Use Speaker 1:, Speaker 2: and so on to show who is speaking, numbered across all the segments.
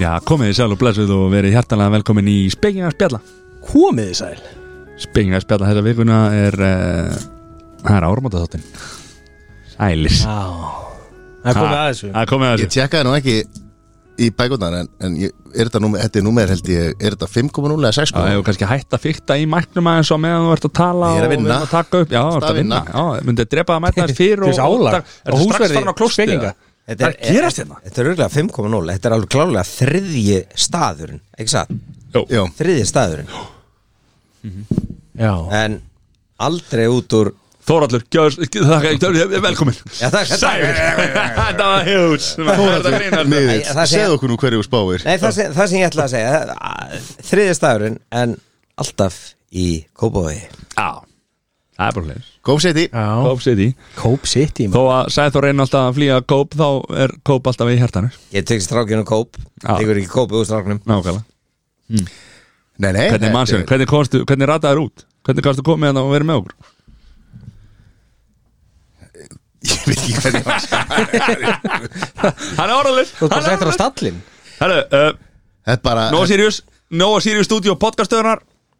Speaker 1: Já, komið þið sæl og blessuð og verið hjartalega velkomin í Spengina spjalla
Speaker 2: Komiði sæl
Speaker 1: Spengina spjalla þessa vikuna er uh, Það er áramóta þáttin Sælis
Speaker 2: Já Það er komið
Speaker 1: Ha,
Speaker 2: aðeins við
Speaker 1: Það er komið að
Speaker 3: Ég
Speaker 1: þessu
Speaker 3: tjekkaði nú ekki í bækundar en, en ég, er þetta númer, þetta er númer held ég, er þetta 5.0 eða
Speaker 1: Já,
Speaker 3: 6.0
Speaker 1: hefur kannski hætt að fykta í mæknum aðeins og meðan þú ert að tala
Speaker 3: Ég er að
Speaker 1: og við
Speaker 3: vinna.
Speaker 1: erum að taka upp Já, þú ert
Speaker 3: Stað
Speaker 1: að vinna
Speaker 3: vinna.
Speaker 1: Já, myndið að drepa það mætnaðis fyrir
Speaker 2: Til þess álag
Speaker 1: Er
Speaker 2: á
Speaker 1: þetta strax
Speaker 2: húsverði
Speaker 1: farin á klostið?
Speaker 2: spekinga.
Speaker 1: eða? Það er að gerast hérna
Speaker 4: Þetta er auðvitað 5.0 Þetta er alveg klálega þriðji staðurinn Ekki satt?
Speaker 3: Jó,
Speaker 4: Þriðji staðurinn
Speaker 2: Já
Speaker 4: En aldrei út úr
Speaker 1: Þórallur, gjörð- þakka- gjörð- velkomin
Speaker 4: Já, þakka,
Speaker 1: Sælis Þetta var hjúts
Speaker 3: miðill,
Speaker 4: Æ, það segja-
Speaker 3: segð okkur nú hverju þú spáir
Speaker 4: Nei, það sem, það sem ég ætla að segja að- Þriðji staðurinn En alltaf í Kópavogi
Speaker 1: Já, það er bara hlæðis
Speaker 3: Góf seti,
Speaker 2: Já
Speaker 1: Kóp City
Speaker 2: Kóp sitt í
Speaker 1: Þó að Sæþór reyna alltaf að flýja kóp þá er kóp alltaf í hærtanu
Speaker 4: Ég tek strákinu Kóp
Speaker 1: Já.
Speaker 4: Tekur ekki Kópi úr stráknum
Speaker 1: Nákvæmlega
Speaker 3: nei, nei
Speaker 2: eh,
Speaker 1: Hvernig mannsinn,
Speaker 3: þetta er-
Speaker 1: hvernig, komstu, hvernig rataður út? Hvernig kannstu komið hérna og verið með okkur?
Speaker 3: Ég veit ekki hvernig mannsinn
Speaker 1: Hann er orðalins
Speaker 2: Þú ert bara settur á stallin
Speaker 1: Hæru, uh,
Speaker 3: Þetta er bara,
Speaker 1: Nóa Sirius Nóa Sirius Studio podcastöðunar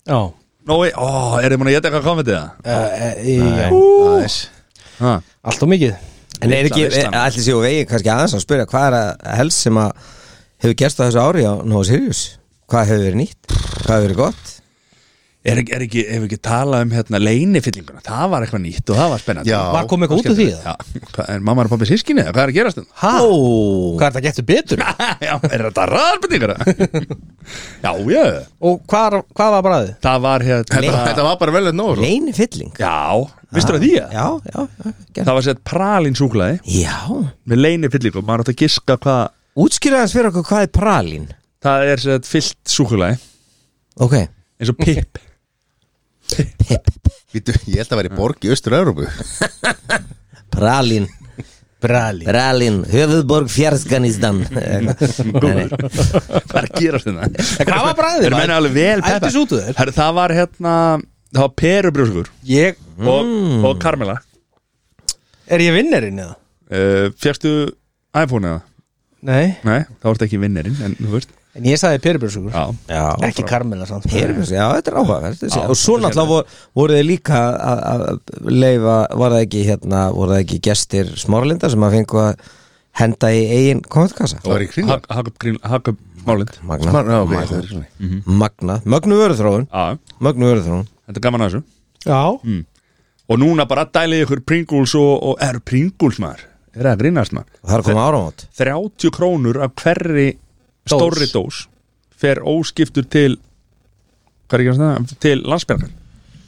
Speaker 2: Já
Speaker 1: Nói, ó, er þið múin að geta eitthvað komið til það?
Speaker 2: Uh,
Speaker 3: aðeins
Speaker 1: Ha,
Speaker 2: Allt og mikið
Speaker 4: En er ekki,
Speaker 1: veislan.
Speaker 4: ætli séu vegið kannski aðeins að spyrja Hvað er að helst sem að Hefur gerst á þessu ári á Nóa Sirius Hvað hefur verið nýtt? Hvað hefur verið gott?
Speaker 1: Er ekki, er ekki, hefur ekki talað um hérna leinifyllinguna Það var eitthvað nýtt og það var spennandi
Speaker 3: Já.
Speaker 2: Var komið eitthvað út úr því það?
Speaker 1: Já, hvað, er mamma og pappi sískinni? eða Hvað er að gerast þetta?
Speaker 2: Hæ? Hvað er það getur betur?
Speaker 1: Já, er þetta ræðarbyndingar? já, já
Speaker 2: Og hvað, hvað var bræðið?
Speaker 1: Það var hérna
Speaker 3: Þetta þetta var bara vel eitt nóg sko.
Speaker 4: Lein fylling
Speaker 1: Já, vistur það því að?
Speaker 4: Já, já, já, gerð.
Speaker 1: Það var sett pralin súklaði
Speaker 4: já.
Speaker 1: með leini fyllingum, maður átt að giska hvað
Speaker 4: Útskýraðans fyrir okkur hvað er pralín
Speaker 1: það er sett fyllt súklaði
Speaker 4: Ok
Speaker 1: eins og pip
Speaker 3: Vítu, Ég held að vera í borg í Östur-Európu
Speaker 4: Pralín
Speaker 2: Bræðið
Speaker 4: Pralín Höfuðborg fjarsganistan Nei,
Speaker 1: Hvað er að gera þetta?
Speaker 2: hvað var bragðið,
Speaker 1: Þeir menna
Speaker 2: maður?
Speaker 1: alveg vel peppa
Speaker 2: Ældist út úr þér.
Speaker 1: Herru, Það var hérna, það var perubrjósugur
Speaker 2: Ég
Speaker 1: og, og Carmela
Speaker 2: Er ég vinnerinn eða?
Speaker 1: uh, Fjækstu iPhone eða?
Speaker 2: Nei
Speaker 1: Nei, það vart ekki vinnerinn en þú veist
Speaker 2: En ég sagði peribrjósugur
Speaker 1: Já,
Speaker 4: Já
Speaker 2: Ekki Karmela samt
Speaker 4: Perubus, já, þetta hérna. er áhugaverð
Speaker 1: Já,
Speaker 4: Og
Speaker 1: þetta
Speaker 4: svo
Speaker 1: er
Speaker 4: náttúrulega voru, voru þið líka að- að leifa, var það ekki hérna, voru það ekki gestir smárlinda sem að fengu að henda í eigin kommentkassa
Speaker 3: Það var í Kringlunni.
Speaker 1: Hakup Málind
Speaker 4: Magna,
Speaker 3: Smar- já, ok, það
Speaker 4: Magna,
Speaker 3: var í Kringlunni.
Speaker 4: Magna, Mögnu Mhm. vöruþróun
Speaker 1: Já,
Speaker 4: Mögnu vöruþróun
Speaker 1: þetta er gaman að þessu
Speaker 2: Já
Speaker 1: mm. Og núna bara dælið ykkur Pringles og, og er Pringles maður Er það að grínast maður?
Speaker 4: Það er að koma áramót
Speaker 1: 30 krónur af hverri stórri dós fer óskiptur til hvað er ekki að segja, til landsbjörgan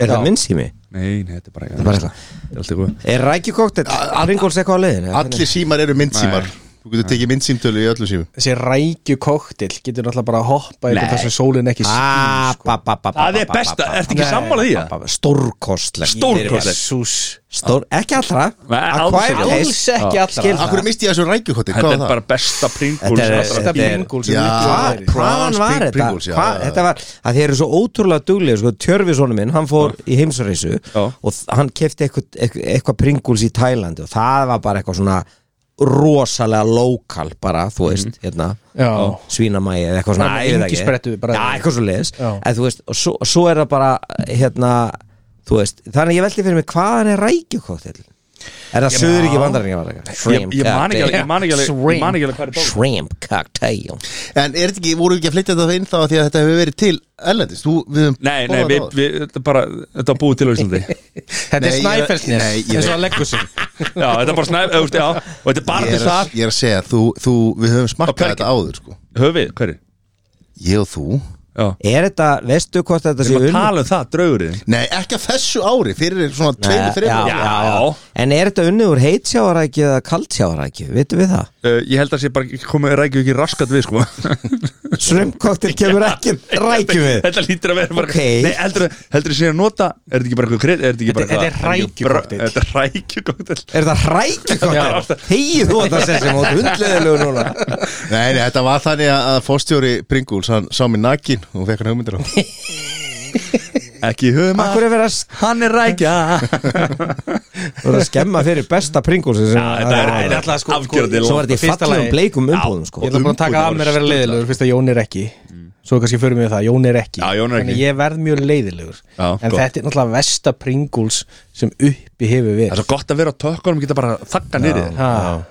Speaker 4: Er það minnsými?
Speaker 1: nei, nei, þetta er bara
Speaker 4: er bara eitthvað.
Speaker 1: þetta er allt í góðu.
Speaker 4: Er rækjukóktel? Pringles eitthvað á leiðin?
Speaker 3: Allir símar eru myndsímar
Speaker 1: Nei.
Speaker 3: Þú getur tekið myndsímtölu í öllu símum
Speaker 2: Þessi rækju koktel Getur náttúrulega bara að hoppa
Speaker 1: Nei.
Speaker 2: Ykkur þar sem sólin ekki sko.
Speaker 4: Ah, ba, ba, ba, ba,
Speaker 1: það er
Speaker 4: ba, ba,
Speaker 1: besta,
Speaker 4: ba, ba.
Speaker 1: ertu ekki sammálað í það?
Speaker 4: Ba, ba, Stórkostlegt
Speaker 1: stórkostlegt
Speaker 2: Sús
Speaker 4: Stór, Ekki allra
Speaker 1: Nei, alls
Speaker 4: Acquired
Speaker 1: ekki.
Speaker 4: taste.
Speaker 2: Alls ekki
Speaker 1: Ah,
Speaker 2: allra
Speaker 4: Skil það.
Speaker 3: Akkur misti ég þessu rækjukotti,
Speaker 1: þetta er
Speaker 3: hvað var það?
Speaker 1: bara besta
Speaker 4: Þetta er-
Speaker 1: Pringles
Speaker 2: Besta
Speaker 4: Þetta er-
Speaker 2: bingul sem Ah,
Speaker 3: Já.
Speaker 2: mikið væri.
Speaker 4: Hvaðan
Speaker 3: Prawns,
Speaker 4: var
Speaker 3: Pring-
Speaker 4: þetta?
Speaker 3: Pringles, já,
Speaker 4: Hvað,
Speaker 3: já, já.
Speaker 4: þetta var, að þið eru svo ótrúlega duglega sko, Tjörfisónu minn, hann fór í heimsareysu
Speaker 1: Já.
Speaker 4: og þ- hann kefti eitthvað, eitthvað, eitthvað Pringles í Tælandi og það var bara eitthvað svona rosalega lokal bara, þú veist,
Speaker 1: Mhm.
Speaker 4: hérna
Speaker 2: Já
Speaker 4: svínamægi eða eitthvað svona
Speaker 2: Bara
Speaker 4: Æ, ég veit ekki.
Speaker 2: engisprettu, bara-
Speaker 4: Já, eitthvað svo leiðis
Speaker 2: Já.
Speaker 4: en þú veist, og svo, og svo er það bara hérna, þú veist, þannig að ég veldi fyrir mig hvaðan er rækjukóttel er það söður ekki vandaringar
Speaker 1: Ég- ég man ekki alveg- ég man ekki alveg- ég man ekki alveg hvað er í bóði.
Speaker 4: shrimp cocktail
Speaker 3: En er þetta ekki, voru ekki að flytja þetta inn þá af því að þetta hefur verið til erlendis Þú, við höfum
Speaker 1: nei, nei,
Speaker 3: borðað
Speaker 1: við,
Speaker 3: það áður.
Speaker 1: við, þetta er bara þetta er búið til á Íslandi já,
Speaker 2: Þetta er
Speaker 3: Nei, ég-
Speaker 2: snæfellsnes
Speaker 3: nei, ég
Speaker 2: eins og
Speaker 3: veit-
Speaker 2: að leggur sig
Speaker 1: þetta er bara snæf, eða, veist, já og þetta er bara
Speaker 3: Ég
Speaker 1: til
Speaker 3: er að-
Speaker 1: þar
Speaker 3: Ég er að segja, þú, þú, við höfum
Speaker 1: Á
Speaker 3: smakkað
Speaker 1: Kverki.
Speaker 3: þetta áður sko.
Speaker 1: höfið, hverju?
Speaker 3: Ég og þú
Speaker 1: já,
Speaker 4: er þetta, veistu hvort þetta
Speaker 1: við
Speaker 4: sé
Speaker 1: erum að
Speaker 4: unn
Speaker 1: tala um það, draugurinn
Speaker 3: Nei, ekki að þessu ári, fyrir svona tveimu, þreimu
Speaker 1: Já.
Speaker 4: en er þetta unnið úr heitsjávarækju eða kaldsjávarækju, veitum við það
Speaker 1: uh, ég held að sé bara komið rækju ekki raskat við sko
Speaker 4: shrimp cocktail kemur ekki rækju við
Speaker 1: Þetta lítur að vera bara
Speaker 4: Ok.
Speaker 1: Nei, heldur heldur þú sé að nota Er þetta ekki bara eitthvað krið? Er þetta ekki bara
Speaker 2: Þetta- þetta er rækjukokteil.
Speaker 1: rækjukoktel Þetta er rækjukoktel
Speaker 4: er það rækjukóttel hegið þú að það sér sem út hundleðilegu núna
Speaker 3: Nei, nei, þetta var þannig að að fórstjóri Pringles, hann sá mér nakin og hún fekk hann hugmyndir á
Speaker 1: Ekki í höfum
Speaker 4: Akkur er verið að, s-
Speaker 1: Hann er rækja
Speaker 4: verið að skemma fyrir besta pringulsi sem
Speaker 1: Þetta er
Speaker 2: Ég ætla að sko-
Speaker 1: afgjörði
Speaker 4: Svo var þetta í
Speaker 2: Fyrsta
Speaker 4: fallegum
Speaker 2: lagi-
Speaker 4: bleikum umbúðum sko
Speaker 2: Ég ætla bara að taka af mér að vera leiðilegur Fyrst að Jón er ekki Svo kannski förum við það, Jón er ekki
Speaker 1: Já, Jón er ekki.
Speaker 2: Þannig ég verð mjög leiðilegur
Speaker 1: Já,
Speaker 2: En
Speaker 1: gott.
Speaker 2: þetta er náttúrulega versta Pringles sem uppi hefur
Speaker 1: Það
Speaker 2: við
Speaker 1: er svo gott að vera á tökkunum geta bara þakka niður þér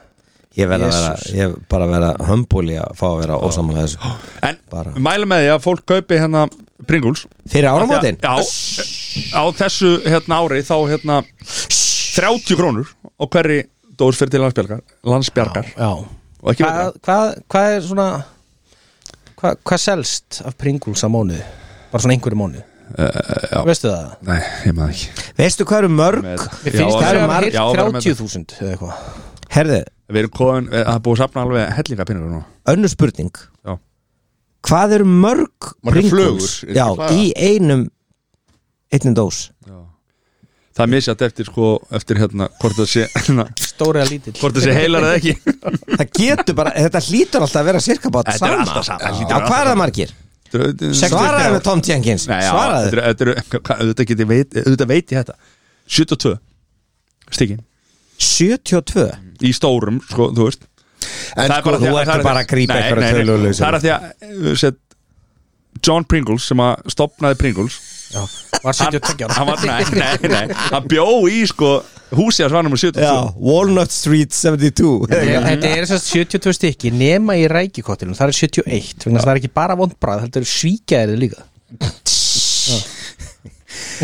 Speaker 4: Ég verð að vera,
Speaker 2: Jesus.
Speaker 4: ég bara að vera humble í að fá að vera ósamlega þessu
Speaker 1: En
Speaker 4: Bara.
Speaker 1: mælum með því að fólk kaupi hérna Pringles
Speaker 4: Fyrir áramótin?
Speaker 1: Já, á þessu hérna ári þá hérna 30 krónur og hverri dós fyrir til landsbjargar, landsbjargar.
Speaker 2: Já
Speaker 1: og ekki verið
Speaker 2: Hvað hva, hva er svona Hvað hva selst af Pringles á mánuði? Bara svona einhverju mánuði
Speaker 1: Eh, já.
Speaker 2: Veistu það?
Speaker 1: Nei, ég maður ekki
Speaker 4: Veistu hvað eru mörg?
Speaker 2: Mér finnst
Speaker 4: það
Speaker 2: það
Speaker 4: eru
Speaker 2: að
Speaker 4: marg-
Speaker 2: heyrt
Speaker 1: já, vera með
Speaker 2: 30.000 eða eitthvað
Speaker 4: Herðu,
Speaker 1: Við erum komin, við- það er búið að safna alveg hellingapinnur núna
Speaker 4: önnur spurning
Speaker 1: Já.
Speaker 4: Hvað eru mörg
Speaker 3: Margar flugur,
Speaker 4: Pringles
Speaker 3: er
Speaker 4: Já,
Speaker 3: ekki flaga?
Speaker 4: í einum einnum dós
Speaker 1: Það er misjætt eftir sko, eftir hérna hvort það sé, hérna,
Speaker 2: Stóri að lítill
Speaker 1: hvort það sé heilar eða ekki
Speaker 4: Það getur bara, þetta hlýtur alltaf að vera sirka bát
Speaker 1: Þetta er
Speaker 4: sama
Speaker 1: alltaf sama. Það hlýtur
Speaker 4: Já,
Speaker 1: alltaf
Speaker 4: hvað er það
Speaker 1: sama.
Speaker 4: margir?
Speaker 1: Svaraðu
Speaker 4: Svaraðu með Tom Jenkins
Speaker 1: Nei, já,
Speaker 4: Svaraðu
Speaker 1: þetta eru- þetta eru- hvað- auðvitað geti veit, auðvitað veit ég þetta 72 stikkin
Speaker 4: 72
Speaker 1: í stórum, sko, þú veist
Speaker 3: En
Speaker 1: er
Speaker 3: sko,
Speaker 1: bara því
Speaker 4: þú
Speaker 1: það
Speaker 4: ert
Speaker 1: er því-
Speaker 4: bara að grípa
Speaker 1: Nei,
Speaker 4: einhverja
Speaker 1: nei, nei,
Speaker 4: tölulausu.
Speaker 1: Það er að því að uh, set, John Pringles sem að stopnaði Pringles
Speaker 2: Já, Var 72 ára
Speaker 1: hann var, nei, nei, nei, hann bjó í sko húsi að svanum og 70
Speaker 4: Já, Walnut Street 72
Speaker 2: Þetta er þess að 72 stykki nema í rækikottilum, það er 71 vegna þess að það er ekki bara vondbræð, þetta eru svíkjaðir líka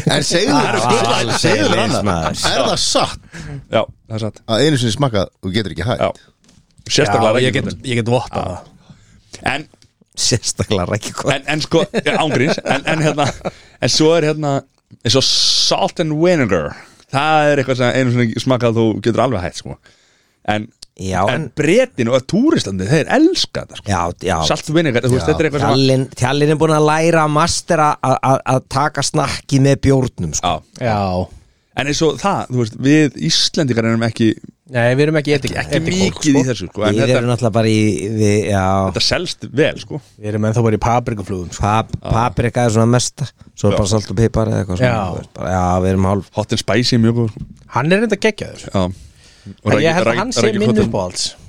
Speaker 3: en segðu
Speaker 4: Það er
Speaker 3: þér
Speaker 4: alveg
Speaker 3: Segðu þér
Speaker 4: leiðis,
Speaker 3: annað,
Speaker 4: maður.
Speaker 3: er það satt
Speaker 1: já, það er satt
Speaker 3: að einu sinni smakað og getur ekki hægt
Speaker 1: já. sérstaklega
Speaker 2: Já, ég
Speaker 1: rækjum
Speaker 2: get- ég get votta það
Speaker 1: en,
Speaker 4: Sérstaklega ekki hvað
Speaker 1: en, en sko, ángríns en, en hérna, en svo er hérna eins og salt and vinegar það er eitthvað sem einu svona smakað þú getur alveg hægt sko en,
Speaker 4: Já,
Speaker 1: en
Speaker 4: en
Speaker 1: bretin og túristandi, þeir elska þetta sko.
Speaker 4: Já, já
Speaker 1: salt and vinegar, þú veist, þetta er eitthvað sem að
Speaker 4: Tjallinn tjallinn er búin að læra að mastera að- að að taka snakki með bjórnum sko.
Speaker 1: já,
Speaker 2: Já,
Speaker 1: En eins og það, þú veist, við Íslendingar erum ekki,
Speaker 2: nei, við erum ekki edik,
Speaker 1: ekki mikið í þessu sko, en
Speaker 4: Við
Speaker 1: þetta,
Speaker 4: erum náttúrulega bara í við, Já,
Speaker 1: þetta selst vel sko.
Speaker 2: Við erum ennþá bara í paprikaflugum sko.
Speaker 4: pap, paprika er svona mesta Svo er bara salt og pipar eða eitthvað svona,
Speaker 2: Já.
Speaker 4: þú veist, bara, já, við erum hálf
Speaker 1: Hot and spicy er mjög góð sko.
Speaker 2: Hann er reynda geggjaður
Speaker 1: Já. Og
Speaker 2: En
Speaker 1: rækju-
Speaker 2: ég held
Speaker 1: rækju-
Speaker 2: að hann sé
Speaker 1: rækju-
Speaker 2: minn
Speaker 1: kottum.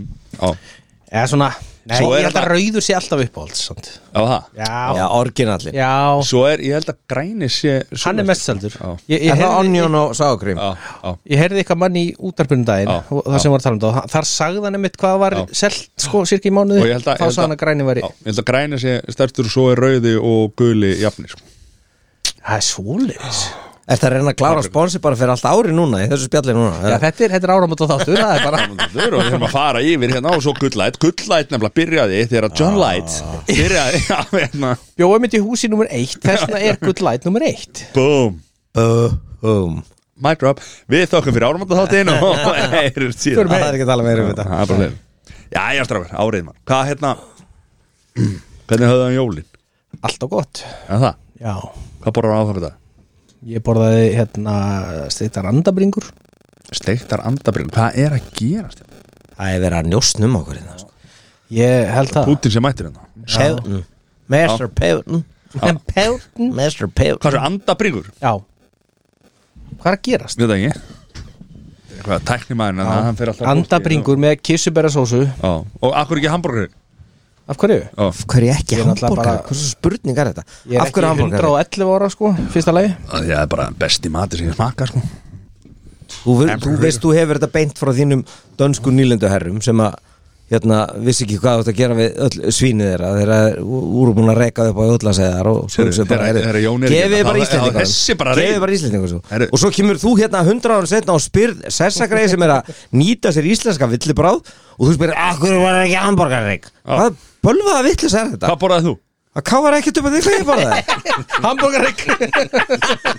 Speaker 2: uppáhalds
Speaker 1: Já,
Speaker 2: Eða svona, nei,
Speaker 1: Svo er
Speaker 2: ég held að
Speaker 1: þetta-
Speaker 2: rauður sé alltaf uppáhalds samt.
Speaker 1: já, það
Speaker 2: Já,
Speaker 4: Já, orginallin
Speaker 2: já,
Speaker 1: Svo er, ég held að græni sé
Speaker 2: hann er mest seldur
Speaker 1: Já.
Speaker 2: Ég, ég
Speaker 4: Er það
Speaker 2: heyrði-
Speaker 4: onion og sákrím?
Speaker 1: Já, já,
Speaker 2: Ég heyrði eitthvað mann í útarpunum daginn
Speaker 1: Já,
Speaker 2: og það sem var að tala um það, þar sagði hann einmitt hvað var
Speaker 1: Já.
Speaker 2: selt, sko, sirka í
Speaker 1: Og
Speaker 2: mánuði
Speaker 1: ég held að-
Speaker 2: þá
Speaker 1: ég held
Speaker 2: sagði hann að græni væri
Speaker 1: já Ég held að græni sé stærtur og svo er rauði og guli jafnir sko.
Speaker 2: Það er svoleiðis
Speaker 4: Er það að reyna að klára sponsi bara fyrir allt ári núna í þessu spjalli núna?
Speaker 2: Já, þetta er, þetta er áramót og þáttur, það er bara
Speaker 1: Þau eru og við erum að fara yfir hérna og svo gullæt Gullæt nefnilega byrjaði þegar að John Light byrjaði já, hérna,
Speaker 2: Bjóðum þetta í húsi nummer eitt, þessna er good light nummer eitt
Speaker 1: Boom
Speaker 4: Búm
Speaker 1: Mic drop Við þökkum fyrir áramönda þáttinn og erum síðan
Speaker 4: Það er ekki að tala meira um þetta
Speaker 1: Það er bara leið Já, já, strafur, árið mann Hvað hérna Hvernig höfðu hann jólin?
Speaker 2: Alltaf gott
Speaker 1: En það,
Speaker 2: Já,
Speaker 1: hvað borðar hann áþáka þetta?
Speaker 2: ég borðaði hérna steiktar andabringur
Speaker 1: Steiktar andabrinn, hvað er að gerast? hérna?
Speaker 4: Það er verið að njóstnum okkur hérna sko.
Speaker 2: Ég held það
Speaker 1: Pútín sem mættir hérna
Speaker 4: Pewton Mr. Pewton
Speaker 2: En pjátn
Speaker 4: Mr. Pewton
Speaker 1: Hvað er andabringur?
Speaker 2: Já Hvað er að gerast?
Speaker 1: Við það ekki Eitthvað tæknimaðurinn hérna, hann fer alltaf
Speaker 2: Andabringur með kissubera sósu
Speaker 1: Já, og akkur ekki hambúrgur
Speaker 2: Af hverju?
Speaker 1: Já,
Speaker 4: Hverju ekki
Speaker 2: Ég er náttúrulega
Speaker 4: hambúrgar?
Speaker 2: bara-
Speaker 4: Hversu spurningar er þetta?
Speaker 2: Ég er
Speaker 4: Af hverju
Speaker 2: ekki
Speaker 4: hambúrgar?
Speaker 2: 111 ára sko, fyrsta lagi
Speaker 1: það er bara besti matur sem ég smaka sko
Speaker 4: Þú, ver- þú
Speaker 1: Hamburger.
Speaker 4: veist, þú hefur þetta beint frá þínum dönsku nýlenduherrum sem að hérna, vissi ekki hvað þú átt að gera við öll svínið þeirra þeirra voru búin að reyka upp á öllasæðar og svo
Speaker 1: Heyrðu,
Speaker 4: hugsaðu bara,
Speaker 1: þeirra-
Speaker 4: heyrðu,
Speaker 1: þeirra Jón er ekki
Speaker 4: gefið
Speaker 1: hérna,
Speaker 4: bara
Speaker 1: þá- þá-
Speaker 4: Íslendingunum
Speaker 1: þessi bara
Speaker 4: gefið
Speaker 1: reyður.
Speaker 4: bara Íslendingunum svo.
Speaker 1: Heyrðu.
Speaker 4: og svo kemur þú hérna 100 ára setna og spyrð sessagreið sem er að nýta sér íslenska villibráð og þú spyrir, akkur var ekki hamburgarreik hvað bölvaða villis er þetta?
Speaker 1: Hvað borðaði þú?
Speaker 4: að káfar ekkert upp að því hvað ég bara það
Speaker 2: Hambúrgarrygg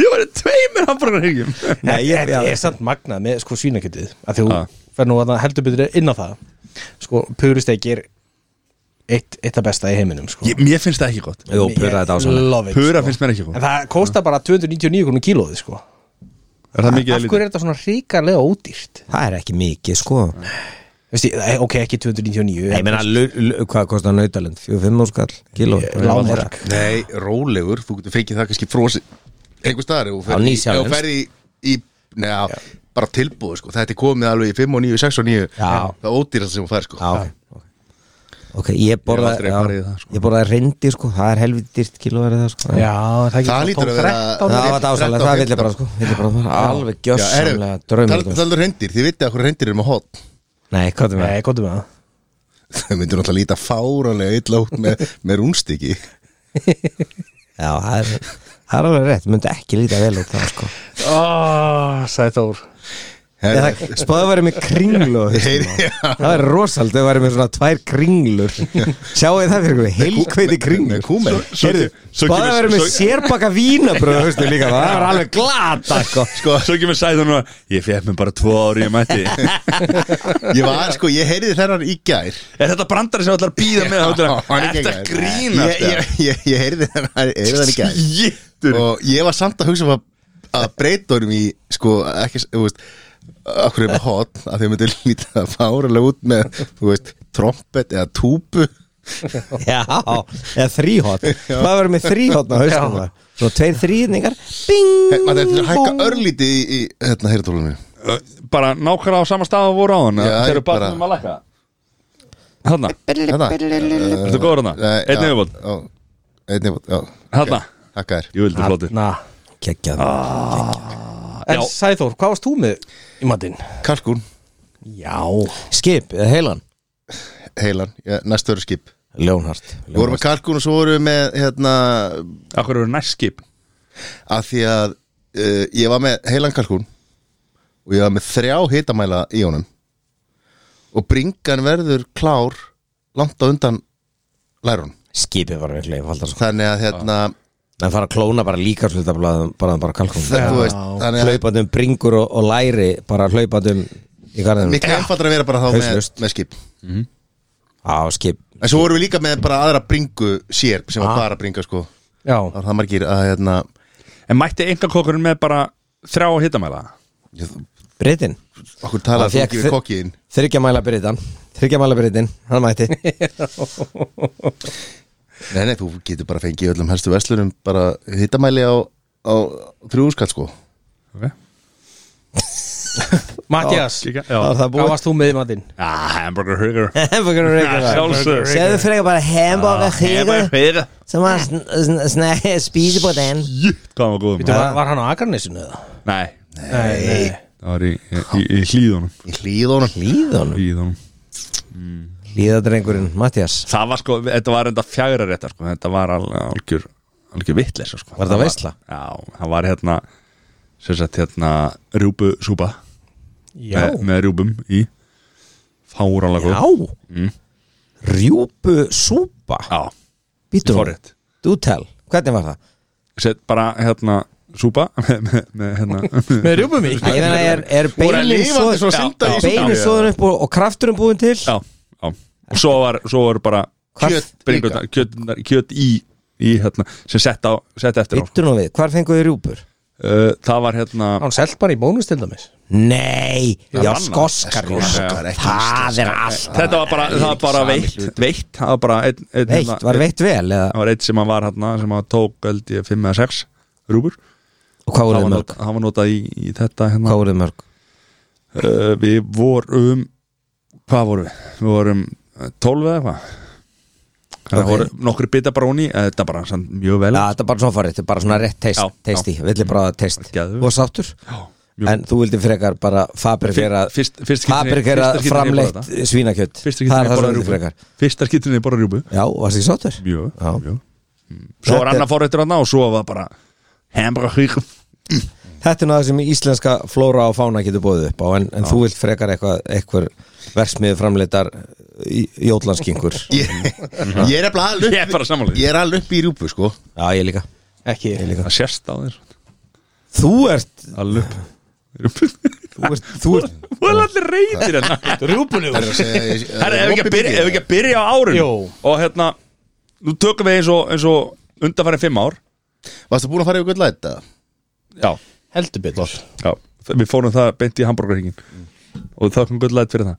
Speaker 1: Ég var í tveimur hambúrgarhyggjum
Speaker 4: Nei, ég-
Speaker 2: Þetta
Speaker 4: já.
Speaker 2: er samt magnað með sko svínakjötið að þú
Speaker 1: Ah.
Speaker 2: fer nú að heldur betur inn á það sko, puristegi er eitt, eitt að besta í heiminum sko.
Speaker 1: Mér finnst það ekki gott
Speaker 4: Jú, pura þetta ásann
Speaker 2: love it
Speaker 1: Pura
Speaker 2: sko.
Speaker 1: finnst mér ekki gott.
Speaker 2: En það kostar bara 299 krónu kílóði sko.
Speaker 1: Er það
Speaker 2: Af
Speaker 1: mikið eða
Speaker 2: hverju
Speaker 1: lítið?
Speaker 2: er þetta svona ríkarlega ódýrt?
Speaker 4: það er ekki mikið sko
Speaker 2: Veist ég, eh, ok, ekki 299
Speaker 4: Nei, ég meina, lu- lu- hvað kostar nautalind? 4-5 áskall, kíló
Speaker 2: Lámark.
Speaker 3: Nei, rólegur, þú getur fengið það kannski frosi einhver staðar og
Speaker 4: Á
Speaker 3: ferð í,
Speaker 4: Nýsjálens.
Speaker 3: ef þú ferð í, í neða, bara tilbúð sko. þetta er komið alveg í 5 og 9, 6 og 9
Speaker 4: Já.
Speaker 3: það ódýrast sem hún fær sko.
Speaker 4: Já, ok. ok, ég borða
Speaker 1: Ég hef aldrei farið í það, sko.
Speaker 4: Ég borða reyndi, sko, það er helviti dýrt kílóverið það, sko
Speaker 2: Já, það, ekki
Speaker 3: Það
Speaker 2: svona
Speaker 3: lítur að vera-
Speaker 2: 12, 13.
Speaker 4: Það var dásalega, það
Speaker 3: 13,
Speaker 4: vill ég bara, sko Vill ég bara, bara alveg gjössamlega
Speaker 3: tal,
Speaker 4: draumur sko.
Speaker 3: Taldur reyndir, um þið vitið að hverju reyndir eru með hot
Speaker 4: Nei, hvað er með?
Speaker 2: Nei, gotum við það
Speaker 3: þau myndir náttúrulega líta fáranlega illa út með, með rúnstiki
Speaker 4: Já, það er, það er alveg rétt, myndi ekki líta vel út það, sko
Speaker 2: oh, Sæði Þór
Speaker 4: Ég, það- Spáðu væri með kringlu á hausnum á. Það væri rosald, þau væri með svona tvær kringlur Sjáu þið það fyrir ykkur, heilkveiti
Speaker 3: með
Speaker 4: kringlur
Speaker 3: kúmen
Speaker 4: Heyrðu,
Speaker 1: svo
Speaker 4: Spáðu
Speaker 1: kemur-
Speaker 4: væri með
Speaker 1: svo-
Speaker 4: sérbaka vínabröð, veistu líka Það var alveg glata, sko
Speaker 1: Sko, svo ekki með sæði hún að Ég fekk mér bara tvo ári ég mætti Er
Speaker 3: ég var sko, ég heyriði þennan í gær
Speaker 1: þetta brandari sem allar býða með
Speaker 3: Já,
Speaker 1: það?
Speaker 3: hann er
Speaker 1: Er
Speaker 3: ekki
Speaker 1: þetta
Speaker 3: að
Speaker 1: grínast?
Speaker 3: ég, ég, ég, ég heyriði þennan heyriði þennan í gær
Speaker 1: Jéttur
Speaker 3: og ég var samt að hugsa um að, að breyta honum í sko ekki, þú veist okkur er með hot að þau myndu líta fáralega út með, þú veist, trompet eða túpu
Speaker 4: Já, eða þríhótt Hvað verður með þríhótt á haustum það? Svo tveir þrýðningar Bing,
Speaker 3: maður er til að hækka
Speaker 4: bong.
Speaker 3: örlítið í, í hérna heyrðatólunum
Speaker 1: Bara nákvæmlega á sama stað og voru á hann
Speaker 3: Já,
Speaker 1: Þeir eru
Speaker 3: ég
Speaker 1: bara
Speaker 3: bara-
Speaker 1: um að lækka Hanna, ertu góður hana? Einn yfirbót,
Speaker 3: einn yfirbót, já
Speaker 1: hanna
Speaker 3: hækka þér
Speaker 1: Jú vildi flóti
Speaker 2: Na,
Speaker 4: Geggjað
Speaker 3: Ah.
Speaker 2: en
Speaker 1: Já.
Speaker 2: Sæði Þór, hvað varst þú með í matinn?
Speaker 3: kalkún,
Speaker 2: Já
Speaker 4: Skip, eða heilan
Speaker 3: heilan, já, næstu öru skip
Speaker 4: Ljónhart
Speaker 3: við vorum með kalkún og svo vorum við með hérna,
Speaker 1: Akkur eru næst skip
Speaker 3: að því að uh, ég var með heilan kalkún og ég var með þrjá hitamæla í honum og bringan verður klár langt á undan lærun
Speaker 4: Skipið var eitthvað einfaldar sko.
Speaker 3: þannig að hérna
Speaker 4: En fara að klóna bara líka sluta bara bara, bara kalkum
Speaker 3: það, þú veist, þannig að
Speaker 4: Hlaupandum um bringur og, og læri bara hlaupandum í garðinum
Speaker 3: miklu einfaldar að vera bara þá með,
Speaker 4: Hauslaust.
Speaker 3: með skip
Speaker 4: Á, skip
Speaker 3: en svo vorum við líka með bara aðra bringu sér sem var bara bringa sko
Speaker 2: Já,
Speaker 3: það var það margir að hérna
Speaker 1: En mætti engakokkurinn með bara þrjá að hitamæla
Speaker 4: Britin
Speaker 3: okkur
Speaker 4: Hann
Speaker 3: talaði þú
Speaker 4: fékk
Speaker 3: ekki
Speaker 4: þi-
Speaker 3: við kokkiðin
Speaker 4: Þryggja mæla Britan Þryggja mæla Britin Hann mætti
Speaker 3: nei nei þú getur bara fengið í öllum helstu veslunum bara hitamæli á, á þrjúskall sko
Speaker 1: Ok
Speaker 2: Mattias,
Speaker 1: Kíkja-
Speaker 4: Það
Speaker 1: Já,
Speaker 4: var það
Speaker 2: hvað
Speaker 4: búið
Speaker 2: varst þú með í matinn?
Speaker 1: Ah, hamburger hugger
Speaker 4: Hamburger og
Speaker 1: Ah, sjálfsögðu. Ah,
Speaker 4: reykur Segðu frekar bara
Speaker 2: Ah,
Speaker 4: hamburger
Speaker 1: Hamburger
Speaker 4: reykur
Speaker 1: hugger
Speaker 4: Sem að spýði búið enn
Speaker 1: Hvað var góðum
Speaker 2: Var, var hann á Akarnesinu eða?
Speaker 1: Nei,
Speaker 2: Nei, nei.
Speaker 1: það var í, í, í hlýðunum
Speaker 3: í hlýðunum
Speaker 4: Líðan
Speaker 1: Hlýðunum
Speaker 4: Líðadrengurinn Mattias
Speaker 1: Það var sko, þetta var enda fjagra réttar sko. Þetta var al, algjör, algjör vitleisa sko.
Speaker 4: Var þetta veisla?
Speaker 1: Já, það var hérna sem sagt hérna rjúbusúpa
Speaker 2: Já,
Speaker 1: með, með rjúbum í fáralega
Speaker 4: Já Rjúpu súpa
Speaker 1: Já,
Speaker 4: Býtur hún
Speaker 1: forrétt
Speaker 4: Þú tel Hvernig var það?
Speaker 1: Sett bara hérna súpa með, með, með hérna
Speaker 2: með rjúpum í
Speaker 4: Æ, Ég meina er, er
Speaker 3: Voru að
Speaker 4: beinin
Speaker 3: lifandi svona synda í súpunni,
Speaker 4: Beinin
Speaker 3: eða?
Speaker 4: svoðun upp og, og krafturinn búin til
Speaker 1: Já, já Og svo var, svo var bara
Speaker 3: Kjöt
Speaker 1: bringurnar- kjötnar- Kjöt í, í hérna, sem sett, á, sett eftir á sko.
Speaker 4: Býtur nú við Hvar fenguðu þið rjúpur?
Speaker 1: uh, Það var hérna
Speaker 2: Hann selt bara í bónus til dæmis
Speaker 4: Nei Já,
Speaker 1: annað.
Speaker 4: skoskar
Speaker 3: Skoskar, ekki
Speaker 4: Það er allt
Speaker 1: Þetta var bara, það var bara veitt, veitt Það var bara einn ein,
Speaker 4: Veitt, var veitt vel eða
Speaker 1: Það var einn sem að var hérna sem að tók held ég 5 eða 6 rúbur
Speaker 4: Og hvað
Speaker 1: Það
Speaker 4: voruð
Speaker 1: var,
Speaker 4: þið mörg?
Speaker 1: nota, það var notað í, í þetta hérna
Speaker 4: Hvað voruð þið mörg?
Speaker 1: uh, Við vorum Hvað vorum við? Við vorum eh, 12 eða eitthvað Það
Speaker 4: Ok.
Speaker 1: voru nokkri bita bróni Þetta bara sann, mjög vel
Speaker 4: Já, þetta er bara svona farið Þetta er bara svona rétt
Speaker 1: Já,
Speaker 4: teist Teisti Villi bara teist
Speaker 1: Geðveikt.
Speaker 4: Og sáttur
Speaker 1: mjög-
Speaker 4: En þú vildi frekar bara fabrikera
Speaker 1: Fyr- fyrst- fyrst skipti-
Speaker 4: Fabrikera
Speaker 1: fyrsta skipti ég
Speaker 4: framleitt
Speaker 1: borða
Speaker 4: svínakjöt
Speaker 1: Fyrsta
Speaker 4: Það er
Speaker 1: skiptinni
Speaker 4: það
Speaker 1: bara
Speaker 4: sem vildi
Speaker 1: rjúbu
Speaker 4: frekar
Speaker 1: Fyrsta skiptinni bara rjúbu
Speaker 4: Já, varst þið sáttur?
Speaker 1: Mjög,
Speaker 4: Já.
Speaker 1: mjög Mm. Svo
Speaker 4: Þetta
Speaker 1: var
Speaker 4: er-
Speaker 1: annað fórreitur hérna og svo var bara Hamburger
Speaker 4: Þetta er náður sem íslenska flóra og fána getur bóðið upp á en, en þú vilt frekar eitthvað eitthvað versmiðu framleitar jótlanskingur Já,
Speaker 3: ég, ég er alveg alveg
Speaker 1: Mhm. Ég er bara sammála því.
Speaker 3: Ég er alveg upp í rjúpu sko
Speaker 4: ég líka
Speaker 2: Ekki
Speaker 1: Það sérst á þér
Speaker 4: Þú ert,
Speaker 1: Allu
Speaker 4: þú ert, þú ert
Speaker 1: Þú er allir reytir hérna Rjúbunni
Speaker 3: Það er að segja ég-
Speaker 1: Herra, ef við ekki að
Speaker 3: Opið
Speaker 1: byrja- ef við
Speaker 3: byrgið.
Speaker 1: ekki að byrja á árun
Speaker 2: Jú.
Speaker 1: Og hérna, nú tökum við eins og, eins og undanfærin fimm ár
Speaker 3: Varstu búin að fara yfir gull læta?
Speaker 1: Já,
Speaker 2: Heldur betur
Speaker 1: já, við fórum það beint í hambúrgarhingin Og það kom gull lætt fyrir það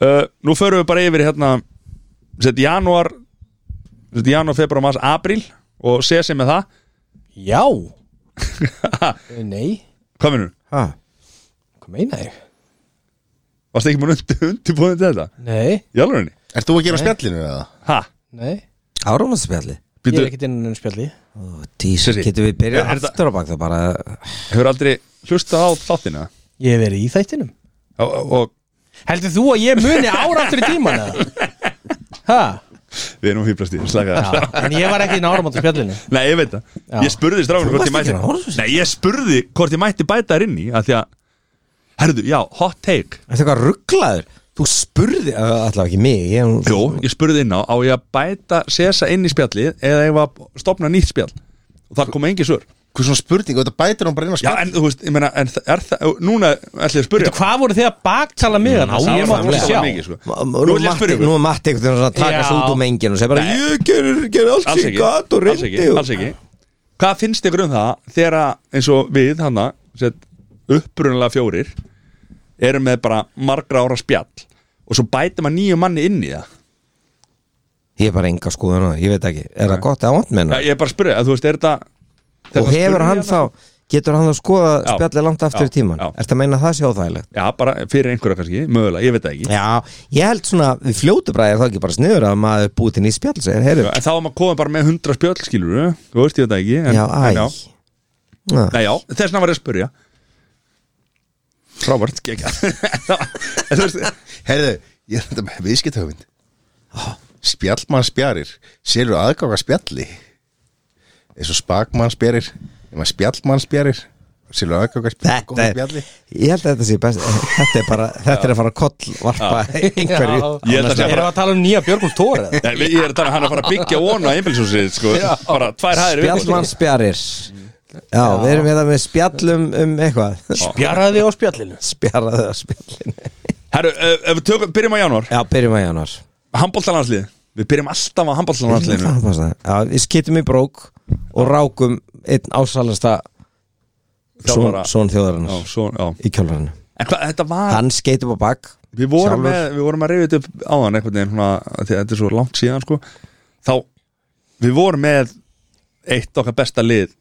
Speaker 1: uh, Nú förum við bara yfir hérna Sett janúar Sett janúar, februar, mars, apríl Og sé sem með það
Speaker 2: Já Eh, Nei,
Speaker 1: Hvað minnur?
Speaker 4: Ha?
Speaker 2: hvað meina ég?
Speaker 1: Varst ekki múin undir, undirbúin til þetta?
Speaker 2: Nei,
Speaker 1: Í alvörinni?
Speaker 3: Ert þú að gera á spjallinu eða?
Speaker 1: Ha?
Speaker 2: nei
Speaker 4: Áránaspjalli
Speaker 2: Ég er
Speaker 1: Býtu,
Speaker 2: ekkert innan um spjalli
Speaker 4: Tísa,
Speaker 1: Sissi.
Speaker 4: getum við byrjað
Speaker 1: Er- er þetta-
Speaker 4: aftur á bak það bara
Speaker 1: hefur aldrei hlustað á þáttina?
Speaker 2: Ég hef verið í þættinum
Speaker 1: Og, og
Speaker 2: Heldur þú að ég muni áraftur í tíman eða? Ha?
Speaker 1: við erum hýplast í, slaka
Speaker 2: Já, en ég var ekki inn áramótt í spjallinu
Speaker 1: Nei, ég veit það
Speaker 2: Já.
Speaker 1: Ég spurði strákunum
Speaker 4: Þú
Speaker 1: hvort ég
Speaker 4: varst ekki
Speaker 1: mætti
Speaker 4: að horfa þessu.
Speaker 1: Nei, ég spurði hvort ég mætti bæta þær inn í að Því að, herðu, já, hot take
Speaker 4: Þetta er eitthvað rugglaður Þú spurði, Ö, allavega ekki mig ég,
Speaker 1: Jó, ég spurði inn á, á ég að bæta Sesa inn í spjallið eða ég var að stopna nýtt spjall og það kom engin svör
Speaker 3: Hvað svona spurning, þetta bætir hún bara inn á
Speaker 1: Já,
Speaker 3: spjall
Speaker 1: en þú veist, ég meina, en þa- er það núna ætlum ég að spurja
Speaker 2: Hvað voru þið að baktala mig þarna?
Speaker 1: Það
Speaker 2: Ég
Speaker 1: var
Speaker 2: mátti
Speaker 1: rosalega
Speaker 2: sjá
Speaker 1: mikið, sko.
Speaker 4: Ma-
Speaker 1: Nú
Speaker 4: Nú
Speaker 1: vil ég spyrja
Speaker 4: Nú
Speaker 1: ykkur
Speaker 4: er Matti einhvern veginn að taka sig
Speaker 2: Já.
Speaker 4: út um enginn og segja bara
Speaker 1: Nei.
Speaker 4: Ég gerir ger allt
Speaker 1: Alls
Speaker 4: sem ég
Speaker 1: ekki,
Speaker 4: gat og
Speaker 1: alls ekki,
Speaker 4: reyndi og-
Speaker 1: alls ekki Hvað finnst ykkur um það þegar að, eins og við, hana sett, upprunalega fjórir erum með bara margra ára spjall og svo bætum að nýju manni inn í það
Speaker 4: Ég er bara enga skoðun á það, ég veit ekki Er það gott eða vant
Speaker 1: Já,
Speaker 4: menna?
Speaker 1: ég er bara að spyrja, að þú veist, er þetta hérna?
Speaker 4: Og hefur hann þá, getur hann þá skoða
Speaker 1: Já.
Speaker 4: spjallið langt aftur í
Speaker 1: Já.
Speaker 4: tíman?
Speaker 1: Já.
Speaker 4: Er það að meina að það sé óþægilegt?
Speaker 1: Já, bara fyrir einhverja kannski, mögulega, ég veit það ekki
Speaker 4: Já, ég held svona, við fljótu bara er það ekki bara sniður að maður búið til nýtt spjall segir, heyrðu,
Speaker 1: En þá var maður komið bara með hundra spjöll, skilur Þú veist, ég veit það ekki en,
Speaker 4: já, æ
Speaker 1: en, já.
Speaker 4: Já.
Speaker 1: Nei, já, þess vegna var ég að spyrja Robert, gegja En þú veist,
Speaker 3: Herðu, ég er þetta með viðskiptöfund Spjallmann spjarir Selur aðgáka spjalli eins og spakmann spjarir Ef maður spjallmann spjarir Selur aðgáka
Speaker 4: Þetta er,
Speaker 3: spjalli
Speaker 4: ég held að þetta sé best Þetta er bara, þetta er að fara að kollvarpa einhverju
Speaker 1: Ég held að sé
Speaker 2: Erum við
Speaker 1: bara-
Speaker 2: að tala um nýja Björgum Tóra? eða?
Speaker 1: Nei, ég er að tala um hann að fara að byggja vonu á einbilsúsið, sko Bara tvær hæðir í viðbót.
Speaker 4: Spjallmann spjarir Já, við erum hérna með spjallum um eitthvað
Speaker 2: Spjarraði á spjallinu
Speaker 4: Spjarraðu á spjallinu
Speaker 1: Herru, ef ef við tökum, byrjum á janúar
Speaker 4: Já, byrjum að januar
Speaker 1: Handbóltalandslið, við byrjum alltaf á handbóltalandsliðinu
Speaker 4: Já, við skiptum í brók og rákum einn ásalasta son,
Speaker 1: Þjálfara.
Speaker 4: son
Speaker 1: Já,
Speaker 4: þjóðarinnar
Speaker 1: svo, já
Speaker 4: í kjólvarinu
Speaker 1: En hvað, þetta var
Speaker 4: Hann skeitum á bak
Speaker 1: Við vorum,
Speaker 4: sjálfur.
Speaker 1: með, við vorum að reyfið þetta upp áðan einhvern veginn svona, af því að þetta er svo langt síðan sko. þá, við vorum með eitt okkar besta lið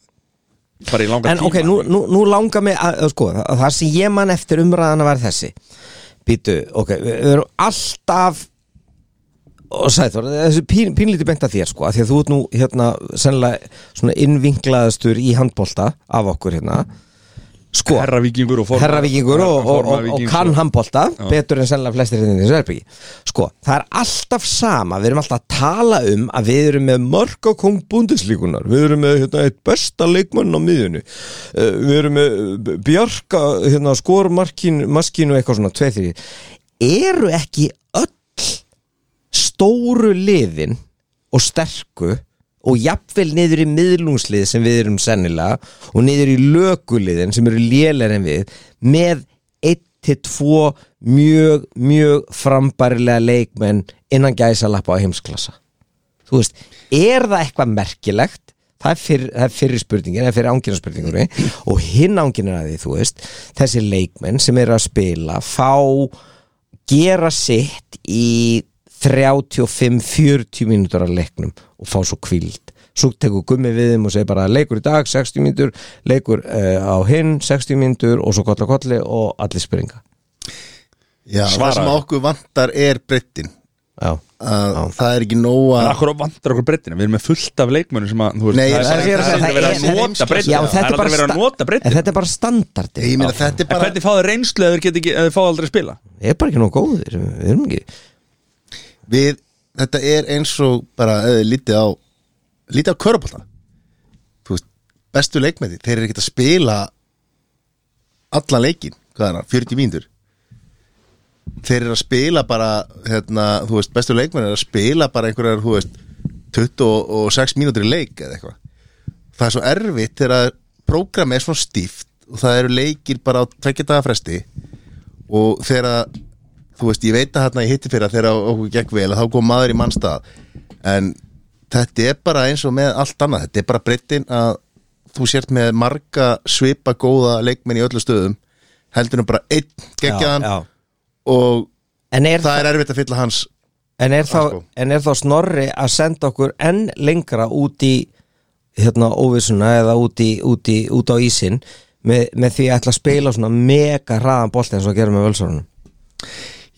Speaker 1: bara í langa
Speaker 4: En
Speaker 1: tíma
Speaker 4: ok, nú, nú, nú langar mig að, að sko, að það sem ég man eftir umræðan að vera þessi Býtu, ok, við við erum alltaf og sæður, þessi pín, pínlítið beint að þér sko, að því að þú ert nú hérna sennilega svona innvinklaðastur í handbolta af okkur hérna sko,
Speaker 1: herravíkingur og forma
Speaker 4: herravíkingur og, og, og, og
Speaker 1: formavíkings
Speaker 4: kann handbolta betur en sennilega flestir hérna í þessu herbyggi sko, það er alltaf sama við erum alltaf að tala um að við erum með mörgakóng búndislíkunar við erum með hérna, eitt besta leikmann á miðjunni Eh, við erum með eh, bjarga hérna, skormarkin, maskin og eitthvað svona tveið þrý eru ekki öll stóru liðin og sterku og jafnvel niður í miðlungslið sem við erum sennilega og niður í lökuliðin sem eru lélar en við með 1-2 mjög, mjög frambærilega leikmenn innan gæsalappa á heimsklassa þú veist, er það eitthvað merkilegt það er fyrir, það er fyrir spurningin eða fyrir ángjörnarspurningunni og hinn ángjörnar að því, þú veist þessi leikmenn sem eru að spila fá gera sitt í 35-40 mínútur af leiknum og fá svo kvíld svo tekur gummi við þeim og segir bara leikur í dag 60 mínútur, leikur uh, á hinn 60 mínútur og svo kolla kolli og allir springa
Speaker 3: Já, það
Speaker 1: Svaraðu.
Speaker 3: sem okkur vantar er breyttin
Speaker 4: Já,
Speaker 3: að það er ekki nóa
Speaker 1: en akkur vantar okkur breyttina, við erum með fullt af leikmönnum sem að, þú veist,
Speaker 3: Nei,
Speaker 1: það
Speaker 3: það
Speaker 1: er
Speaker 3: er-
Speaker 1: aldrei
Speaker 3: það er-
Speaker 1: verið að
Speaker 3: það er-
Speaker 1: nota
Speaker 4: Já,
Speaker 1: breyttina það
Speaker 4: þetta
Speaker 1: er
Speaker 4: er bara
Speaker 1: aldrei verið að
Speaker 4: sta-
Speaker 1: nota
Speaker 4: en
Speaker 1: breyttina
Speaker 4: þetta er bara standardi
Speaker 3: ég meina þetta er
Speaker 1: en
Speaker 3: bara
Speaker 1: hvernig fá þau reynslu ef þeir geta ekki- ef þeir fá aldrei að spila
Speaker 4: er bara ekki nóg góðir við erum ekki
Speaker 3: við, þetta er eins og bara eða, lítið á lítið á körubólta veist, bestu leikmæti, þeir eru ekkert að spila allan leikin hvað er það, 40 mínútur þeir eru að spila bara hérna, þú veist, bestu leikmæti eru að spila bara einhverjar, þú veist 26 mínútur í leik eða eitthvað það er svo erfitt þegar prógrami er svona stíft og það eru leikir bara á tveggja daga fresti og þegar að- þú veist, ég veit að hérna ég hitti fyrir að þegar okkur gekk vel að þá kom maður í mannstað en þetta er bara eins og með allt annað þetta er bara breyttin að þú sért með marga svipa góða leikmenn í öllu stöðum heldur nú bara einn geggjaðan
Speaker 4: Já, já.
Speaker 3: og
Speaker 4: En er
Speaker 3: það er erfitt að fylla hans
Speaker 4: En er, þá,
Speaker 3: sko.
Speaker 4: en er þá snorri að senda okkur enn lengra út í hérna óvissuna eða út, í, út, í, út á ísinn með, með því að ætla að spila svona mega hraðan bolti eins og að gera með völsarunum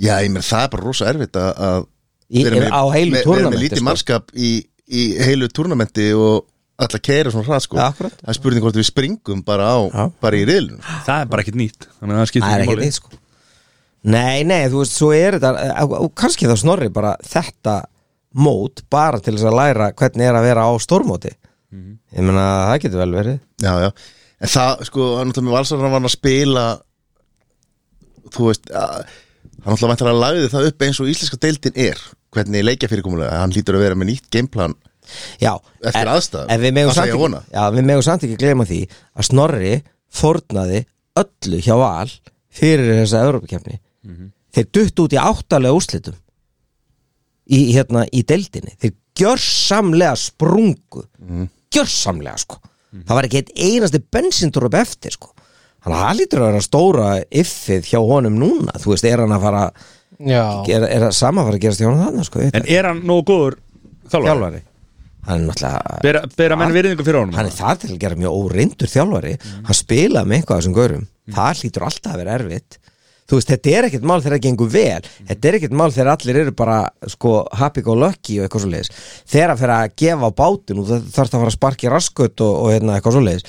Speaker 3: Já, ég meir, það er bara rosa erfitt að- að
Speaker 4: Í- á heilu
Speaker 3: með- vera
Speaker 4: túrnamenti,
Speaker 3: með lítið
Speaker 4: sko.
Speaker 3: mannskap í, í heilu túrnamenti og alltaf keira svona hratt sko
Speaker 4: Ja, akkurat.
Speaker 3: Það er spurning hvort við springum bara á,
Speaker 4: Já.
Speaker 3: bara í riðlunum
Speaker 1: það er bara ekkert nýtt þannig að það skiptir
Speaker 4: Það er
Speaker 1: ekki
Speaker 4: ekki
Speaker 1: máli
Speaker 4: neitt sko Nei, nei, þú veist, svo er þetta og- og kannski þá snorri bara þetta mót bara til þess að læra hvernig er að vera á stórmóti
Speaker 3: Mhm.
Speaker 4: Ég meina, það getur vel verið
Speaker 3: Já, já, en það, sko, hann náttúrulega með valsarana var hann að spila þú veist, að, hann náttúrulega væntar að lagði það upp eins og íslenska deildin er hvernig leikja fyrirkomulega, hann lítur að vera með nýtt gameplan
Speaker 4: Já,
Speaker 3: Eftir
Speaker 4: en-
Speaker 3: aðstæðum.
Speaker 4: En við megum
Speaker 3: Það ætla
Speaker 4: samt
Speaker 3: ég að
Speaker 4: ekki,
Speaker 3: vona.
Speaker 4: já, við megum samt ekki gleyma því að Snorri fórnaði öllu hjá val fyrir þessa Evrópakefni
Speaker 3: Mhm.
Speaker 4: Þeir dutt út í áttalega úrslitum í, hérna, í deildinni Þeir gjörsamlega sprungu
Speaker 3: Mhm.
Speaker 4: gjörsamlega sko Það var ekki eitt einasti bensindróp eftir sko Þannig að það lítur að vera stóra yffið hjá honum núna Þú veist, er hann að fara
Speaker 2: Já,
Speaker 4: er, er að sama að fara að gerast hjá honum þarna sko ég veit
Speaker 1: en er hann nógu góður þjálfari?
Speaker 4: þjálfari Hann er náttúrulega
Speaker 1: bera, bera menn virðingu fyrir honum
Speaker 4: hann er það til að gera mjög óreyndur þjálfari hann spila með eitthvað af þessum gaurum það hlýtur alltaf að vera erfitt þú veist, þetta er ekkert mál þegar það gengur vel þetta er ekkert mál þegar allir eru bara sko, happy go lucky og eitthvað svo leiðis þegar að fyrir að gefa á bátinn og það þarf það að fara að sparki raskut og, og hérna, eitthvað svo leiðis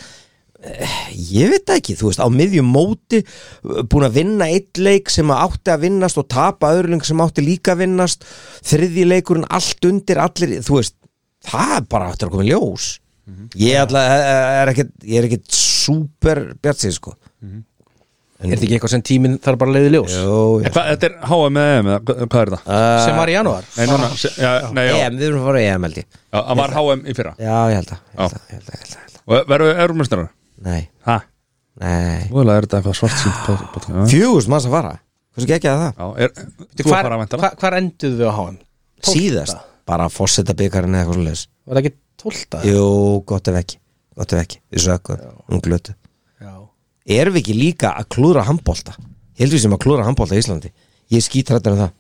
Speaker 4: ég veit það ekki, þú veist, á miðjum móti uh, búin að vinna eitt leik sem að átti að vinnast og tapa öðrling sem átti líka að vinnast þriðji leikurinn allt undir allir, þú veist það er bara aftur að koma í ljós ég, ætla, eh, er ekkit, ég er ekkit super bjartsið sko
Speaker 2: er þetta ekki eitthvað sem tíminn þarf bara að leiði ljós
Speaker 4: Jó, já.
Speaker 1: En hvað, þetta er HM eða EM eða hva- hvað er það?
Speaker 2: sem var í janúar
Speaker 1: Nei, núna, se, já, nei, já,
Speaker 4: EM, við erum að fara í EM held ég
Speaker 1: já, það var HM í fyrra
Speaker 4: já, ég held að, ég held
Speaker 1: Já.
Speaker 4: að, ég held að, ég held að, ég held að.
Speaker 1: og verður við eurumestrar?
Speaker 4: nei,
Speaker 1: Hæ?
Speaker 4: nei
Speaker 1: Múðulega er þetta eitthvað svart sínt
Speaker 4: fjögust manns að fara, hversu gekkja það
Speaker 1: Já, er, þú að
Speaker 2: Hvar,
Speaker 1: fara að venda
Speaker 2: hvar, hvar enduðu við á HM? Tólfta?
Speaker 4: síðast, bara fórseta byggarinn eða eitthvað svo leiðis
Speaker 2: Var það ekki tólta?
Speaker 4: Jú, gott ef ekki Gott ef ekki, við sögum, hún glötu
Speaker 2: Já.
Speaker 4: Erum við ekki líka að klúðra handbolta? Ég held við sem að klúðra handbolta í Íslandi Ég er skítrættur um það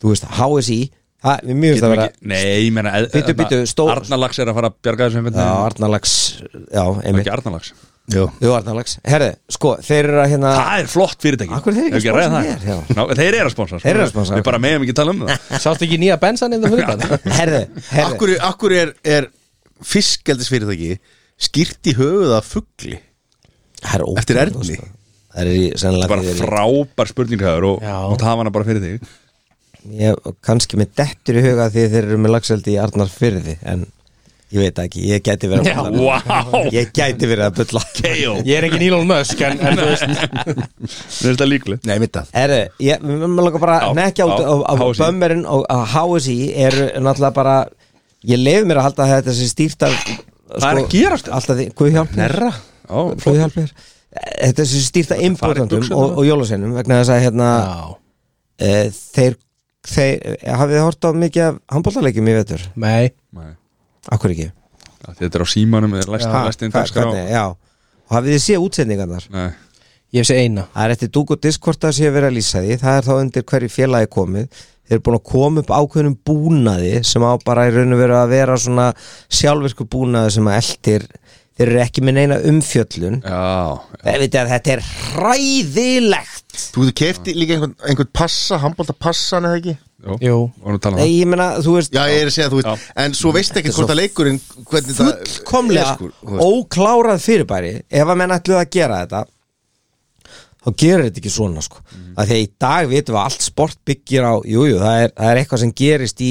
Speaker 4: Þú veist, HSI, það, við mjög veist að vera
Speaker 1: Nei, ég meina eð-
Speaker 4: Bíddu,
Speaker 1: þarna-
Speaker 4: bíddu, stór-
Speaker 1: Arnarlax er að fara að bjarga þessu einhvern
Speaker 4: Já,
Speaker 1: veginn.
Speaker 4: Arnalags, já,
Speaker 1: Það er
Speaker 4: einmitt
Speaker 1: Mm. ekki Arnarlags
Speaker 3: Já,
Speaker 4: Jú, Arnalags, herðu, sko, þeir eru að hérna
Speaker 1: Það er flott fyrirtæki
Speaker 4: Af hverju þeir eru
Speaker 1: Ef
Speaker 4: ekki
Speaker 1: að ræða
Speaker 4: að sponsa
Speaker 1: það?
Speaker 4: hér, já.
Speaker 1: Ná, Þeir eru að sponsa
Speaker 4: Þeir eru að sponsa.
Speaker 1: Við bara meðum ekki tala um það
Speaker 2: Sástu ekki nýja bensan inn á fyrir
Speaker 4: Herðu, herðu
Speaker 3: akkur, akkur er, er fiskeldisfyrirtæki skýrt í höfuð af fugli
Speaker 4: Það er
Speaker 3: Eftir
Speaker 4: ótrúlegt,
Speaker 3: Erni.
Speaker 4: sko. Það er í sennilega
Speaker 1: Bara frábær spurninghaður og
Speaker 2: Já.
Speaker 1: og það var hana bara fyrir þig
Speaker 4: Ég kannski með dettur í huga því þeir eru með lagseldi í Arnar fyrði En ég veit það ekki, ég gæti verið að bulla
Speaker 1: Vá,
Speaker 4: Ég gæti verið að bulla
Speaker 1: keio
Speaker 2: Ég er ekki Nílón Mösk en, en þú veist
Speaker 1: Þetta er líkleg
Speaker 3: Nei, mitt að
Speaker 4: Herru, ég maður langar bara
Speaker 1: Já,
Speaker 4: að nekja út
Speaker 1: já,
Speaker 4: á, á
Speaker 1: HSI.
Speaker 4: bömmerinn og að HSI eru náttúrulega bara ég leiði mér að halda að þetta sé stýrt af sko,
Speaker 1: Það er að gerast.
Speaker 4: Alltaf því, guð hjálp mér.
Speaker 1: Já, flott.
Speaker 4: Guð hjálp mér Þetta sé stýrt af
Speaker 1: farið
Speaker 4: importandum
Speaker 1: buxurnar.
Speaker 4: og, og jólaseinum vegna þess að hérna
Speaker 2: Já
Speaker 4: e, þeir, þeir hafið þið hort á mikið af handbóltaleikjum í vetur
Speaker 2: Nei
Speaker 1: Nei.
Speaker 4: Akkur ekki
Speaker 1: Já, Þetta er á símanum eða læst-
Speaker 4: Ha,
Speaker 1: læst inn
Speaker 4: hva-
Speaker 1: dagskrá.
Speaker 4: hvernig, Já, og hafið þið séð útsendingarnar
Speaker 1: Nei.
Speaker 2: Ég hef séð eina
Speaker 4: Það er eftir dúk og diskvort að sé að vera að lýsa því Það er þá undir hverju félagi komið Þeir eru búin að koma upp ákveðnum búnaði sem á bara í raun og veru að vera svona sjálfvirku búnaði sem að eltir Þeir eru ekki með neina umfjöllun
Speaker 1: Já,
Speaker 4: Það veit að þetta er hræðilegt
Speaker 3: Þú getur kefti líka einhvern, einhvern passa, handbólta passan eða ekki
Speaker 1: Jó,
Speaker 2: Jú.
Speaker 1: vorum að tala um
Speaker 4: Nei, ég meina, þú veist
Speaker 3: Já, ég er að segja, þú veist, en svo veist ekki
Speaker 4: er
Speaker 3: hvort
Speaker 4: svo
Speaker 3: að leikurinn hvernig það er,
Speaker 4: fullkomlega
Speaker 3: sko, þú veist.
Speaker 4: óklárað fyrirbæri ef að menn ætluð að gera þetta þá gerir þetta ekki svona sko.
Speaker 3: Mhm.
Speaker 4: mm. að því að í dag vitum við að allt sport byggir á jújú, jú, það, er- það er eitthvað sem gerist í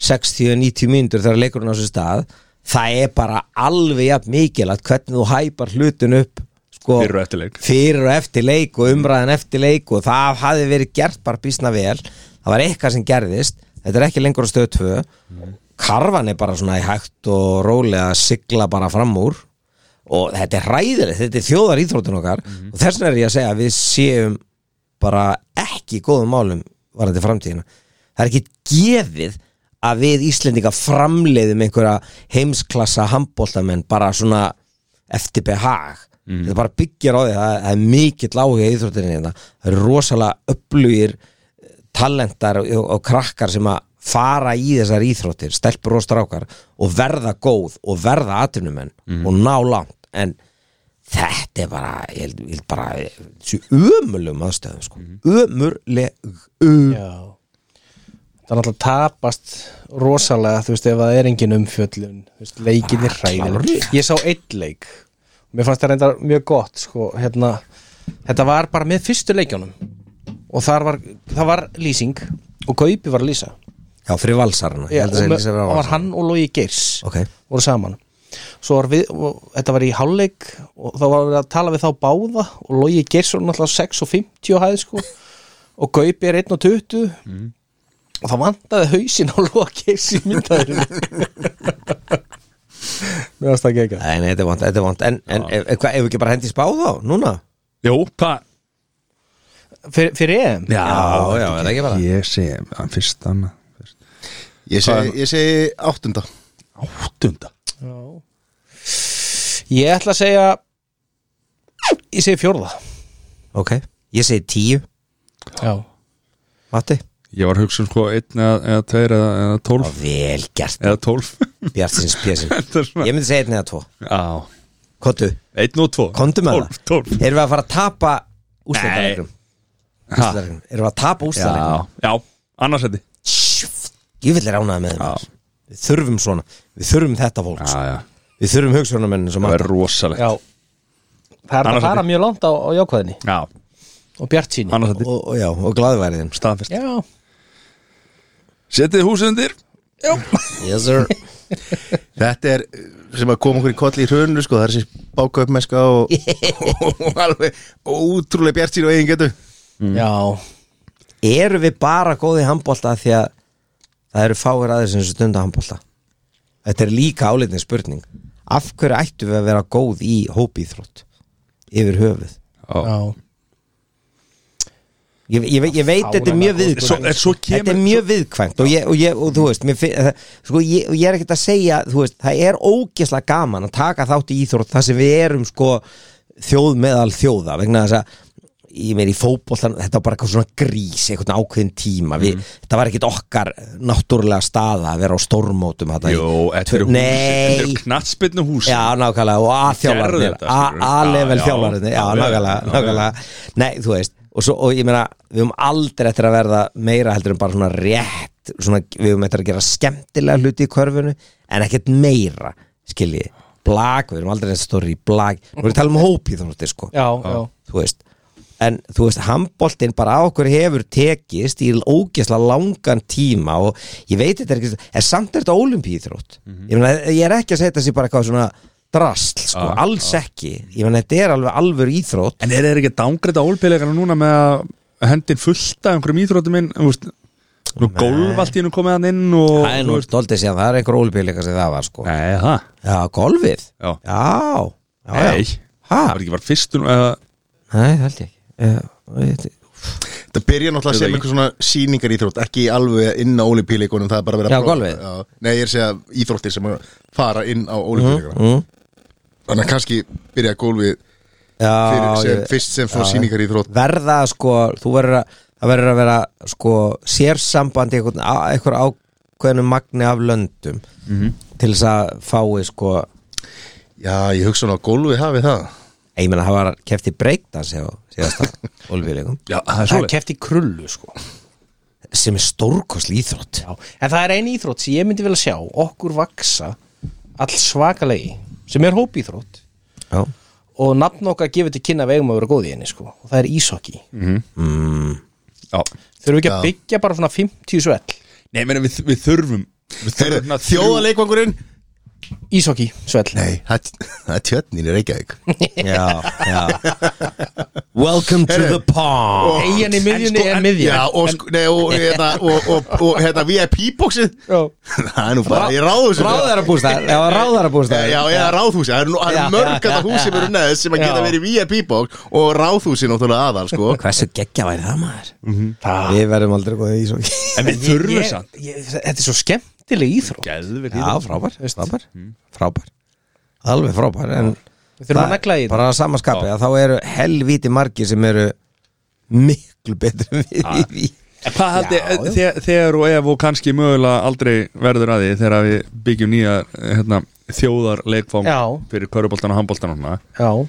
Speaker 4: 60-90 mínútur þegar leikurinn á sér stað það er bara alveg jafn mikilvægt hvernig þú hæpar hlutin upp sko,
Speaker 1: Fyrir og eftir leik.
Speaker 4: fyrir og eftir leik og umræðan eftir leik og það hafi verið gert bara býsna vel það var eitthvað sem gerðist þetta er ekki lengur á stöð 2 karfan er bara svona í hægt og rólega að sigla bara fram úr og þetta er hræðilegt, þetta er þjóðar íþróttun okkar og þess vegna er ég að segja að við séum bara ekki í góðum málum varandi framtíðina það er ekki gefið að við Íslendinga framleiðum einhverja heimsklassa handbóltamenn bara svona eftir behag þetta bara byggjar á því, það, það er mikill áhuga í Íþróttinni hérna. það eru rosalega öflugir talentar og, og krakkar sem að fara í þessar íþróttir, stelpur og strákar og verða góð og verða atvinnumenn
Speaker 2: Mhm.
Speaker 4: og ná langt en þetta er bara ég held, ég held bara, þessu ömulegum aðstöðum sko, ömuleg um,
Speaker 2: Mhm. Já Það er náttúrulega tapast rosalega þú veist ef það er engin umfjöllun þú veist, leikin er hræðileg Ég sá einn leik Mér fannst það reyndar mjög gott sko, hérna, Þetta var bara með fyrstu leikjónum og þar var, það var lýsing og Kaupi var að lýsa
Speaker 4: já, fyrir valsarana
Speaker 2: Já,
Speaker 4: ég held að
Speaker 2: og
Speaker 4: segja
Speaker 2: með-
Speaker 4: lýsa fyrir
Speaker 2: og var
Speaker 4: valsarana.
Speaker 2: hann og Logi Geirs
Speaker 4: Ok.
Speaker 2: voru saman svo var við, og, þetta var í hálfleik og þá var við að tala við þá báða og Logi Geirs var náttúrulega 6 og 50 hæði sko og Gaupi er 1 og 20 og það vantaði hausinn á Logi Geirs í myndaður mér varst það ekki ekki
Speaker 4: Nei, nei, þetta er vant, þetta er vant En, en ef, ef, hvað, ef ekki bara hendi í spá þá, núna?
Speaker 1: Jó, hvað?
Speaker 2: Eh, fyrir, fyrir EM
Speaker 4: já, er það ekki bara
Speaker 1: Ég segi, hann fyrst annað fyrst.
Speaker 3: Ég segi, ég segi áttunda
Speaker 1: Áttunda
Speaker 2: Já. ég ætla að segja ég segi fjórða
Speaker 4: Ok, ég segi tíu,
Speaker 2: já
Speaker 4: Matti
Speaker 1: Ég var að hugsa um sko einn eða, eða tveir eða, eða
Speaker 4: Ó,
Speaker 1: tólf
Speaker 4: Vel gert,
Speaker 1: Eða tólf
Speaker 4: Bjartsins Pésin
Speaker 1: Þetta er svona-
Speaker 4: Ég myndi segja einn eða tvo
Speaker 1: Já,
Speaker 4: Kottu,
Speaker 1: einn og tvo
Speaker 4: Komdu með
Speaker 1: Tólf, tólf
Speaker 4: erum við að fara að tapa úrstæðarleikrum?
Speaker 1: Ha,
Speaker 4: Erum við að
Speaker 1: Já,
Speaker 4: tapa úrstæðarleikrum?
Speaker 1: já, annars þetta
Speaker 4: Ég vil er ánæða með þeim
Speaker 1: Já.
Speaker 4: maður. Við þurfum svona, við þurfum þetta fólk sko.
Speaker 1: Já, já,
Speaker 4: Við þurfum hugsunarmennin sem
Speaker 1: það
Speaker 4: Matti
Speaker 1: er rosalegt
Speaker 2: Já Það er
Speaker 1: Annars
Speaker 2: að fara
Speaker 1: ætti-
Speaker 2: mjög langt á, á jákvæðinni
Speaker 1: Já,
Speaker 2: og bjart síni
Speaker 1: annars þetta
Speaker 4: og, og, já, og sko. glaðværiðin
Speaker 1: Staðfest
Speaker 2: Já,
Speaker 1: Setið húsið undir
Speaker 4: Yes sir
Speaker 3: Þetta er uh, sem að koma okkur í kolli í hrunu sko, það er þessi báka upp meska og, og alveg ótrúlega bjart sín og eigin getu
Speaker 2: já,
Speaker 4: Erum við bara góði handbólta því að það eru fáir aðeins sem stunda handbólta Þetta er líka áleitin spurning Af hverju ættum við að vera góð í hópíþrótt yfir höfuð?
Speaker 2: já
Speaker 4: Ég, ég, ég veit þetta er mjög
Speaker 2: Fáránlega
Speaker 4: viðkvæmt
Speaker 1: Svo, en svo sko. kemur
Speaker 4: Þetta er mjög viðkvæmt og, ég, og, ég, og þú veist, mér, finn- það- sko, ég, og ég er ekkert að segja þú veist, það er ógeslega gaman að taka þátt í íþrótt þar sem við erum sko, þjóð meðal þjóða vegna þess að ég meir í fótboltan, þetta var bara eitthvað svona grís einhvern ákveðin tíma, við,
Speaker 1: Mm.
Speaker 4: þetta var ekkert okkar náttúrulega staða að vera á stórmótum þarna í-
Speaker 1: Jó, þetta eru húsið Þetta
Speaker 4: Nei,
Speaker 1: eru knattspinnu húsið
Speaker 4: Já, nákvæmlega, og
Speaker 1: Gerðu
Speaker 4: A-þjálfarnir
Speaker 1: þetta, skilurðu.
Speaker 4: A-level
Speaker 1: Já, já.
Speaker 4: þjálfarnir,
Speaker 1: Já,
Speaker 4: já,
Speaker 1: já,
Speaker 4: nákvæmlega
Speaker 1: já,
Speaker 4: nákvæmlega, nei, þú veist og, svo, og ég meina, við höfum aldrei eftir að verða meira heldur en bara svona rétt svona, við höfum eftir að gera skemmtilega hluti í körfunu, en ekkert meira skilji, blag, við höfum aldrei eftir stóri í blag, nú erum við að tala um hópi þrótti, sko,
Speaker 2: Já, já,
Speaker 4: þú veist en þú veist, handboltinn bara á okkur hefur tekist í ógesla langan tíma og ég veit þetta er ekki en samt er þetta olimpíþrótt
Speaker 1: Mhm.
Speaker 4: ég, meina, ég er ekki að segja þetta sé bara eitthvað svona drasl, sko,
Speaker 1: Ah,
Speaker 4: alls ekki ég meina, þetta er alveg alvör íþrótt
Speaker 1: En er þeir ekki að dángreita ólpeilegana núna með að hendin fullta einhverjum íþróttum inn um, veist, Nú golf allt í hennu komið hann inn og,
Speaker 4: það er nú stoltið síðan, það er einhver olimpíleika sem það var, sko
Speaker 1: Nei, það
Speaker 4: já, golfið,
Speaker 1: Já.
Speaker 4: já, já
Speaker 1: Nei,
Speaker 4: já.
Speaker 1: það
Speaker 4: Ha?
Speaker 1: var ekki bara fyrstun uh,
Speaker 4: nei, það held ég ekki já,
Speaker 3: Það byrja náttúrulega sem einhver svona síningar íþrótt ekki alveg inn á olipíleikunum það er bara verið að
Speaker 4: Já,
Speaker 3: prófa-
Speaker 4: golfið.
Speaker 3: Já. Nei, ég er að segja íþróttir sem að fara inn á olipíleikuna Þannig að kannski byrja golfið fyrir,
Speaker 4: já,
Speaker 3: sem,
Speaker 4: ég-
Speaker 3: fyrst sem svona síningar íþrótt
Speaker 4: verða sko, þú verður að það verður að vera sko sérsambandi einhvern, á- einhver ákveðnum magni af löndum til þess að fái sko
Speaker 3: Já, ég hugsa nú að golfið hafi það
Speaker 4: ég meina það var keft í breykdans hjá síðasta olfíleikum
Speaker 1: Já, það er
Speaker 2: það er
Speaker 1: svoleið
Speaker 2: keft í krullu sko
Speaker 4: sem er stórkosli íþrótt
Speaker 2: já. En það er ein íþrótt sem ég myndi vel að sjá okkur vaksa all svakalegi sem er hópíþrótt
Speaker 4: já.
Speaker 2: og nafn okkar gefur til kynna vegum að vera góð í henni sko og það er ísokki
Speaker 1: Já.
Speaker 2: Þurfum við ekki að byggja bara svona 50 svell
Speaker 1: Nei, meni, við, við þurfum, við
Speaker 3: Heyrðu,
Speaker 1: þurfum
Speaker 3: Þjóðaleikvangurinn
Speaker 2: Ísokki svell
Speaker 3: Nei, það það er tjötnin í Reykjavík
Speaker 4: já, já welcome to the pond
Speaker 2: Eyjan í miðjunni er
Speaker 3: Já,
Speaker 2: miðja
Speaker 3: og, sko, nei, og, hérna, og, og, og hérna VIP-bóksið
Speaker 2: Já.
Speaker 3: Það er nú bara í ráðhúsið
Speaker 4: ráðarabústæð já, ráðarabústæð
Speaker 3: Já, já, ráðhúsi, það eru nú- það
Speaker 4: Já,
Speaker 3: eru mörg
Speaker 4: já,
Speaker 3: þetta
Speaker 4: já,
Speaker 3: hús sem eru neðs sem að
Speaker 2: Já.
Speaker 3: geta verið VIP-bók og ráðhúsi náttúrulega aðal, sko
Speaker 4: hversu geggja væri það maður
Speaker 2: Það-
Speaker 4: við verðum aldrei góðið íþrótt
Speaker 1: En við þurfum
Speaker 2: Ég-
Speaker 1: samt
Speaker 2: ég- Þetta er svo skemmtileg íþrótt
Speaker 1: Geðvik
Speaker 4: Já, frábær, frábær,
Speaker 1: Mm.
Speaker 4: frábær Alveg frábær En
Speaker 2: Við þurfum að negla í þetta.
Speaker 4: Bara að
Speaker 1: Ah.
Speaker 4: samaskapi að þá eru helvíti margir sem eru miklu betri en við í því
Speaker 1: En Hvað haldi,
Speaker 4: Já, já.
Speaker 1: þegar, þegar og ef og kannski mögulega aldrei verður að því þegar við byggjum nýja hérna, þjóðar leikfang
Speaker 2: Já.
Speaker 1: fyrir köruboltan og handboltan og svona
Speaker 2: Já,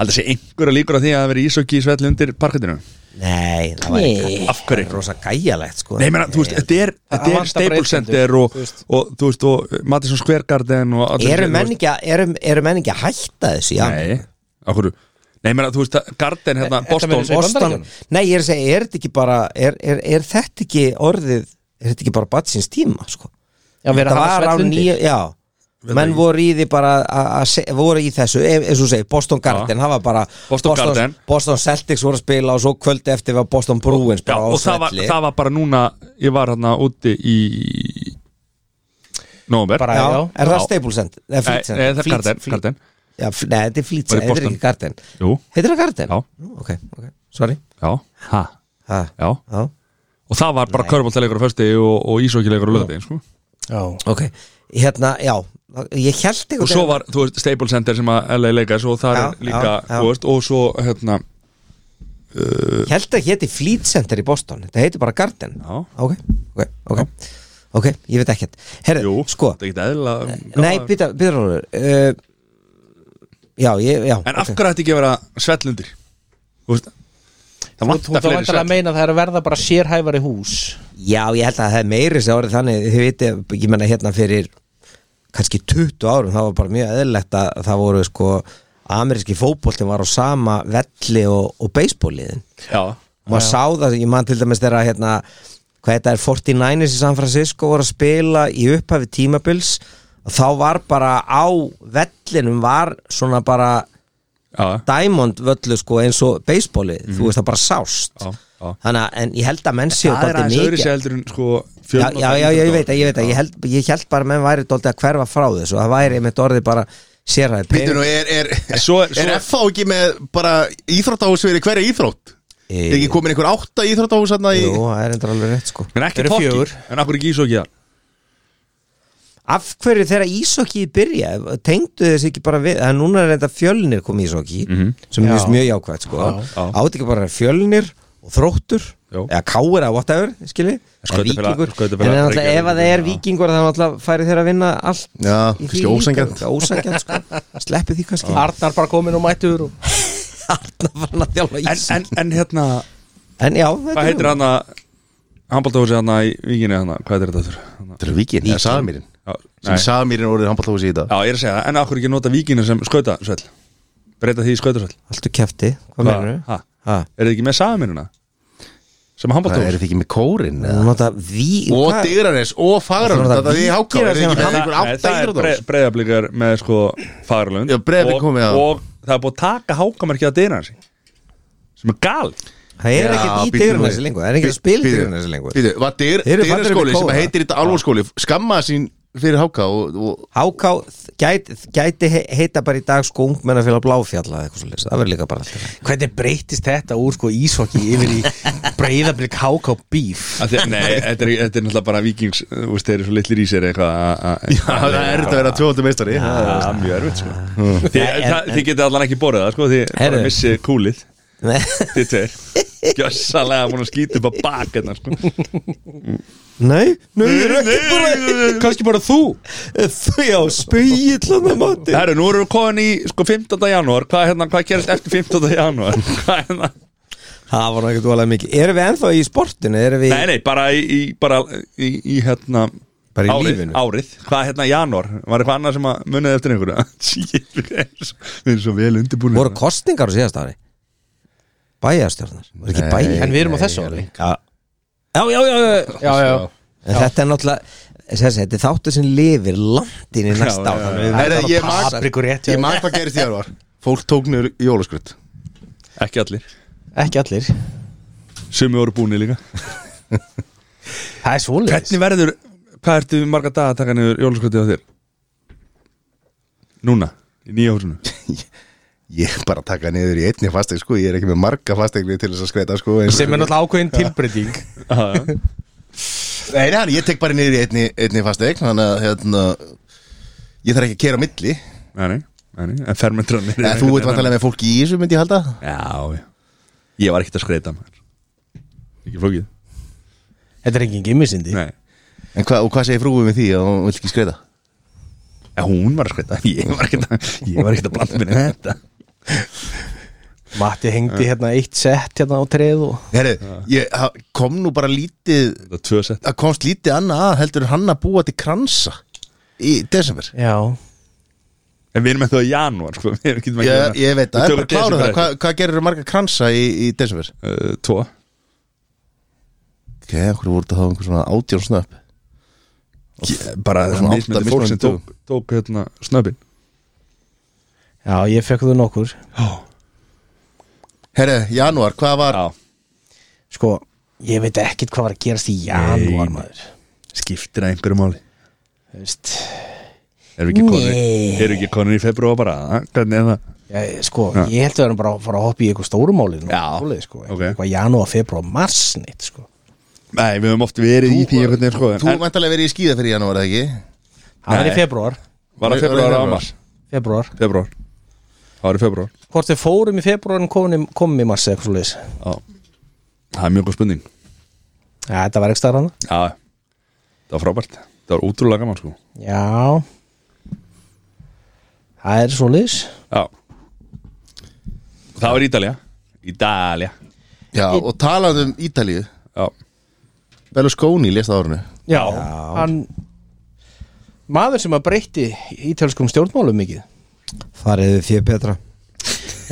Speaker 1: Haldi sé einhverja líkur að því að það veri ísokki í svelli undir parkettinu
Speaker 4: Nei, það var ekki
Speaker 1: Af hverju?
Speaker 4: Rosa gæjalegt sko
Speaker 1: Nei, menna, þú veist, þetta er, þetta
Speaker 2: Það
Speaker 1: er
Speaker 2: vantar bara
Speaker 1: Staples
Speaker 2: eitt
Speaker 1: Center og,
Speaker 2: þú
Speaker 1: og,
Speaker 2: veist.
Speaker 1: þú veist, og Madison Square Garden og allir-
Speaker 4: Eru
Speaker 1: þú
Speaker 4: menn
Speaker 1: veist-
Speaker 4: ekki að- eru- eru menn ekki að hætta þessu já?
Speaker 1: Nei, af hverju Nei, menna, þú veist, Garden hérna,
Speaker 2: þetta
Speaker 1: Boston
Speaker 2: meina þessi-
Speaker 4: Boston, nei ég er að segja, er þetta ekki bara er, er, er þetta ekki orðið er þetta ekki bara batsins tíma sko?
Speaker 2: já við
Speaker 4: þetta
Speaker 2: erum að
Speaker 4: var á
Speaker 2: hafa svellundi
Speaker 4: nýja já, menn voru í því bara að- að se- voru í þessu, e- eins og þú segir Boston Garden, það var bara
Speaker 1: Boston Garden.
Speaker 4: Boston Celtics voru að spila og svo kvöldi eftir var Boston Bruins
Speaker 1: Já,
Speaker 4: bara á
Speaker 1: og það var,
Speaker 4: svelli.
Speaker 1: það var bara núna Ég var hérna úti í Nómber
Speaker 2: Bara-
Speaker 4: já,
Speaker 2: Já,
Speaker 4: er það
Speaker 1: já.
Speaker 4: Staples Center? Nei,
Speaker 1: Nei,
Speaker 4: Fleet
Speaker 1: nei,
Speaker 4: Center.
Speaker 1: það er
Speaker 4: Fleet-
Speaker 1: Garden,
Speaker 4: Fleet-
Speaker 1: Garden.
Speaker 4: Já, f- nei, þetta er Fleet
Speaker 1: Var í
Speaker 4: Center, þetta er
Speaker 1: Boston.
Speaker 4: ekki Garden
Speaker 1: Jú,
Speaker 4: Heitir það Garden?
Speaker 1: Já.
Speaker 4: Nú, Ok, ok, sorry
Speaker 1: já, ha,
Speaker 4: ha,
Speaker 1: já
Speaker 4: já.
Speaker 1: Og það var bara körbóltalegur á fösti og, og ísókilegur á löðin sko.
Speaker 2: Já,
Speaker 4: Ok, hérna, já Ég held eitthvað
Speaker 1: Og svo var, þú veist, Staples Center sem að LA Lakers og það
Speaker 4: Já,
Speaker 1: er líka,
Speaker 4: já, já.
Speaker 1: þú veist, og svo hérna,
Speaker 4: Ég held að héti Fleet Center í Boston Þetta heitir bara Garden
Speaker 1: Já.
Speaker 4: Ok, ok, ok Ok, ég veit ekkert Herri,
Speaker 1: jú,
Speaker 4: sko
Speaker 1: þetta er ekki eðla
Speaker 4: Nei, býta, býta róður uh, Já, ég, já
Speaker 1: En af hverju ætti ekki að vera svellundir? Þú veist, það
Speaker 2: þú þú
Speaker 1: vantar
Speaker 2: ert
Speaker 1: fleiri
Speaker 2: vantilega að
Speaker 1: svell
Speaker 2: meina að það er að verða bara sérhæfari hús
Speaker 4: Já, ég held að það er meiri sem árið þannig Þið viti, ég menna hérna fyrir kannski 20 árum, það var bara mjög eðlilegt að það voru sko ameríski fótboltin var á sama velli og, og beisbóliðin
Speaker 1: Já,
Speaker 4: og maður sá það, ég man til dæmis þegar hérna, hvað þetta er 49ers í San Francisco voru að spila í upphafi tímabils og þá var bara á vellinum var svona bara
Speaker 1: já,
Speaker 4: diamond völlu sko eins og baseballið, þú veist það bara sást
Speaker 1: Mhm. Já, já.
Speaker 4: þannig að, en ég held að menn séu
Speaker 1: það er
Speaker 4: dálítið
Speaker 1: aðeins öðru
Speaker 4: mikið-
Speaker 1: seldur en sko
Speaker 4: já,
Speaker 1: fjölnota-
Speaker 4: já, já, já, ég veit að, ég veit að ég held, ég held bara að menn væri dóldi að hverfa frá þessu það væri einmitt orðið bara
Speaker 3: Býttu
Speaker 4: sérhæði
Speaker 3: nú, er, er, er,
Speaker 1: Svo- svo-
Speaker 3: FH ekki með bara íþróttahús fyrir hverja íþrótt?
Speaker 4: Í-
Speaker 3: Er ekki komin einhver átta íþróttahús hérna í
Speaker 4: Jú, það er endur alveg rétt sko
Speaker 1: En ekki
Speaker 2: Eru
Speaker 1: fokki,
Speaker 2: fjögur.
Speaker 1: en akkur ekki ísóki það
Speaker 4: Af hverju þegar ísokki byrja tengdu þess ekki bara við að núna er þetta fjölnir kom ísokki mm -hmm. sem er
Speaker 2: Já.
Speaker 4: mjög jákvægt sko
Speaker 1: Mhm. já.
Speaker 4: átt ekki bara fjölnir og þróttur
Speaker 1: Jó.
Speaker 4: eða káir eða whatever skilji en
Speaker 1: Skautafélag-
Speaker 4: vikingur en
Speaker 1: skautafélag
Speaker 4: alltaf,
Speaker 1: Reykjavíkur,
Speaker 4: ef að það er
Speaker 1: já.
Speaker 4: vikingur þá alltaf færi þeir að vinna allt
Speaker 3: Já,
Speaker 4: í því
Speaker 3: kannski
Speaker 4: líka.
Speaker 3: ósanngjarnt.
Speaker 4: Já, ósanngjarnt, sko. sleppi því kannski
Speaker 2: Arnar bara komin og mættur og
Speaker 4: Arna fann að þjála
Speaker 1: en,
Speaker 4: ísokki
Speaker 1: en, en hérna,
Speaker 4: en já þetta
Speaker 1: hvað
Speaker 4: er-
Speaker 1: heitir hann að Hambaltahúsi hann í Víkinni hann Hvað heitir þetta þurr?
Speaker 3: Þetta er Víkin, það er Sagamýrin
Speaker 1: Já,
Speaker 3: sem
Speaker 1: nei.
Speaker 3: Sagamýrin orðið handballahús í dag
Speaker 1: já, ég er að segja það, en akkur ekki nota Víkinni sem skautasvell Breyta því í skautasvell
Speaker 4: allt og kæfti hvað mennur
Speaker 1: Ha?
Speaker 4: Ha.
Speaker 1: Er þið ekki með saminuna? Sem
Speaker 3: Það
Speaker 1: Hambaltahúsi
Speaker 3: er þetta ekki með kórin
Speaker 4: þú nota ví
Speaker 3: Og
Speaker 4: hvað-
Speaker 3: Dyranes og Fagranes
Speaker 4: Það er
Speaker 3: Þetta er í háká
Speaker 4: Víkingar
Speaker 3: Er þetta
Speaker 4: sem-
Speaker 3: ekki með einhver
Speaker 1: Nei,
Speaker 3: átta
Speaker 1: það er
Speaker 3: íþróttahús?
Speaker 1: breyðablíkar með sko Fagralund
Speaker 3: Já, Breiðablik
Speaker 1: Og-
Speaker 3: komið, já.
Speaker 1: Og það er búið að taka hákamerkið að dyna hans Sem er gal
Speaker 4: það er
Speaker 3: Já,
Speaker 4: ekki í
Speaker 3: bíddu nú
Speaker 4: dyrun
Speaker 3: við.
Speaker 4: þessi lengur það er ekki að
Speaker 3: Bí-
Speaker 4: spila
Speaker 3: bíddu,
Speaker 4: dyrun þessi lengur
Speaker 3: bíddu, Var
Speaker 4: Þeir eru fallegir
Speaker 3: Dyraskóli
Speaker 4: með
Speaker 3: sem
Speaker 4: kóra.
Speaker 3: heitir þetta alvorskóli Skammaði sín fyrir háká og, og
Speaker 4: HK gæti, gæti he- heita bara í dag sko ungmennafélag Bláfjalla eða eitthvað svolítið, það verður líka bara alltaf
Speaker 2: Hvernig breytist þetta úr sko ísokki yfir í breyðablik háká bíf
Speaker 1: Af því- Nei, þetta er, þetta er náttúrulega bara vikings Þú veist, þeir eru svo litlir í sér eitthvað að- að-
Speaker 3: Já, það er erfitt að vera tvöfaldur meistari
Speaker 1: Það er mjög erfitt sko Þið,
Speaker 4: En-
Speaker 1: það- þið getið allan ekki borðið það sko Þið bara
Speaker 4: Herðu.
Speaker 1: missið kúlið
Speaker 4: Nei,
Speaker 1: Þið tveir Gjössalega búin að skýta upp að bak hérna sko
Speaker 4: nei, nei, ég er ekki
Speaker 2: Kannski bara þú
Speaker 4: bara Þau á spegillan að mati
Speaker 1: Herru, nú erum við komin í sko 15. janúar Hvað, hérna, hvað gerist eftir 15. janúar? Hvað, hérna?
Speaker 4: Það var nú ekkert voðalega mikið Erum við ennþá í sportinu, erum við
Speaker 1: Nei, nei, bara í, í, bara í, í hérna
Speaker 4: Bara í
Speaker 1: árið,
Speaker 4: lífinu.
Speaker 1: árið, hvað hérna janúar var eitthvað annað sem að munið eftir einhverju Shit, við erum svo- við erum svo vel undirbúin
Speaker 4: voru kostningar á síðast ári Bæjarstjórnar, var ekki bæjar
Speaker 2: En við erum á þessu ári
Speaker 4: Já, já, já, já, já.
Speaker 2: Já, já,
Speaker 4: En Þetta er náttúrulega þessi, Þetta er þáttu sem lifir langt inn í næsta
Speaker 1: Já,
Speaker 4: ár
Speaker 1: já,
Speaker 4: þannig við
Speaker 3: Nei, nei,
Speaker 4: verðum að
Speaker 3: ég
Speaker 4: passa.
Speaker 3: man-
Speaker 2: Abrikur rétt
Speaker 3: Ég maður hvað gerist í þér var Fólk tók niður jólaskröld
Speaker 1: Ekki allir,
Speaker 2: Ekki allir
Speaker 1: sumi voru búinir líka
Speaker 2: Það er svoleiðis
Speaker 1: Hvernig verður, hvað ertu marga daga að taka niður jólaskrötið á þér? Núna, í nýja húsinu
Speaker 3: Ég er bara að taka niður í einni fasteign sko Ég er ekki með marga fasteigni til þess að skreita sko eins og-
Speaker 2: Sem er náttúrulega ákveðin tilbreyting
Speaker 3: Nei, nei, ég tek bara niður í einni, einni fasteign Þannig að hérna, ég þarf ekki að kera á milli
Speaker 1: Nei, nei, nei, nei, en fermentra niður
Speaker 3: En þú veit
Speaker 1: um-
Speaker 3: vantarlega með fólki í þessu myndi ég halda
Speaker 1: Já, já, ég var ekkert að skreita maður Ekki flókið
Speaker 2: Þetta er engin gimmisindi
Speaker 1: Nei
Speaker 3: En hva, og hvað segir frúið með því að hún vil ekki skreita?
Speaker 1: En hún var að skreita Ég var ekkert að, ég var ekkert að blanda mér í þetta
Speaker 2: Matti hengdi hérna eitt sett hérna á treð og
Speaker 3: Herru, ég ha- kom nú bara lítið
Speaker 1: Þetta er tvö sett
Speaker 3: að komst lítið annað að heldur en hann að búa til kransa í desember
Speaker 2: Já,
Speaker 1: En við erum með það í janúar sko. Við getum ekki
Speaker 3: Ég, ég veit
Speaker 1: Við
Speaker 3: að, er
Speaker 1: tökum
Speaker 3: bara klára
Speaker 1: desember
Speaker 3: það
Speaker 1: eftir.
Speaker 3: Hva, Hvað gerir þú marga kransa í, í desember?
Speaker 1: uh, Tvo
Speaker 3: Ok, hverju voru þetta þá einhver svona átjón snöpp
Speaker 1: Ég- Bara
Speaker 3: Svona átta
Speaker 1: mismöndi fólk sem
Speaker 3: mismunandi dögum.
Speaker 1: tók, tók hérna, snöppin
Speaker 2: já ég fekk þau nokkur
Speaker 3: Herru, janúar, hvað var
Speaker 1: Já,
Speaker 2: Sko, ég veit ekkit hvað var að gerast í janúar
Speaker 1: Nei.
Speaker 2: maður
Speaker 1: skiptir að einhverju máli
Speaker 2: Þú veist
Speaker 1: Erum við ekki konur,
Speaker 2: Nei.
Speaker 1: erum við ekki konur í februar bara ha? Hvernig er það?
Speaker 2: Já, sko, ég held að við erum bara að fara að hoppa í eitthvað stórumáli
Speaker 1: Já,
Speaker 2: sko,
Speaker 1: ok.
Speaker 2: eitthvað janúar, februar, mars neitt, sko.
Speaker 1: Nei, við höfum oft verið í því einhvern veginn sko
Speaker 3: Þú
Speaker 1: en-
Speaker 3: mæntalega verið í skíða fyrir janúar, eða ekki?
Speaker 2: það var í
Speaker 1: Nei.
Speaker 2: februar,
Speaker 1: Var það februar á
Speaker 3: Februar.
Speaker 1: mars?
Speaker 2: februar
Speaker 1: Februar Það var í februar
Speaker 2: hvort við fórum í februar en komum, komum í mars eða eitthvað svo leis
Speaker 1: Já Það er mjög góð spurning
Speaker 2: Já, þetta var ekki starf hana
Speaker 1: Já Það var frábært Það var útrúlega gaman sko
Speaker 2: Já Það er svo leis
Speaker 1: Já Það var Ítalja Ítalja
Speaker 3: Já, og talandi um Ítalíu
Speaker 1: Já
Speaker 3: Berlusconi lést á árinu
Speaker 2: Já, hann maður sem að breytti ítalskum stjórnmálum mikið
Speaker 4: farið þið fyrir Petra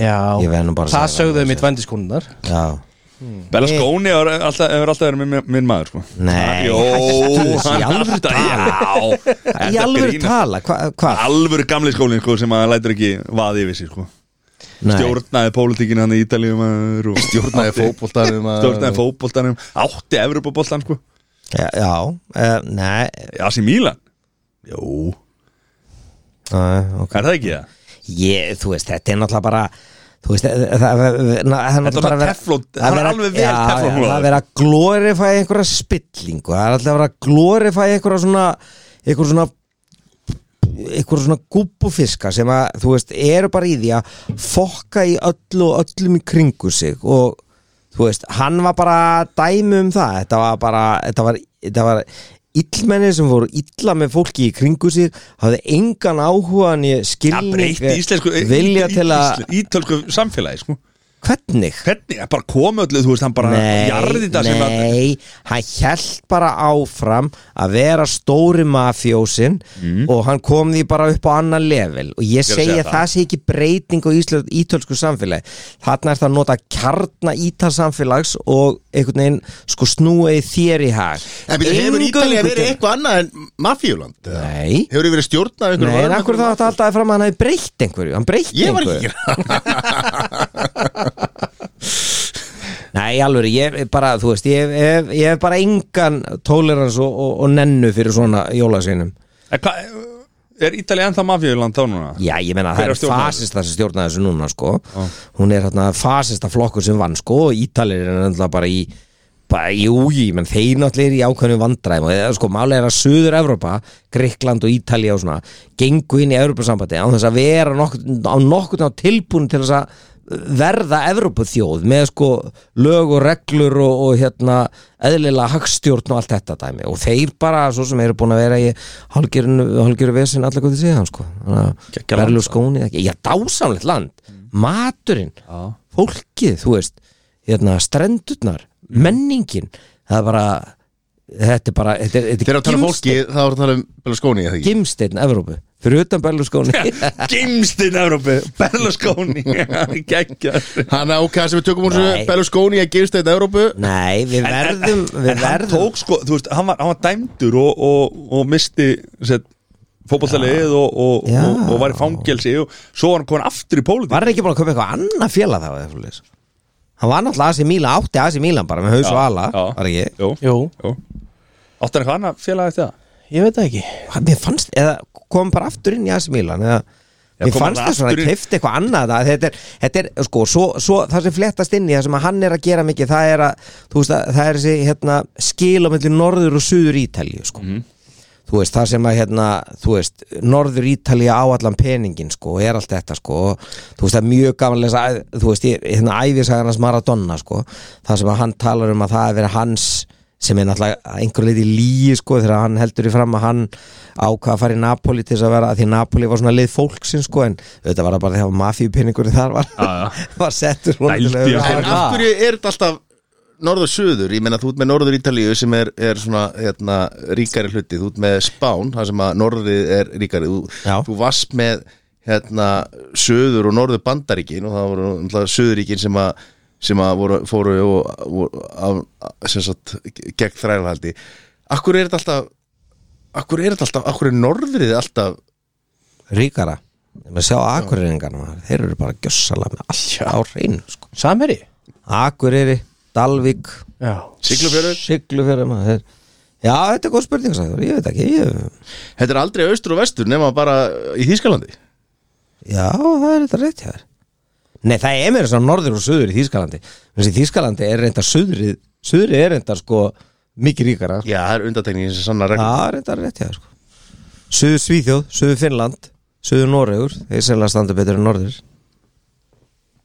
Speaker 2: Já,
Speaker 4: Ég verð nú bara að
Speaker 2: það
Speaker 4: segja
Speaker 2: sögðuðu mitt vendiskunnar
Speaker 4: já, Mm.
Speaker 1: Berlusconi hefur alltaf, hefur alltaf verið minn, minn maður sko
Speaker 4: Nei,
Speaker 1: Jó
Speaker 4: hættu þessu,
Speaker 1: hann
Speaker 4: í alvöru
Speaker 1: alltaf- Já
Speaker 4: í
Speaker 1: Þetta
Speaker 4: alvöru
Speaker 1: grínast.
Speaker 4: tala hva- hvað,
Speaker 1: Alvöru gamli skólinn sko sem að lætur ekki vaði yfir sig sko
Speaker 4: Nei.
Speaker 1: Stjórnaði pólitíkinu hann í Ítalíu maður og
Speaker 3: Stjórnaði
Speaker 1: átti-
Speaker 3: fótboltanum að-
Speaker 1: Stjórnaði fótboltanum Átti Evropaboltan sko
Speaker 4: já, já uh, nei,
Speaker 1: Asi Mílan Jó
Speaker 4: uh, ok
Speaker 1: Er það ekki það?
Speaker 4: ég, þú veist, þetta er náttúrulega bara þú veist, eh, það, það, það, það er
Speaker 1: Þetta
Speaker 4: náttúrulega
Speaker 1: var
Speaker 4: bara að vera-
Speaker 1: teflon-
Speaker 4: að
Speaker 1: það var
Speaker 4: vera-
Speaker 1: alveg vel
Speaker 4: já,
Speaker 1: teflon
Speaker 4: já,
Speaker 1: hún
Speaker 4: það
Speaker 1: var.
Speaker 4: er verið að glorifæ einhverja spillingu, það er alltaf verið að glorifæ einhverja svona einhverja svona einhverja svona gúbbufiska sem að, þú veist, eru bara í því að fokka í öllu og öllum í kringu sig og þú veist, hann var bara dæmi um það þetta var bara, þetta var, þetta var illmenni sem voru illa með fólki í kringu sig, hafði engan áhuga en ég
Speaker 1: Það
Speaker 4: skilni
Speaker 1: breyti íslensku
Speaker 4: vilja til að,
Speaker 1: ísl- Ítölsku samfélagi sko
Speaker 4: hvernig?
Speaker 1: Hvernig? Bara komu öllu, þú veist, hann bara Jarði þetta sem að
Speaker 4: nei, hann hjælt bara áfram að vera stóri mafjósin og hann kom því bara upp á annan level og
Speaker 1: Mm. Ég er
Speaker 4: ég
Speaker 1: að segja
Speaker 4: segi að
Speaker 1: það.
Speaker 4: það sé ekki breyting á ísl, ítölsku samfélagi þarna er það að nota kjarna ítalsamfélags og einhvern veginn sko snúið þér í hag
Speaker 3: En byrju, hefur Ítalía
Speaker 4: Eingöngu
Speaker 3: verið
Speaker 4: til-
Speaker 3: eitthvað annað en mafíuland? eða?
Speaker 4: Nei.
Speaker 3: Hefur þið verið stjórnað einhverjum
Speaker 4: Nei, en
Speaker 3: öðrum
Speaker 4: akkur það átti alltaf fram að hann hefði breytt einhverju Hann breytti
Speaker 3: Ég var
Speaker 4: einhverju
Speaker 3: ekki að gera það.
Speaker 4: Nei, alveg, ég er bara, þú veist, ég hef- ég hef bara engan tolerans og, og, og nennu fyrir svona jólasveinum
Speaker 1: En hvað, er Ítalið ennþá mafíuland þá núna?
Speaker 4: Já, ég meina
Speaker 1: Hver
Speaker 4: það
Speaker 1: er
Speaker 4: er
Speaker 1: stjórnaður?
Speaker 4: fasista sem stjórnaði þessu núna sko. Hún er hérna fasista flokkur sem vann sko, og Ítalir er náttúrulega bara í bara, jú, ég menn þeir náttúrulega er í ákveðnum vandræðum og eða, sko, málega er að Suður Evrópa, Gríkland og Ítalía og svona, gengu inn í Evrópasambandi á þess að vera nokkur, á nokkur á tilbúin til þess að verða Evrópuþjóð með sko lög og reglur og, og hérna eðlilega hagstjórn og allt þetta dæmi og þeir bara, svo sem eru búin að vera í halgjöru vesin allar góðið síðan sko, þannig
Speaker 1: Geggjað
Speaker 4: að
Speaker 1: land,
Speaker 4: verðlu skóni já, dásamlegt land, maturinn
Speaker 1: Já.
Speaker 4: fólkið, þú veist hérna, strendurnar, menningin það er bara þetta er bara, þetta er,
Speaker 3: Þegar
Speaker 4: þetta
Speaker 3: að tala um fólki, þá er að tala um Berlusconi, eða ekki?
Speaker 4: gimsteinn Evrópu, fyrir utan Berlu skóni
Speaker 1: Gimstinn Evrópi, Berlusconi Gekkja
Speaker 3: Hanna, ok, það sem við tökum úr
Speaker 4: Nei.
Speaker 3: þessu Berlusconi að gerist þetta Európu
Speaker 4: nei, við verðum við
Speaker 1: En hann
Speaker 4: verðum,
Speaker 1: tók sko, þú veist, hann var, hann var dæmdur og, og, og misti fótballtalið og, og,
Speaker 4: Já.
Speaker 1: og, og var í fangelsi og svo var hann komin aftur í pólitík
Speaker 4: var hann ekki búin að koma eitthvað annað félag þá, eða fólkið hann var náttúrulega Asi Mílan, átti Asi Mílan bara með haus og ala,
Speaker 1: Já.
Speaker 4: var ekki
Speaker 1: Jú,
Speaker 2: Jú,
Speaker 1: jú Áttu hann eitthvað annað félagið til það?
Speaker 2: ég veit það ekki
Speaker 4: Hvað- mér fannst, eða kom bara aftur inn í AC Milan eða,
Speaker 1: Já,
Speaker 4: mér
Speaker 1: kom
Speaker 4: fannst
Speaker 1: bara
Speaker 4: það svona
Speaker 1: aftur inn.
Speaker 4: kleift eitthvað annað að þetta er, þetta er sko, svo, svo, það sem flettast inn í það sem að hann er að gera mikið, það er að þú veist, að, það er þessi, hérna, skil á milli norður og suður Ítalíu, sko
Speaker 1: Mhm.
Speaker 4: þú veist, það sem að, hérna, þú veist norður Ítalíu á allan peningin sko, og er allt þetta, sko og, þú veist, það er mjög gaman að lesa, æ- þú veist, ég- hérna æfisagarnas Maradona, sko, það sem að hann talar um að það er verið hans sem er náttúrulega að einhver leiti líi sko þegar hann heldur í fram að hann ákvað að fara í Napoli til þess að vera að því Napoli var svona leið fólksinn sko en þetta var það bara þegar mafíu penningur þar var,
Speaker 1: Já,
Speaker 4: var settur
Speaker 1: Dældi
Speaker 4: honum til
Speaker 1: að
Speaker 4: að-
Speaker 1: gera
Speaker 3: En af hverju er þetta alltaf norður og suður, ég meina þú ert með norður Ítalíu sem er, er svona hérna, ríkari hluti, þú ert með Spán þar sem að norðrið er ríkari þú,
Speaker 4: Já.
Speaker 3: þú varst með hérna, söður og norður bandaríkin og það voru umtlað, söðuríkin sem að sem að voru, fóru og, voru, af, sem sagt, gegn þrælahaldi Akkur er þetta alltaf Akkur er þetta alltaf, akkur er norðrið alltaf
Speaker 4: ríkara maður sjá akureyringarna, þeir eru bara gjössalega með allt á hreinu sko.
Speaker 2: Samherji?
Speaker 4: Akureyri, Dalvík
Speaker 2: Já
Speaker 3: Siglufjörður?
Speaker 4: Siglufjörður maður þeir- Já, þetta er góð spurning sagður. ég veit ekki ég...
Speaker 3: Þetta er aldrei austur og vestur nema bara í Þýskalandi
Speaker 4: Já, það er þetta rétt hjá þér Nei, það er meira svona norður og söður í Þýskalandi Þessi Þýskalandi er reyndar söðrið Söðrið er reyndar sko mikið ríkara sko.
Speaker 3: Já, það er undartekningin sem sannar
Speaker 4: Já,
Speaker 3: reglum
Speaker 4: það er reyndar rétt hjá þér sko. Söður Svíþjóð, söður Finnland Söður Noregur, þeir sennilega standa betur en norður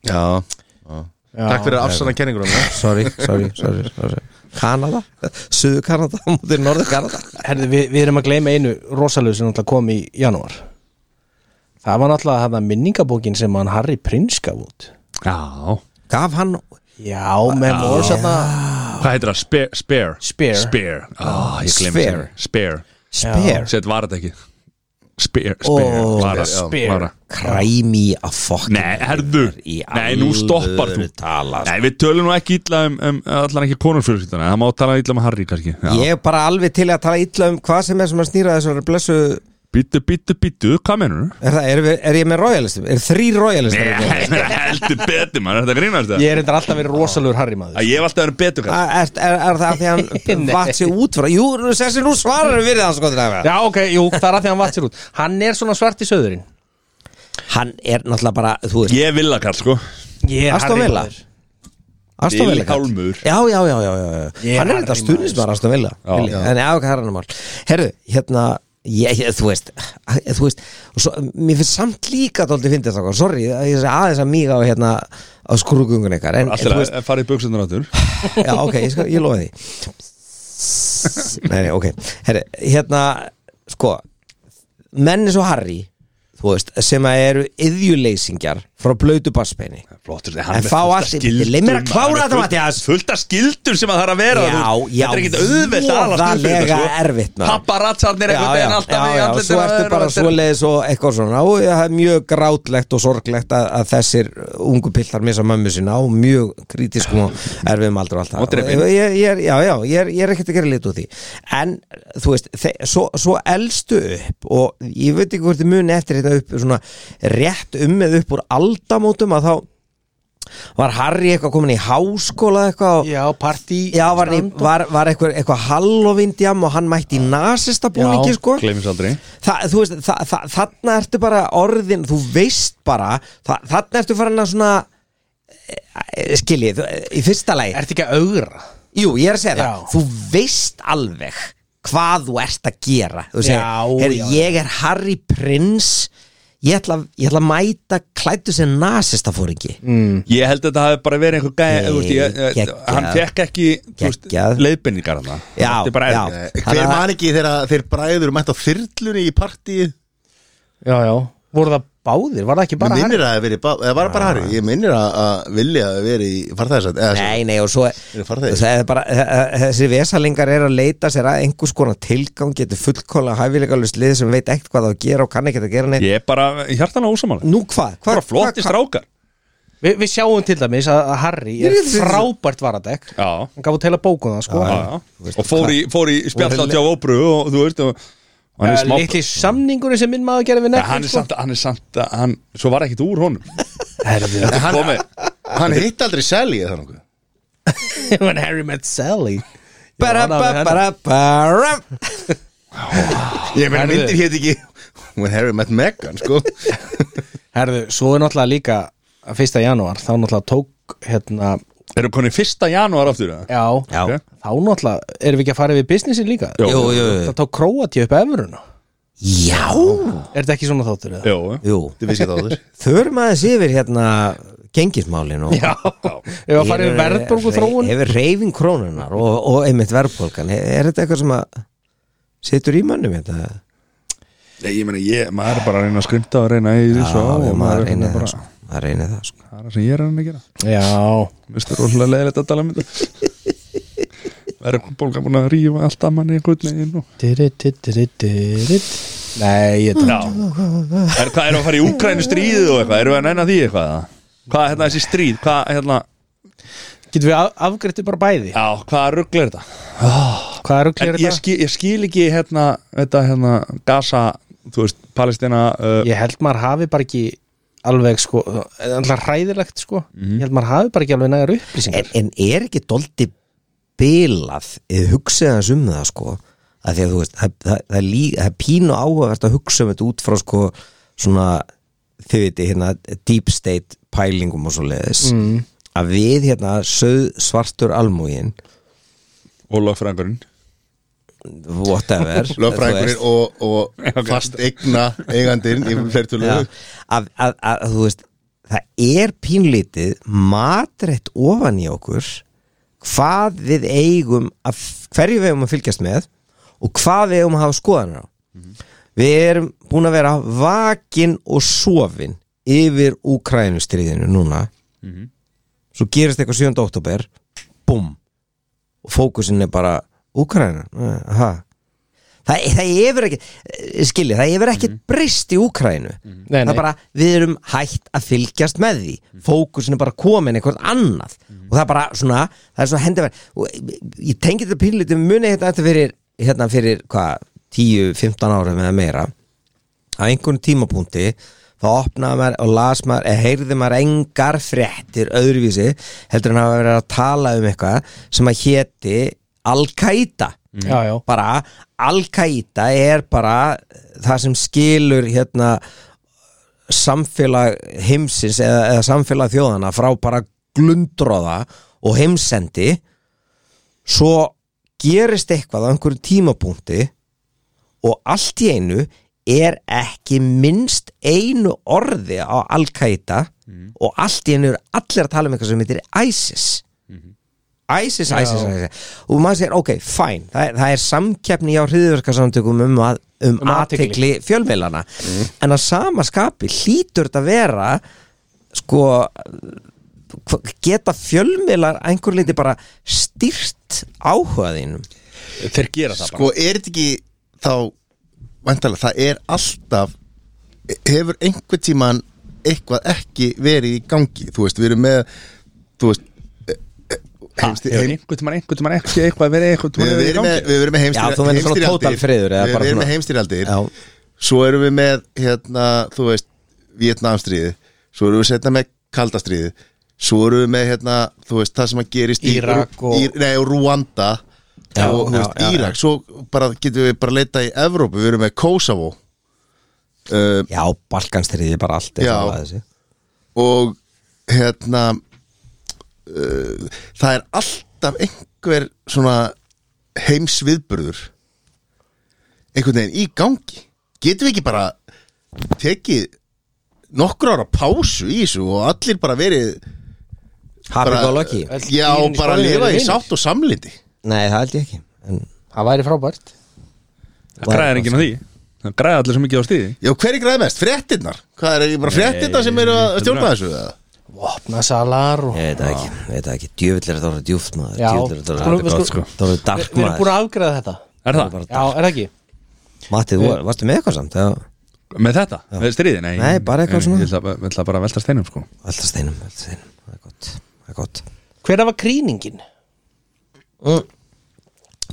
Speaker 3: Já, já. Takk fyrir að afsanna kenningur um það
Speaker 4: Sorry, sorry, sorry, sorry. Kanada, söður Kanada á Móti norður Kanada
Speaker 2: Herði, við, við erum að gleyma einu rosalegu sem náttúrulega kom í janúar Það var náttúrulega að hafa minningabókin sem hann Harry Prince gaf út
Speaker 1: Já
Speaker 4: Gaf hann
Speaker 2: Já, með mór sérna
Speaker 1: Hvað heitir það? Spare Spare
Speaker 2: Spare.
Speaker 1: Spare oh, ég gleymdi
Speaker 4: Spare.
Speaker 1: þessu. Spare
Speaker 4: Spare
Speaker 1: Sett var þetta ekki Spare Spare
Speaker 2: Ó,
Speaker 1: Klara,
Speaker 2: Spare.
Speaker 1: Klara.
Speaker 4: Kræmi að fokk
Speaker 1: Nei, herðu
Speaker 4: Í
Speaker 1: Nei, nú stoppar þú
Speaker 4: alvöru tala,
Speaker 1: Nei, við tölum nú ekki illa um, um allan ekki konarfjölskyldana Það má tala illa um Harry kannski
Speaker 4: Ég er bara alveg til að tala illa um hvað sem er sem að snýra þessar blessu
Speaker 1: Býttu, býttu, býttu, hvað menur þú?
Speaker 4: Er, það, er, við, er ég með royalistum? Er hérna? þrý royalistum?
Speaker 1: Nei, heldur betur maður, þetta grínast það
Speaker 2: Ég er reyndar alltaf verið rosalegur Harry maður
Speaker 1: Að Ég hef alltaf verið betur kall
Speaker 4: Er, er, er, er það af því að hann
Speaker 2: Nei.
Speaker 4: vat sér út frá? Jú, þessi nú svarar við það sko til að
Speaker 2: Já, ok, jú, það er að því að hann vatt sér út Hann er svona svart í söðurinn
Speaker 4: Hann er náttúrulega bara, þú veist,
Speaker 1: Ég vil að kall, sko
Speaker 2: Ég
Speaker 4: Aston Villa. Aston
Speaker 1: Vil
Speaker 4: Villa kall.
Speaker 1: Hjálmur.
Speaker 4: Já, já, já, já, já.
Speaker 2: Ég
Speaker 4: Hann er
Speaker 2: Harry
Speaker 4: þetta
Speaker 2: maður,
Speaker 4: stuðnismar Aston Villa
Speaker 1: Já.
Speaker 4: Villa. En já, ok, það er hann mál Herðu, hérna Ég, ég, þú veist, þú veist og svo, mér finnst samt líka dóldi fyndið þá, sorry, að ég sé aðeins að míga á hérna á skrúgungun ykkar en,
Speaker 1: Alltaf að fara í buksundar áttur
Speaker 4: Já, ok, ég, skal, ég lofa því Nei, nei, ok Herri, Hérna, sko Menn eins og Harry Þú veist, sem að eru yðjuleysingjar frá blötu bassbeini
Speaker 1: Flottur,
Speaker 4: En fá allt í- leið mér að klára þetta, Matthías.
Speaker 1: Fullt af skildur sem að það er að vera
Speaker 4: Já,
Speaker 1: þú veist.
Speaker 4: já,
Speaker 1: Þetta er ekkit auðvelt að alast upp fyrir
Speaker 4: voðalega
Speaker 1: þetta,
Speaker 4: erfitt, maður.
Speaker 1: Papparatsarnir einhvern veginn alltaf í
Speaker 4: já,
Speaker 1: andlitinu
Speaker 4: svo
Speaker 1: á
Speaker 4: ertu
Speaker 1: þér
Speaker 4: bara
Speaker 1: og þetta er-
Speaker 4: svoleiðis og eitthvað svona og það er mjög grátlegt og sorglegt að, að þessir ungu piltar missa mömmu sína og mjög kritískum og erfiðum aldrei alltaf
Speaker 1: Og drepin.
Speaker 4: ég, ég, ég, er- Já, já, ég er, ég er ekkert að gera lit úr því en þú veist, þe- svo, svo elstu upp og ég veit ekki hvort þið muni eftir þetta upp svona rétt um með upp úr aldamótum að þá var Harry eitthvað komin í háskóla eitthvað og
Speaker 2: Já, partí
Speaker 4: Já, var, hann í, var, var eitthvað, eitthvað Halloween-djam og hann mætti í nasista búningi,
Speaker 2: Já,
Speaker 4: sko
Speaker 1: Gleymist aldrei
Speaker 4: Þa, þú veist, þa, þa, þarna ertu bara orðin, þú veist bara þa, þarna ertu farin að svona eh, skiljið, þú- í fyrsta lagi
Speaker 2: Ertu ekki að augra?
Speaker 4: Jú, ég er að segja það,
Speaker 2: Já.
Speaker 4: þú veist alveg hvað þú ert að gera þú segir,
Speaker 2: Já, já,
Speaker 4: heyrðu,
Speaker 2: já.
Speaker 4: ég er Harry Prince ég ætla, ég ætla að mæta klættu sem nasista fóringi
Speaker 2: Mm.
Speaker 1: Ég held að þetta hafi bara verið einhver gæja
Speaker 4: Nei,
Speaker 1: þú veist, ég- ég-
Speaker 4: geggjað.
Speaker 1: Hann fekk ekki þú veist,
Speaker 4: Geggjað.
Speaker 1: leiðbendingar hann
Speaker 4: Já, já.
Speaker 3: Eh,
Speaker 4: Þannig
Speaker 3: Hver
Speaker 4: að-
Speaker 3: man ekki þegar þeir bræður mætt á þyrlunni í partíið
Speaker 2: Já, já Voru það báðir? Var það ekki
Speaker 3: Mér
Speaker 2: bara
Speaker 3: minnir að það verið, eða var það bara Harry Ég minnir að, að vilja að verið í farþæðisætt
Speaker 4: Nei, nei, og svo
Speaker 3: Eru farþegir?
Speaker 4: það er bara, þessi vesalingar er að leita sér að einhvers konar tilgang getur fullkóla hæfileikalust lið sem veit ekkert hvað það á að gera og kann ekkert að gera neitt
Speaker 1: Ég er bara hjartanlega ósamála
Speaker 4: Nú Mm, hvað? Hva,
Speaker 1: Bara flotti strákar
Speaker 2: Vi, Við sjáum til dæmis að að Harry er
Speaker 4: Ég er þetta-
Speaker 2: frábært varadekk
Speaker 1: Já
Speaker 2: Hann gaf út heila bókun það, sko
Speaker 1: Já, já. og fór í, fór í spjallat hjá Óbru og þú veist og, og
Speaker 4: Eh,
Speaker 1: hann er smá
Speaker 2: Litli samningurinn sem minn maður gerði við sko.
Speaker 1: Ja,
Speaker 2: nefnir
Speaker 1: hann er samt, hann er samt að hann, svo var ekkit úr honum
Speaker 2: Herðu
Speaker 1: Þetta er komið
Speaker 3: Hann hitt aldrei Sally eða þannig
Speaker 2: When Harry met Sally
Speaker 4: bara, bara, bara, bara
Speaker 3: Ég meina
Speaker 2: Herðu.
Speaker 3: myndir hétt ekki When Harry met Meghan, sko
Speaker 2: Herðu, svo er náttúrulega líka að 1. janúar, þá náttúrulega tók hérna,
Speaker 1: Erum konið fyrsta janúar aftur eða?
Speaker 2: já,
Speaker 4: Já,
Speaker 1: Ok.
Speaker 2: þá náttúrulega erum við ekki að fara yfir businessin líka
Speaker 1: Jó.
Speaker 4: jú, jú, jú.
Speaker 2: Það tók Króati upp efuruna
Speaker 4: Já,
Speaker 2: Er þetta ekki svona þáttur eða?
Speaker 1: Jó,
Speaker 4: jú
Speaker 3: Þið vissi þetta á þess
Speaker 4: Þörum aðeins yfir hérna gengismálin og
Speaker 2: Já, ef að fara yfir verðbólgu þróun
Speaker 4: Hefur reyfing krónunar og, og einmitt verðbólgan Er- Er þetta eitthvað sem að setur í mönnum þetta?
Speaker 1: Nei, ég meina, ég, maður er bara að reyna að skrimta og reyna í þessu á
Speaker 4: já,
Speaker 1: og
Speaker 4: maður
Speaker 1: er
Speaker 4: reynir það
Speaker 1: bara-
Speaker 4: sko. Maður reynir það sko
Speaker 1: Það er það sem ég er að reyna að gera
Speaker 2: Já,
Speaker 1: Mér finnst það rosalega leiðilegt að tala um þetta Verður bólga búin að rífa allt að manni einhvern veginn og...
Speaker 2: Dirit-dirit-dirit Nei, ég
Speaker 1: Já er, Hvað erum við að fara í Úkrænu stríðu og eitthvað? Erum við að næna því eitthvað? eða? Hvað er hérna þessi stríð? Hvað, hérna,
Speaker 2: Getum við af, afgriðti bara bæði
Speaker 1: já, hvað ruggla er þetta?
Speaker 2: Hvað eru
Speaker 1: En
Speaker 2: klir
Speaker 1: ég,
Speaker 2: þetta?
Speaker 1: skil, ég skil ekki hérna, þetta hérna Gaza, þú veist, Palestina uh,
Speaker 2: Ég held maður hafi bara ekki alveg sko, það er alltaf hræðilegt sko Ég held maður hafi bara ekki alveg nægar upplýsingar
Speaker 4: en, en er ekki doldi bilað eða hugsaðans um það sko að því að þú veist það, það, það, er lí, það er pínu áhugavert að hugsa um þetta út frá sko svona þið viti hérna deep state pælingum og svo leiðis mm. að við hérna söð svartur almúgin
Speaker 1: og lögfræðingurinn
Speaker 4: whatever
Speaker 3: lögfræðingurinn og, og fast eigna eigandinn í flertölu
Speaker 4: Já, að, að, að, að þú veist það er pínlítið matrætt ofan í okkur hvað við eigum að, hverju við eigum að fylgjast með og hvað við eigum að hafa skoðanir á við erum búin að vera vakin og sofin yfir Úkrænustríðinu núna svo gerist eitthvað 7. oktober búm og fókusin er bara Úkræna ha Það, það hefur ekki, skilji, það hefur ekki brist í Úkrænu
Speaker 2: Mhm. Nei,
Speaker 4: Það
Speaker 2: nei. Mhm.
Speaker 4: er bara, við erum hægt að fylgjast með því Fókusin er bara komin eitthvað annað Og það er bara svona, það er svo hendiverð Og ég tengi þetta pínlítið Muni hérna þetta fyrir, hérna fyrir, hvað, 10-15 árum eða meira Á einhvern tímapunkti Þá opnaði maður og las maður Eða heyrði maður engar fréttir öðruvísi Heldur en hafa verið að tala um eitthvað Sem að héti Al-Qaida
Speaker 2: Já, já,
Speaker 4: bara Al-Qaida er bara eh, það sem skilur hérna samfélag heimsins eða, eða samfélag þjóðana frá bara glundróða og heimsendi svo gerist eitthvað á einhverju tímapunkti og allt í einu er ekki minnst einu orði á Al-Qaida og allt í einu er allir að tala um eitthvað sem heitir ISIS ISIS, ISIS, ISIS og maður sér, ok, fine það, er- það er samkeppni á hriðverkasamtökum um, að, um, Mm.
Speaker 2: Um
Speaker 4: um
Speaker 2: athygli.
Speaker 4: aðtegli fjölmeilana en að sama skapi hlýtur þetta að vera sko hva- geta fjölmeilar einhver liti bara styrt áhugaðinum
Speaker 1: Þeir gera það
Speaker 3: sko er þetta ekki þá vantarlega, það er alltaf hefur einhver tíman eitthvað ekki verið í gangi þú veist, við erum með þú veist, eh,
Speaker 1: bara
Speaker 3: heimsti-
Speaker 1: Hefur einhvern tímann, einhvern tímann ekki eitthvað verið einhvern
Speaker 2: Sko,
Speaker 3: við,
Speaker 1: tímann
Speaker 3: við, erum með, við erum með
Speaker 4: Já, þú
Speaker 3: heimstýr-
Speaker 4: meinar svona total friður eða
Speaker 3: við,
Speaker 4: bara
Speaker 3: við erum
Speaker 4: svona-
Speaker 3: með heimstýraldir
Speaker 4: Já.
Speaker 3: svo erum við með hérna, þú veist, Vietnamstríði svo erum við setna með kaldastríði svo erum við með hérna, þú veist, það sem að gerist í-
Speaker 2: Írak og-
Speaker 3: í, nei, og Rwanda
Speaker 4: Já,
Speaker 3: og þú
Speaker 4: já,
Speaker 3: veist,
Speaker 4: já, já.
Speaker 3: Írak svo bara getum við bara leita í Evrópu við erum með Kosovo uh,
Speaker 4: já, Balkanstriði bara allt er
Speaker 3: Já.
Speaker 4: það þessi.
Speaker 3: og hérna uh, það er alltaf einhver svona heimsviðburður einhvern veginn í gangi getum við ekki bara tekið nokkur ára pásu í þessu og allir bara verið
Speaker 4: hafi
Speaker 3: bara,
Speaker 4: góð loki
Speaker 2: Öll í
Speaker 3: já,
Speaker 2: einu
Speaker 3: bara
Speaker 2: skóli
Speaker 3: lifa
Speaker 2: eru
Speaker 3: í
Speaker 2: vinir.
Speaker 3: sátt og samlindi
Speaker 4: nei, það held ég ekki en,
Speaker 2: það væri frábært
Speaker 1: Það græðir enginn á því Það græði allir svo mikið á stíði
Speaker 3: já, hver er græð mest? fréttinnar? hvað er ekki bara fréttinnar sem eru að stjórna þessu? eða?
Speaker 2: Vopnasalar og
Speaker 4: ég veit það ekki, ég veit það ekki djöfull er þetta orðið djúft maður
Speaker 2: Já.
Speaker 4: djöfull er þetta
Speaker 2: Skulum-
Speaker 4: orðið-
Speaker 2: við
Speaker 4: þetta
Speaker 2: skulum-
Speaker 4: er orðið
Speaker 2: Við,
Speaker 4: dark
Speaker 2: við erum búin
Speaker 4: maður
Speaker 2: að afgræða þetta
Speaker 1: Er það?
Speaker 2: Já, er það ekki?
Speaker 4: Matti, þú varstu með eitthvað samt eða?
Speaker 1: Með þetta? Með stríði? Nei,
Speaker 4: Nei, bara eitthvað
Speaker 1: ég-
Speaker 4: svona.
Speaker 1: Ég ætla bara- ég ætla bara að velta steinum sko
Speaker 4: alltaf steinum, alltaf steinum, það er gott það er gott
Speaker 2: Hver var krýningin?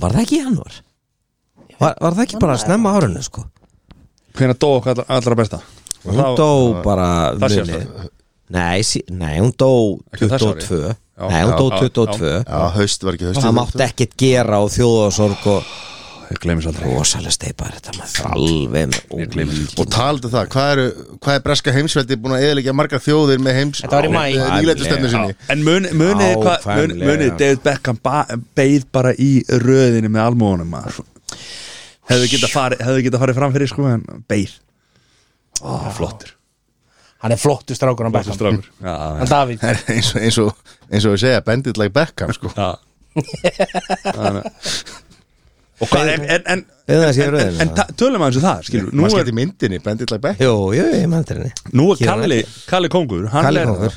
Speaker 4: Var það ekki í janúar? Var, var það ekki bara að snemma árunni sko?
Speaker 1: Hvernig dó okkar allra- allra besta?
Speaker 4: Hún dó bara
Speaker 1: það
Speaker 4: muni-
Speaker 1: síðasta.
Speaker 4: nei, sí, nei, hún dó
Speaker 1: Ekki á þessu ári?
Speaker 4: 22
Speaker 1: Já,
Speaker 4: Nei, hún
Speaker 1: já,
Speaker 4: dó
Speaker 1: já,
Speaker 4: 22
Speaker 3: já, haust var ekki haust
Speaker 4: Það mátti ekkert gera á þjóðasorg og
Speaker 1: Ég glemis aldrei
Speaker 4: rosalega steipaði þetta maður alveg með
Speaker 3: og taldu það, hvað, eru, hvað er breska heimsveldi búin að eðalegja margar þjóðir með heims
Speaker 2: Þetta var í maí.
Speaker 3: nýlættustefnu sinni
Speaker 1: En muni, munið
Speaker 4: Já,
Speaker 1: hvað mun-
Speaker 4: fæmlega.
Speaker 1: Munið David Beckham ba- beið bara í röðinu með almóðunum maður Hefðu geta farið, hefðu geta farið fram fyrir sko en beið Ó, flottur
Speaker 2: hann er flottu strákur á
Speaker 1: Bæsum
Speaker 2: bekknum.
Speaker 1: strákur Já, já,
Speaker 2: hann Davíð,
Speaker 3: Það er eins og, eins og, eins og ég segja, bandit like Beckham sko.
Speaker 1: já Þannig að- Og hvað, en, en, en,
Speaker 4: Eða það sé
Speaker 1: en, en,
Speaker 4: rauðin
Speaker 1: en ta- tölum aðeins um það, skilur Nú
Speaker 3: maður
Speaker 1: er,
Speaker 3: skilti myndinni, bandit like Beckham
Speaker 4: Jú, jú, ég mann til henni
Speaker 1: nú er
Speaker 4: Hér er
Speaker 1: Kalli, Kalli Kongur Hann
Speaker 4: Kalli
Speaker 1: er,
Speaker 4: Kongur.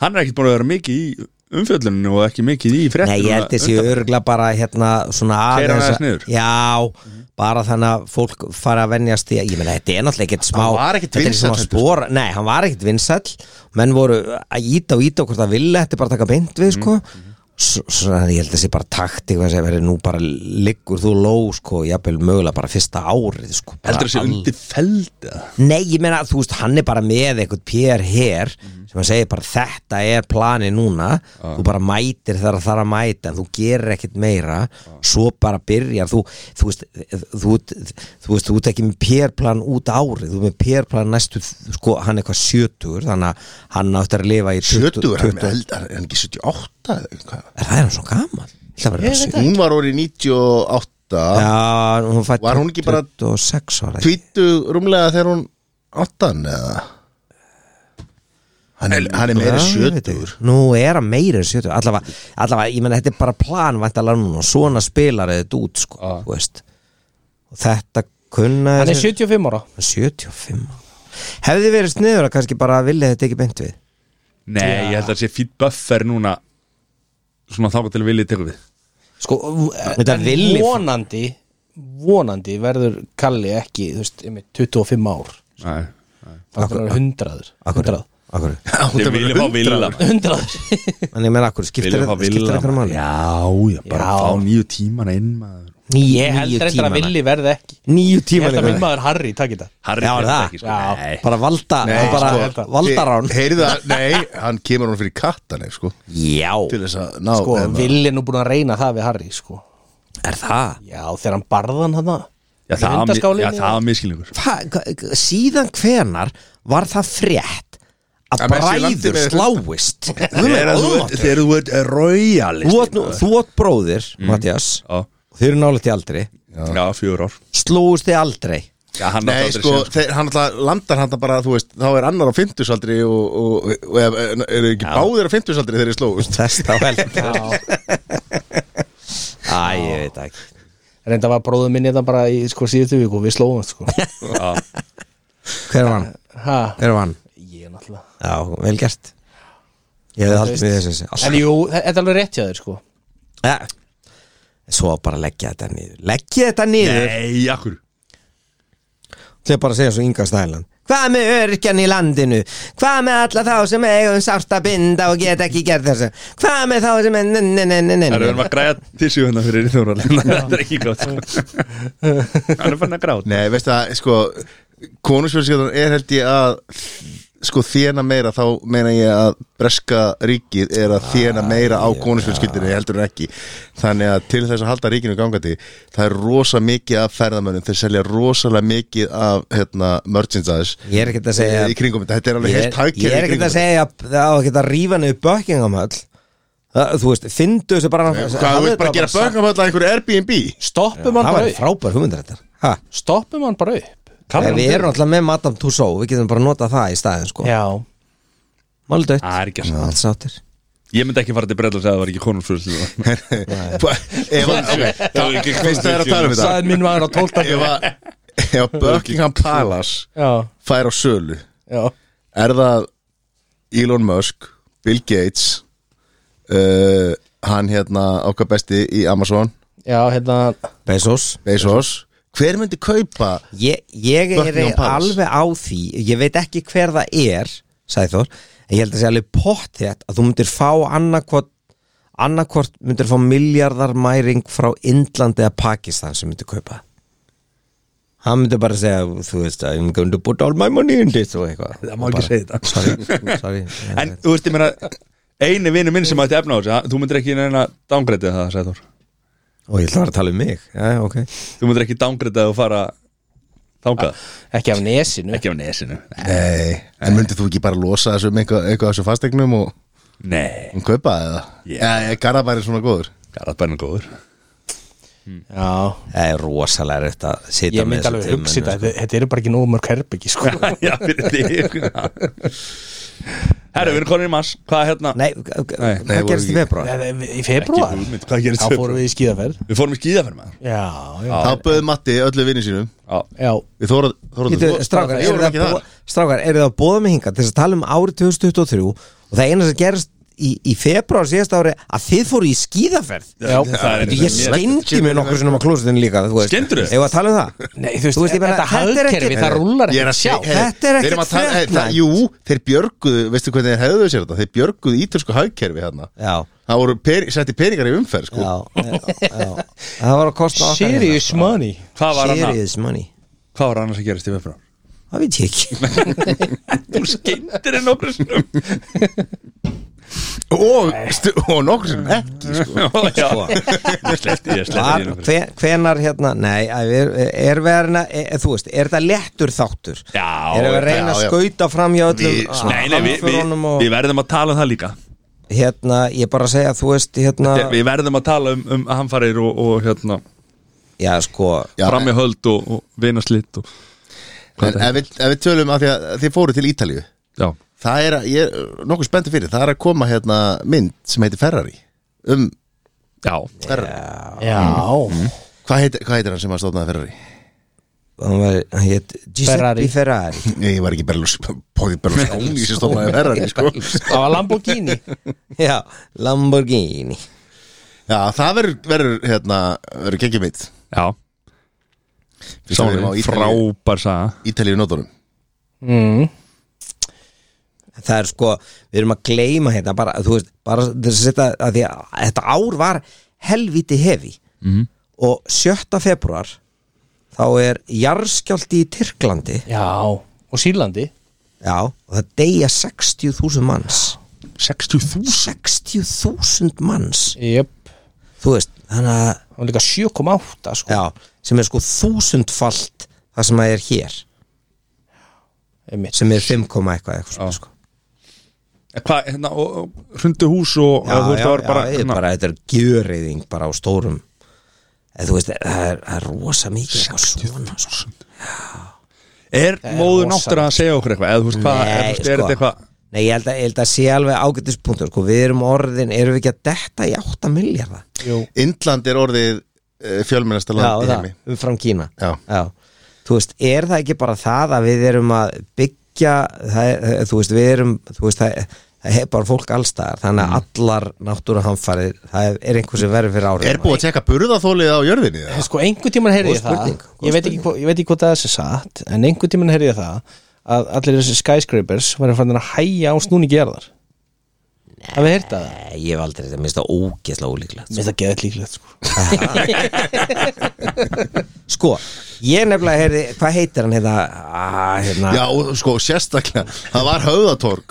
Speaker 1: Hann er ekkert búin að vera mikið í umfjölluninu og ekki mikið í fréttum
Speaker 4: Nei, ég held þessi örgla bara hérna svona
Speaker 1: Keyra hann
Speaker 4: aðeins
Speaker 1: aðeins niður?
Speaker 4: Já, bara þannig að fólk fara að venjast í Ég meina, þetta er náttúrulega ekkert smá
Speaker 3: Hann var ekkert
Speaker 4: þetta er
Speaker 3: vinsæll
Speaker 4: svona
Speaker 3: heldur,
Speaker 4: spora, Nei, hann var ekkert vinsall Menn voru að íta og íta okkur það vilja Þetta er bara að taka beint við,
Speaker 3: Mhm,
Speaker 4: sko S- Svona, ég held þessi bara taktik hvað sem verið nú bara liggur þú ló, sko Jafnvel mögulega bara fyrsta árið, sko bara
Speaker 1: Heldur þessi
Speaker 4: al-
Speaker 1: undir feldið
Speaker 4: Nei, ég meina, þú veist, hann er bara með eitthvað PR hér
Speaker 3: Mhm.
Speaker 4: sem hann segir bara þetta er plani núna þú bara mætir þar að þar að mæta en þú gerir ekkit meira svo bara byrjar, þú, þú veist þú, ert- þú veist, þú ert ekki með PR-plan út árið, þú ert með PR-plan næstu, sko, hann er eitthvað sjötur þannig að hann áttur að lifa í 20
Speaker 3: 70, hann er
Speaker 4: 20
Speaker 3: eld- hann er ekki 78 eða eitthvað.
Speaker 4: Er það er hann svo gaman? Það var bara
Speaker 3: hún var orðið 98
Speaker 4: Já, hún fætt
Speaker 3: Var hún ekki bara
Speaker 4: 26 ára
Speaker 3: tvítu rúmlega þegar hún áttan eða hann er, hann er meira
Speaker 4: Já, ég veit ekki.
Speaker 3: sjötur
Speaker 4: Nú er hann meira en 70 Allavega, allavega ég menn þetta er bara plan vantalega núna og svona spilar þetta út sko,
Speaker 1: Já.
Speaker 4: þú veist og þetta kunna
Speaker 2: hann er
Speaker 4: þessi-
Speaker 2: 75 ára
Speaker 4: 75 Hefði verið sniður að kannski bara vilja þetta ekki beint við
Speaker 1: Nei, ég held að sé fýtt buffer núna Svona þá til viljið tekur við
Speaker 2: sko,
Speaker 4: Þetta
Speaker 2: en
Speaker 4: vilji-
Speaker 2: vonandi vonandi verður Kalli ekki þú veist, einmitt 25 ár
Speaker 1: Nei
Speaker 2: þannig að hundraður hundraður
Speaker 4: Akkur
Speaker 1: Þið viljið fá vilja
Speaker 2: hundraður
Speaker 4: En ég menn akkur skiptir
Speaker 1: Viljum fá
Speaker 4: skiptir
Speaker 1: Villa,
Speaker 4: eitthvað máli
Speaker 1: Já, já, bara
Speaker 2: Já.
Speaker 1: fá nýju tímana inn maður
Speaker 4: Níu
Speaker 2: ég held reyndar að
Speaker 4: tímana
Speaker 2: villi verði ekki
Speaker 4: Nýju
Speaker 2: ég held að minn
Speaker 4: tímana
Speaker 2: maður Harry takk í þetta
Speaker 1: Harry
Speaker 4: Já, er
Speaker 1: gerði
Speaker 4: það?
Speaker 1: ekki, sko.
Speaker 2: Já.
Speaker 1: Nei.
Speaker 4: Bara valda bara
Speaker 2: sko,
Speaker 4: Valdarán
Speaker 3: heyrða, nei, hann kemur hún fyrir kattanef sko,
Speaker 4: Já,
Speaker 3: til þess að ná
Speaker 2: sko,
Speaker 3: eða-
Speaker 2: villi er nú búin að reyna það við Harry sko.
Speaker 4: er það?
Speaker 2: já, þegar hann barðan hann
Speaker 1: Já, það var mi- já, það var miskilningur
Speaker 4: hva, hva- síðan hvenar var það frétt að
Speaker 3: Að Messi landi
Speaker 4: bræður
Speaker 3: með-
Speaker 4: sláist
Speaker 1: Þegar þú ert-
Speaker 4: þú
Speaker 1: þegar þú ert royalist
Speaker 4: átt nú- þú átt bróðir Mattias,
Speaker 1: Já,
Speaker 4: þau eru nálega til aldrei
Speaker 1: já fjögur ár
Speaker 4: slóist þið aldrei
Speaker 1: Já, hann átti
Speaker 3: Nei,
Speaker 1: aldrei
Speaker 3: sko,
Speaker 1: séns,
Speaker 3: þeir, hann alltaf landar hann bara, þú veist, þá er annar á fimmtusaldri og, og, og, og eru ekki báðir á fimmtusaldri þegar þeir slóðust
Speaker 4: þess þá vel Æ, ég veit ekki
Speaker 2: reynda var bróðu minni þetta bara í sko, síðustu viku við slóðum sko.
Speaker 1: Já,
Speaker 4: hver var hann?
Speaker 2: ha,
Speaker 4: Hver var hann?
Speaker 2: ég náttúrulega
Speaker 4: Já, vel gert ég hefði haldið mér þess að
Speaker 2: en jú, þe- þetta er alveg rétt hjá þér sko.
Speaker 4: segja Eh, svo bara leggja þetta niður leggja þetta niður
Speaker 1: Nei, akkur
Speaker 4: Það er bara að segja svo Inga Snæland Hvað með örkjan í landinu? Hvað með alla þá sem eigum sárt að binda og get ekki gert þessu? Hvað með þá sem er... Nei, nei, nei, nei,
Speaker 1: Það er verið
Speaker 4: nei.
Speaker 1: að græja tissu hérna fyrir Þóral Það er ekki grátt sko. Hann er fann að gráta
Speaker 3: Nei, veist það, sko, konungsfjörnsíðan er held ég að sko þjena meira, þá meina ég að breska ríkið er að þjena meira á konungsfjörnskildinni heldur en ekki þannig að til þess að halda ríkinu gangandi það er rosa mikið af ferðamönnum þeir selja rosalega mikið af hérna, merchandise
Speaker 4: Ég er ekkert að segja
Speaker 3: í kringum þetta, þetta er alveg
Speaker 4: Ég
Speaker 3: heilt
Speaker 4: er, ég
Speaker 3: hagkerfi
Speaker 4: er
Speaker 3: í
Speaker 4: ekkert
Speaker 3: kringum
Speaker 4: að segja að það á ekki að rífa niður Buckingham höll Það- Þú veist, fyndu þessu bara
Speaker 3: Hvað, þú veit bara að gera bökum alltaf einhverju Airbnb
Speaker 2: stoppum hann
Speaker 4: Það
Speaker 2: bara
Speaker 4: var
Speaker 2: upp
Speaker 4: frábær hugmyndir þetta Ha,
Speaker 2: stoppum hann bara upp
Speaker 3: um
Speaker 4: en Við erum alltaf með Madame Tussauds Við getum bara notað það í staðin sko.
Speaker 2: já,
Speaker 4: Máldautt,
Speaker 1: Það er ekki að
Speaker 4: allt sáttir
Speaker 1: Ég myndi ekki fara til Bretlands að það var ekki konungsfjörð
Speaker 3: Ef að- ok,
Speaker 1: Það er ekki
Speaker 3: Fyrst það er að tala um þetta
Speaker 2: það er minn maður á 12.
Speaker 3: Ef að- ef að Buckingham Palace
Speaker 2: já,
Speaker 3: fær á sölu
Speaker 2: já
Speaker 3: er það Elon Musk, Bill Gates uh, hann hérna okkar besti í Amazon
Speaker 2: Já, hérna
Speaker 4: Bezos
Speaker 3: Bezos, hver myndi kaupa
Speaker 4: Ég, ég er
Speaker 3: Buckingham Palace.
Speaker 4: alveg á því Ég veit ekki hver það er Sæþór, en ég held að segja alveg pott þett að þú myndir fá annarkvort annarkvort myndir fá miljardar mæring frá Indland eða Pakistan sem myndir kaupa það. Hann myndir bara segja, þú veist I'm going to put all my money in this og eitthvað
Speaker 1: Það má ekki segja þetta
Speaker 4: Sorry, sko, sorry
Speaker 1: En þú veist, ég meina Einu vinu minn sem ætti efna á þessu ha, Þú myndir ekki neina dángreitið það, sagði Þór
Speaker 4: Og ég ætla að vera að tala um mig Já, ok
Speaker 1: Þú myndir ekki dángreitið og fara Þángað
Speaker 2: Ekki af nesinu
Speaker 1: Ah, Ekki á nesinu Nei.
Speaker 3: Nei, en myndi þú ekki bara losa þessu um eitthvað, eitthvað af þessu fastegnum og
Speaker 1: Nei,
Speaker 3: um kaupa eða?
Speaker 1: Yeah.
Speaker 3: Yeah. Eða er Garabæri svona góður?
Speaker 1: það er að bæna góður
Speaker 2: Já,
Speaker 4: Það er rosalega rétt að sitja
Speaker 2: ég myndi
Speaker 4: þessa
Speaker 2: alveg
Speaker 4: fimm
Speaker 2: hugsa
Speaker 4: menn,
Speaker 2: þetta þetta- Þetta eru bara ekki nógu mörg herbyggi sko.
Speaker 1: Já, fyrir þig Herru, við erum konin í mars Hvað er hérna?
Speaker 4: Nei,
Speaker 1: Nei,
Speaker 4: hvað
Speaker 3: nei, voru
Speaker 4: gerist í
Speaker 3: ekki-
Speaker 4: februar?
Speaker 2: Nei, nei, Í februar
Speaker 1: Ekki hugmynd, hvað gerist
Speaker 2: Þá
Speaker 1: í
Speaker 2: fórum við í skíðaferð
Speaker 1: Við fórum í skíðaferð maður
Speaker 2: Já, já,
Speaker 1: Já.
Speaker 3: Þá bauði Matti öllu vinni sínum
Speaker 2: já.
Speaker 3: Við þórað Þórað
Speaker 4: Strákar,
Speaker 3: Ég
Speaker 4: eru
Speaker 3: vorum
Speaker 4: það
Speaker 3: ekki
Speaker 4: búa-
Speaker 3: það
Speaker 4: strákar, eru það að bóða mig hinga til þess að tala um árið 2023 og það eina sem gerist í, í februar síðast ári að þið fóru í skíðaferð
Speaker 2: Já.
Speaker 1: Það er einu
Speaker 4: Ég
Speaker 1: sem ég-
Speaker 4: skeindi mig nokkur sinnum á klósutinu líka þú veist.
Speaker 1: Skemmdirðu?
Speaker 4: Eigum við að tala um það?
Speaker 2: Nei, þú veist,
Speaker 4: Þú veist, ég meina,
Speaker 2: þetta
Speaker 4: þetta er
Speaker 2: hagkerfi,
Speaker 4: ekki-
Speaker 2: það rúlar
Speaker 3: Ég er
Speaker 2: ekki
Speaker 3: að sjá
Speaker 4: Þetta er ekkert fréttnæmt.
Speaker 3: Jú, þeir björguðu, veistu hvernig þeir hefðu sér þetta Þeir björguðu ítölsku hagkerfi hérna
Speaker 4: Já,
Speaker 3: Það voru peri, setti peningar í umferð sko
Speaker 4: já, já, já. Það var að kosta okkar hérna.
Speaker 2: Serious money
Speaker 1: Hvað var annað?
Speaker 4: Serious money
Speaker 1: Hvað var annað sem gerist í februar?
Speaker 4: Það veit ég ekki
Speaker 1: Þú skeindir en okkur snum
Speaker 3: Og, stu- og nokkur sem ekki sko.
Speaker 1: Já Sko. Ég sleppti, ég
Speaker 4: Var,
Speaker 1: sleppti í nokkru.
Speaker 4: hve- Hvenar hérna, nei, æ, er, er verna, er, e- þú veist, er þetta lettur þáttur?
Speaker 1: Já,
Speaker 4: Erum við að reyna
Speaker 3: já,
Speaker 4: að
Speaker 3: já.
Speaker 4: skauta fram hjá öllum
Speaker 3: Við-
Speaker 4: ah,
Speaker 1: Nei, nei, við, við,
Speaker 4: hamförunum og,
Speaker 1: við verðum að tala um það líka
Speaker 4: hérna, ég er bara að segja, þú veist, hérna,
Speaker 1: Við verðum að tala um, um hamfarir og, og hérna,
Speaker 4: já, sko,
Speaker 3: Já,
Speaker 1: frammi höld og, og vinaslitt og,
Speaker 3: En ef við, ef við tölum að því að þið fóru til Ítalíu
Speaker 1: Já,
Speaker 3: Það er að, ég er nokkuð spenntið fyrir Það er að koma hérna mynd sem heitir Ferrari Um
Speaker 1: já
Speaker 3: Ferrari Mhm.
Speaker 2: Já,
Speaker 3: Hvað heitir, hvað heitir hann sem að stofnaði Ferrari?
Speaker 4: hann var, hann hétt, Giuseppe
Speaker 2: Ferrari.
Speaker 4: Ferrari,
Speaker 3: Nei, ég var ekki Berlus Póði Berlusconi sem stofnaði Ferrari sko.
Speaker 2: það var Lamborghini
Speaker 4: já, Lamborghini,
Speaker 3: Já, það verður, verður, hérna, verður gekkið mitt
Speaker 1: Já, Sálega, frábær saga
Speaker 3: Ítalíu nótunum
Speaker 2: mm.
Speaker 4: það er sko, við erum að gleyma hérna, bara, þú veist, bara þess að setja, að því að þetta ár var helviti hefi mm. og 7. februar, þá er jarðskjálti í Tyrklandi,
Speaker 2: Já, og Sýrlandi
Speaker 4: já, og það deyja 60.000 manns.
Speaker 1: 60.000
Speaker 4: 60.000 manns
Speaker 2: Jöp
Speaker 4: þú veist, þannig að
Speaker 2: Það var líka 7,8 sko
Speaker 4: já, sem er sko þúsundfalt það sem að er hér
Speaker 2: Einmitt.
Speaker 4: sem er 5, eitthvað eitthvað svona, sko.
Speaker 1: Hvað, hérna, og, og hrundi hús og og
Speaker 4: já,
Speaker 1: þú
Speaker 4: já,
Speaker 1: veist,
Speaker 4: já,
Speaker 1: það var bara,
Speaker 4: ég er
Speaker 1: hérna,
Speaker 4: bara þetta er gjöriðing bara á stórum eða þú veist, það er, það er rosa mikið eitthvað svona sko.
Speaker 1: Er móður
Speaker 2: rosalegt.
Speaker 1: náttur að segja okkur eitthvað eða þú veist hvað, er,
Speaker 4: Eh, Nei,
Speaker 1: er
Speaker 4: sko.
Speaker 1: þetta eitthvað
Speaker 4: Nei, ég held, að, ég held að sé alveg ágætispunktur sko, við erum orðin, erum við ekki að detta í 8 miljardar
Speaker 2: Jú.
Speaker 3: Indland er orðið uh, fjölmennasta land í
Speaker 4: það,
Speaker 3: heimi
Speaker 4: umfram Kína
Speaker 3: Já.
Speaker 4: Þú veist, er það ekki bara það að við erum að byggja það, er- þú veist, við erum þú veist, það, það hefur bara fólk allstaðar þannig
Speaker 1: Mm.
Speaker 4: að allar náttúruhamfarið það er einhver sem verður fyrir árið
Speaker 3: Er búið að tjekka burðaþólið á jörðinni? eða?
Speaker 2: Sko, einhvern tímann heyrði
Speaker 4: Góð
Speaker 2: ég það
Speaker 4: spurning, góð
Speaker 2: ég veit, ekki, hvo- ég veit ekki hvað það er sér satt En einhvern tímann heyrði ég það Að allir þessi skyscrapers Var að að hæja á snúningi jarðar Það við heyrta það
Speaker 4: Nei, Eh, ég hef aldrei þetta, minnst það ógeðslega ólíklegt
Speaker 2: Mér það geðið líklegt sko
Speaker 4: Sko, ég nefnilega heyrði, hvað heitir hann hérna, ah, hérna
Speaker 3: Já, og sko, sérstaklega Það var höfðatorg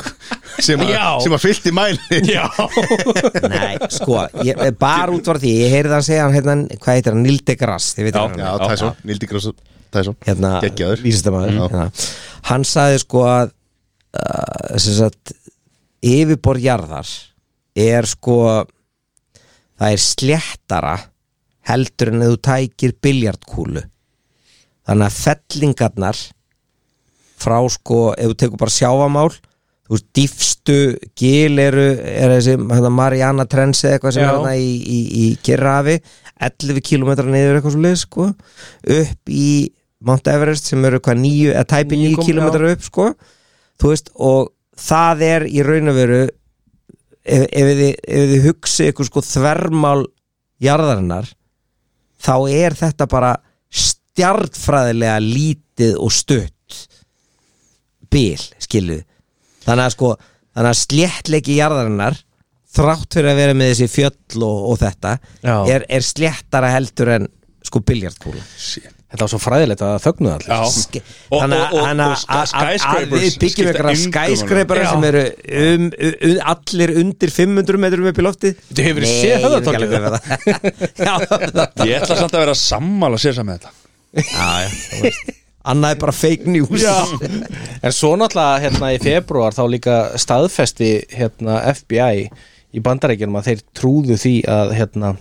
Speaker 3: sem, að-
Speaker 2: Já.
Speaker 3: sem að fyllti mæli
Speaker 2: Já
Speaker 4: Nei, sko, ég, bara út var því ég heyrði hann segja hann, hérna, hvað heitir hann, Nilde Grass, þið veit
Speaker 1: Já,
Speaker 4: hann
Speaker 3: Já, Tæsson, Nildi Grósson Tæsson,
Speaker 4: hérna,
Speaker 3: geggjaður
Speaker 4: vísindamaður
Speaker 3: Já.
Speaker 4: hérna. hann saði sko að uh, sem sagt yfirborð jarðar er sko það er sléttara heldur en að þú tækir biljartkúlu þannig að fellingarnar frá sko ef þú tekur bara sjávamál þú veist, dýfstu gil eru er þessi hérna, Mariana Trensi eða eitthvað sem
Speaker 2: Já.
Speaker 4: er hérna í, í, í Kirrafi 11 km niður eitthvað svo leið sko upp í Mount Everest sem eru hvað 9 eða tæpi 9
Speaker 2: kom-
Speaker 4: km upp sko þú veist og það er í raun og veru ef, ef, þið, ef þið hugsi eitthvað sko þvermál jarðarinnar þá er þetta bara stjartfræðilega lítið og stutt bil, skilu þannig að sko, þannig að sléttleiki jarðarinnar þrátt fyrir að vera með þessi fjöll og, og þetta
Speaker 2: Já.
Speaker 4: er, er sléttara heldur en sko biljartkúla
Speaker 2: Þetta var svo fræðilegt að það þögnuðu allir
Speaker 1: Já.
Speaker 4: Ske-
Speaker 1: Og-
Speaker 4: þannig að-
Speaker 1: og- og-
Speaker 4: þannig
Speaker 1: og
Speaker 4: að
Speaker 1: ska-
Speaker 4: að- að
Speaker 1: skyscrapers
Speaker 4: við byggjum
Speaker 1: skipta
Speaker 4: einhverja
Speaker 1: engu máli.
Speaker 4: skæskreipara
Speaker 2: Já.
Speaker 4: sem eru um, um, um, allir undir 500 metrum upp í lofti
Speaker 2: Þú hefur
Speaker 4: Nei,
Speaker 2: séð
Speaker 4: ég er ekki
Speaker 2: höfðatorgið?
Speaker 4: alveg með það. Já, höfðatorgið.
Speaker 1: Ég ætla samt að vera sammála að segja saman þetta
Speaker 4: Já, já, þú veist. annað er bara fake news
Speaker 2: En svo náttúrulega hérna í februar þá líka staðfesti hérna FBI í bandarækjunum að þeir trúðu því að hérna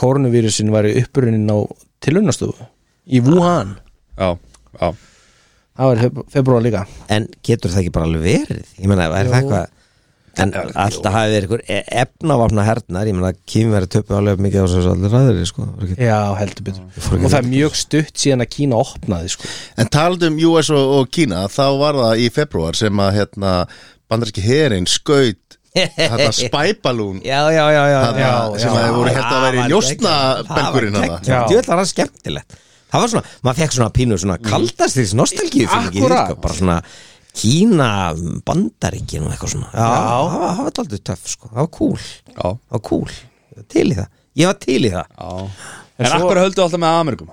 Speaker 2: koronavírusin væri upprunnin á tilunastofu í
Speaker 4: Ah.
Speaker 2: Wuhan
Speaker 1: já, já
Speaker 2: það var februar líka
Speaker 4: en getur það ekki bara alveg verið ég meina, er það eitthvað en alltaf hafi verið ykkur e- efnavopna hernar ég meina, Kim verið töpu alveg mikið á þessu allir ræður sko. Það var ekki-
Speaker 2: já heldur betur og það er mjög stutt síðan að Kína opnaði sko.
Speaker 3: En talandi um US og, og Kína þá var það í februar sem að hérna, bandaríski herin skaut hérna, spæbalún
Speaker 4: já, já, já, já,
Speaker 3: Þarna
Speaker 4: já,
Speaker 3: sem
Speaker 4: já.
Speaker 3: að voru hérna að vera í
Speaker 4: Það var
Speaker 3: njósnabelgurinn
Speaker 4: geggjað.
Speaker 3: þarna.
Speaker 4: það var
Speaker 2: Já.
Speaker 4: djöðlar hann skemmtilegt það var svona, maður fekk svona pínu svona kaldast því nostalgíu
Speaker 2: Akkúrat.
Speaker 4: sko, bara svona Kína bandaríkin og eitthvað svona já, það var, það var aldrei töff sko, það var cool
Speaker 1: Já.
Speaker 4: það var cool, Ég var til í það ég var til í það,
Speaker 1: En
Speaker 2: svo-
Speaker 1: akkur höldu alltaf með Amerikum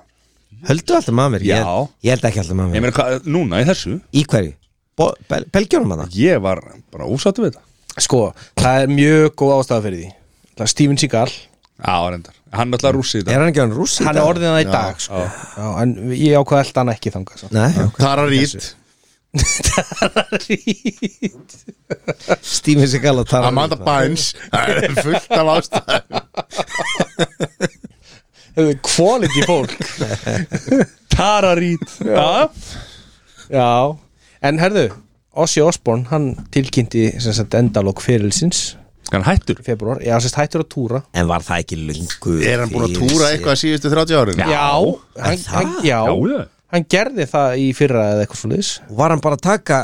Speaker 4: höldu alltaf maður mér ég,
Speaker 1: Já.
Speaker 4: ég held ekki alltaf maður
Speaker 1: Ég
Speaker 4: mér
Speaker 1: meina, hva- núna í þessu
Speaker 4: í hverju, Bo- Bel- Belgjónum að það
Speaker 1: Ég var bara ósáttu við þetta
Speaker 2: sko, það er mjög góð ástæða fyrir því Það er Steven Seagal,
Speaker 1: Já, reyndar Hann er alltaf rússi í
Speaker 4: er
Speaker 1: þetta
Speaker 4: hann ekki hann rússi
Speaker 2: hann er orðin það í dag sko. já, en ég ákvað held hann ekki þangað sko. svo.
Speaker 4: Nei, ok.
Speaker 3: Tara Reid,
Speaker 4: Steven Seagal og Tara
Speaker 3: Amanda
Speaker 4: Reid.
Speaker 3: Bynes Það er fullt af ástæðum
Speaker 2: Hefur quality fólk
Speaker 1: Tararít Já,
Speaker 2: já, en herðu Ossi Osborn, hann tilkynnti sem sagt endalók fyrirlsins
Speaker 1: hann hættur
Speaker 2: í februar, já, sérst hættur að túra
Speaker 4: en var það ekki lungu
Speaker 3: Er hann búin að túra eitthvað síðustu 30 árin?
Speaker 2: hann,
Speaker 4: það?
Speaker 2: hann, já,
Speaker 1: Já, já.
Speaker 2: hann gerði það í fyrra eða eitthvað svo liðis
Speaker 4: var hann bara að taka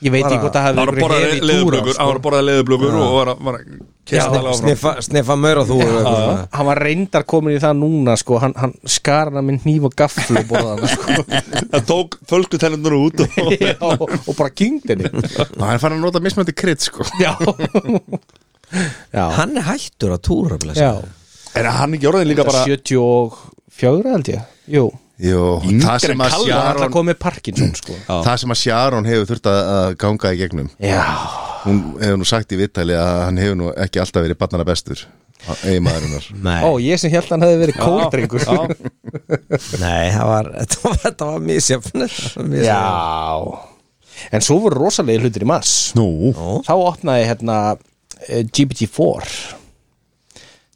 Speaker 2: ég veit
Speaker 4: Bara-
Speaker 2: ekki hvort það
Speaker 1: Hann var að
Speaker 2: hefði
Speaker 1: borða
Speaker 2: verið hefði túra sko.
Speaker 1: leðublökur Hann var að borða leðublökur og var að, var að
Speaker 2: Já,
Speaker 1: kesta alveg áfram
Speaker 4: sniffa, sniffa maur og þú já,
Speaker 2: hann var reyndar komin í það núna sko, hann, hann skar hana með hníf og gaflu borðan, sko.
Speaker 1: Það tók fölskutennundur út og
Speaker 2: já, og bara kynkt henni
Speaker 3: Ná, hann fann að nota mismöndi krydd sko
Speaker 2: já já,
Speaker 4: hann er hættur að túra um
Speaker 2: já.
Speaker 4: blessa.
Speaker 1: Er hann ekki orðin líka bara
Speaker 2: 74 held ég jú,
Speaker 3: Jú,
Speaker 1: Yngri
Speaker 3: það sem,
Speaker 1: Kalli.
Speaker 2: hann var
Speaker 3: að
Speaker 2: alltaf
Speaker 3: Sharon,
Speaker 2: komið með Parkinson sko.
Speaker 3: það sem að Sharon hefur þurft að að ganga í gegnum
Speaker 2: já,
Speaker 3: Hún hefur nú sagt í vittali að hann hefur nú ekki alltaf verið barnana bestur Egi maðurinnar
Speaker 4: nei,
Speaker 2: ó ég sem held hann hefði verið kóldrengur
Speaker 1: Já,
Speaker 4: nei það var, þetta var, þetta var misjöfn þetta var misjöfn.
Speaker 2: já en svo voru rosalegi hlutir í mass
Speaker 1: Nú
Speaker 2: þá opnaði hérna eh, GPT-4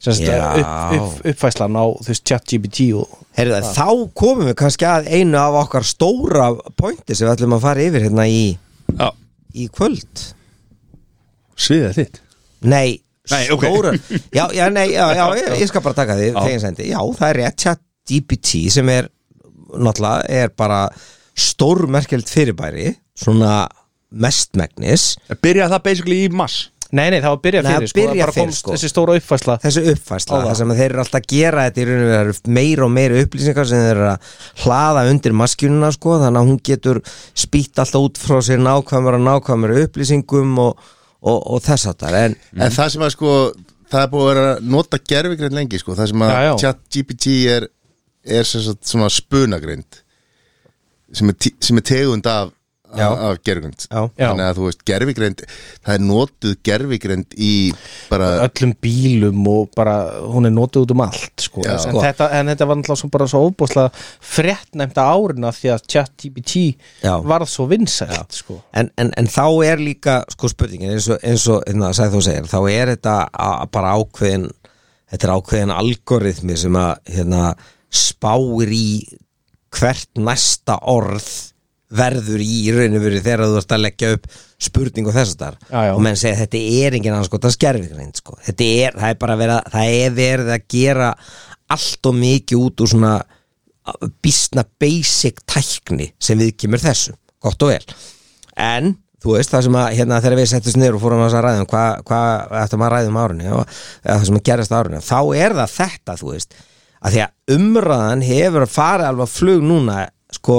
Speaker 2: sem sagt
Speaker 4: Já.
Speaker 2: upp, upp, uppfæslan á þú veist chat GPT og
Speaker 4: Heyrðu, þá komum við kannski að einu af okkar stóra pointi sem við ætlum að fara yfir hérna í,
Speaker 1: Já,
Speaker 4: í kvöld
Speaker 1: sviðið þitt
Speaker 4: Nei,
Speaker 1: Nei, ok.
Speaker 4: stóra Já, já, nei, já, já, ég, ég skal bara taka því þeginsendi, já, það er rétt chat GPT sem er, náttúrulega er bara stórmerkjöld fyrirbæri, svona mestmegnis,
Speaker 1: Byrjaði það basically í mass
Speaker 2: nei nei það var að byrja
Speaker 4: Nei,
Speaker 2: fyrir sko,
Speaker 4: byrja
Speaker 2: það bara
Speaker 4: fyrir,
Speaker 2: komst
Speaker 4: sko.
Speaker 2: þessi stóra uppfæsla
Speaker 4: þessu
Speaker 2: Á,
Speaker 4: uppfærsla
Speaker 2: það.
Speaker 4: það sem að þeir eru alltaf að gera þetta í rauninu það eru meira og meira upplýsingar sem þeir eru að hlaða undir maskjununa sko þannig að hún getur spýtt alltaf út frá sér nákvæmur og nákvæmur upplýsingum og, og, og þess að það en
Speaker 3: En
Speaker 2: Mhm.
Speaker 3: það sem að sko Það er búið að vera að nota gerfigreind lengi sko Það sem að
Speaker 2: Já, já.
Speaker 3: chat GPT er Er sem sagt svona spunagreind Sem er, tí- sem er tegund af
Speaker 4: Já.
Speaker 3: Af, af gerfigreind
Speaker 4: Já.
Speaker 2: Já.
Speaker 3: Þannig að þú veist gerfigreind Það er notuð gerfigreind í Bara
Speaker 2: öllum bílum og bara hún er notið út um allt sko.
Speaker 3: Já.
Speaker 2: en,
Speaker 4: Sko.
Speaker 2: Þetta, en þetta var náttúrulega svo bara svo óbúslega frettnæmta árina því að ChatGPT
Speaker 4: Já.
Speaker 2: varð svo vinsælt sko.
Speaker 4: en, en, en þá er líka sko spurningin eins og, eins og hérna, sagði þú segir þá er þetta a- bara ákveðin þetta er ákveðin algoritmi sem að hérna, spáir í hvert næsta orð verður í í rauninu verið þegar þú ert að leggja upp spurning og þess að
Speaker 2: Já, já.
Speaker 4: og menn segja þetta er engin annars sko, það skerfið greint sko. þetta er, það er bara verið að, það er verið að gera allt og mikið út úr svona býstna basic tækni sem við kemur þessu, gott og vel en þú veist það sem að hérna þegar við settum niður og fórum að ræðum hvað hva, eftir maður ræðum árunni og um eða það sem að gerast á árunni þá er það þetta þú veist að því að umræðan hefur farið alveg að flug núna sko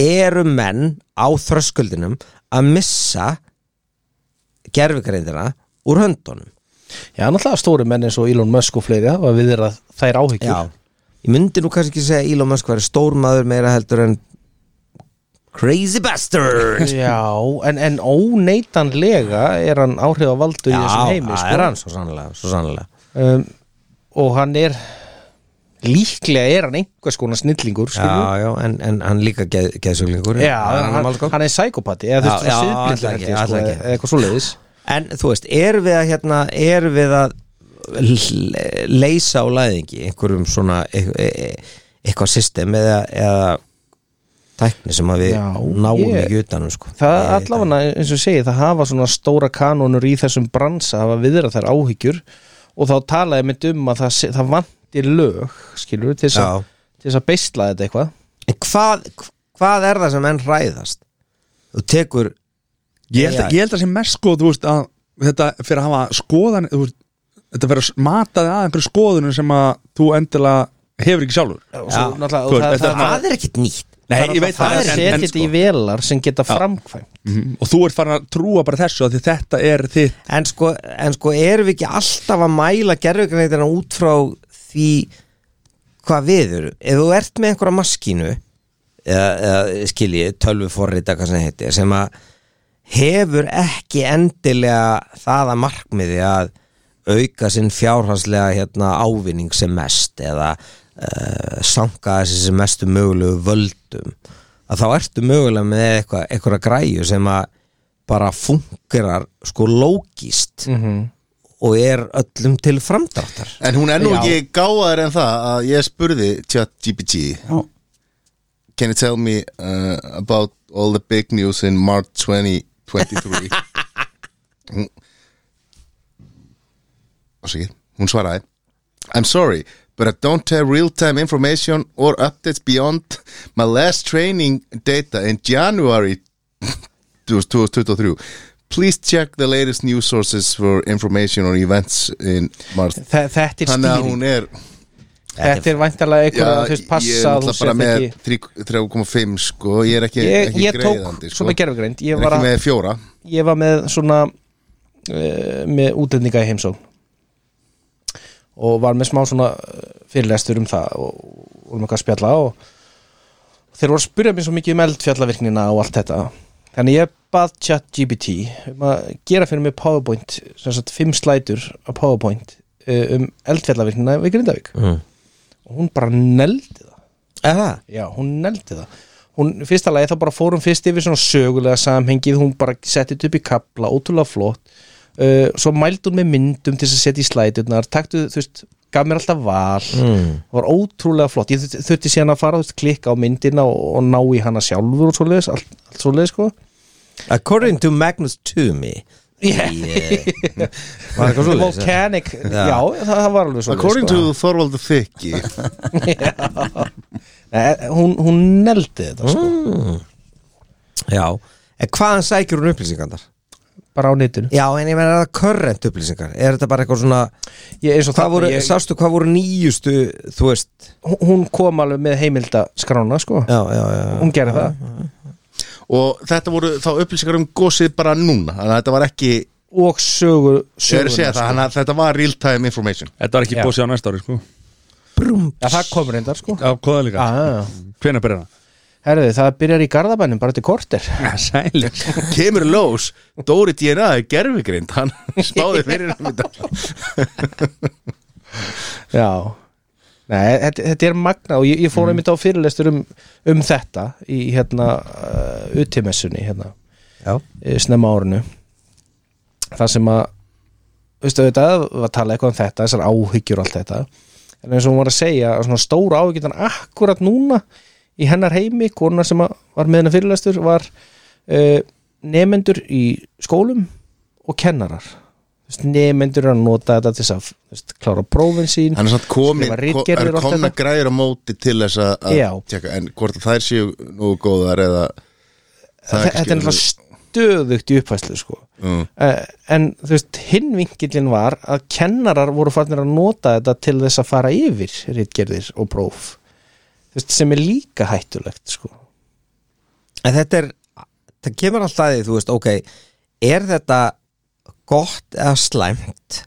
Speaker 4: eru menn á þröskuldinum að missa gerfugreindina úr höndunum
Speaker 2: Já, náttúrulega stóri menn eins og Elon Musk og fleiri hafa við þeirra þær áhyggjur
Speaker 4: Já, ég myndi nú kannski ekki segja Elon Musk væri stór maður meira heldur en Crazy Bastard
Speaker 2: Já, en, en óneitanlega er hann áhrif að valdu í þessum heimi
Speaker 4: það
Speaker 2: sko.
Speaker 4: er hann svo sannlega, svo sannlega.
Speaker 2: um, og hann er líklega er hann einhvers konar snillingur skilju.
Speaker 4: Já, já, en, en hann líka geð, geðsuglingur
Speaker 2: já hann,
Speaker 4: hann, sko.
Speaker 2: hann, hann er sækopati eða þú veist
Speaker 4: Já, já,
Speaker 2: siðblindur held
Speaker 4: allavega ekki,
Speaker 2: ég, sko,
Speaker 4: allavega
Speaker 2: eða
Speaker 4: ekki.
Speaker 2: eitthvað svo leiðis
Speaker 4: En þú veist, er við að hérna, er við að l- leysa á læðingi einhverjum svona e- e- eitthvað system eða, eða tækni sem að við
Speaker 2: Já,
Speaker 4: náum
Speaker 2: ég-
Speaker 4: ekki utanum sko.
Speaker 2: Það
Speaker 4: Ég-
Speaker 2: allavega, eins og ég segi, það hafa svona stóra kanónur í þessum bransa hafa viðra þær áhyggjur og þá talaði mitt um að það, sé- það vanti lög, skilur til þess
Speaker 4: Já.
Speaker 2: að- til þess að beisla þetta eitthvað
Speaker 4: En hvað, hvað er það sem enn ræðast? Þú tekur
Speaker 1: Ég held,
Speaker 4: Já.
Speaker 1: að, ég held að sem mest sko, þú veist, að þetta fyrir að hafa skoðan þú veist, þetta fyrir að mata þig að einhverju skoðunum sem að þú endilega hefur ekki sjálfur
Speaker 2: og svo
Speaker 4: Já.
Speaker 2: náttúrulega
Speaker 1: Þú
Speaker 2: og það,
Speaker 1: veist,
Speaker 2: það,
Speaker 1: þetta-
Speaker 2: það,
Speaker 4: Það er ekkit nýtt
Speaker 1: Nei,
Speaker 2: það,
Speaker 1: ég veit
Speaker 2: það,
Speaker 1: það,
Speaker 2: það
Speaker 1: en-
Speaker 2: setja
Speaker 1: en
Speaker 2: þetta
Speaker 1: sko-
Speaker 2: í velar sem geta framkvæmt
Speaker 1: Mhm. og þú ert farin að trúa bara þessu af því þetta er þitt
Speaker 4: En sko, en sko erum við ekki alltaf að mæla gerfugreinirna út frá því hvað við eru Ef þú ert með einhverja maskínu eða, eða skilji, tölvuforrita hvað sem það heitir sem að hefur ekki endilega það að markmiði að auka sinn fjárhanslega hérna, ávinning sem mest eða uh, sanga þessi sem mestu mögulegu völdum að þá ertu mögulega með eitthvað, eitthvað græju sem að bara fungerar sko lógist og er öllum til framdráttar
Speaker 3: En hún er
Speaker 2: Já.
Speaker 3: nú ekki gáðar en það að ég spurði chat GPT
Speaker 1: Já.
Speaker 3: Can you tell me uh, about all the big news in March 2023 Hún Ásakið, hún svaraði I'm sorry, but I don't have real-time information or updates beyond my last training data in January 2023 Please check the latest news sources for information on events in March
Speaker 2: Þa, þetta er
Speaker 3: Þannig að
Speaker 2: stýring
Speaker 3: hún er
Speaker 2: þetta er væntalega eitthvað að þú veist
Speaker 3: ég er
Speaker 2: passa að þú
Speaker 3: náttúrulega
Speaker 2: set
Speaker 3: bara með
Speaker 2: ekki
Speaker 3: 3 3,5 sko, ég er ekki,
Speaker 2: ég,
Speaker 3: ekki
Speaker 2: ég tók
Speaker 3: greiðandi sko.
Speaker 2: svona gerfugreind
Speaker 3: ég
Speaker 2: ég
Speaker 3: er
Speaker 2: var,
Speaker 3: ekki
Speaker 2: að,
Speaker 3: með fjóra
Speaker 2: ég var með svona uh, með útlendinga í heimsókn og var með smá svona eh, fyrirlestur um það og, og um eitthvað að spjalla og þeir voru að spyrja mér svo mikið um eldfjallavirknina og allt þetta þannig ég bað chat GPT um að gera fyrir mig powerpoint sem sagt fimm slætur á powerpoint eh, um eldfjallavirknina við Grindavík
Speaker 4: mm.
Speaker 2: og hún bara neldi það
Speaker 4: Er það?
Speaker 2: Já, hún neldi það hún, Fyrsta lagi þá bara fór hún fyrst yfir svona sögulega samhengið, hún bara setti þetta upp í kapla, ótrúlega flott uh, svo mældi hún með myndum til þess að setja í slæturnar, taktu, þú veist gaf mér alltaf val,
Speaker 4: Mm.
Speaker 2: var ótrúlega flott ég þur- þurfti síðan að fara, þú veist, klikka á myndina og, og ná í hana sjálfur og svoleiðis allt, allt svoleiðis, sko
Speaker 4: According to Magnus Toomey eh,
Speaker 2: Yeah.
Speaker 4: yeah. Var eitthvað
Speaker 2: The
Speaker 4: svoleiðis, eða?
Speaker 2: Volcanic, já, það, það var alveg svoleiðis
Speaker 3: According
Speaker 2: sko.
Speaker 3: to Thorvald the Thicky
Speaker 2: Nei, Eh, hún, hún neldi þetta,
Speaker 4: Mm.
Speaker 2: sko
Speaker 4: Já, en hvaðan sækir hún upplýsingarnar?
Speaker 2: bara á netinu
Speaker 4: Já, en ég meina er það current upplýsingar Er þetta bara eitthvað svona
Speaker 2: ég, eins og
Speaker 4: hvað
Speaker 2: það
Speaker 4: voru,
Speaker 2: ég,
Speaker 4: Sástu hvað voru nýjustu, þú veist
Speaker 2: hún- hún kom alveg með heimildaskrána, sko
Speaker 4: Já, já, já
Speaker 2: hún gerði það
Speaker 3: og þetta voru þá upplýsingar um gósið bara núna þannig að þetta var ekki
Speaker 2: og sögu
Speaker 3: ég er að
Speaker 2: söguna,
Speaker 3: segja það,
Speaker 2: sko.
Speaker 3: þannig að þetta var real time information
Speaker 1: þetta var ekki
Speaker 2: Já.
Speaker 1: bósið á næsta ári sko.
Speaker 4: Brum.
Speaker 2: ja, það kom reyndar sko
Speaker 1: á kóða líka,
Speaker 2: ah, já, já.
Speaker 1: hvenær byrjar
Speaker 2: herðu það byrjar í Garðabænum bara til korter
Speaker 1: það? sælir
Speaker 3: kemur í ljós, Dóri DNA er gerfigrind, hann spáði fyrir um þetta
Speaker 2: já Mm. Nei, þetta, þetta er magna og ég, ég fór einmitt á fyrirlestur um, um þetta í hérna uh, utimessunni hérna
Speaker 4: Já,
Speaker 2: eh, snemma á árinu það sem að veistu auðvitað var að tala eitthvað um þetta þessar áhyggjur og allt þetta en eins og hún var að segja að svona stóra áhyggjutan akkurat núna í hennar heimi konar sem að var með hennar fyrirlestur var uh, nefendur í skólum og kennarar Þú veist, nefendur eru að nota þetta til þess að þú veist, klára prófin sín
Speaker 3: hann er samt komin,
Speaker 2: Skrifa
Speaker 3: ko-
Speaker 2: ritgerðir
Speaker 3: er
Speaker 2: og allt
Speaker 3: komna
Speaker 2: þetta.
Speaker 3: græður á móti til þess að-
Speaker 2: Já.
Speaker 3: að tjekka, en hvort að þær séu nú góðar eða það
Speaker 2: þetta er
Speaker 3: ekki
Speaker 2: náttúrulega
Speaker 3: skilur-
Speaker 2: stöðugt í uppfæslu sko.
Speaker 3: Mm.
Speaker 2: uh, en þú veist hinn vingillin var að kennarar voru farnir að nota þetta til þess að fara yfir rítgerðir og próf þú veist sem er líka hættulegt sko.
Speaker 4: En þetta er, það kemur alltaf að því, þú veist, ok, er þetta gott eða slæmt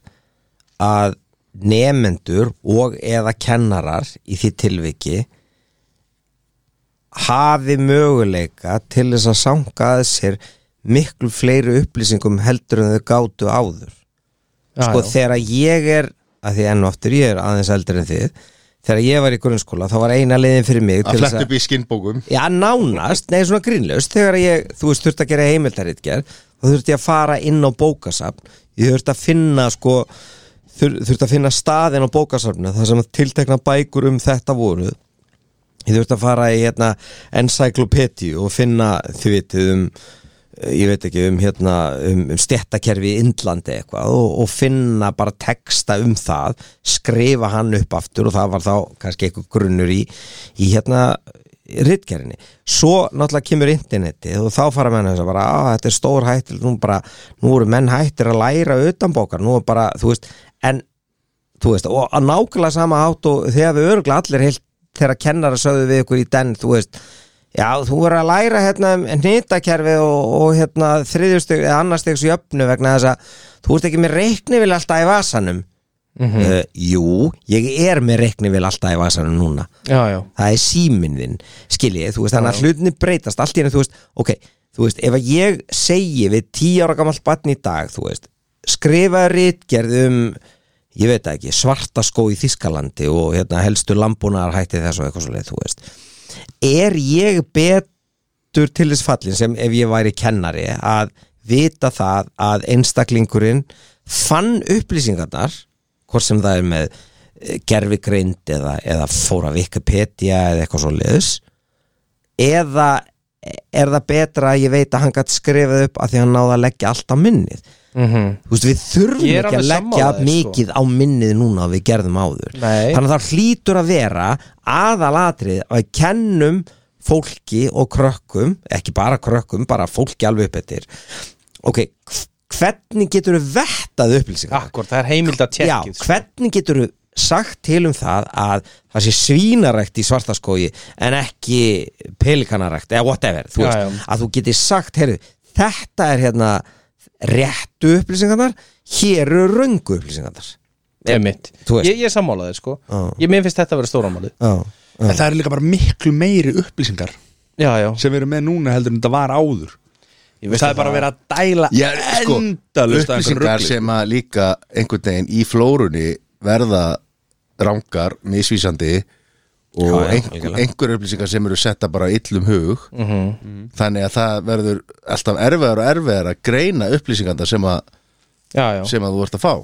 Speaker 4: að nefendur og eða kennarar í því tilviki hafi möguleika til þess að sanga að sér miklu fleiri upplýsingum heldur en þau gátu áður sko
Speaker 2: Já, já.
Speaker 4: þegar ég er að því enn og aftur ég er aðeins eldri en þið þegar ég var í grunnskóla þá var eina leiðin fyrir mig til
Speaker 3: að
Speaker 4: þess
Speaker 3: fletta upp í skinnbókum
Speaker 4: Já, nánast, nei, svona grínlaust þegar ég, þú veist, þurft að gera heimildaritgerð þá þurfti ég að fara inn á bókasafn ég þurfti að finna, sko þur, þurfti að finna staðin á bókasafninu þar sem tiltekna bækur um þetta voru ég þurfti að fara í hérna encyclopedia og finna þið vitið um eh, ég veit ekki um hérna um, um stjættakerfi í Indlandi eitthvað og, og finna bara texta um það skrifa hann upp aftur og það var þá kannski eitthvað grunnur í í hérna rittgerinni svo náttúrulega kemur internetið og þá fara menn þess að bara að þetta er stór hættil nú, bara, nú eru menn hættir að læra utanbókar nú er bara, þú veist, en þú veist, og að nákvæmlega sama hátt og þegar við örgulega allir heilt þegar kennara sögðu við ykkur í den, þú veist já, þú verður að læra hérna hnitakerfi og, og hérna þriðjusteg eða annarstegs jöfnu vegna þess að þú ert ekki með reikni vil alltaf í vasanum uh, jú, ég er með reikni vil alltaf í vasanum núna
Speaker 2: já, já,
Speaker 4: það er síminn þinn, skiljið, þú veist, þannig að hlutinni breytast allt í henni, þú veist, ok, þú veist, ef að ég segi við tíu ára gamalt barn í dag, þú veist, skrifa rítgerð um, ég veit það ekki, svartaskó í Þískalandi og hérna helstu lambunar hætti þess og eitthvað svo leið, þú veist, er ég betur til þess fallin sem ef ég væri kennari að vita það að einstaklingurinn fann upplýsingarnar hvort sem það er með gerfigreind eða, eða fóra Wikipedia eða eitthvað svo liðs eða er það betra að ég veit að hann gætt skrifað upp að því hann náði að leggja allt á minnið
Speaker 2: Mhm.
Speaker 4: þú veist við þurfum
Speaker 2: Ég er
Speaker 4: ekki að
Speaker 2: alveg
Speaker 4: leggja
Speaker 2: sammála þér, sko.
Speaker 4: mikið á minnið núna að við gerðum áður
Speaker 2: Nei.
Speaker 4: þannig að það hlýtur að vera aðalatrið að við kennum fólki og krökkum ekki bara krökkum, bara fólki alveg upp eftir ok, hv- hvernig getur við vettað upplýsingar
Speaker 2: akkur, það er heimild að sko.
Speaker 4: Já,
Speaker 2: tjekkið
Speaker 4: hvernig getur þú sagt til um það að það sé svínarækt í svartaskói en ekki pelikanarækt eða whatever, þú
Speaker 2: Já,
Speaker 4: veist,
Speaker 2: já.
Speaker 4: að þú geti sagt heyrðu, þetta er hérna réttu upplýsingarnar hér eru röngu upplýsingarnar
Speaker 2: Einmitt.
Speaker 4: Þú veist.
Speaker 2: ég, ég sammálaði sko
Speaker 4: Já.
Speaker 2: ég mér finnst þetta að vera stóramáli
Speaker 4: Já,
Speaker 1: En það eru líka bara miklu meiri upplýsingar
Speaker 2: já, já.
Speaker 1: sem við erum með núna heldur en þetta var áður Það er bara að vera að dæla
Speaker 3: Ég, sko,
Speaker 1: endalaust að einhverju
Speaker 3: upplýsingar
Speaker 1: rugli.
Speaker 3: sem að líka einhvern veginn í flórunni verða rangar, misvísandi og
Speaker 4: Já, já,
Speaker 3: einhver,
Speaker 4: algjörlega.
Speaker 3: einhver upplýsingar sem eru setta bara illum hug
Speaker 2: Mhm.
Speaker 3: -hmm. þannig að það verður alltaf erfiðar og erfiðar að greina upplýsingarna sem, að-
Speaker 2: já, já.
Speaker 3: sem að þú ert að fá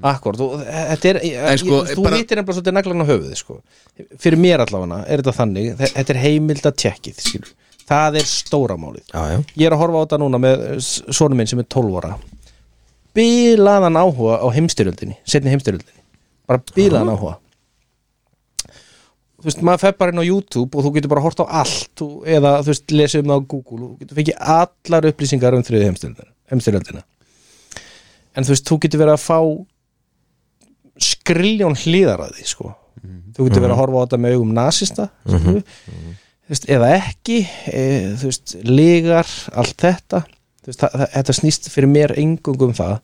Speaker 2: Akkur, þú, þetta er,
Speaker 3: Mhm. En sko,
Speaker 2: ég, þú
Speaker 3: bara-
Speaker 2: hittir nefnilega svolítið naglan á höfuði sko. fyrir mér allavega er þetta þannig þe- þetta er heimild að tjekkið skilur. það er stóramálið
Speaker 4: já, já
Speaker 2: ég er að horfa á þetta núna með sonu minn sem er 12 ára bílaðan áhuga á heimstyrjöldinni setni heimstyrjöldinni, bara bílaðan áhuga þú veist, maður fer bara inn á YouTube og þú getur bara hort á allt og, eða þú veist, lesið um það á Google og þú getur fengið allar upplýsingar um þriði heimstyrjöldina, heimstyrjöldina en þú veist, þú getur verið að fá skriljón hlýðar að því, sko þú getur verið að horfa á þetta með augum nasista mm þú veist, eða ekki e, þú veist, ligar, allt þetta þú veist, það, það, þetta snýst fyrir mér engungum það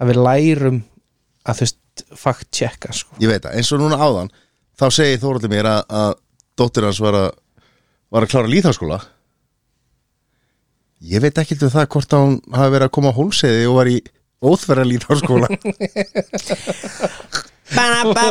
Speaker 2: að við lærum að þú veist, fakt tjekka sko.
Speaker 3: ég veit það, eins og núna áðan þá segi Þóraldi mér að, að dóttir hans var að, var að klára líðháskóla ég veit ekkert um það hvort að hún hafi verið að koma á hólseði og var í óþverra líðháskóla
Speaker 2: þú,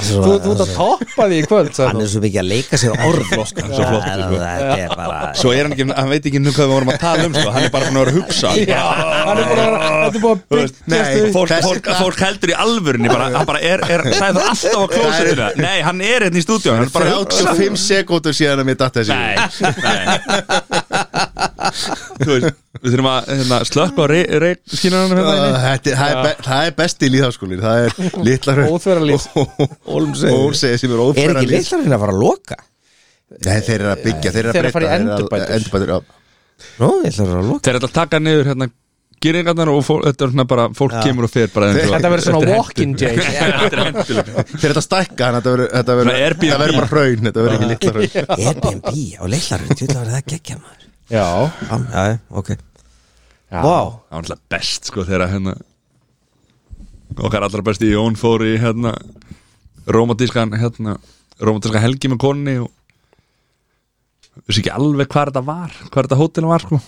Speaker 2: þú ert að toppa því í kvöld sagði
Speaker 4: Hann
Speaker 2: þú.
Speaker 4: er svo mikið að leika sér orð
Speaker 1: svo flottur, sko.
Speaker 4: Þetta er bara
Speaker 1: Svo er hann ekki, hann veit ekki nú hvað við vorum að tala um sko. Hann er bara búin að vera að hugsa
Speaker 2: Já, hann er búin að þetta er búin að
Speaker 1: Þú veist, Nei,
Speaker 2: byggjast upp
Speaker 1: fólk, fólk, fólk heldur í alvörunni bara, hann bara er, er, sagði það alltaf á klósetuna Nei, hann er hérna í stúdíu Hann er bara að hugsa
Speaker 3: 35 sekúndur síðan að mér datt þessi
Speaker 1: Nei, nei Þú veist, við þurfum að hérna, slökka á reikskínanum hérna
Speaker 3: Uh,
Speaker 1: inni.
Speaker 3: þetta, það, er be, það er besti líðháskólin það er litla
Speaker 2: Óþverra líð.
Speaker 4: Hólmsheiði.
Speaker 3: Hólmsegi sem er
Speaker 4: Er
Speaker 3: óþverra
Speaker 4: ekki
Speaker 3: líð
Speaker 4: litlarinn að fara að loka?
Speaker 3: Nei, þeir eru að byggja, þeir eru að
Speaker 2: Þeir eru að
Speaker 3: breyta
Speaker 2: fara í
Speaker 3: þeir eru að-
Speaker 2: endurbætur.
Speaker 3: endurbætur, já.
Speaker 4: Nú, litlarinn að loka
Speaker 1: Þeir ætla að taka niður hérna Gyringarnar og fólk, þetta er svona bara Fólk kemur og fer bara eins og-
Speaker 2: Þetta verður
Speaker 1: Þetta
Speaker 2: svona
Speaker 1: er
Speaker 2: walk-in
Speaker 1: hentugt.
Speaker 2: jail
Speaker 1: Þetta er hendulega
Speaker 3: Þeir eru að stækka, þannig að þetta verður- þetta verður
Speaker 1: Svona Airbnb.
Speaker 3: þetta verður bara hraun, þetta verður ekki litla hraun
Speaker 4: Airbnb á litlarinn, þetta var það gekkja maður
Speaker 2: Já,
Speaker 4: Já, já, ok
Speaker 2: já.
Speaker 4: Vá,
Speaker 1: Það var alltaf best sko þegar hérna okkar allra besti Jón fór í hérna romantískan hérna romantískan helgi með konni og vissi ekki alveg hvað þetta var hvað þetta hótel var sko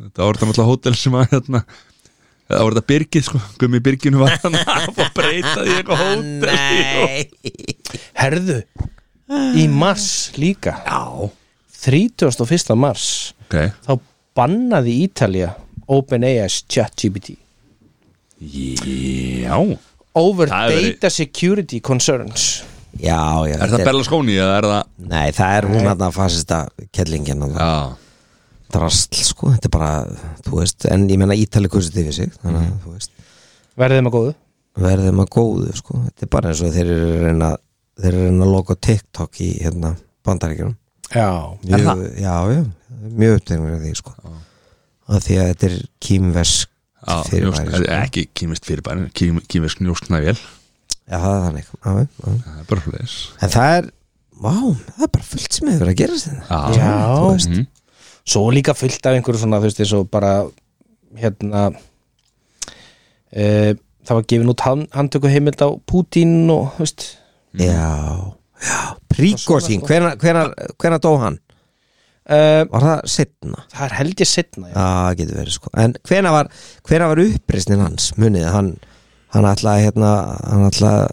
Speaker 1: þetta var þetta náttúrulega hótel sem að hérna það var þetta Birgið sko Gummi Birginu var hann að fá breyta því í eitthvað hótel
Speaker 4: Nei
Speaker 2: Herðu, í mars líka
Speaker 1: Já
Speaker 2: 31. mars
Speaker 1: Ok
Speaker 2: þá bannaði Ítalja OpenAI's ChatGPT
Speaker 1: Já
Speaker 2: Over
Speaker 1: Það hefur
Speaker 2: data security concerns
Speaker 4: já, já
Speaker 1: Er
Speaker 4: þetta
Speaker 1: það Berlusconi eða er það
Speaker 4: Nei, það er hún að fasista kellingin að
Speaker 1: Já,
Speaker 4: drasl, sko, þetta er bara þú veist, en ég menna ítali kursið yfir sig þannig að, þú veist,
Speaker 2: Verðið með góðu
Speaker 4: verðum að góðu, sko þetta er bara eins og þeir eru að reyna þeir eru að reyna að loka á TikTok í hérna, bandaríkjunum
Speaker 2: Já
Speaker 4: mjög, Já, já, mjög upptegnur af því, sko að því að þetta er kýmversk
Speaker 1: já njósn,
Speaker 4: fyrirbæri, sko.
Speaker 1: ekki kýmist fyrirbæri kým, Kýmist njósknavél
Speaker 4: Já, það er þannig já, já, já.
Speaker 1: Það er bara hlæðis
Speaker 4: En það er, vá, það er bara fullt sem hefur verið að gera þetta
Speaker 1: Já,
Speaker 4: þú veist.
Speaker 1: Mhm.
Speaker 2: Svo líka fullt af einhverju svona þú veist eins og bara hérna e, það var gefin út hand, handtöku heimild á Putin og þú veist
Speaker 1: Mm.
Speaker 4: Já, já, príkosín hvenær, hvenær, hvenær dó hann?
Speaker 2: e,
Speaker 4: Var það setna?
Speaker 2: það er held ég setna já.
Speaker 4: Já, það getur verið sko En hvenær var, hvenær var uppreisnin hans? Munið, þið, hann, hann ætlaði hérna Hann ætlaði,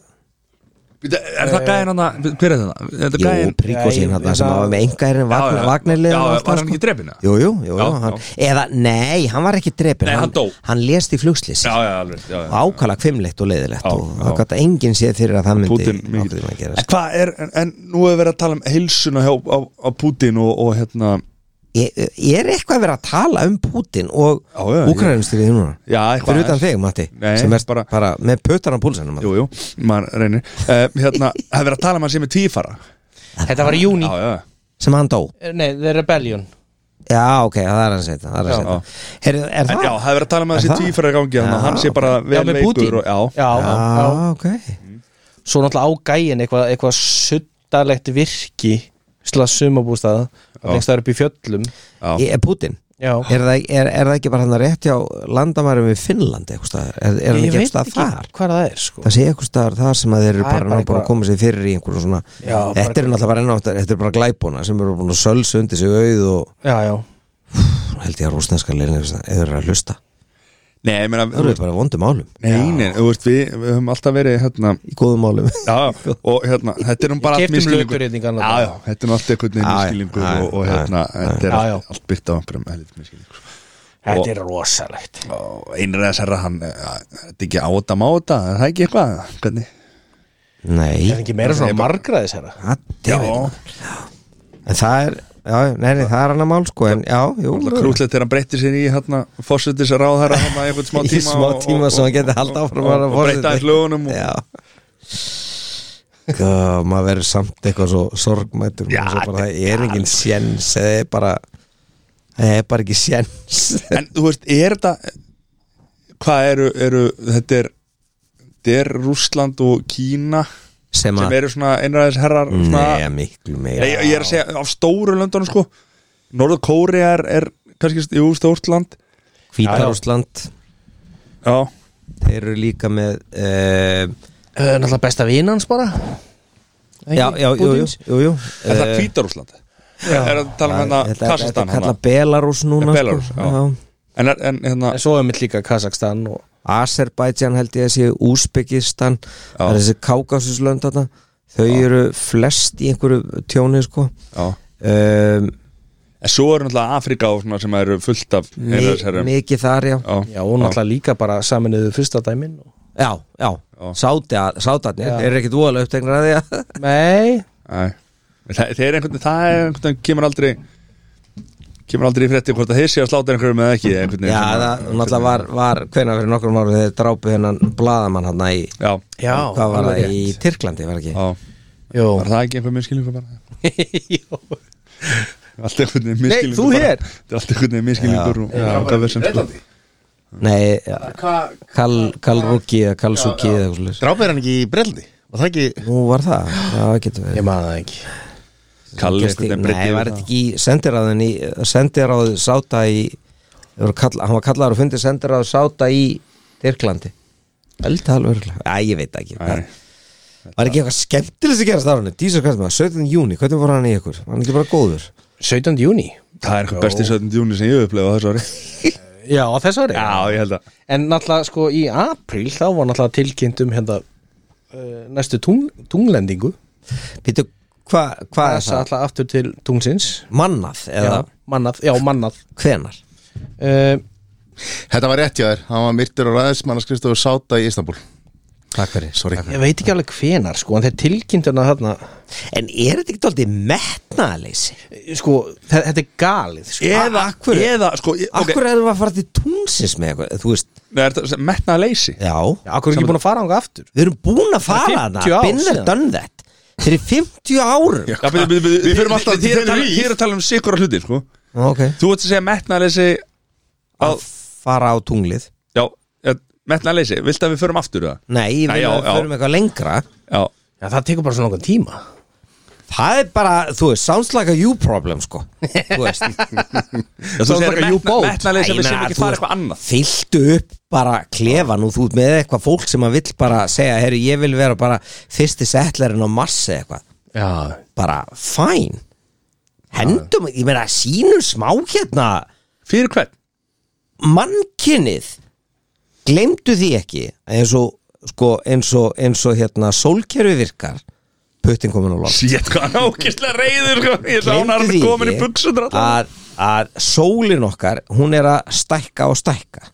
Speaker 1: Býta, Er það gæðin hann að Hver er það? Er það
Speaker 4: Eh, jú,
Speaker 1: gæðin
Speaker 4: príkosín
Speaker 2: Nei,
Speaker 4: hann
Speaker 2: ég-
Speaker 4: sem
Speaker 2: það-
Speaker 4: hafa með engaðirinn
Speaker 1: Já, já.
Speaker 4: Vagnarlið
Speaker 1: Já, var hann ekki drepinn, eða?
Speaker 4: sko. Jú, jú, jú, jú
Speaker 1: Já,
Speaker 4: hann,
Speaker 1: já.
Speaker 4: Eða, nei, hann var ekki drepin
Speaker 1: Nei, hann dó.
Speaker 4: Hann lést í flugslýs
Speaker 1: Já, já, alveg já, já.
Speaker 4: Ákala kvimleitt og leiðilegt
Speaker 1: Já,
Speaker 4: Og það
Speaker 1: já.
Speaker 4: gæti enginn séð fyrir að það myndi
Speaker 1: Putin mikið
Speaker 4: aldrei að
Speaker 1: En
Speaker 4: gerast.
Speaker 1: hvað er, en, en nú hefur verið að tala um heilsuna hjá, á, á Putin og, og hérna
Speaker 4: Ég ég er eitthvað að vera að tala um Putin og
Speaker 1: Já, já, ég-
Speaker 4: Ukrainumstyrið núna
Speaker 1: Já, eitthvað
Speaker 4: Fyrir utan þig, Matti
Speaker 1: Nei,
Speaker 4: sem er bara,
Speaker 1: bara-
Speaker 4: með pötan á púlsanum
Speaker 1: Jú, jú, maður reynir uh, Hérna, hefur verið að tala um hann sem er tvífara
Speaker 2: Þetta var í júni
Speaker 1: Já, já,
Speaker 4: sem hann dó
Speaker 2: Nei, The Rebellion
Speaker 4: Já, ok, það er hans eitthvað Það er,
Speaker 2: Já.
Speaker 4: hans eitthvað. Heyrðu, er
Speaker 1: en
Speaker 4: það?
Speaker 1: já, hefur verið að tala um hann
Speaker 4: Er
Speaker 1: sem
Speaker 4: það?
Speaker 1: tvífara í gangi þannig
Speaker 4: Já,
Speaker 1: að hann sé bara vel
Speaker 2: Já, með Putin.
Speaker 1: veikur og, Já,
Speaker 2: Já,
Speaker 4: Já,
Speaker 2: já.
Speaker 4: ok
Speaker 2: Svo náttúrulega á gæin eitthvað eitthva suttalegt virki slags sumabústað
Speaker 1: Já.
Speaker 2: að lengst það er upp í fjöllum
Speaker 1: já,
Speaker 4: Ég er Putin
Speaker 2: Já,
Speaker 4: Er það, er, er það ekki bara hann að rétt hjá landamærum við Finnland eitthvað staðar? Er, er hann
Speaker 2: ég
Speaker 4: ekki
Speaker 2: veit
Speaker 4: eitthvað
Speaker 2: ekki
Speaker 4: þar?
Speaker 2: hvað það er sko
Speaker 4: Það sé eitthvað staðar þar sem að þeir eru
Speaker 2: Það er bara
Speaker 4: bara, bara, bara að
Speaker 2: eitthvað-
Speaker 4: koma sér fyrir í einhverju svona
Speaker 2: Já, bara
Speaker 4: Þetta er náttúrulega bara ennátt Þetta er bara glæbúna sem eru búin að sölsa undir sig auð og
Speaker 2: Já, já,
Speaker 4: held ég að rúsneska leirinu eru að hlusta
Speaker 1: Nei, ég meina
Speaker 4: Það eru bara í vondum álum
Speaker 1: Nei, nei, þú veist, við, við höfum alltaf verið hérna
Speaker 4: Í góðum álum
Speaker 1: Já, já, og hérna, þetta er nú bara
Speaker 2: Ég
Speaker 1: allt
Speaker 2: keypti um
Speaker 1: misskilningur
Speaker 2: löturinn í gamla
Speaker 1: Já,
Speaker 2: daga.
Speaker 1: já, þetta er nú allt einhvern veginn
Speaker 4: Já, já,
Speaker 1: misskilningur
Speaker 4: já,
Speaker 1: og, og
Speaker 4: já,
Speaker 1: hérna, þetta er
Speaker 2: Já, já.
Speaker 1: allt, allt byggt á einhverjum helvit misskilningur
Speaker 2: þetta er rosalegt
Speaker 1: og einrið að særa hann eh, þetta er ekki áta máta, er það ekki eitthvað hvernig?
Speaker 4: Nei
Speaker 2: Er það ekki meira svona margraðis hérna?
Speaker 4: Addi, En það er, já, nei, nei, það er annar mál sko En já, jú
Speaker 1: krútlegt þegar hann breytti sér í hérna fósutis að ráða þar hann einhvern smá
Speaker 4: Í
Speaker 1: tíma
Speaker 4: smá
Speaker 1: og-
Speaker 4: tíma
Speaker 1: og-
Speaker 4: sem hann geti
Speaker 1: og-
Speaker 4: haldið áfram að
Speaker 1: og-
Speaker 4: vera
Speaker 1: og
Speaker 4: forseti.
Speaker 1: breytta hans lögunum og-
Speaker 4: Já Gá, maður verður samt eitthvað svo sorgmættur já, svo bara, það er engin sjens það er bara það er bara ekki sjens
Speaker 1: en þú veist, er þetta hvað eru, eru þetta er þetta er Rússland og Kína
Speaker 4: sem
Speaker 1: sem
Speaker 4: að
Speaker 1: eru svona einræðis herrar
Speaker 4: neða
Speaker 1: svona,
Speaker 4: miklu
Speaker 1: nei,
Speaker 4: meira
Speaker 1: ég er að segja, af stóru löndunum sko Norður Kóri er, er kannski, jú, stórt land
Speaker 4: Hvítarúsland,
Speaker 1: já,
Speaker 4: þeir eru líka með uh,
Speaker 2: Uh, náttúrulega besta vínans bara
Speaker 4: já, já, jú, jú, jú, jú.
Speaker 1: er það
Speaker 4: Eh.
Speaker 1: Hvítarúsland? er er að tala um hérna Kassastan
Speaker 4: kalla Belarus núna
Speaker 1: Eh, Belarus,
Speaker 4: sko.
Speaker 1: já. en, er- en hérna
Speaker 2: En svo er mitt líka Kazakstan og
Speaker 4: Azerbaijan held ég að séu Úsbekistan, það er þessi Kákásuslönd þarna, þau eru flest í einhverju tjóni sko
Speaker 1: já.
Speaker 4: um,
Speaker 1: En svo eru náttúrulega Afrika og svona sem eru fullt af
Speaker 4: mi
Speaker 1: einræðisherrum
Speaker 4: mikið þar já
Speaker 2: Já, og náttúrulega líka bara saminuðu fyrsta dæmin og...
Speaker 4: já, já, sátarnir sátar, er ekkit óalega uppteknir að því að
Speaker 2: Nei
Speaker 1: Æ. Þa- Þeir eru einhvern veginn, það er einhvern veginn kemur aldrei kemur aldrei í frétti hvort að þeir séu að sláta einhverjum eða ekki einhvern veginn
Speaker 4: já,
Speaker 1: sem
Speaker 4: það
Speaker 1: að-
Speaker 4: náttúrulega var, var hvenær fyrir nokkrum árum þegar þeir drápu hennan blaðamann hann í,
Speaker 1: Já,
Speaker 2: Já,
Speaker 4: hvað var
Speaker 2: alveg
Speaker 4: það, í Tyrklandi var ekki
Speaker 1: já,
Speaker 2: rétt. Jú.
Speaker 1: var það ekki einhver minnskilningur bara?
Speaker 2: Jú
Speaker 1: Allt einhvern veginn minnskilningur
Speaker 2: þú
Speaker 1: bara.
Speaker 2: hér?
Speaker 1: Þetta er allt einhvern veginn minnskilningur og ákvað verð sem sko
Speaker 4: nei, ja, Kal, Kalrúki eða Kalsúki eða eitthvað svoleiðis.
Speaker 3: Drápið er hann ekki í breldi Var það ekki
Speaker 4: nú var það, já, getur verið
Speaker 2: Ég maður það ekki
Speaker 1: Kalli
Speaker 4: Gerst í-
Speaker 1: einhvern veginn
Speaker 4: Nei,
Speaker 1: breytti
Speaker 4: var
Speaker 1: yfir
Speaker 4: þetta
Speaker 1: það.
Speaker 4: ekki í sendiráðin í sendiráð sáta í þeir voru kall, hann var kallaður og fundið sendiráð sáta í Tyrklandi Elda alveg örugglega. Æ, ég veit það ekki
Speaker 1: Æ,
Speaker 4: Var ekki eitthvað skemmtilegst að gerast á hann Dísar Kristmann, 17. júni, hvernig voru hann í ykkur? Var hann ekki bara góður?
Speaker 2: 17. júni
Speaker 1: Það er eitthvað besti 17. júni sem ég upplega þessu ári
Speaker 2: Já, á þessu ári
Speaker 1: Já, ég held að
Speaker 2: En náttúrulega sko í apríl þá var náttúrulega tilkynnt um hérna uh, næstu tungl, tunglendingu
Speaker 4: Býtu, hvað hva er
Speaker 2: Passa
Speaker 4: það?
Speaker 2: alltaf aftur til tungsins
Speaker 4: Mannað, eða
Speaker 2: Já, mannað, já, mannað
Speaker 4: hvenar?
Speaker 2: uh,
Speaker 3: Þetta var rétt hjá þér, hann var myrtur og ræðismannaskristofur Sáta í Istanbul
Speaker 4: Takk fyrir
Speaker 3: Sorry
Speaker 2: Ég veit ekki alveg hvenar sko, en þeir tilkynntu hana þarna
Speaker 4: En er þetta ekki aldrei metnaðaleysi?
Speaker 2: sko, þe- þetta er galið sko.
Speaker 1: Eða,
Speaker 4: af hverju?
Speaker 1: eða sko, ég- ok,
Speaker 4: Akkur erum við að fara til túnsins með eitthvað Þú veist,
Speaker 1: Nei, er þetta metnaða leysi?
Speaker 4: já
Speaker 2: Já, Akkur er ekki búin að fara ánga aftur
Speaker 4: Við erum búin að fara
Speaker 2: Það er
Speaker 4: hana
Speaker 2: 50 ár
Speaker 4: Binnir
Speaker 2: síðan.
Speaker 4: done that Fyrir 50 árum
Speaker 1: Já, byrju, byrju, byrju,
Speaker 3: Við förum alltaf
Speaker 1: þið- þið
Speaker 3: til
Speaker 1: eru að tala-
Speaker 3: Tenerife.
Speaker 1: Þið er að tala um sikura hluti, sko
Speaker 4: Ok
Speaker 1: Þú ert að segja metnaðleysi á,
Speaker 4: Að fara á tunglið
Speaker 1: Já, metnaðleysi, viltu að við förum aftur það?
Speaker 4: Nei, ég vil
Speaker 1: Nei, já,
Speaker 4: að við
Speaker 1: já.
Speaker 4: förum eitthvað lengra
Speaker 1: Já,
Speaker 2: Já, það tekur bara svona okkur tíma
Speaker 4: Það er bara, þú veist, sounds like a you problem sko Þú veist
Speaker 1: Já, þú
Speaker 2: Sounds
Speaker 1: segir
Speaker 2: like a you
Speaker 1: metna-
Speaker 2: boat.
Speaker 1: metnaðleysi að við
Speaker 4: Ég meina,
Speaker 1: sem ekki
Speaker 4: þú
Speaker 1: fara
Speaker 4: veist,
Speaker 1: eitthvað annað
Speaker 4: Fylltu upp bara klefan og þú ert með eitthvað fólk sem að vill bara segja Herri, ég vil vera bara fyrsti settlerinn á massi eitthvað
Speaker 2: Já,
Speaker 4: Bara, fæn Hendum, ég meina, sínum smá hérna
Speaker 1: Fyrir hvern?
Speaker 4: Mannkinnið Gleymdu því ekki eins og, sko, eins og, eins og hérna, sólkerfi virkar Puttin komin á loft
Speaker 1: Sétt hvað hann ákistlega reyður, sko Ég sá hann
Speaker 4: Gleymdu
Speaker 1: hann
Speaker 4: því
Speaker 1: komin í
Speaker 4: ekki
Speaker 1: buksundra
Speaker 4: að, að sólin okkar, hún er að stækka og stækka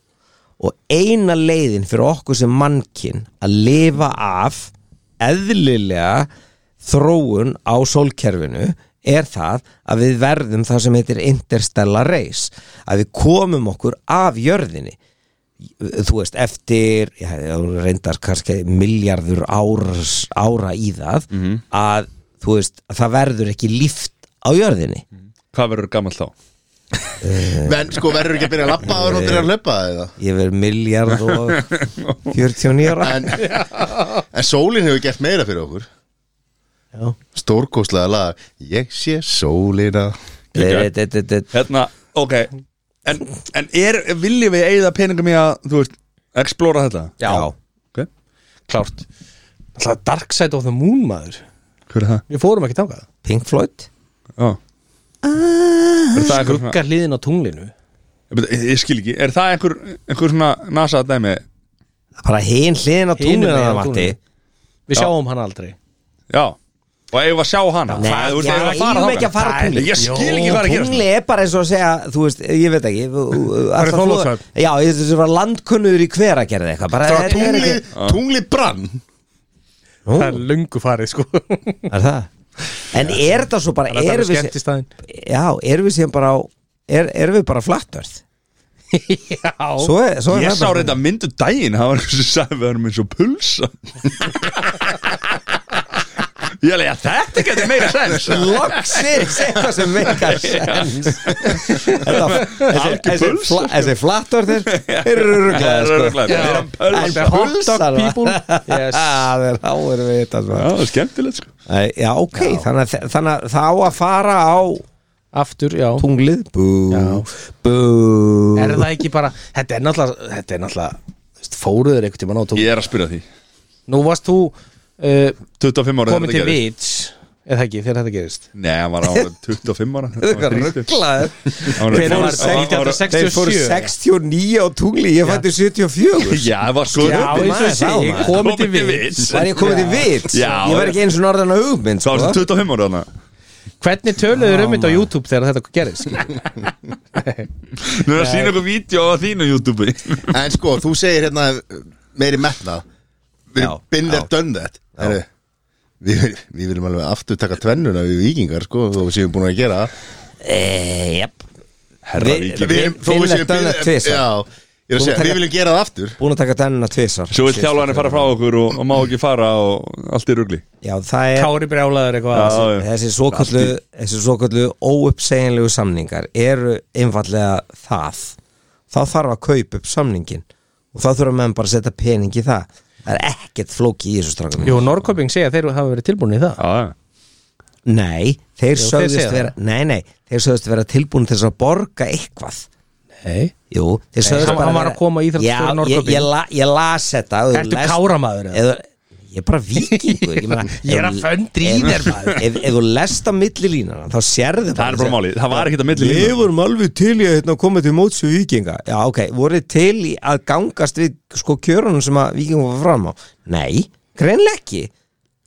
Speaker 4: og eina leiðin fyrir okkur sem mannkinn að lifa af eðlilega þróun á sólkerfinu er það að við verðum það sem heitir interstellar race að við komum okkur af jörðinni þú veist, eftir já, já, reyndar kannski miljardur árs, ára í það að þú veist, að það verður ekki líft á jörðinni
Speaker 1: Hvað verður gammal þá?
Speaker 3: Men sko verður ekki að byrja að lappa og þú byrja að löpa eða
Speaker 4: ég verð miljard og 49 ára
Speaker 3: En, en sólinn hefur gert meira fyrir okkur
Speaker 4: Já.
Speaker 3: Stórkoslega lag Ég sé sólina
Speaker 4: Þetta- þetta- þetta-
Speaker 1: Hérna, ok En, en er, viljum við eigða peningum í að, þú veist, explora þetta?
Speaker 4: Já.
Speaker 1: Ok,
Speaker 2: klárt Það er Dark Side of the Moon maður
Speaker 1: hver er það?
Speaker 2: Við fórum ekki tangað
Speaker 4: Pink Floyd
Speaker 1: Já
Speaker 4: Ah.
Speaker 1: Er það einhver svona
Speaker 2: Skugga hliðin á tunglinu
Speaker 1: Ég ég skil ekki, er það einhver, einhver svona NASA dæmi?
Speaker 4: bara hinn hliðin á
Speaker 2: Hinum
Speaker 4: tunglinu
Speaker 2: megin á
Speaker 4: þarna, Matti.
Speaker 2: tunglinu. Við sjáum hann aldrei
Speaker 1: Já, og eigum við að sjá hana
Speaker 4: Nei,
Speaker 1: Hvað, þú veist,
Speaker 4: já,
Speaker 1: eigum við
Speaker 4: eigum við ekki að fara á
Speaker 1: þangað?
Speaker 4: tunglið?
Speaker 1: Ég skil ekki hvað er að gerast
Speaker 4: tungli er bara eins og að segja þú veist, ég veit ekki það
Speaker 2: Þorlákshöfn?
Speaker 4: já, ég veist þessi var landkunnur í hver að gera eitthvað bara,
Speaker 3: Það var
Speaker 4: er, er,
Speaker 3: tungli,
Speaker 4: er,
Speaker 3: tungli brann
Speaker 4: Nú,
Speaker 2: Það er löngu farið sko Það
Speaker 4: er það en er þetta svo bara
Speaker 2: er
Speaker 4: erum
Speaker 2: þetta
Speaker 4: við,
Speaker 2: skemmt í staðin
Speaker 4: já, erum við síðan bara á er, erum við bara flattörð
Speaker 2: Já
Speaker 4: svo er, svo er
Speaker 1: Ég
Speaker 4: það
Speaker 1: sá
Speaker 4: bara-
Speaker 1: reynda myndu daginn Það var einhvers sem sagði við erum eins og pulsa Ég alveg, já, þetta getur meira sens
Speaker 4: Loksins eitthvað sem meikar sens Þetta- þessi-
Speaker 1: Algjör sko.
Speaker 4: þessi
Speaker 1: pulsa,
Speaker 4: fla- Þessi flattvörðir eru ruglaðir
Speaker 1: Þeir eru
Speaker 4: sko.
Speaker 1: ruglaðir, þeir eru pulsa.
Speaker 4: En
Speaker 2: Hot
Speaker 4: pulsar
Speaker 2: dog people.
Speaker 4: Yes
Speaker 2: Yes.
Speaker 4: Það er áður við þetta
Speaker 1: Já,
Speaker 4: sko.
Speaker 1: það er skemmtilegt sko
Speaker 4: Æ, Já, ok, þannig að þe- þannig að það á að fara á
Speaker 2: Aftur, já
Speaker 4: tunglið Bú,
Speaker 2: Já.
Speaker 4: bú
Speaker 2: Er það ekki bara Þetta er náttúrulega Þetta er náttúrulega þú veist, Fóruður einhvern tímann á tunglinu
Speaker 1: Ég er að spyrja því
Speaker 2: Nú varst þú uh,
Speaker 1: 25 ára
Speaker 2: komið til vits Eða ekki, þegar þetta gerist
Speaker 1: Nei, hann var á 25 ára
Speaker 4: Þetta er rugglaður
Speaker 1: Hvenær
Speaker 4: Þeir
Speaker 1: var
Speaker 4: fóru
Speaker 1: það?
Speaker 4: 1967.
Speaker 2: 1967.
Speaker 4: Þeir fóru 69 á tungli Ég fætti 74
Speaker 1: Já, það var sko
Speaker 4: Já,
Speaker 1: uppi.
Speaker 4: eins og ég segi,
Speaker 1: Maður,
Speaker 2: komið til
Speaker 1: vits
Speaker 4: Var ég komið til vits?
Speaker 1: Já.
Speaker 4: Ég var ekki eins og norðan á hugmynd
Speaker 1: Svo var
Speaker 4: sko.
Speaker 1: það 25 ára þarna
Speaker 2: Hvernig töluður um þetta á YouTube þegar þetta gerist? skilur?
Speaker 1: Nú er að sína ykkur vídeo á þínu YouTube
Speaker 3: En sko, þú segir hérna meiri metna Við
Speaker 4: Já,
Speaker 3: erum binder
Speaker 4: já.
Speaker 3: done that Heru, við, við viljum alveg aftur taka tvennuna við vikingar sko, þó við séum búin að gera það.
Speaker 4: Eh, Jep
Speaker 1: Herra
Speaker 4: Við-
Speaker 1: Víkingur
Speaker 3: Við erum- þó við
Speaker 4: Binder
Speaker 3: séum
Speaker 4: done that
Speaker 3: binder-
Speaker 4: tvisvar.
Speaker 3: Já, ég er að
Speaker 4: Búin að
Speaker 3: segja,
Speaker 4: taka- Sko,
Speaker 3: við viljum gera það aftur
Speaker 4: Búin að taka tennina tvisar
Speaker 1: Svo vil þjálfarnir fara frá okkur og, og má ekki fara og allt er rugli
Speaker 4: Já, það er
Speaker 2: Kári brjálaður eitthvað
Speaker 1: Já, já.
Speaker 4: þessi svokallu, þessi svokallu óuppseginlegu samningar eru einfallega það þá þarf að kaupa upp samningin og þá þurfa menn bara að setja pening í það það er ekkert flóki í þessu strafum
Speaker 2: Jú, Norrköping segja að þeir hafa verið tilbúin í það
Speaker 1: Já, já.
Speaker 4: Nei, þeir
Speaker 2: Jú, þeir segja
Speaker 4: sögðust
Speaker 2: það.
Speaker 4: vera Nei, nei, þeir sögðust vera tilbúin til þess að borga eitthvað
Speaker 2: Nei
Speaker 4: Jú, þeir sögðust
Speaker 2: hann-
Speaker 4: bara
Speaker 2: hann var
Speaker 4: vera-
Speaker 2: að koma í íþróttastjóra
Speaker 4: Já,
Speaker 2: Norðkoping.
Speaker 4: ég, ég, la, ég las þetta ef þú
Speaker 2: Ertu
Speaker 4: lest-
Speaker 2: káramaður eða?
Speaker 4: Ef þú- Ég er bara vikingur Ég, meina,
Speaker 2: Ég er
Speaker 4: ef
Speaker 2: að
Speaker 4: þú-
Speaker 2: föndra í
Speaker 4: ef-
Speaker 2: þér, maður.
Speaker 4: Ef ef þú lest á millilínana þá sérðu
Speaker 1: Það er bara málið, það var ekkert að milli
Speaker 4: Við
Speaker 1: línuna.
Speaker 4: vorum alveg til í að hérna, koma til móts við vikinga Já, ok, voru þið til í að gangast við sko kjörunum sem að vikinga var fram á Nei, greinlega ekki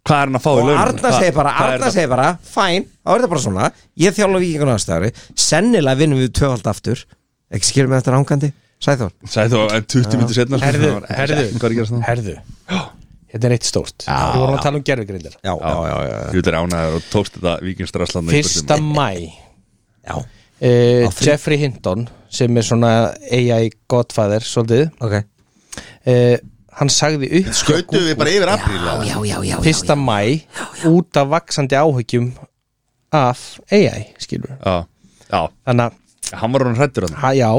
Speaker 1: Hvað er hann að fá í
Speaker 4: Og
Speaker 1: launum?
Speaker 4: Arna
Speaker 1: Hvað-
Speaker 4: segir bara,
Speaker 1: hvað er
Speaker 4: Arna
Speaker 1: það?
Speaker 4: segir bara Fæn, þá er þetta bara svona Ég þjála vikingun aðstæðari Sennilega vinnum við tvöfald aftur Ekki skilur með þetta rángandi Sæþór
Speaker 1: Sæði þó að 20 minnir setna
Speaker 2: Herðu, herðu.
Speaker 1: Hvað er að gerast það?
Speaker 2: Herðu, þetta er eitt stórt Við vorum að tala um gerfugrindar
Speaker 4: Já, já, já, já, já.
Speaker 1: Hjúlir ánæður og tókst þetta vikingstrasslan
Speaker 2: Fyrsta mæ
Speaker 4: já.
Speaker 2: uh,
Speaker 4: Á frí-
Speaker 2: Jeffrey Hinton sem er svona AI godfather svolítið
Speaker 4: Okay.
Speaker 2: uh, hann sagði upp
Speaker 3: Skautu við bara yfir apríla
Speaker 4: já, já, já, já,
Speaker 2: fyrsta mæ út af vaksandi áhugjum af AI skilur
Speaker 1: Já, já,
Speaker 2: þannig að,
Speaker 1: hann var hann hrættur hann
Speaker 2: ha, já,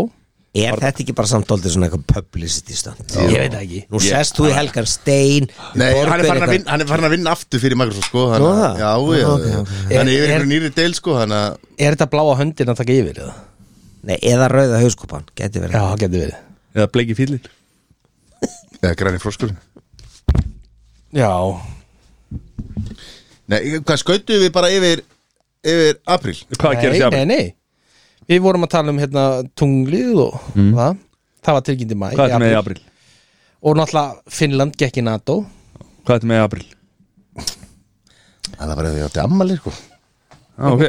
Speaker 4: Er þetta ekki bara samt daldið svona eitthvað publicity stönd?
Speaker 2: ég veit það ekki
Speaker 4: Nú sest þú í Helgar Stein
Speaker 3: Nei, hann er, farin að
Speaker 4: eitthvað-
Speaker 3: vinna, hann er farin að vinna aftur fyrir Microsoft sko
Speaker 4: Nú,
Speaker 3: hana,
Speaker 4: það?
Speaker 3: Já, já,
Speaker 4: Ah, ok,
Speaker 3: já.
Speaker 4: ok.
Speaker 3: Hann er
Speaker 2: Er-
Speaker 3: yfir
Speaker 2: er-
Speaker 3: einhverju nýri deil sko hana,
Speaker 2: er þetta bláa höndin að taka yfir eða?
Speaker 4: Nei, eða rauða hauskúpan, geti
Speaker 2: já,
Speaker 4: verið
Speaker 2: það getur verið
Speaker 1: Eða bleiki fýllin
Speaker 3: Eða græni froskurinn
Speaker 2: já,
Speaker 3: Nei, hvað skautu við bara yfir yfir apríl
Speaker 1: Hvað gerði
Speaker 2: nei,
Speaker 1: það?
Speaker 2: nei, nei við vorum að tala um hérna tunglið og það það var tilkynnt í mæ
Speaker 1: Hvað er
Speaker 2: í
Speaker 1: þetta með í
Speaker 2: apríl.
Speaker 1: april?
Speaker 2: og náttúrulega Finnland gekk í NATO
Speaker 1: Hvað er þetta með í april?
Speaker 3: Það var eða því átti ammali sko
Speaker 1: Já, ok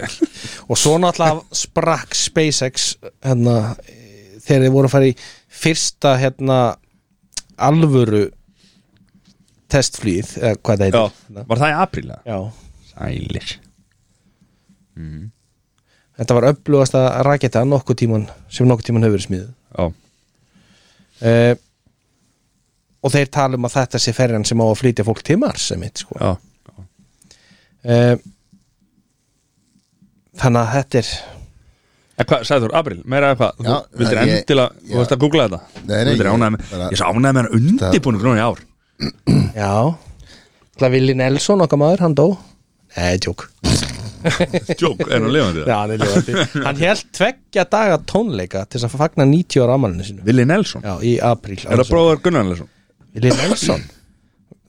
Speaker 2: og svo náttúrulega sprakk SpaceX hérna, eh, þegar þeir voru að fara í fyrsta hérna, alvöru testflýð eða hvað það
Speaker 1: Já,
Speaker 2: heitir hérna.
Speaker 1: var það í april? eða?
Speaker 2: Já.
Speaker 1: Sælir
Speaker 2: þetta var upplugasta raketa nokkuð tíman sem nokkuð tíman hefur verið smíð
Speaker 1: Já,
Speaker 2: uh, og þeir tala um að þetta sé ferjan sem á að flytja fólk til Mars sem mitt sko
Speaker 1: já
Speaker 2: uh, þannig að þetta er
Speaker 1: En hvað, sagður, april, meira eða hvað? Þú
Speaker 3: Já,
Speaker 1: vildir
Speaker 3: ég-
Speaker 1: endilega,
Speaker 3: já.
Speaker 1: þú veist að googla þetta
Speaker 3: Nei, nei,
Speaker 1: Þú vildir
Speaker 3: ég-
Speaker 1: ánægða með,
Speaker 3: bara-
Speaker 1: ég svo ánægða með hann undirbúinu grónu í ár
Speaker 2: Já Það Vili Nelson okkar maður, hann dó Nei, tjók
Speaker 1: Jók, er hann lifandi það?
Speaker 2: Já, hann er lifandi. Hann held tveggja daga tónleika til þess að fagna 90 ára ammælinu sínu
Speaker 1: Willi Nelson,
Speaker 2: Já, í apríl
Speaker 1: er það bróður Gunnar Nelson?
Speaker 2: Vili Nelson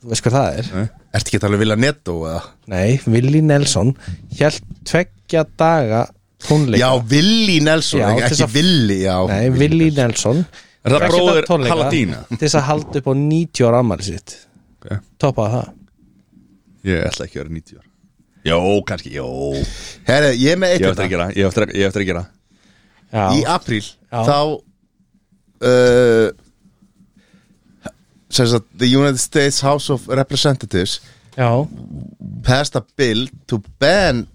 Speaker 2: Þú veist hvað það er?
Speaker 3: Ertu ekki að tala um vilja netto eða?
Speaker 2: Nei, Vili Nelson held tveggja daga tónleika
Speaker 3: Já, Willi Nelson,
Speaker 2: Já,
Speaker 3: ekki,
Speaker 2: til þess
Speaker 3: ekki
Speaker 2: að-
Speaker 3: Willi já.
Speaker 2: Nei, Vili Nelson
Speaker 1: Er það
Speaker 2: Tveggja daga
Speaker 1: bróðir
Speaker 2: tónleika
Speaker 1: Halladína?
Speaker 2: Til þess að halda upp á 90 ára ammæli sitt
Speaker 1: Ok.
Speaker 2: Toppaði það
Speaker 1: Ég ætla ekki að vera 90 ára Jó, kannski, jó
Speaker 3: Herra, ég er með eitt hérna.
Speaker 1: Ég á eftir að
Speaker 3: þetta.
Speaker 1: gera, ég á eftir að, ég á eftir að gera
Speaker 3: Í
Speaker 2: Já,
Speaker 3: apríl
Speaker 2: Já.
Speaker 3: þá uh, sem sagt, The United States House of Representatives
Speaker 2: já,
Speaker 3: passed a bill to ban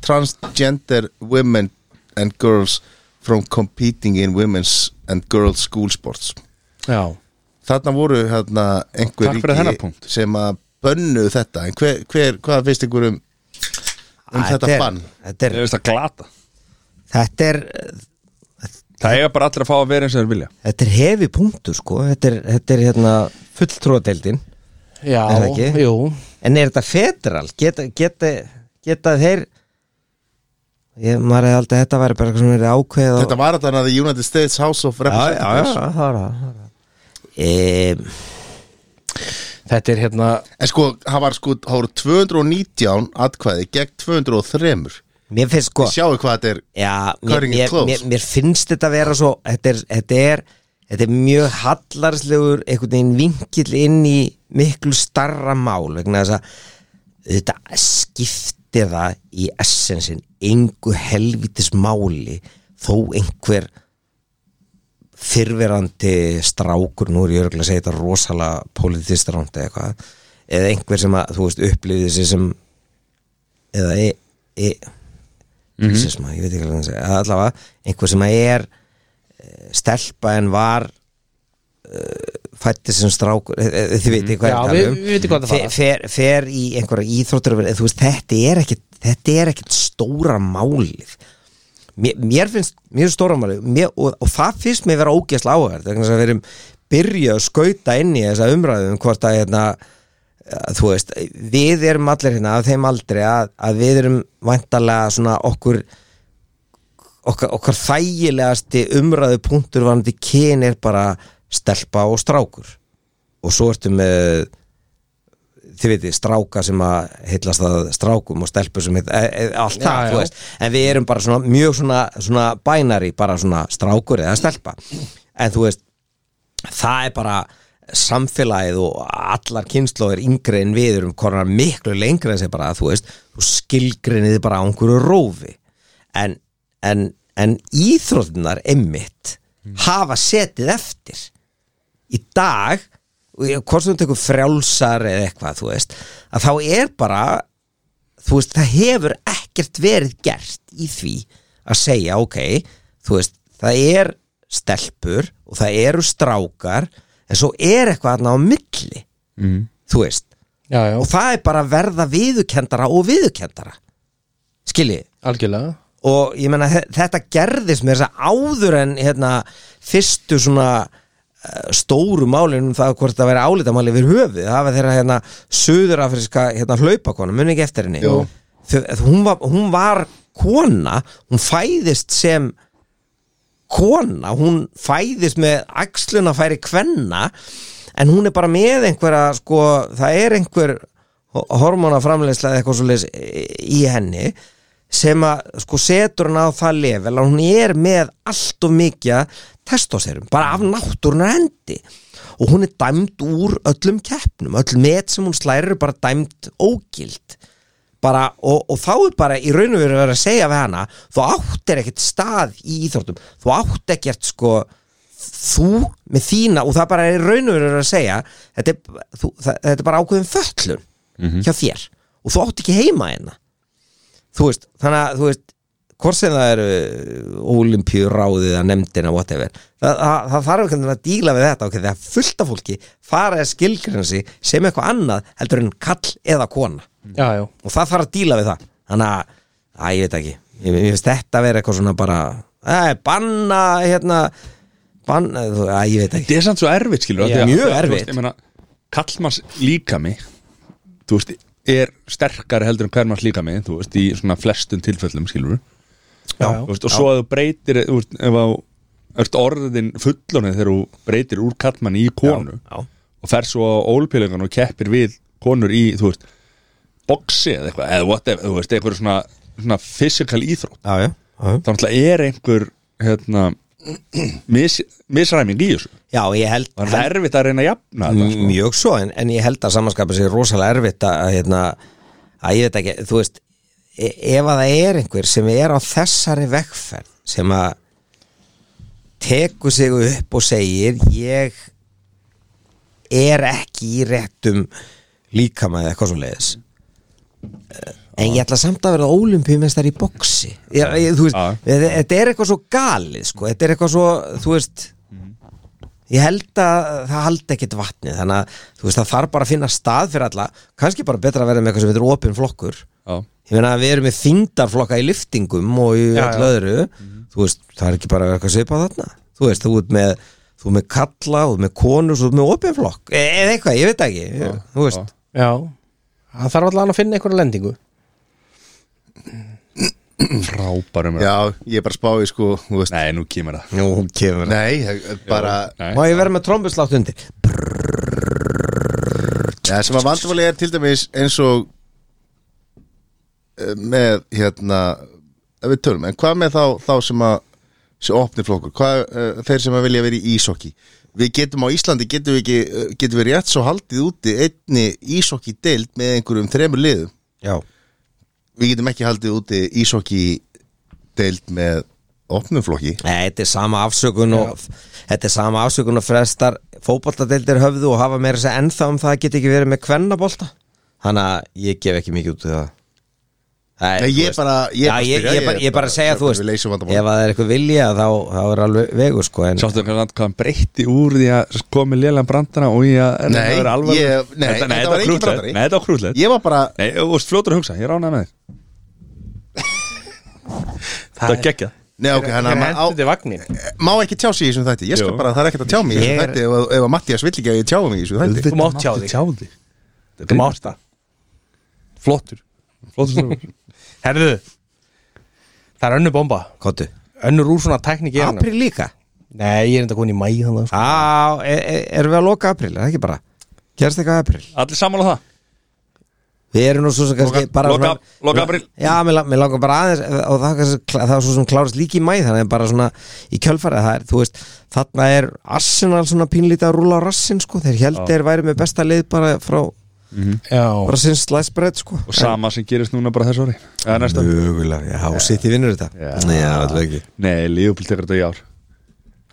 Speaker 3: transgender women and girls from competing in women's and girls school sports
Speaker 2: já
Speaker 3: þarna voru hérna einhver
Speaker 1: Takk fyrir þennan punkt.
Speaker 3: sem að bönnu þetta en hver, hver, hvað finnst ykkur um um
Speaker 4: Æ,
Speaker 3: þetta
Speaker 4: er-
Speaker 3: bann
Speaker 4: Þetta
Speaker 1: Ég
Speaker 4: er,
Speaker 1: veist að glata
Speaker 4: þetta er,
Speaker 1: Það eiga bara allir að fá að vera eins og þeir vilja
Speaker 4: þetta er hefi punktur sko Þetta er, þetta er hérna fulltróðadeildin
Speaker 2: Já,
Speaker 4: Er það ekki?
Speaker 2: jú
Speaker 4: En er þetta federal? Geta, geta, geta þeir ég, Maður hefði aldrei að þetta væri bara eitthvað sem er ákveð
Speaker 3: þetta var þetta að The United States House of
Speaker 4: Já, já, já,
Speaker 3: Representatives
Speaker 4: já, það var það, það var það Ehm,
Speaker 2: Þetta er hérna
Speaker 3: en sko, það var sko, það voru 219 atkvæði gegn 203
Speaker 4: Mér finnst sko
Speaker 3: sjáu hvað þetta er
Speaker 4: Já, mér,
Speaker 3: Cutting it
Speaker 4: mér,
Speaker 3: close.
Speaker 4: mér, mér finnst þetta vera svo þetta er, þetta er, þetta er mjög hallarslegur einhvern veginn vinkill inn í miklu starra mál vegna þess að þetta skipti það í essensin engu helvitis máli þó einhver fyrverandi strákur nú er ég örgulega að segja þetta rosalega politistrandi eða eitthvað eða einhver sem að, þú veist, upplifði sig sem eða e, e,
Speaker 2: Mhm.
Speaker 4: sisma, ég veit ekki hvað það segja að allavega, einhver sem að er eh, stelpa en var fætti sem strákur eh, eh, þið veitir hvað
Speaker 2: Já,
Speaker 4: ég er að
Speaker 2: við-
Speaker 4: tala um.
Speaker 2: við vitum hvað það
Speaker 4: Fe-
Speaker 2: fara.
Speaker 4: fer, fer í einhverja íþróttur eh, þú veist, þetta er ekkit þetta er ekkit stóra málið mér, mér finnst mjög stóra málið mér, og, og það finnst mér vera ógjast áhverð vegna þess að við erum byrja að skauta inn í þessa umræðum hvort að hérna að þú veist, við erum allir hérna af þeim aldrei að, að við erum væntalega svona okkur okkar, okkar þægilegasti umræðu punktur varandi kyn er bara stelpa og strákur og svo ertu með þið veitir, stráka sem að heitlast að strákum og stelpur sem heit, e, e, allt
Speaker 2: Já,
Speaker 4: það,
Speaker 2: já.
Speaker 4: þú veist en við erum bara svona, mjög svona, svona bænari, bara svona strákur eða stelpa en þú veist, það er bara samfélagið og allar kynnslóðir yngri en við erum konar miklu lengri en sem bara þú veist, þú skilgrinniði bara á einhverju rófi en, en, en íþróttunar emmitt hafa setið eftir í dag og ég- hvort sem þú tekur frjálsar eða eitthvað þú veist, að þá er bara þú veist, það hefur ekkert verið gert í því að segja, ok, þú veist það er stelpur og það eru strákar en svo er eitthvað þarna á milli mm. þú veist,
Speaker 2: já, já,
Speaker 4: og það er bara að verða viðukendara og viðukendara skiljið
Speaker 2: algjörlega
Speaker 4: og ég meina þe- þetta gerðist með þess að áður en hérna, fyrstu svona eh, stóru málin um það hvort það væri álitamáli við höfuð, það var þeirra hérna suðurafriska hérna hlaupakonu, muni ekki eftir henni
Speaker 3: Jú.
Speaker 4: Þau- að hún, var, hún var kona, hún fæðist sem kona, hún fæðist með axluna færi kvenna en hún er bara með einhverja sko, það er einhver ho- hormónaframleiðsla eða eitthvað svo leis í henni sem að sko setur hann á það level að hún er með allt og mikið testosterum, bara af náttúrunar hendi og hún er dæmd úr öllum keppnum, öll met sem hún slærir eru bara dæmd ógild bara, og, og þá er bara í raun og veru verið að segja við hana þú áttir ekkert stað í íþróttum þú átt ekkert sko þú með þína og það bara er í raun og veru verið að segja þetta er, þú, það, þetta er bara ákveðin föllun hjá þér og þú átt ekki heima hérna þú veist, þannig að þú veist hvort sem það eru olimpíuráðið eða nefndina, whatever það, það, það þarf ekki að díla við þetta okay? þegar fullt af fólki fara að skilgrensi sem eitthvað annað heldur en kall eða kona
Speaker 2: já, já,
Speaker 4: og það þarf að díla við það þannig að, að ég veit ekki ég, ég veist þetta vera eitthvað svona bara að, banna hérna banna, þú- að, ég veit ekki
Speaker 1: Þetta er samt svo erfitt skilur
Speaker 2: Já,
Speaker 4: mjög erfitt.
Speaker 1: Kallmanns líkami Þú veist, er sterkari heldur en hvermanns líkami Þú veist, í svona flestum tilfellum skilur
Speaker 2: já,
Speaker 1: Þú veist, Og svo að þú breytir Þú veist, ef að þú ert orðin fullonið þegar þú breytir úr kallmann í konu
Speaker 4: já,
Speaker 1: og fer svo á ólpílingan og keppir við konur í, þú veist boxi eða eitthvað, eða whatever, þú veist eitthvað svona, svona physical íþrótt
Speaker 4: já, já, já.
Speaker 1: þá náttúrulega er einhver hérna, mis, misræming í þessu
Speaker 4: já ég held,
Speaker 1: og það
Speaker 4: held
Speaker 1: er erfitt að reyna að jafna þetta sko.
Speaker 3: Mm.
Speaker 4: mjög svo en, en ég held að samanskapið sé rosalega erfitt að, að, hérna, að ég veit ekki þú veist, e ef að það er einhver sem er á þessari vegferð sem að tekur sig upp og segir ég er ekki í réttum líkama eða eitthvað svo leiðis en ég ætla samt að vera ólimpíumestar í boksi ég, ég, þú veist,
Speaker 1: Já.
Speaker 4: þetta þetta er eitthvað svo galið sko, þetta er eitthvað svo, þú veist ég held að það haldi ekkit vatni þannig að þú veist það þarf bara að finna stað fyrir alla kannski bara betra að vera með eitthvað sem heitir opin flokkur
Speaker 1: Já.
Speaker 4: ég meina að við erum með þingdarflokka í liftingum og í
Speaker 2: Já,
Speaker 4: öllu
Speaker 2: já.
Speaker 4: öðru þú veist það er ekki bara að vera eitthvað svipað þarna þú veist þú ert með þú ert með kalla og með konur og með opin flokk E- eða eitthvað ég veit ekki þú veist
Speaker 1: já.
Speaker 2: já hann þarf allan að finna einhverja lendingu
Speaker 1: frábærum er-
Speaker 3: Já, ég er bara að spá í sko þú veist,
Speaker 1: um Nei, nú kemur það
Speaker 4: nú kemur það.
Speaker 3: Nei, ég- bara
Speaker 1: Nei.
Speaker 4: má ég vera með trombuslátt undir
Speaker 3: ja, sem að vandamáli er til dæmis eins og eh, með hérna ef við tölum, en hvað með þá, þá sem að sem opni flokkur, hvað uh, þeir sem að vilja vera í ísokki við getum á Íslandi, getum við ekki eh, getum við rétt svo haldið úti einni ísokki deild með einhverjum þremur liðum
Speaker 4: já
Speaker 3: við getum ekki haldið úti ísokki deild með opnum flokki
Speaker 4: Nei, þetta er sama afsökun og þetta er sama afsökun og frestar fótboltadeildir höfðu og hafa meira þess að ennþá um það að geta ekki verið með kvennabolta Þannig að ég gef ekki mikið út í það Nei,
Speaker 3: Nei,
Speaker 4: þú
Speaker 3: ég
Speaker 4: veist.
Speaker 3: bara- ég
Speaker 4: Já,
Speaker 3: bara
Speaker 4: ég,
Speaker 3: spyrja,
Speaker 4: ég, bara,
Speaker 3: ég
Speaker 4: ég bara
Speaker 3: bara-
Speaker 4: segja, þú
Speaker 3: við
Speaker 4: veist
Speaker 3: leysum vandamálið.
Speaker 4: Ef að það er eitthvað vilja þá, þá er alveg vegu sko en,
Speaker 1: Sáttu hvað hvað hann breytti úr því að komi lélan brandana og í að
Speaker 3: Nei,
Speaker 1: að vera alvarlegur?
Speaker 3: ég-
Speaker 1: þetta,
Speaker 3: nei,
Speaker 1: nei,
Speaker 3: þetta
Speaker 1: þetta
Speaker 3: var
Speaker 1: var
Speaker 3: engin
Speaker 1: krútlegt
Speaker 3: brandari.
Speaker 1: Nei, þetta var krútlegt
Speaker 3: ég var bara,
Speaker 1: Nei, þú veist, fljótur að hugsa, ég ránaði með þér Þetta var geggjað
Speaker 3: nei ok, hann
Speaker 2: hann
Speaker 3: að- á-
Speaker 2: hendur til vagnin
Speaker 3: má ekki tjá sig í þessum þætti ég skal
Speaker 1: Jú.
Speaker 3: bara, það er ekkert að tjá mig í
Speaker 4: Ég
Speaker 3: þessum
Speaker 4: er-
Speaker 3: þætti ef, að- ef að Mattias vill ekki að ég tjá mig í þessum þætti
Speaker 2: Þú mátt tjá þig.
Speaker 1: tjáði.
Speaker 2: þú mást það flottur
Speaker 1: Flottur strákur.
Speaker 2: herðu það er önnur bomba
Speaker 4: Kottu
Speaker 2: önnur úr svona teknik í hann
Speaker 4: April líka
Speaker 2: nei, ég er enda komin í mæ þannig sko.
Speaker 4: Á, e- e- erum við að loka april, er það ekki bara Gerst eitthvað april
Speaker 1: Allir sammála um það
Speaker 4: Við erum nú svo sem kannski
Speaker 1: Loka-
Speaker 4: bara
Speaker 1: loka-
Speaker 4: svona-
Speaker 1: loka apríl.
Speaker 4: Já, mér, la- mér langar bara aðeins og það, kannski, það var svo sem klárast líki í mæ þannig að bara svona í kjölfarið það er, þú veist, þarna er Arsenal svona pínlítið að rúla á rassin sko, þeir held þeir væri með besta lið bara frá,
Speaker 2: já,
Speaker 4: bara sinns slæsbreyt sko
Speaker 1: Og sama sem gerist núna bara þessu ári Eða næsta
Speaker 4: Mögulega, já, og sitt í vinnur þetta Já, allveg ekki
Speaker 1: Nei, Liverpool tekur þetta í ár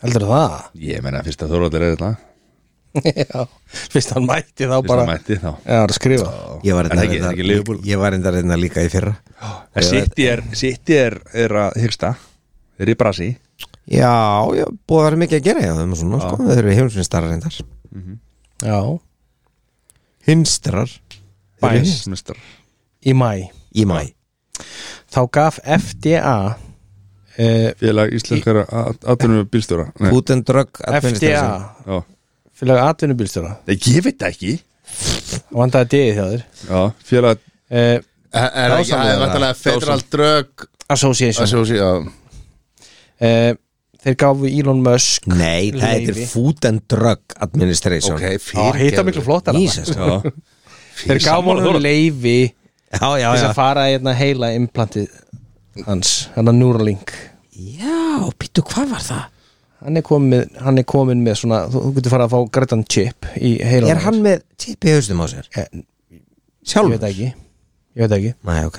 Speaker 2: heldur það?
Speaker 1: Ég meina fyrst að Þorvaldur er þetta
Speaker 2: já, fyrst hann mætti þá
Speaker 1: Fyrst
Speaker 2: bara
Speaker 1: að mætti þá
Speaker 2: já, það er að skrifa
Speaker 4: Ég
Speaker 1: En
Speaker 4: var reyndar-
Speaker 1: það er ekki- það er ekki
Speaker 4: reyndar-
Speaker 1: Liverpool.
Speaker 4: ég var enda reynda líka í fyrra
Speaker 1: En City er, City er, er að hugsta Er í brasi
Speaker 4: Já, já, búið að vera mikið að gera já, þeim og svona, sko, þeir eru heimsvinstara reyndar
Speaker 2: já,
Speaker 4: Hinstrar
Speaker 1: Bæs Mistar
Speaker 2: í mæ
Speaker 4: í mæ
Speaker 2: þá gaf FDA uh,
Speaker 1: Félag íslenskara aðtunum bílstjóra Nei,
Speaker 4: Food and Drug
Speaker 2: FDA
Speaker 4: Administration
Speaker 1: já
Speaker 2: félag atvinnubílstjóra
Speaker 1: Nei, Ég veit það ekki
Speaker 2: vandaði degi hjá þér
Speaker 1: Já, félag
Speaker 2: uh,
Speaker 3: Er- Er það ekki, það er
Speaker 2: Dásamlega.
Speaker 3: vantalega Federal Drug
Speaker 2: Association
Speaker 3: Association, já.
Speaker 2: uh, þeir gafu Elon Musk
Speaker 4: Nei, það heitir
Speaker 2: Leyfi.
Speaker 4: Food and Drug Administration
Speaker 3: Ok,
Speaker 2: Á, hitta miklu flottar
Speaker 4: Jesus. sko.
Speaker 1: Já,
Speaker 2: þeir gafu
Speaker 1: Sammála
Speaker 2: honum
Speaker 1: Þóra.
Speaker 2: leifi
Speaker 4: Já, já,
Speaker 2: þess
Speaker 4: já
Speaker 2: að fara í hérna heila implantið hans, hann að Neuralink
Speaker 4: Já, býttu, hvað var það?
Speaker 2: hann er komin, hann er komin með svona þú, þú getur farið að fá grætan chip í heila
Speaker 4: Er hann með tipi haustum á sér?
Speaker 2: ég
Speaker 4: Sjálfur?
Speaker 2: veit ekki ég veit ekki
Speaker 4: Nei, ok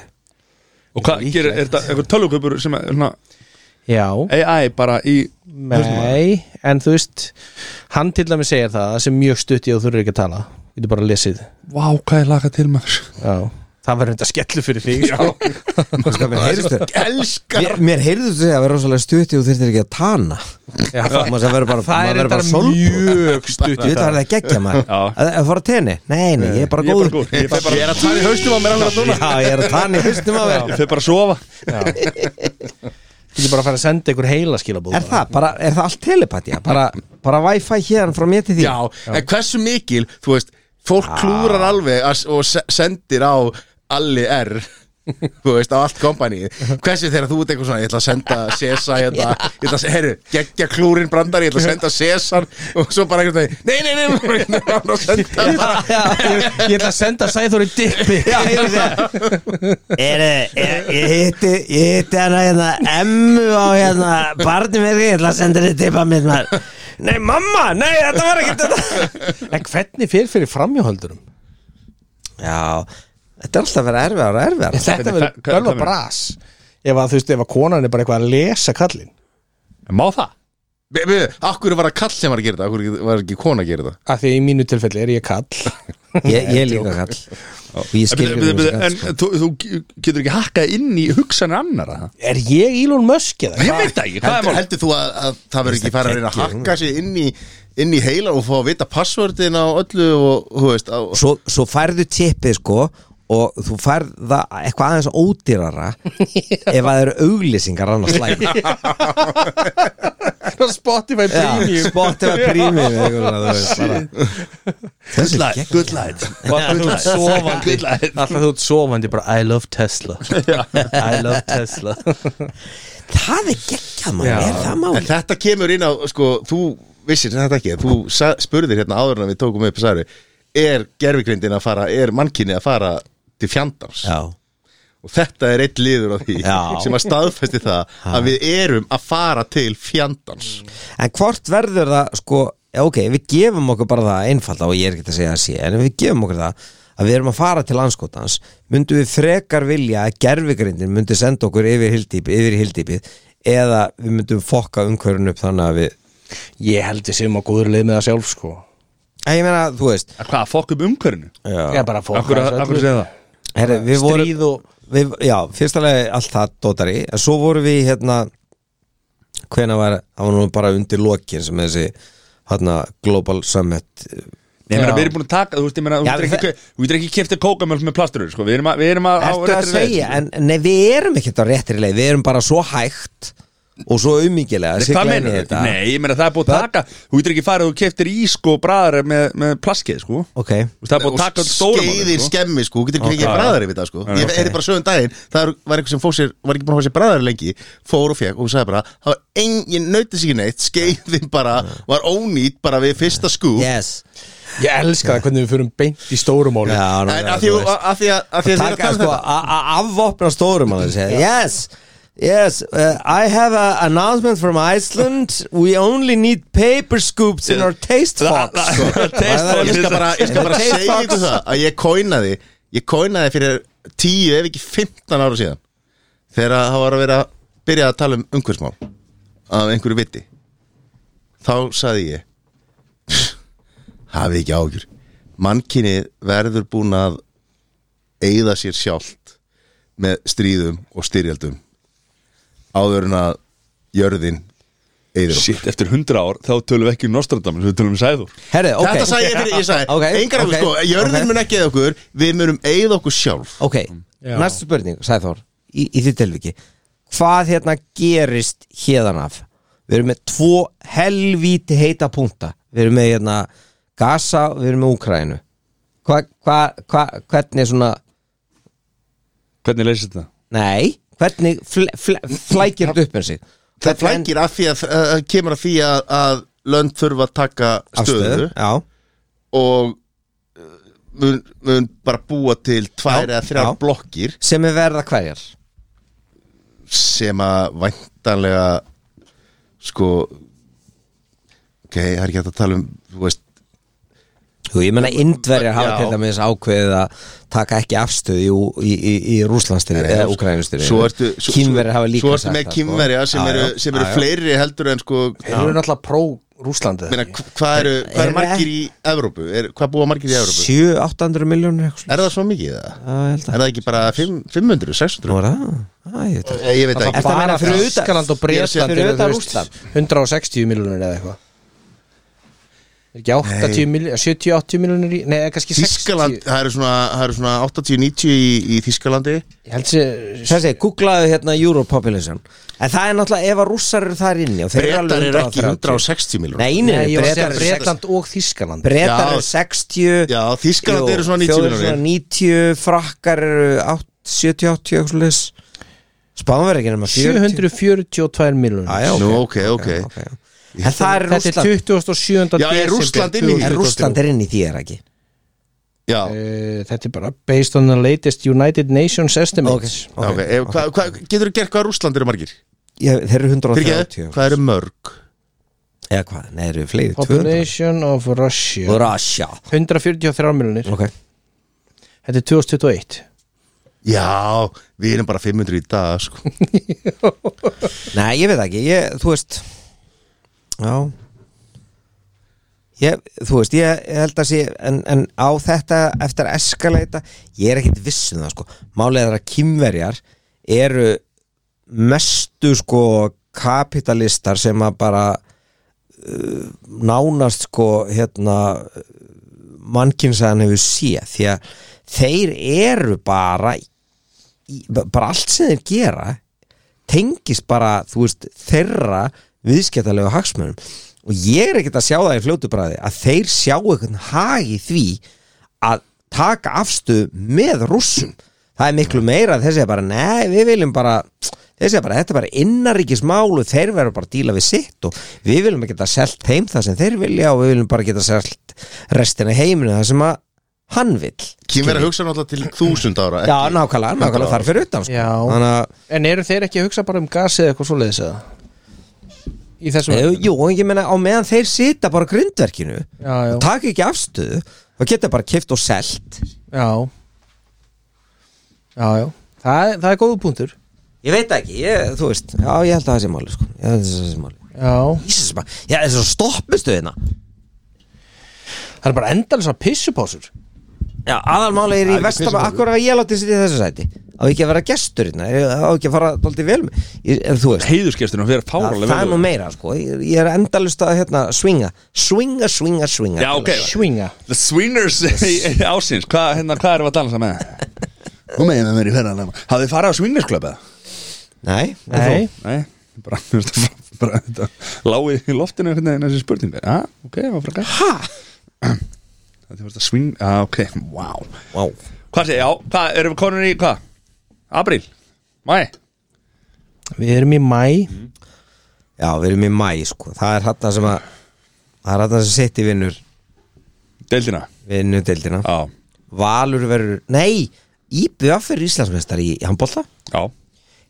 Speaker 1: Og hvað gerir, er þetta eitthvað tölvuköpur sem er svona
Speaker 2: já
Speaker 1: AI bara í
Speaker 2: Nei, en þú veist hann til dæmi segir það sem mjög stutt í og þú eru ekki að tala, þú getur bara lesið
Speaker 1: Vá, hvað er lagað til maður
Speaker 2: já, það verður þetta skellu fyrir þig sko.
Speaker 4: Sko, mér heyrðust þér
Speaker 3: Elskar
Speaker 4: Mér, mér heyrðust þér að vera rosalega stutti og þurftir ekki að tana
Speaker 2: Já,
Speaker 4: Maður sem verður bara,
Speaker 2: það
Speaker 4: maður
Speaker 2: er
Speaker 4: verður
Speaker 2: þetta
Speaker 4: bara solbrún
Speaker 2: mjög stutt
Speaker 4: Ég
Speaker 2: í
Speaker 4: veit að
Speaker 2: það
Speaker 4: það er geggja maður
Speaker 1: Já.
Speaker 4: að, að fara að tenni? Nei, nei, ég er bara
Speaker 1: Ég er bara
Speaker 4: góður
Speaker 1: góður. Ég fer bara-
Speaker 3: Ég er að tala í haustum á mér alveg núna
Speaker 4: Já, ég er að tana í haustum á
Speaker 1: Ég
Speaker 4: mér
Speaker 1: fer bara að sofa
Speaker 2: Þú getur bara að fara að senda ykkur heila skilabóð
Speaker 4: Er það, bara, er það allt telepatía? Bara, bara wifi hér frá mér til því
Speaker 3: Já, en hversu mikil, þú veist Fólk klúrar alveg að, og se- sendir á Alli R Þú veist, á allt kompanið Hversu þegar þú ert eitthvað svona, ég ætla að senda Sesa Ég ætla að, ég ætla að, herru, geggja klúrin brandar Ég ætla að senda Sesan Og svo bara eitthvað, nei, nei, nei, nei, nei, nei, nei Senda bara
Speaker 2: ég, ég ætla að senda Sæþóri dippi
Speaker 4: Já, ég veit það er, er, Ég hitti Ég hitti hana hérna Emmu á hérna Barnum er ég ætla að senda þér tippa mitt maður Nei, mamma, nei, þetta var ekkert þetta
Speaker 2: En hvernig fyrir fyrir framjóhaldurum?
Speaker 4: Já, þetta er alltaf að vera erfiðar og erfiðar
Speaker 2: Þetta verður
Speaker 1: hvað- hvað
Speaker 2: bölva
Speaker 1: meinar?
Speaker 2: bras Ef að þú veist, ef að konan er bara eitthvað að lesa kallin
Speaker 1: Má það?
Speaker 3: Be- be- Akkur var það kall sem var að gera þetta Akkur var ekki kona að gera þetta
Speaker 2: Af því að í mínu tilfelli er ég kall
Speaker 4: Ég, ég er líka kall Og ég skil
Speaker 1: En,
Speaker 4: ekki
Speaker 1: en,
Speaker 4: þessu kall,
Speaker 1: en
Speaker 4: sko.
Speaker 1: þú, þú getur ekki hakkað inn í hugsanir annara það?
Speaker 2: Er ég Elon Musk eða?
Speaker 1: Ég veit það ekki, hvað er
Speaker 3: heldur,
Speaker 1: mál?
Speaker 3: heldur þú að, að það verður ekki fara að reyna að hakka sig inn í, inn í heila og fá að vita passvördin á öllu og, þú veist, á,
Speaker 4: svo, svo færðu tippið sko og þú færð það eitthvað aðeins ódýrara ef að það eru auglýsingar annars slæm
Speaker 2: Spotify
Speaker 4: Já, Spotify Premium eða eitthvað svona, þú veist, bara. Þessi gegn-
Speaker 1: good light
Speaker 2: Alltaf þú ert sofandi Alltaf þú ert sofandi bara I love Tesla I love Tesla
Speaker 4: Það er geggjað maður, er það
Speaker 3: en
Speaker 4: máli?
Speaker 3: þetta kemur inn á sko, þú vissir þetta ekki þú sa- spurðir hérna áður en við tókum upp særi, er gerfigrindin að fara er mannkinni að fara til fjandans
Speaker 4: Já,
Speaker 3: og þetta er eitt liður á því
Speaker 4: Já.
Speaker 3: sem að staðfesti það að við erum að fara til fjandans
Speaker 4: en hvort verður það sko, já, ok, við gefum okkur bara það einfalda og ég er ekki að segja að sé en ef við gefum okkur það að við erum að fara til landskotans myndum við frekar vilja að gerfigrindin myndi senda okkur yfir hildýpið, yfir hildýpið eða við myndum fokka umhverjun upp þannig að við
Speaker 2: Ég held ég sem á góður leið með það sjálf sko
Speaker 4: En ég meina, þú veist
Speaker 1: Hvað, að fokk upp umhverfinu?
Speaker 2: Ég er bara að fá
Speaker 1: Akkur að akkur að segja það?
Speaker 4: Herri, við vorum
Speaker 2: Stríð og
Speaker 4: við, Já, fyrsta lagi allt það dótari En svo vorum við hérna Hvena var, það var nú bara undir lokin Sem þessi, hérna, Global Summit
Speaker 1: Nei, ég meina,
Speaker 2: Já.
Speaker 1: við erum búin að taka, þú veist, ég meina, þú
Speaker 4: Já,
Speaker 1: getur
Speaker 4: það-
Speaker 1: ekki- þú getur ekki kæftið kókamjölk með plasturur, sko, við erum að, við erum að á
Speaker 4: Ertu að
Speaker 1: réttri leið,
Speaker 4: segja,
Speaker 1: sko.
Speaker 4: en nei, við erum ekkert á réttri leið Við erum bara svo hægt Og svo umingilega
Speaker 1: Nei, Hvað meinar þetta? Nei, ég meina, það er búin að taka, þú getur ekki farið, þú kæftir ís, sko, bræðar með, með plaskeið, sko, þú
Speaker 4: Ok,
Speaker 1: veist, það er búin að taka öll stóra málið,
Speaker 3: skeiðir
Speaker 1: sko.
Speaker 3: skemmi sko, þú getur ekki ekki
Speaker 1: Ok.
Speaker 3: bræðar yfir það sko
Speaker 1: Nei,
Speaker 3: ég
Speaker 1: ok.
Speaker 3: okay. bara sögum daginn, það er- var eitthvað sem fór sér var ekki búin að fá sér bræðar lengi, fór og fekk og hún sagði bara, það var engin nöytið sig ekki neitt skeiðin bara, var ónýtt bara við fyrsta skú
Speaker 4: yes
Speaker 2: Ég elska það hvernig við fyrum beint í stórum málum
Speaker 4: Já, nú,
Speaker 3: en
Speaker 4: já,
Speaker 3: að því
Speaker 4: þú
Speaker 3: að að því að að því að þið er að
Speaker 4: taka
Speaker 3: tala um
Speaker 4: sko
Speaker 3: þetta
Speaker 4: að að afvopna stórum hann segja yes Yes, uh, I have an announcement from Iceland We only need paper scoops in our taste box sko.
Speaker 1: taste
Speaker 4: Það er-
Speaker 3: ég skal bara, ég skal bara
Speaker 4: Taste
Speaker 3: segja
Speaker 4: box.
Speaker 3: ykkur það að ég kóinaði ég kóinaði fyrir 10 ef ekki 15 ára síðan þegar það var að vera byrjað að tala um umhversmál af einhverju viti þá saði ég hafið ekki ágjur mannkynið verður búin að eigða sér sjálft með stríðum og styrjaldum áður en að jörðin eigður okkur.
Speaker 1: Shit, eftir 100 ár þá tölum við ekki um Nostradamus, við tölum um Sæður
Speaker 4: Herri, ok
Speaker 3: þetta sagði ég fyrir, ég sagði,
Speaker 4: Ok,
Speaker 3: engar okay,
Speaker 4: ok,
Speaker 3: sko, jörðin
Speaker 4: ok.
Speaker 3: mun ekki eigða okkur, við munum eigða okkur sjálf
Speaker 4: Ok,
Speaker 2: Já.
Speaker 4: næstu spurning, sagði Þór í, í þitt tilviki Hvað hérna gerist hérðan af? Við erum með tvo helvíti heita punkta Við erum með hérna Gaza, við erum með Úkrænu hva, hva, hva, Hvernig svona
Speaker 1: Hvernig leysir þetta?
Speaker 4: Nei, hvernig fl, fl, flækir þetta upp með sig
Speaker 3: það flækir af því að uh, kemur af því að, að lönd þurfa að taka
Speaker 4: Afstöðu,
Speaker 3: stöðu
Speaker 4: Já,
Speaker 3: og uh, mun, mun bara búa til tvær
Speaker 4: Já,
Speaker 3: eða þrjár
Speaker 4: já.
Speaker 3: blokkir
Speaker 4: sem er verða hverjar
Speaker 3: sem að væntanlega sko ok, það er ekki hægt að tala um þú veist,
Speaker 4: Jú, ég menna indverjar hafa
Speaker 3: Já.
Speaker 4: til dæmis ákveðið að taka ekki afstöðu í, Ú- í, í, í Rúslandsstyrju eða Úkrænustyrju
Speaker 3: Eh, svo ertu svo-
Speaker 4: Kínverjar hafa líka
Speaker 3: svo ertu með
Speaker 4: það, sko.
Speaker 3: kínverja sem
Speaker 4: Já,
Speaker 3: eru,
Speaker 4: já,
Speaker 3: sem
Speaker 4: já,
Speaker 3: eru
Speaker 4: já.
Speaker 3: fleiri heldur en sko
Speaker 2: Þeir eru náttúrulega pró-Rúslandi
Speaker 3: meina, hv- hvað eru hvað
Speaker 4: Eru
Speaker 3: eru margir í Evrópu er, hvað búa margir í Evrópu
Speaker 4: 700-800 miljónur
Speaker 3: er það svo mikið það?
Speaker 4: Já, ég held
Speaker 3: er
Speaker 4: að
Speaker 3: það ekki bara fimm- 500, 600
Speaker 4: Ah. Nú er það Æ, ég veit það
Speaker 3: ég, ég veit
Speaker 4: Ertu
Speaker 3: ekki
Speaker 4: að meina fyrir utan-
Speaker 2: Ískaland og
Speaker 3: Ég er að segja
Speaker 2: Breitland
Speaker 4: fyrir
Speaker 2: eru,
Speaker 4: utan
Speaker 2: þú veist, 160 miljonir eða eitthvað Er ekki 80 miljonir 70-80 miljonir í, nei, kannski 60
Speaker 3: Þískaland, það eru svona, það eru svona 80-90 í, í Þískalandi
Speaker 2: Ég held sér
Speaker 4: Þessi, googlaðu hérna Europopulation En það er náttúrulega ef að rússar eru þar inni og þeir eru
Speaker 3: Bretar
Speaker 4: alveg
Speaker 3: eru ekki
Speaker 4: 130.
Speaker 3: 160 miljónur
Speaker 4: Nei, nei,
Speaker 2: Nei, ég var að segja
Speaker 4: Bretar eru sex-
Speaker 2: Breitland og Þískaland
Speaker 4: Bretar
Speaker 3: Já.
Speaker 4: eru 60
Speaker 3: Já, Þískaland
Speaker 4: Jú,
Speaker 3: eru svona 90
Speaker 4: þjóðir
Speaker 3: miljónir
Speaker 4: svona 90, frakkar eru 70-80 eitthvað leis Spánverð ekki nema 40.
Speaker 2: 742
Speaker 4: Já,
Speaker 2: miljonir
Speaker 4: já,
Speaker 3: Nú, ok, ok.
Speaker 4: Já, já. En það er
Speaker 2: Þetta er 27.
Speaker 4: Rússland
Speaker 3: Já, er Rússland inni í
Speaker 4: En Rússland er inn í því er ekki
Speaker 3: Já,
Speaker 2: Eh, Þetta er bara based on the latest United Nations estimates
Speaker 3: ok, okay. Ef, hva, hva, Getur þú gert hvað Rússland eru margir?
Speaker 4: Já, Þeir eru
Speaker 3: Fyrirgeðu,
Speaker 4: 130
Speaker 3: hvað eru mörg?
Speaker 4: Eða hvað, nei, þeir eru fleiri 200
Speaker 2: Population of Russia
Speaker 4: Russia
Speaker 2: 143 miljonir
Speaker 4: Ok
Speaker 2: Þetta er 2021
Speaker 3: Já, við erum bara 500 í dag sko.
Speaker 4: Nei, ég veit það ekki, ég, þú veist Já ég, Þú veist, ég, ég held að sé en, en á þetta eftir að eskaleita Ég er ekkit viss um það sko Málið er að kýmverjar eru mestu sko kapitalistar sem að bara uh, nánast sko hérna mannkynnsaðan hefur séð því að þeir eru bara í, bara allt sem þeir gera tengist bara, þú veist, þeirra viðskiptalegu hagsmunum og ég er ekkert að sjá það í fljótu bræði að þeir sjá eitthvað hag í því að taka afstöð með rússum það er miklu meira að þessi er bara, nei, við viljum bara þessi er bara, þetta er bara innaríkismál og þeir verður bara að díla við sitt og við viljum að geta selt heim það sem þeir vilja og við viljum bara geta selt restina heiminu það sem að hann vill
Speaker 3: Kýmur að hugsa náttúrulega til 1000 ára
Speaker 4: Já, nákvæmlega, nákvæmlega þar fyrir utan sko.
Speaker 2: Já.
Speaker 4: Þannig að
Speaker 2: En eru þeir ekki að hugsa bara um gasi eða eitthvað svoleiðis eða? Í þessum
Speaker 4: Jú, jú, en ég meina á meðan þeir sita bara á grindverkinu
Speaker 2: Já, já.
Speaker 4: og taka ekki afstöðu þá geta bara kipt og selt
Speaker 2: Já Já, já Það, er- það er góðu punktur
Speaker 4: Ég veit ekki, ég, þú veist Já, ég held að það sé máli, sko Ég held að það sé máli
Speaker 2: Já
Speaker 4: Ísins, maður, já, það er svo stoppustu hérna
Speaker 2: Það er bara endalisa pissupásur
Speaker 4: Já, aðalmáli er í vestam Akkur að ég láti sitt í þessu sæti Á ekki að vera gestur hérna ég- Á ekki að fara dóldi vel með ég, en Þú veist,
Speaker 1: Heiðurskesturinn fyrir
Speaker 4: það,
Speaker 1: fáralega
Speaker 4: það er nú meira, sko Ég, ég er endalust að, hérna, swinga Swinga, swinga, swinga
Speaker 1: Já, ok
Speaker 2: Svinga
Speaker 1: The Swingers ásins Hvað hérna, hva erum við að dansa með? Nú meðum við mér í ferðan Hafið þið farið á Swingers Club eða?
Speaker 4: Nei, en
Speaker 2: Nei.
Speaker 4: þú?
Speaker 1: Nei, bara, þú veist, bara þetta, láið í loftinu einhvern veginn þessi spurning Já, ok, það var frækka
Speaker 4: Ha?
Speaker 1: Þetta var þetta swing, já, ok, wow
Speaker 4: Vá
Speaker 1: Hvað sé, já, hvað, erum við konur í, hvað? Apríl? Mæ?
Speaker 2: Við erum í mæ
Speaker 4: Já, við erum í mæ sko Það er hann sem að Það er hann sem sitt í vinnur
Speaker 1: Deildina?
Speaker 4: Vinnudeildina
Speaker 1: Já,
Speaker 4: Valur verður Nei, IBF er Íslandsmeistar í handbolta
Speaker 1: já,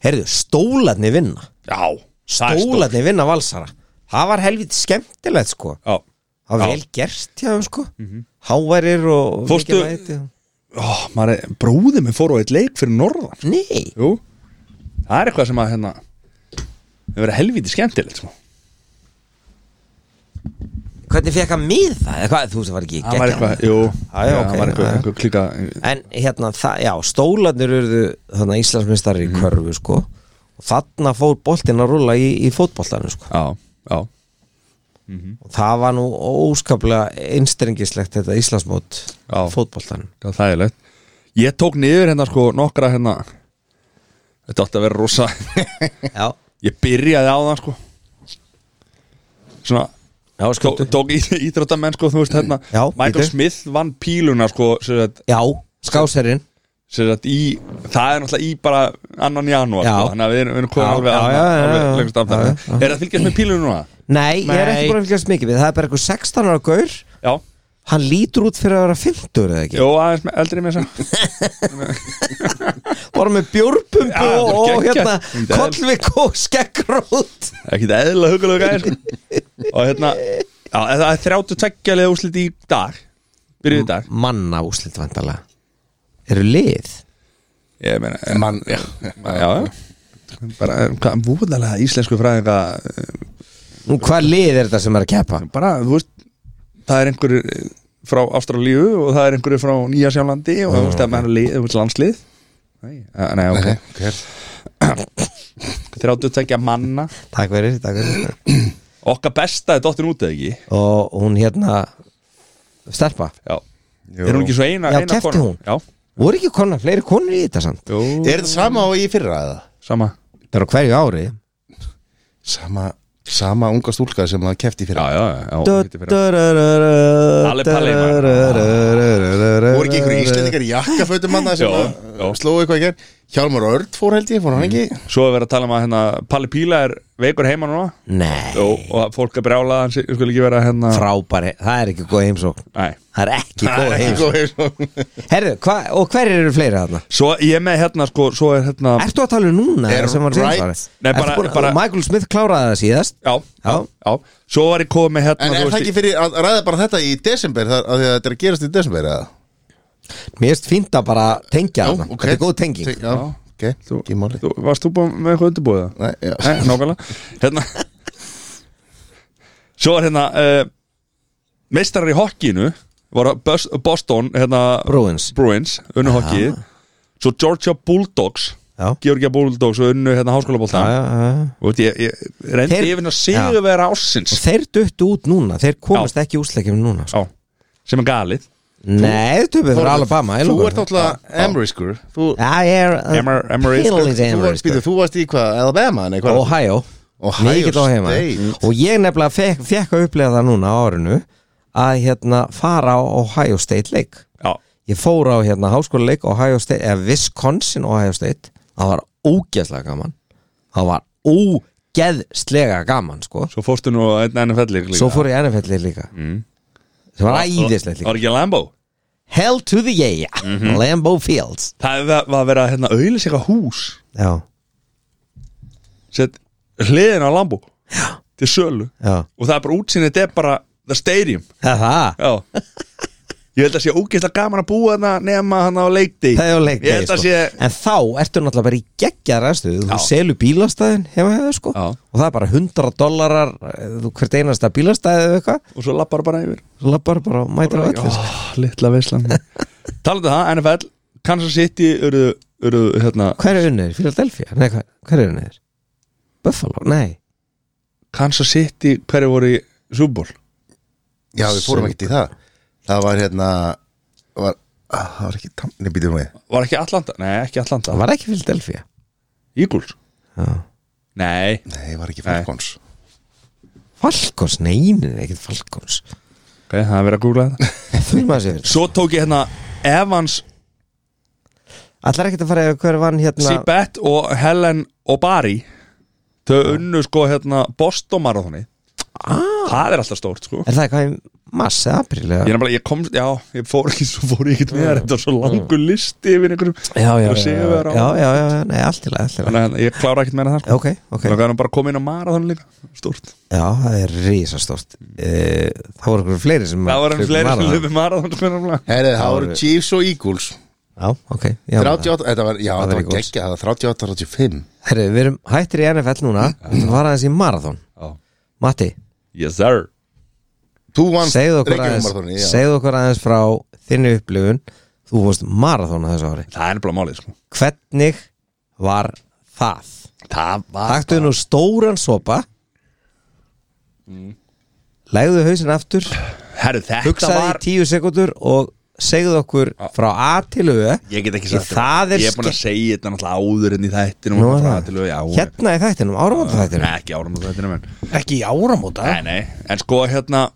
Speaker 4: Herðu, stólarni vinna
Speaker 1: já það er stórt.
Speaker 4: Stólarni vinna valsara Það var helvit skemmtilegt sko
Speaker 1: Já,
Speaker 4: Það var
Speaker 1: Já. Mhm.
Speaker 4: vel gert hjá þeim sko Háværir og
Speaker 1: Fórstu-
Speaker 4: mikið mæti.
Speaker 1: Ó, maður er, bróðið minn fór á eitt leik fyrir norðan
Speaker 4: Nei
Speaker 1: Jú, það er eitthvað sem að, hérna Það verið helvítið skemmtilegt, sko
Speaker 4: hvernig fekk hann miða eða hvað, þú veist það var ekki
Speaker 1: Hann var
Speaker 4: geggjað.
Speaker 1: eitthvað, jú
Speaker 4: Já,
Speaker 1: já,
Speaker 4: já,
Speaker 1: Hann
Speaker 4: ok,
Speaker 1: var
Speaker 4: já,
Speaker 1: eitthvað,
Speaker 4: já.
Speaker 1: eitthvað klika
Speaker 4: En hérna, það, já, stólarnir urðu þannig að Íslandsmeistar í
Speaker 1: Mhm.
Speaker 4: körfu sko. og þarna fór boltinn að rúlla í, í fótboltanum sko.
Speaker 1: Já, já
Speaker 4: og það var nú óskaplega einstrengislegt þetta Íslandsmót
Speaker 1: Já.
Speaker 4: fótboltanum
Speaker 1: Það var þægilegt Ég tók niður hérna sko nokkra hérna Þetta átti að vera rosa
Speaker 4: Já,
Speaker 1: Ég byrjaði á það sko Svona
Speaker 4: já,
Speaker 1: Tók,
Speaker 4: skjóttu
Speaker 1: tók í- íþróttamenn sko, þú veist hérna
Speaker 4: Já,
Speaker 1: Michael
Speaker 4: bíddu.
Speaker 1: Smith vann píluna sko sem sagt-
Speaker 4: Já, skáserinn
Speaker 1: sem sagt í, Það er náttúrulega í bara annan janúar
Speaker 4: Já.
Speaker 1: sko, Þannig að við erum, við erum
Speaker 4: Já,
Speaker 1: komin alveg,
Speaker 4: já,
Speaker 1: alveg,
Speaker 4: já, já,
Speaker 1: alveg
Speaker 4: já.
Speaker 1: lengst af
Speaker 4: Já,
Speaker 1: það Er það að fylgjast með píluna núna?
Speaker 4: Nei, ég er
Speaker 2: Nei.
Speaker 4: ekki búin að fylgjast mikið við Það er bara eitthvað 16 ára gaur
Speaker 1: Já,
Speaker 4: Hann lítur út fyrir að vera 50 eða ekki
Speaker 1: Jó, aðeins með- eldri með þess
Speaker 4: Bara með bjórbumbu
Speaker 1: Já,
Speaker 4: og, og
Speaker 1: geggjað.
Speaker 4: hérna
Speaker 1: Þetta er-
Speaker 4: Kollvik og skeggrót
Speaker 1: að Ekki það eðla hugulega gæði sko. Og hérna Já, en það er 32 leða úrslit í dag
Speaker 4: Mm.
Speaker 1: Byrjuð í dag
Speaker 4: Manna úslit vandalega Eru lið
Speaker 1: Ég meina eh,
Speaker 3: Mann, já,
Speaker 1: Já, já Bara, eh, hvað, voðalega íslensku fræðinga eh,
Speaker 4: Nú, hvað lið er þetta sem er að keppa?
Speaker 1: Bara, þú veist Það er einhverju frá Ástralíu Og það er einhverju frá Nýja Sjálandi Og þú veist að maður er lið- þú veist, landslið Nei, eh, nei,
Speaker 3: ok,
Speaker 1: ok
Speaker 3: ok
Speaker 1: 32 manna
Speaker 4: Takk fyrir, takk fyrir
Speaker 1: Okkar besta er dottin út eða ekki
Speaker 4: Og hún hérna Stelpa
Speaker 1: Já Er hún ekki svo eina
Speaker 4: Já,
Speaker 1: eina
Speaker 4: keppti
Speaker 1: konan?
Speaker 4: hún?
Speaker 1: Já
Speaker 4: Voru ekki konar, fleiri konur í þetta samt
Speaker 1: Jú,
Speaker 3: Er þetta sama og í fyrra eða?
Speaker 1: sama
Speaker 4: Það eru á hverju ári
Speaker 3: Sama, sama unga stúlka sem það kefti í fyrra
Speaker 1: Já, já, já
Speaker 4: Ali
Speaker 1: Ali Palli, maður.
Speaker 3: Voru ekki einhverju íslendingar í jakkafötum manna sem
Speaker 1: Já,
Speaker 3: að-
Speaker 1: já.
Speaker 3: slógu eitthvað ekki Hjálmar Örd fór held ég, fór hann ekki
Speaker 1: Svo er verið að tala um að hérna, Palli Píla er veikur heima núna
Speaker 4: Nei,
Speaker 1: Jó, og að fólk er brjála hann sé- skulle ekki vera hérna
Speaker 4: frábæri, það er ekki góð heimsókn
Speaker 1: Nei.
Speaker 4: Það er ekki
Speaker 3: Það er
Speaker 4: góð
Speaker 3: ekki
Speaker 4: heimsókn
Speaker 3: góð heimsókn.
Speaker 4: Herðu, hva, og hver eru fleiri þarna?
Speaker 1: Svo ég er með hérna sko, svo er hérna
Speaker 4: Ertu að tala um núna?
Speaker 3: Er
Speaker 4: eða sem var
Speaker 3: right?
Speaker 4: right.
Speaker 1: Nei, bara-
Speaker 4: búin,
Speaker 1: bara-
Speaker 4: Michael Smith kláraði það síðast
Speaker 1: Já, já,
Speaker 4: Já.
Speaker 1: já Svo var ég komið með hérna
Speaker 3: En
Speaker 1: þú
Speaker 3: er það
Speaker 1: veist,
Speaker 3: ekki fyrir að ræða bara þetta í desember þar, að því að þetta er að gerast í desember eða?
Speaker 4: Mér erst fínt að bara tengja
Speaker 3: Já,
Speaker 4: þarna
Speaker 3: ok.
Speaker 4: Þetta er góð tenging
Speaker 3: Já, ok,
Speaker 1: þú,
Speaker 3: ekki máli
Speaker 1: þú, Varst þú búin með eitthvað undirbúið það?
Speaker 3: Nei, já.
Speaker 1: Nei, nákvæmlega Hérna Svo er hérna uh, Meistarar í hokkinu Var að Bus- Boston hérna,
Speaker 4: Bruins
Speaker 1: Bruins Unnu hokkið Svo Georgia Bulldogs
Speaker 4: Já.
Speaker 1: Georgia Bulldogs og unnu hérna háskólaboltan
Speaker 4: Já, já, já.
Speaker 1: Og veit, ég, ég reyndi
Speaker 4: Þeir-
Speaker 1: yfir að sigur vera
Speaker 4: Og
Speaker 1: ásins
Speaker 4: þeir duttu út núna, þeir komast ekki úsleikjum núna sko.
Speaker 1: Já, sem er galið
Speaker 4: Nei, þau töpuðu fyrir Alabama ég
Speaker 3: Þú
Speaker 4: lofa
Speaker 3: ert
Speaker 4: því.
Speaker 3: náttúrulega Amoriskur Þú
Speaker 4: Já, ég er uh,
Speaker 1: Emmer- Emmerich-
Speaker 3: þú
Speaker 4: Feelings
Speaker 3: varst- býtu,
Speaker 4: Emmerich
Speaker 3: þú varst í hvað, Alabama nei, hvað
Speaker 4: sko. Ohio
Speaker 3: Ohio
Speaker 4: Mikill Ohio
Speaker 3: State.
Speaker 4: maður. Og ég nefnilega fekk, fekk að upplega það núna á árinu að hérna fara á Ohio State Lake
Speaker 1: Já,
Speaker 4: ég fór á hérna háskólaleik Ohio State, eða Wisconsin Ohio State það var ógeðslega gaman það var ógeðslega gaman sko,
Speaker 1: svo fórstu nú að einn NFL líka
Speaker 4: svo fór ég NFL -ið líka mm. sem var æðislegt líka
Speaker 1: Var ekki að Lambo?
Speaker 4: Hell to the yeah,
Speaker 1: Mhm.
Speaker 4: Lambeau Fields
Speaker 1: Það var- var að vera hérna auðlis eitthvað hús
Speaker 4: já,
Speaker 1: Sett hliðin á Lambo Já Til sölu
Speaker 4: já,
Speaker 1: Og það er bara útsýnið, þetta er bara The Stadium
Speaker 4: það það
Speaker 1: Já Ég held að sé ógeðslega gaman að búa þarna nema hann á leikdi
Speaker 4: Það er á leikdegi,
Speaker 1: Ég held að
Speaker 4: sko.
Speaker 1: sé
Speaker 4: En þá ertu náttúrulega bara í geggjar aðstöðu Þú
Speaker 1: Já.
Speaker 4: selur bílastæðin hefa hefur sko
Speaker 1: Já.
Speaker 4: Og það er bara 100 dollarar eh, þú- Hvert einasta bílastæði eða eitthvað
Speaker 1: Og svo lappar bara yfir
Speaker 4: Svo lappar bara og mætir á öllu sko.
Speaker 1: Littla veislan Talandi um það, NFL Kansas City eru, eru hérna
Speaker 4: Hver er unnið? Philadelphia? Nei, hver, hver er unnið? Buffalo? Nei
Speaker 1: Kansas City, hverju voru í Súból
Speaker 3: Já, við fórum ekkert í það Það var hérna var, ah, Það var ekki tam- Nei, býtum við
Speaker 1: Var ekki Atlanta? Nei, ekki Atlanta
Speaker 4: Það var ekki Philadelphia
Speaker 1: Eagles?
Speaker 4: Já.
Speaker 1: Nei
Speaker 3: Nei, það var ekki Falcons
Speaker 4: Falcons? Nei, nein, ekkert Falcons
Speaker 1: Ok, það er verið að googla þetta
Speaker 4: Þurr maður sér
Speaker 1: Svo tók ég hérna Evans
Speaker 4: Allar ekkert að fara yfir hver vann hérna
Speaker 1: Sibet og Helen Obari Þau unnu sko hérna Boston Marathoni ah. Það er alltaf stórt sko
Speaker 4: Er það eitthvað í mars eða apríl? eða?
Speaker 1: Ég er nefnilega, ég kom, já, ég fór ekki svo fór ég ekkert með það Þetta var svo langur listi yfir einhverjum
Speaker 4: Já, já,
Speaker 1: Ég
Speaker 4: já, já,
Speaker 1: var sigurvegari á-
Speaker 4: já, já, já, nei, allt í lagi, allt í lagi
Speaker 1: Þannig að hérna, ég klára ekkert meira það sko
Speaker 4: Ok, ok
Speaker 1: Þannig að hann bara að koma inn á Marathon líka Stórt
Speaker 4: Já, það er risastórt Eh, Það voru einhverjum fleiri sem
Speaker 1: Það var hann
Speaker 4: hlaupu
Speaker 1: fleiri sem
Speaker 4: maraþon.
Speaker 1: löfum Marathon sko nefnilega
Speaker 3: Herri, það voru Chiefs og Eagles
Speaker 4: Já, ok já,
Speaker 3: 38, þetta var, já, þetta
Speaker 4: Það var
Speaker 3: var
Speaker 4: Eagles.
Speaker 3: geggja Það var 38, 35
Speaker 4: Herru, við erum hættir í NFL núna Það var aðeins í marathon
Speaker 1: Já.
Speaker 4: Matti,
Speaker 1: Yes sir
Speaker 3: Þú vannst
Speaker 4: segðu okkur,
Speaker 3: Reykjavíkmaraþonið,
Speaker 4: aðeins,
Speaker 3: já.
Speaker 4: segðu okkur aðeins frá þinni upplifun þú fórst marathóna þessu ári
Speaker 1: Það er nefnilega málið sko
Speaker 4: hvernig var það?
Speaker 1: Það var
Speaker 4: Taktu nú stóran sopa legðu hausin aftur
Speaker 1: Herru, þetta
Speaker 4: hugsaði
Speaker 1: var
Speaker 4: í tíu sekundur og segðu okkur frá A til Ö
Speaker 1: Ég get ekki
Speaker 4: Því
Speaker 1: sagt
Speaker 4: það er
Speaker 1: Ég er búin að
Speaker 4: ske-
Speaker 1: segja þetta náttúrulega áður enn í þættinum
Speaker 4: Nú
Speaker 1: og
Speaker 4: er
Speaker 1: frá
Speaker 4: það.
Speaker 1: til og- já,
Speaker 4: hérna í þættinum, áramönda þættinum
Speaker 1: Nei, ekki árum á þættinum en
Speaker 2: Ekki í áramóta
Speaker 1: Nei, nei, en sko hérna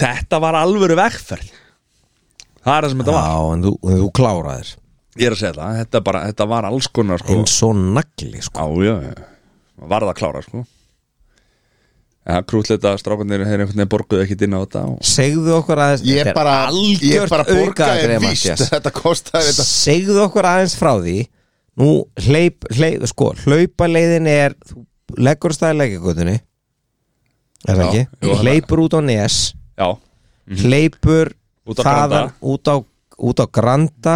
Speaker 1: Þetta var alvöru vegferð Það er það sem þetta var
Speaker 4: Já, en þú, en þú kláraðir
Speaker 1: Ég er að segja það, þetta, bara, þetta var alls konar sko
Speaker 4: eins og nagli sko.
Speaker 1: Já, já, já Var það að klára sko Já, krútleita strákunir Þeir einhvern veginn borguðu ekkit inn á þetta og...
Speaker 4: segðu okkur aðeins
Speaker 3: Ég
Speaker 4: Þetta er
Speaker 3: bara, ég
Speaker 4: algjört
Speaker 3: bara borgaði
Speaker 4: aukaatriði,
Speaker 3: víst
Speaker 4: Matthías.
Speaker 3: Þetta kostaði þetta
Speaker 4: segðu okkur aðeins frá því nú hleyp, hleyp sko, hlaupaleiðin er þú leggur staði leggjagutunni er það
Speaker 1: Já,
Speaker 4: ekki?
Speaker 1: jú, það-
Speaker 4: hleypur út á nes
Speaker 1: Já,
Speaker 4: hleypur
Speaker 1: Mhm. Út á
Speaker 4: þaðan
Speaker 1: Granda.
Speaker 4: út á, út á granda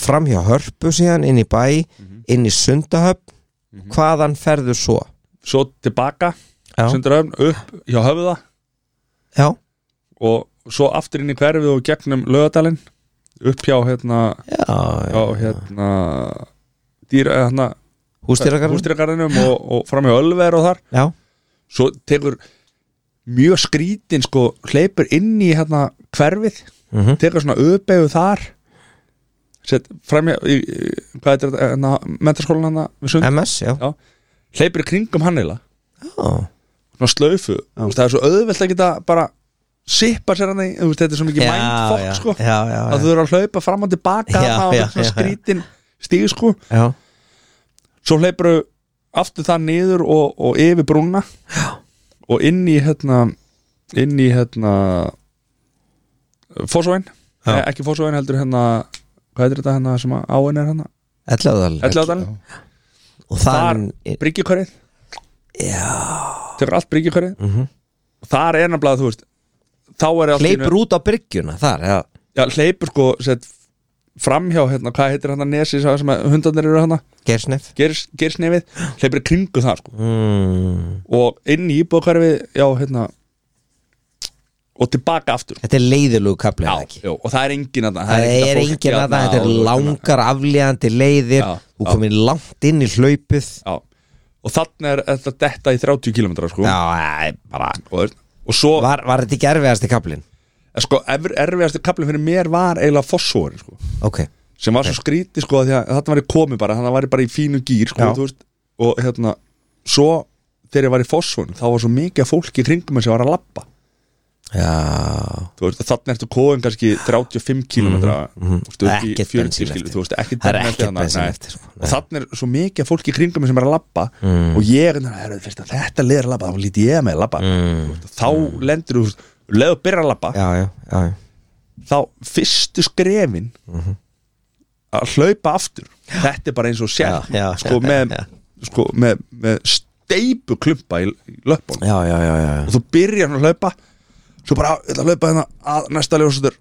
Speaker 4: fram hjá hörpu síðan inn í bæ,
Speaker 1: Mhm.
Speaker 4: inn í sundahöfn hvaðan ferðu svo?
Speaker 1: svo tilbaka
Speaker 4: Já.
Speaker 1: Sunduröfn, upp hjá höfða
Speaker 4: já,
Speaker 1: Og svo aftur inn í hverfið og gegnum lögadalinn Upp hjá hérna
Speaker 4: já,
Speaker 1: Hjá hérna Dýra, eh, hérna
Speaker 4: hústýragarðan
Speaker 1: Hústýragarðinum og, og fram hjá Ölver og þar
Speaker 4: já,
Speaker 1: Svo tekur mjög skrítin sko Hleypur inn í hérna hverfið
Speaker 4: mhm
Speaker 1: tekur svona öðbegu þar set framja í, í, hvað heitir þetta, hérna, mentaskólan hann við sund,
Speaker 4: MS, já,
Speaker 1: já, hleypir í kringum hann eila,
Speaker 4: já.
Speaker 1: svona slaufu þú veist, það er svo auðvelt að geta bara sippa sér hann í, þú veist, þetta er svo mikið
Speaker 4: Já,
Speaker 1: mindfokk
Speaker 4: já,
Speaker 1: sko,
Speaker 4: já, já,
Speaker 1: að þú eru að hlaupa fram og tilbaka
Speaker 4: Já,
Speaker 1: það
Speaker 4: já,
Speaker 1: er svona
Speaker 4: já, já.
Speaker 1: skrítin stíð sko,
Speaker 4: já.
Speaker 1: svo hleypir þau aftur það niður og, og yfir brúna já. og inn í hérna inn í hérna fósóin,
Speaker 4: Já.
Speaker 1: ekki fósóin heldur hérna hvað heitir þetta hérna sem að áin er hérna
Speaker 4: Elladal
Speaker 1: Elladalinn,
Speaker 4: og
Speaker 1: þar
Speaker 4: þann
Speaker 1: bryggjukörið tekur allt bryggjukörið
Speaker 4: Mhm.
Speaker 1: þar er nefnilega þú veist þá er allt í einu-
Speaker 4: hleypur út á bryggjuna þar, já,
Speaker 1: já, hleypur sko set, framhjá hérna, hvað heitir hérna nesi sá sem að hundarnir eru hérna,
Speaker 4: Gersnef
Speaker 1: gersnefið hleypur í kringu það sko
Speaker 4: mm.
Speaker 1: og inn í íbúðkörfið, já hérna og tilbaka aftur
Speaker 4: þetta er leiðilug kapli
Speaker 1: já,
Speaker 4: er það ekki?
Speaker 1: já, og það er engin að
Speaker 4: það er engin að það, þetta er langar aflíðandi leiðir
Speaker 1: Já,
Speaker 4: þú
Speaker 1: já.
Speaker 4: komin langt inn í hlaupið
Speaker 1: já, og þannig er þetta detta í 30 km sko
Speaker 4: já, æ, bara
Speaker 1: og, og svo
Speaker 4: var, var þetta ekki erfiðasti kaplin?
Speaker 1: En sko, erf- erfiðasti kaplinn fyrir mér var eiginlega fossóin, sko,
Speaker 4: ok,
Speaker 1: sem var svo skrítið, sko, af því að þetta var ég komið bara, þannig að var ég bara í fínu gýr, sko,
Speaker 4: Já.
Speaker 1: þú veist, og hérna, svo þegar ég var í fossóin, þá var svo mikið af fólki í kringum mér sem var að labba,
Speaker 4: já
Speaker 1: þú veist, þannig ertu kóðin kannski 35 km, þú veist,
Speaker 4: Mhm, Ekkert
Speaker 1: ekki 40
Speaker 4: bensín
Speaker 1: km,
Speaker 4: eftir.
Speaker 1: þú veist, ekki
Speaker 4: það er ekkert bensin eftir sko.
Speaker 1: og þannig er svo mikið af fólki í kringum mér sem er að labba og ég, hérna, heyrðu, veist að þetta leður að labba, þá lítið ég með að labba,
Speaker 4: Mm.
Speaker 1: Þú veist, þá lendur þú, þú veist, leður byrja að labba,
Speaker 4: já, já, já, já.
Speaker 1: þá fyrstu skrefin
Speaker 4: Mhm.
Speaker 1: að hlaupa aftur þetta er bara eins og sér
Speaker 4: Já, já,
Speaker 1: sko,
Speaker 4: já,
Speaker 1: með,
Speaker 4: já.
Speaker 1: sko, með, með steipu klumpa í, í löpun
Speaker 4: já, já, já, já.
Speaker 1: og þú byrjar að hlaupa svo bara, ég ætla að hlaupa hérna að næsta ljósutur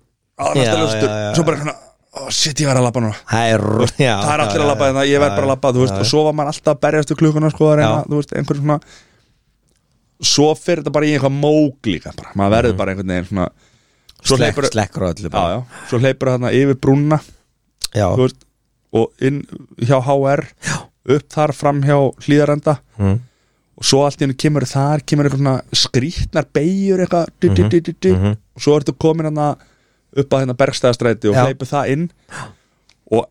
Speaker 1: að næsta
Speaker 4: Já,
Speaker 1: ljósutur,
Speaker 4: já, já.
Speaker 1: svo bara hérna oh, shit, ég var að labba núna
Speaker 4: Það er, já,
Speaker 1: það er allir
Speaker 4: já,
Speaker 1: að labba
Speaker 4: já,
Speaker 1: hérna, ég verð
Speaker 4: já,
Speaker 1: bara að labba þú veist,
Speaker 4: já,
Speaker 1: og svo var maður alltaf að berjast við klukkuna sko, að reyna,
Speaker 4: Já.
Speaker 1: þú veist, einhver svona svo fyrir þetta bara í einhvað mók líka bara, maður verður bara einhvern veginn svona svo
Speaker 4: Mhm. Slekk-
Speaker 1: hleypur-
Speaker 4: Slekkur á öllu
Speaker 1: já, já, svo hleypur þarna yfir brúna
Speaker 4: já.
Speaker 1: þú veist, og inn hjá HR já. upp þar fram hjá hlýðarenda
Speaker 4: Mm.
Speaker 1: og svo allt í hennu kemur þar kemur eitthvað svona skrýtnar beigjur eitthvað du, du, du, du, du. og svo ertu komin hana upp að hérna bergstæðastræti og
Speaker 4: Já.
Speaker 1: hleypur það inn og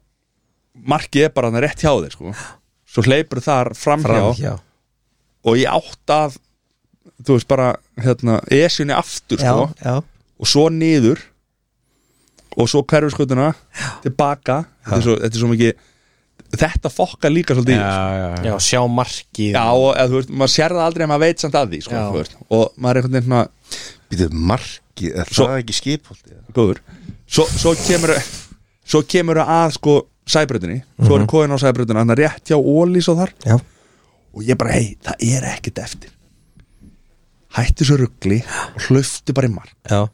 Speaker 1: markið er bara hana rétt hjá þér sko. svo hleypur þar fram hjá
Speaker 4: Fram, já.
Speaker 1: og ég átt að þú veist bara hérna, esjunni aftur sko
Speaker 4: já, já.
Speaker 1: og svo niður og svo hverfiskutuna tilbaka þetta er, svo, þetta er svo mikið þetta fokkar líka svolítið í þessu.
Speaker 2: Já, sjá markið
Speaker 1: já og eða, þú veist, maður sér það aldrei en maður veit samt að því sko,
Speaker 2: Já.
Speaker 1: þú veist, og maður er einhvern veginn svona
Speaker 3: Býtuð marki, er
Speaker 1: Svo-
Speaker 3: það ekki skipholti?
Speaker 1: góður svo, svo kemur svo kemur það að sko sæbröðinni, svo
Speaker 2: Mhm.
Speaker 1: er kóðin á sæbröðinni hann er rétt hjá Ólís og þar
Speaker 4: já.
Speaker 1: og ég bara, hei, það er ekkert eftir hætti svo ruggli og hlöftu bara í mark
Speaker 4: já.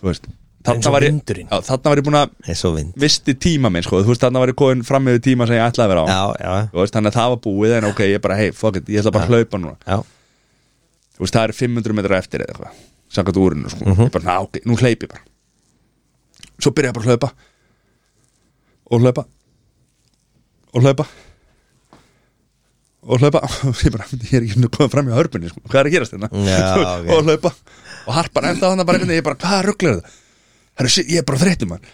Speaker 1: þú veist,
Speaker 2: Eins
Speaker 1: þarna
Speaker 2: og
Speaker 1: var ég
Speaker 2: vindurinn.
Speaker 1: já, þarna var ég búin að
Speaker 4: Það er svo vind
Speaker 1: visti tíma minn sko, þú veist þannig að var ég komin fram með tíma sem ég ætlaði að vera á
Speaker 4: Já, já,
Speaker 1: Þú veist, þannig að það var búið en ok, ég bara hey, fuck it, ég ætla bara að hlaupa núna
Speaker 4: já
Speaker 1: þú veist, það er 500 metrar eftir eða eitthvað sangat úrinu sko.
Speaker 4: Mhm.
Speaker 1: ég bara, ná, ok, nú hleyp ég bara svo byrja ég bara að hlaupa og hlaupa og hlaupa og hlaupa og ég bara, ég er ekki nú komið fram í hörpunni sko. hvað er að gerast þetta?
Speaker 4: Já, ok.
Speaker 1: og hlaupa og harpan enda þannig bara, einhvern veginn, ég bara, hvað rugglir þetta? Herru, shit, ég er bara þreytið mann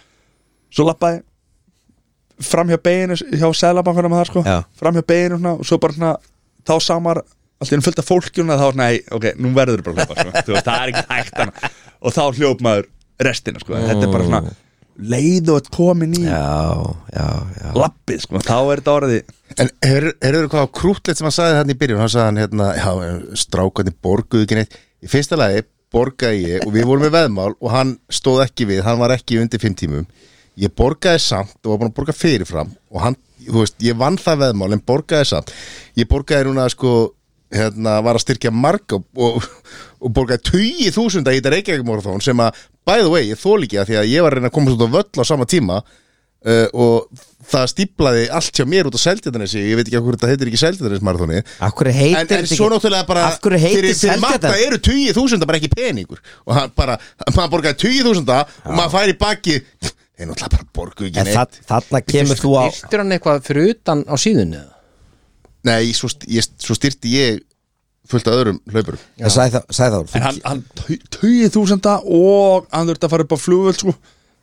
Speaker 1: svo lappa ég fram hjá beginu hjá sælabankunum það sko,
Speaker 4: Já.
Speaker 1: fram hjá beginu svona, og svo bara svona, þá samar allt í enn fullt af fólkjum og þá svona, nei, ok, nú verður bara að hlaupa sko. Þú veist, það er ekki hægt hana. og þá hljóp maður restina sko. þetta er bara svona leið og komin í
Speaker 4: Já, já, já
Speaker 1: lappið sko, þá er þetta orðið
Speaker 3: En heyrðu heyrðu hvað krútlegt sem hann sagði þannig í byrjun hann sagði hann hérna, já, strákandi borguðu ekki neitt í fyrsta lagi borgaði ég og við vorum með veðmál og hann stóð ekki við, hann var ekki undir fimm tímum ég borgaði samt og var búin að borga fyrirfram og hann, þú veist, ég vann það veðmál en borgaði samt ég borgaði núna sko hérna, var að styrkja marga og, og borgaði tugi þúsunda í þetta reykjækjumorðón sem að, by the way, ég þól ekki að því að ég var að reyna að komast út á völl á sama tíma uh, og það stíplaði allt hjá mér út á Seldjarnesi ég veit ekki af hverju þetta heitir ekki Seldjarnesmarathoni en,
Speaker 4: Akkur heitir þetta
Speaker 3: en svo náttúrulega bara
Speaker 4: Af hverju heitir
Speaker 3: fyrir, fyrir matta
Speaker 4: Seltjarnar-
Speaker 3: eru 20.000 bara ekki peningur og hann bara, maður borgaði 20.000 og maður fær í baki þeir náttúrulega bara borgu ekki
Speaker 4: En
Speaker 3: neitt
Speaker 4: það, þarna kemur þú á
Speaker 2: Yrtir hann eitthvað fyrir utan á síðunni? eða?
Speaker 3: nei, svo, st- ég, svo styrti ég fullt af öðrum hlaupurum
Speaker 4: Ég Sagði þá, sagði þá
Speaker 1: en hann, hann tugið þúsunda og hann þurfti að fara upp á flugvöld sko.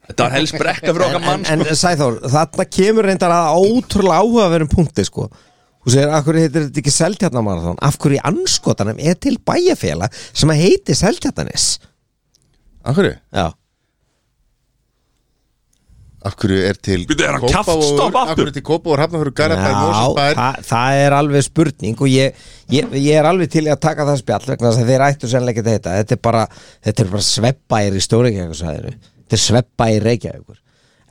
Speaker 1: þetta var helst brekka fyrir okkar mann
Speaker 4: en,
Speaker 1: sko.
Speaker 4: en Sæþór, þarna kemur reyndar að ótrúlega áhugaverðum punkti sko Þú segir, af hverju heitir þetta ekki Seltjarnamarathon? Af hverju í anskotanum er til bæjarfélag sem að heiti Seltjarnanis?
Speaker 3: af hverju?
Speaker 4: Já
Speaker 3: af hverju er til
Speaker 1: Bíddu, er hann
Speaker 3: Kópavogur
Speaker 1: kjaftstopp
Speaker 3: af hverju
Speaker 1: aftur?
Speaker 3: er til Kópavogur, Hafnafjörður, Garabær, Mósabær
Speaker 4: það, það er alveg spurning og ég, ég, ég er alveg til í að taka það spjall vegna þess að þeir ættu sennilega ekki þetta þetta er bara, þetta er bara sveppbæir í Stóreikjækursæðinu þetta er sveppbæir Reykjavíkur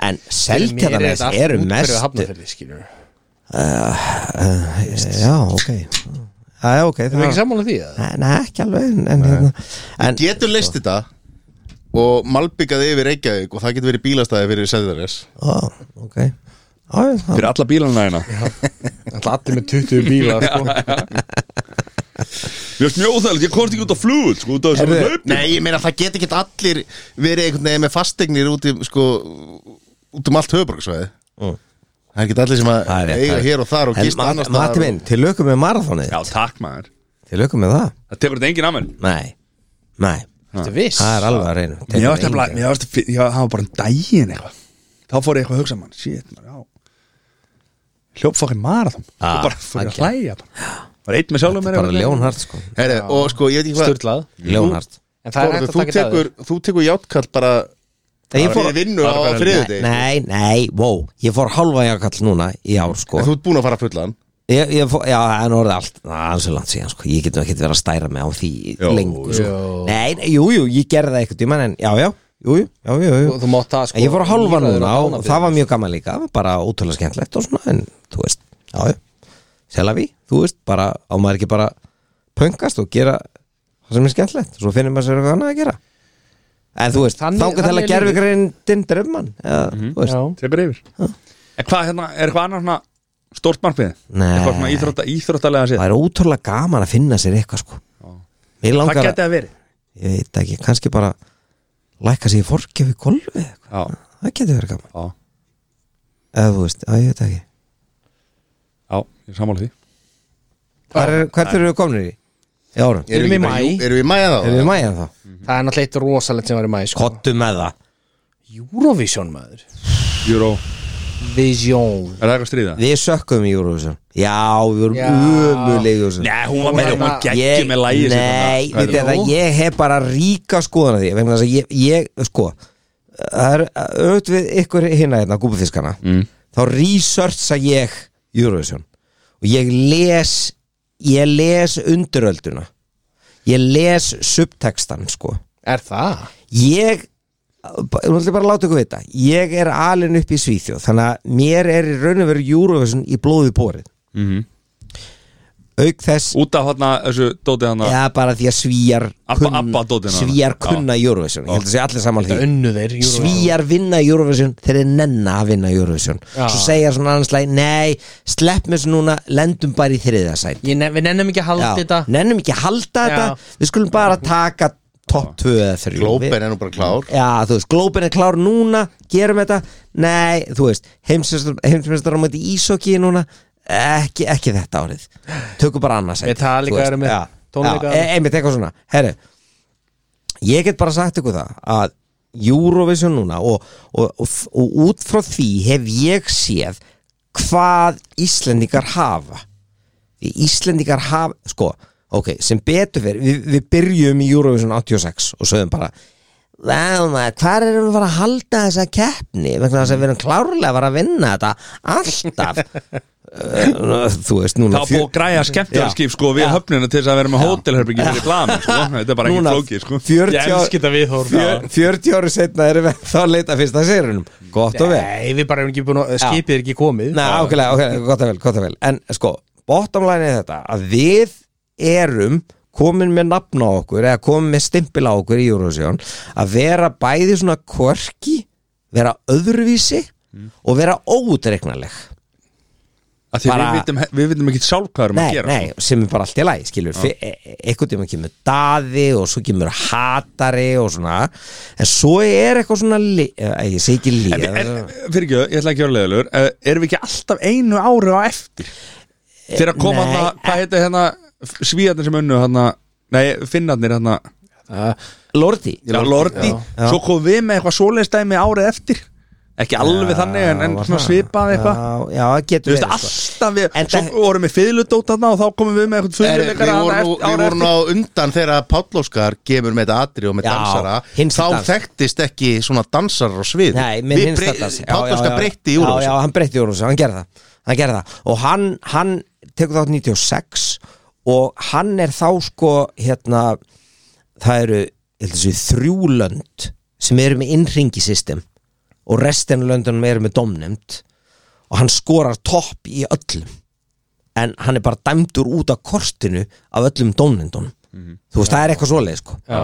Speaker 4: en
Speaker 2: Fyrir mér er
Speaker 4: Seltjarnanes
Speaker 2: þetta allt
Speaker 4: eru
Speaker 2: út fyrir
Speaker 4: mest
Speaker 2: Hafnarfirði, skilurðu.
Speaker 4: Já, ok Það er ok
Speaker 2: Erum við ekki sammála því? eða?
Speaker 4: Nei, nei, ekki alveg en, en, hérna, en
Speaker 3: getur leist þetta og malbyggaði yfir Reykjavík og það getur verið bílastæði fyrir Seldjarnes
Speaker 4: ó, ok Á, já, það-
Speaker 1: fyrir alla bílana hérna
Speaker 2: Náttúrulega Allir með 20 bíla sko.
Speaker 1: Ég veist mjög óþægilegt, ég komst ekki út á flugvöld sko, út af þessum
Speaker 4: Heyrðu,
Speaker 1: hlaup
Speaker 3: Nei, ég meina það get ekki allir verið einhvern veginn með fastegnir út í, sko, út um allt höfuborgsvæði Það er ekki allir sem að
Speaker 4: það er rétt,
Speaker 3: eiga
Speaker 4: það er-
Speaker 3: hér og þar og
Speaker 4: En
Speaker 3: gista
Speaker 4: Ma-
Speaker 3: annars
Speaker 4: Matti
Speaker 3: staðar
Speaker 4: minn, til lökum með marathonið
Speaker 1: Já, takk maður
Speaker 4: Til lökum með það
Speaker 1: Það tekur þetta enginn að mér
Speaker 4: Nei, nei,
Speaker 2: Ertu viss?
Speaker 4: það er alveg að reyna
Speaker 1: Mér varst að blæða, mér varst að Já, það var bara en daginn eitthvað Þá fór ég eitthvað að hugsa mann Shit, maður, já Hljópfokkin marathon
Speaker 4: Ah,
Speaker 1: Og bara fór ég að
Speaker 4: ekki.
Speaker 1: hlæja bara Var einn með sjálfum mér
Speaker 4: Bara
Speaker 1: eitthvað.
Speaker 4: ljónhart sko
Speaker 3: Herre, Og sko, ég veit ekki hvað
Speaker 2: Sturlað
Speaker 4: Ljónhart
Speaker 2: En það er hægt
Speaker 3: Þórður,
Speaker 2: að
Speaker 3: þú
Speaker 2: taka þetta
Speaker 3: tekur,
Speaker 2: aður
Speaker 3: þú tekur játkall bara
Speaker 4: Nei, ég fór,
Speaker 3: fyrir vinnu
Speaker 1: bara
Speaker 3: á
Speaker 1: bara-
Speaker 3: þriðið
Speaker 4: nei, nei, wow, ég fór halva jakall núna í ár sko
Speaker 3: En þú ert búin að fara fullan
Speaker 4: ég, ég fór, Já, en orðið allt, ansi langt síðan sko Ég getum ekki verið að stæra mig á því
Speaker 1: Jó,
Speaker 4: lengur sko.
Speaker 2: jó.
Speaker 4: Nei, nei, jú, jú, ég gerði það eitthvað tíma En já, já, jú, jú, já, jú, jú.
Speaker 2: Þú- Þú mátt það
Speaker 4: En
Speaker 2: sko
Speaker 4: Ég fór að halva
Speaker 2: líraður
Speaker 4: núna
Speaker 2: á
Speaker 4: og
Speaker 2: dánarbyrði.
Speaker 4: það var mjög gaman líka Bara ótrúlega skemmtlegt og svona En þú veist, já, já, selaví Þú veist, bara, á maður ekki bara Pöngast og gera það sem er skemmtlegt Svo finnir maður sér eitthvað annað að gera En þú veist,
Speaker 2: Þannig-
Speaker 4: þangar til
Speaker 2: þannig
Speaker 4: að
Speaker 2: er
Speaker 4: gerfi
Speaker 2: lífið. Mhm.
Speaker 4: greindin dröfman eða, þú veist,
Speaker 2: Já.
Speaker 1: Tekur yfir En hvað, hérna, er eitthvað annað svona Stórt markmið?
Speaker 4: Nei.
Speaker 1: Eitthvað svona íþrótta, íþróttalega séð
Speaker 4: það er ótrúlega gaman að finna sér eitthvað sko
Speaker 1: Hvað
Speaker 4: Mér langar
Speaker 1: geti
Speaker 4: að,
Speaker 1: það verið?
Speaker 4: ég veit ekki, kannski bara lækka sér í forgjöf í kolfi eða eitthvað.
Speaker 1: Já,
Speaker 4: það geti verið gaman
Speaker 1: já,
Speaker 4: eða þú veist, að ég veit ekki
Speaker 1: já, ég er sammála því
Speaker 4: Hvar er- Hvert eru við komnir í? Í árum?
Speaker 2: Erum
Speaker 3: ekki
Speaker 2: í
Speaker 3: bara-
Speaker 2: maí?
Speaker 3: jú, Erum við í mæja þá?
Speaker 4: Erum við mæjan þá?
Speaker 2: Það er náttúrulega eitt rosalegt sem var í maður sko.
Speaker 4: Kottu með það
Speaker 2: Eurovision maður
Speaker 1: Júró,
Speaker 2: Vision
Speaker 1: er það eitthvað stríða?
Speaker 4: Við sökkum í Eurovision Já, við vorum
Speaker 2: Já.
Speaker 4: umulig Nei,
Speaker 1: Nei, hún var með, hún var geggjum
Speaker 4: Ég-
Speaker 1: með lægið sitt
Speaker 4: Nei,
Speaker 1: þarna.
Speaker 4: við þetta, ég hef bara ríka skoðan að því vegna þess að ég, ég sko það er auðvitað við ykkur hinna hérna, gúbufiskana mm. þá researcha ég Eurovision og ég les ég les undirölduna ég les subtextan sko
Speaker 2: Er það?
Speaker 4: ég nú ætlum ég bara að láta ykkur vita ég er alin upp í Svíþjóð þannig að mér er í raun og veru Eurovision í blóði bórið auk þess
Speaker 1: Mhm. Út af hérna, þessu dótið hana
Speaker 4: Já, bara því að svíjar
Speaker 1: Abba- Abba dótið hana.
Speaker 4: svíjar
Speaker 1: Já.
Speaker 4: kunna Eurovision Ég held að segja allir saman
Speaker 2: Það
Speaker 4: því
Speaker 2: unnu þeir Eurovision.
Speaker 4: Svíjar vinna Eurovision þeir er nenna að vinna Eurovision
Speaker 2: Já.
Speaker 4: Svo segja svona annarslæg Nei, slepp mér svo núna, lendum bara í þriðasæt
Speaker 2: Ég nef, Við nennum ekki að halda þetta
Speaker 4: Nennum ekki að halda
Speaker 2: Já.
Speaker 4: þetta Við skulum bara taka topp 2 eða 3
Speaker 3: Glóben er nú bara klár
Speaker 4: Já, þú veist, glópin er klár núna gerum þetta, nei, þú veist heimsmeistar á mæti ísokki núna ekki, ekki þetta árið tökum bara annars
Speaker 2: Metallica eru með, tónleika eru með.
Speaker 4: e, einmitt eitthvað svona, herri ég get bara sagt ykkur það að Eurovision núna og, og, og, og út frá því hef ég séð hvað Íslendingar hafa því Íslendingar hafa, sko ok, sem betur fyrir, við, við byrjum í Eurovision 86 og sögum bara Vá maður, hvar erum við að fara að halda þessa keppni vegna þess að við erum klárlega að fara að vinna þetta alltaf Uh, þú
Speaker 1: Það
Speaker 4: veist, núna
Speaker 1: var búið að græja skemmtiðarskip sko við
Speaker 4: Já.
Speaker 1: höfnina til þess að vera með hótelherbyggi fyrir plami sko, þetta er bara ekki
Speaker 4: Núna
Speaker 1: flókið sko
Speaker 4: 40
Speaker 2: Ég elski þetta viðhorf.
Speaker 4: fjör, 40 ári setna erum við þá að leita fyrst að sérunum gott og vel
Speaker 2: Nei, við bara erum ekki búin að skipið er ekki komið
Speaker 4: Nei, ákveðlega, ákveðlega, gott að vel, gott að vel En sko, bottom line er þetta að við erum komin með nafn á okkur eða komin með stimpil á okkur í Eurovision að vera bæði svona kvörki vera öðruvísi
Speaker 1: Mm.
Speaker 4: og vera óutreiknaleg
Speaker 1: Af því við
Speaker 4: Bara-
Speaker 1: vitum- Við vitum ekki sjálf hvað erum að
Speaker 4: Nei,
Speaker 1: gera sko.
Speaker 4: nei, sem er bara allt í lagi, skilur Fyr- e- e- einhvern tímann kemur daði og svo kemur hatari og svona en svo er eitthvað svona li, eh, ég segi ekki líf
Speaker 1: Eh, Fyrir ekki, ég ætla ekki að vera leðilegur Erum við ekki alltaf einu ári á eftir Fyrir að koma
Speaker 4: Eh, nei.
Speaker 1: hann Hvað heitir hérna Svíðarnir sem unnu hann Nei, finnarnir hann
Speaker 4: Lordi
Speaker 1: Já, Lordi
Speaker 4: Já.
Speaker 1: Svo kom við með eitthvað svoleiðstæmi árið eftir Ekki alveg þannig en, en
Speaker 4: var
Speaker 1: svona
Speaker 4: það?
Speaker 1: svipað eitthvað
Speaker 4: Já, já, það
Speaker 1: Þú
Speaker 4: getur
Speaker 1: veist,
Speaker 4: verið, sko.
Speaker 1: alltaf við
Speaker 4: En
Speaker 1: Svo
Speaker 4: það-
Speaker 1: vorum við fiðludót hann og þá komum við með eitthvað
Speaker 3: Er, við
Speaker 1: fiðluleikara
Speaker 3: vorum nú- við vorum á undan þegar að Páll Óskar gefur með þetta atri og með
Speaker 4: Já,
Speaker 3: dansara
Speaker 4: hinsta
Speaker 3: þá
Speaker 4: dans.
Speaker 3: þekktist ekki svona dansarar á svið
Speaker 4: Nei, minn hins þetta
Speaker 3: Páll Óskar breytti í
Speaker 4: Já, já,
Speaker 3: úrúsum
Speaker 4: hann breytti í Eurovision, hann gerði það, hann gerði það. Og hann, hann tekur þátt 96 og hann er þá sko hérna, það eru þessu, þrjúlönd sem eru með innringisystem og restin af löndunum eru með domnefnd og hann skorar topp í öllum en hann er bara dæmdur út af kortinu af öllum domnefndunum þú veist, það er eitthvað svoleið sko
Speaker 2: Já.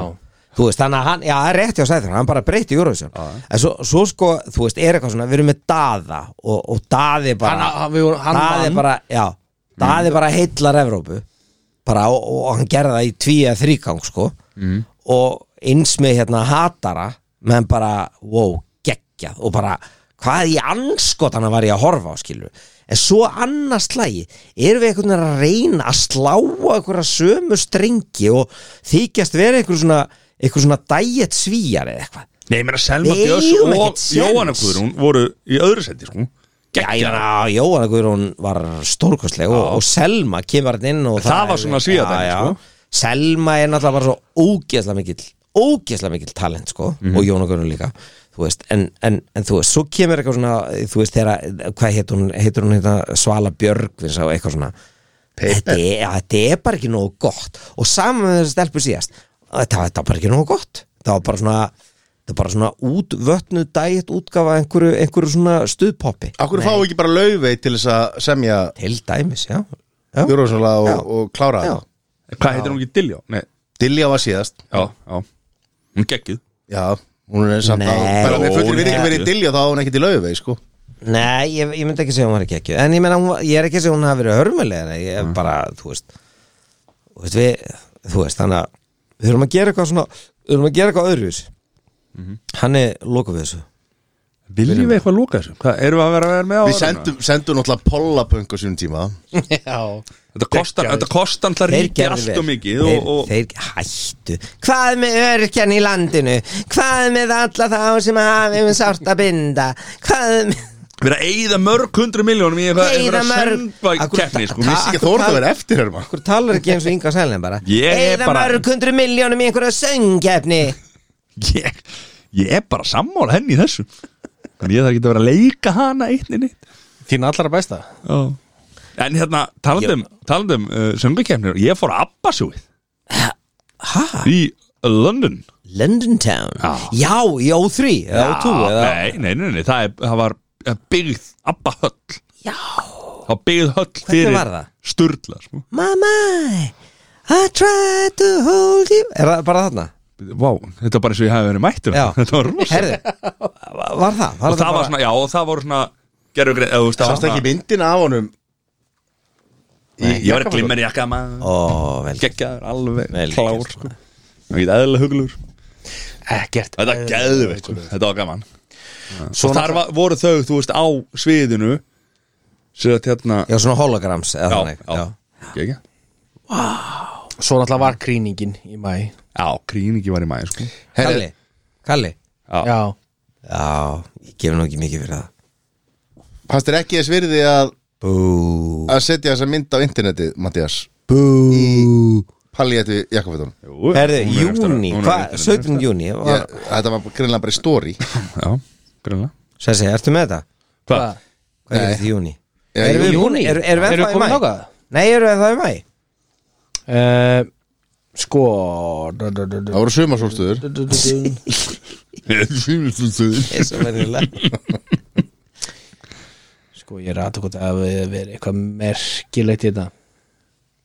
Speaker 4: þú veist, þannig að hann, já, það er rétt hjá sæður hann bara breyti Eurovision en svo, svo sko, þú veist, er eitthvað svona, við erum með Daða og, og Daði bara
Speaker 2: Hann- hann- við vorum- hann
Speaker 4: Daði
Speaker 2: vann.
Speaker 4: bara, já, Daði bara heillar Evrópu bara, og, og hann gerði það í tví eða þrígang sko mm. og eins með hérna hatara menn bara, wow, geggjað og bara, hvað í anskotana var ég að horfa á skilur en svo annars slagi, erum við einhvern veginn að reyna að slá einhverja sömu strengi og þykjast vera einhver svona, einhver svona diet svíjar eða eitthvað
Speaker 1: Nei, mér að Selma
Speaker 4: Við
Speaker 1: Björns
Speaker 4: eigum
Speaker 1: og
Speaker 4: ekkert séns.
Speaker 1: Jóhanna Guðrún voru í öðru seti sko Geggjara
Speaker 4: Jæna, Jóhanna Guðrún var stórkostleg og, og Selma kemur hann inn og
Speaker 1: Það var
Speaker 4: er-
Speaker 1: svona svíadæmi,
Speaker 4: Já, já.
Speaker 1: sko.
Speaker 4: Selma er náttúrulega bara svo ógeðslega mikill ógeðslega mikill talent sko
Speaker 1: Mhm.
Speaker 4: og Jóhanna Guðrún líka þú veist, en, en, en þú veist, svo kemur eitthvað svona þú veist þegar, að- hvað heitur hún, heitur hún heita, Svala Björgvins og eitthvað svona þetta er, ja, þetta er bara ekki nógu gott og saman með þessi stelpu síðast þetta, var- þetta var bara ekki nógu gott það var bara svona það var bara svona útvötnu dætt útgafa einhverju, einhverju svona stuðpoppi
Speaker 3: Akkur fáum við ekki bara laufið til þess að semja
Speaker 4: Til dæmis, já, já.
Speaker 3: Júrósum og,
Speaker 4: Já.
Speaker 3: og klára
Speaker 4: já.
Speaker 3: það
Speaker 1: Hvað heitir hún ekki Dilljá? Nei,
Speaker 3: Dilja var síðast
Speaker 1: já, já Hún geggið
Speaker 3: Já, hún er samt
Speaker 4: Nei.
Speaker 3: að bara með
Speaker 1: Jó,
Speaker 3: fullir virðingu
Speaker 1: hún er
Speaker 3: verið
Speaker 1: ekki.
Speaker 3: Dilja þá á hún ekkert í laufið sko.
Speaker 4: Nei, ég, ég myndi ekki segja hún var ekki ekki En ég meina, hún var- ég er ekki að segja hún hafi verið hörmulega Ég
Speaker 1: Mm.
Speaker 4: er bara, þú veist Þú veist, við, þú veist, þannig að Við erum að gera eitthvað svona Við erum að gera eitthvað öðruvis
Speaker 1: Mhm.
Speaker 4: Hann er lokað við þessu
Speaker 1: Viljum við eitthvað lóka þessu? Hvað, erum við að vera að vera með á hérna?
Speaker 3: Við
Speaker 1: þarna?
Speaker 3: sendum, sendum náttúrulega pollapunk á sínum tíma
Speaker 2: Já
Speaker 1: Þetta kostar, þetta kostar alltaf
Speaker 4: Þeir
Speaker 1: ríkið
Speaker 4: gerðu
Speaker 1: allt
Speaker 4: vel.
Speaker 1: og mikið og,
Speaker 4: þeir,
Speaker 1: og,
Speaker 4: þeir, Hættu, hvað með örkjan í landinu Hvað með alla þá sem hafi um sárt að binda Hvað með
Speaker 1: Við erum að eyða mörg hundru miljónum í eitthvað
Speaker 4: Eyða
Speaker 1: Eyða mörg
Speaker 4: mörg- Akkur-
Speaker 1: keppni, sko
Speaker 4: Takk.
Speaker 3: Vissi ekki að þú voru það verið eftir herma
Speaker 4: Akkur talar ekki eins og Inga Sælin bara
Speaker 1: Ég er
Speaker 4: Eyða
Speaker 1: bara-
Speaker 4: mörg hundru miljónum í einhverja söngjefni
Speaker 1: ég, ég er bara sammála henni í þessu En ég þarf ekki að vera að leika hana eitt neitt
Speaker 2: Þín allra besta
Speaker 1: En hérna, talandum, talandum uh, söngakeppnir Ég fór að Abba sjúið Í London
Speaker 4: London Town
Speaker 1: Já.
Speaker 4: Já, í O3 eða O2 eða...
Speaker 1: nei, nei, nei, nei, það, er, það var eh, byggð Abba höll
Speaker 4: Já,
Speaker 1: Það var byggð höll fyrir
Speaker 4: var það?
Speaker 1: Sturla sko.
Speaker 4: mamma I tried to hold you Er það bara þarna?
Speaker 1: Vá, þetta var bara eins og ég hafi verið mættur
Speaker 4: Já
Speaker 1: Þetta var rosa
Speaker 4: Herði, var það? Var
Speaker 1: Og það var svona, já, og það voru svona Gerðu greið, eða þú veist það var
Speaker 3: Sást ekki
Speaker 1: svona-
Speaker 3: myndina af honum
Speaker 1: Ég var að glimmer jakka maður
Speaker 4: Ó, vel
Speaker 1: Gekkjaður, alveg
Speaker 4: Vel
Speaker 1: klár
Speaker 4: gert,
Speaker 1: sko. Það geta eðlilega huglugur
Speaker 2: Ekkert
Speaker 1: Þetta er geðveikt, sko. þetta var gaman Svo
Speaker 2: Svona-
Speaker 1: þar var, voru þau, þú veist, á sviðinu Sér að hérna
Speaker 4: Já, svona holograms eða
Speaker 1: já,
Speaker 4: þannig,
Speaker 1: já, já.
Speaker 2: Svo náttúrulega var krýningin í mæ
Speaker 1: já krýningi var í maður sko.
Speaker 4: Kalli, Kalli
Speaker 1: Já.
Speaker 2: Já,
Speaker 4: Já, ég gef nú ekki mikið fyrir það
Speaker 3: Fannst þér ekki þess virði að,
Speaker 4: Bú,
Speaker 3: að setja þessa mynd á internetið, Mattias
Speaker 4: bú
Speaker 3: Palliættu Jakobfjörðunum
Speaker 1: Jú,
Speaker 4: Herði,
Speaker 1: hún er eftir-
Speaker 4: júni,
Speaker 1: hún er
Speaker 4: hvað,
Speaker 1: eftir-
Speaker 4: 17. júni
Speaker 3: Ég- Þetta var greinlega bara í story
Speaker 1: Já, greinlega
Speaker 4: Sessi, ertu með þetta?
Speaker 1: Hvað?
Speaker 4: Hvað er þetta júni?
Speaker 3: Já,
Speaker 4: Erum við
Speaker 2: júní.
Speaker 4: búin- eru- Erum við
Speaker 2: Eru
Speaker 4: ennþá í
Speaker 2: komin
Speaker 4: mæ?
Speaker 2: þangað?
Speaker 4: Nei, erum við það í mæ?
Speaker 2: uh, Sko du- du- du- du-
Speaker 3: Það voru sumarsólstöður
Speaker 2: du- du- du-
Speaker 4: Eins og venjulega.
Speaker 2: Sko ég er aðtökut að við verið eitthvað merkilegt í þetta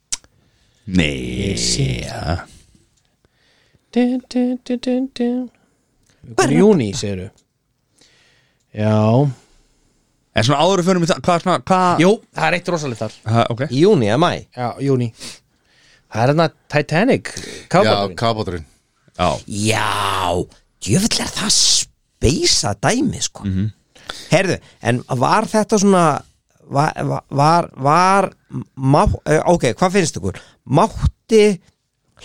Speaker 1: Nei já.
Speaker 2: Dun, dun, dun, dun, dun. Við komum í júni, segirðu Já
Speaker 1: En svona áður fyrir mig það, hvað svona, hvað
Speaker 2: Jú, það er eitt rosalegt þar
Speaker 1: ha, Ok,
Speaker 4: Í júni, að mæ
Speaker 2: Já, júni Það er hérna Titanic
Speaker 3: Já,
Speaker 2: kafbáturinn.
Speaker 3: kabáturinn
Speaker 1: já
Speaker 4: Já, djöfull er það speisa dæmi sko Herðu, en var þetta svona var, var- var, var má, eh, ok, hvað finnst ykkur mátti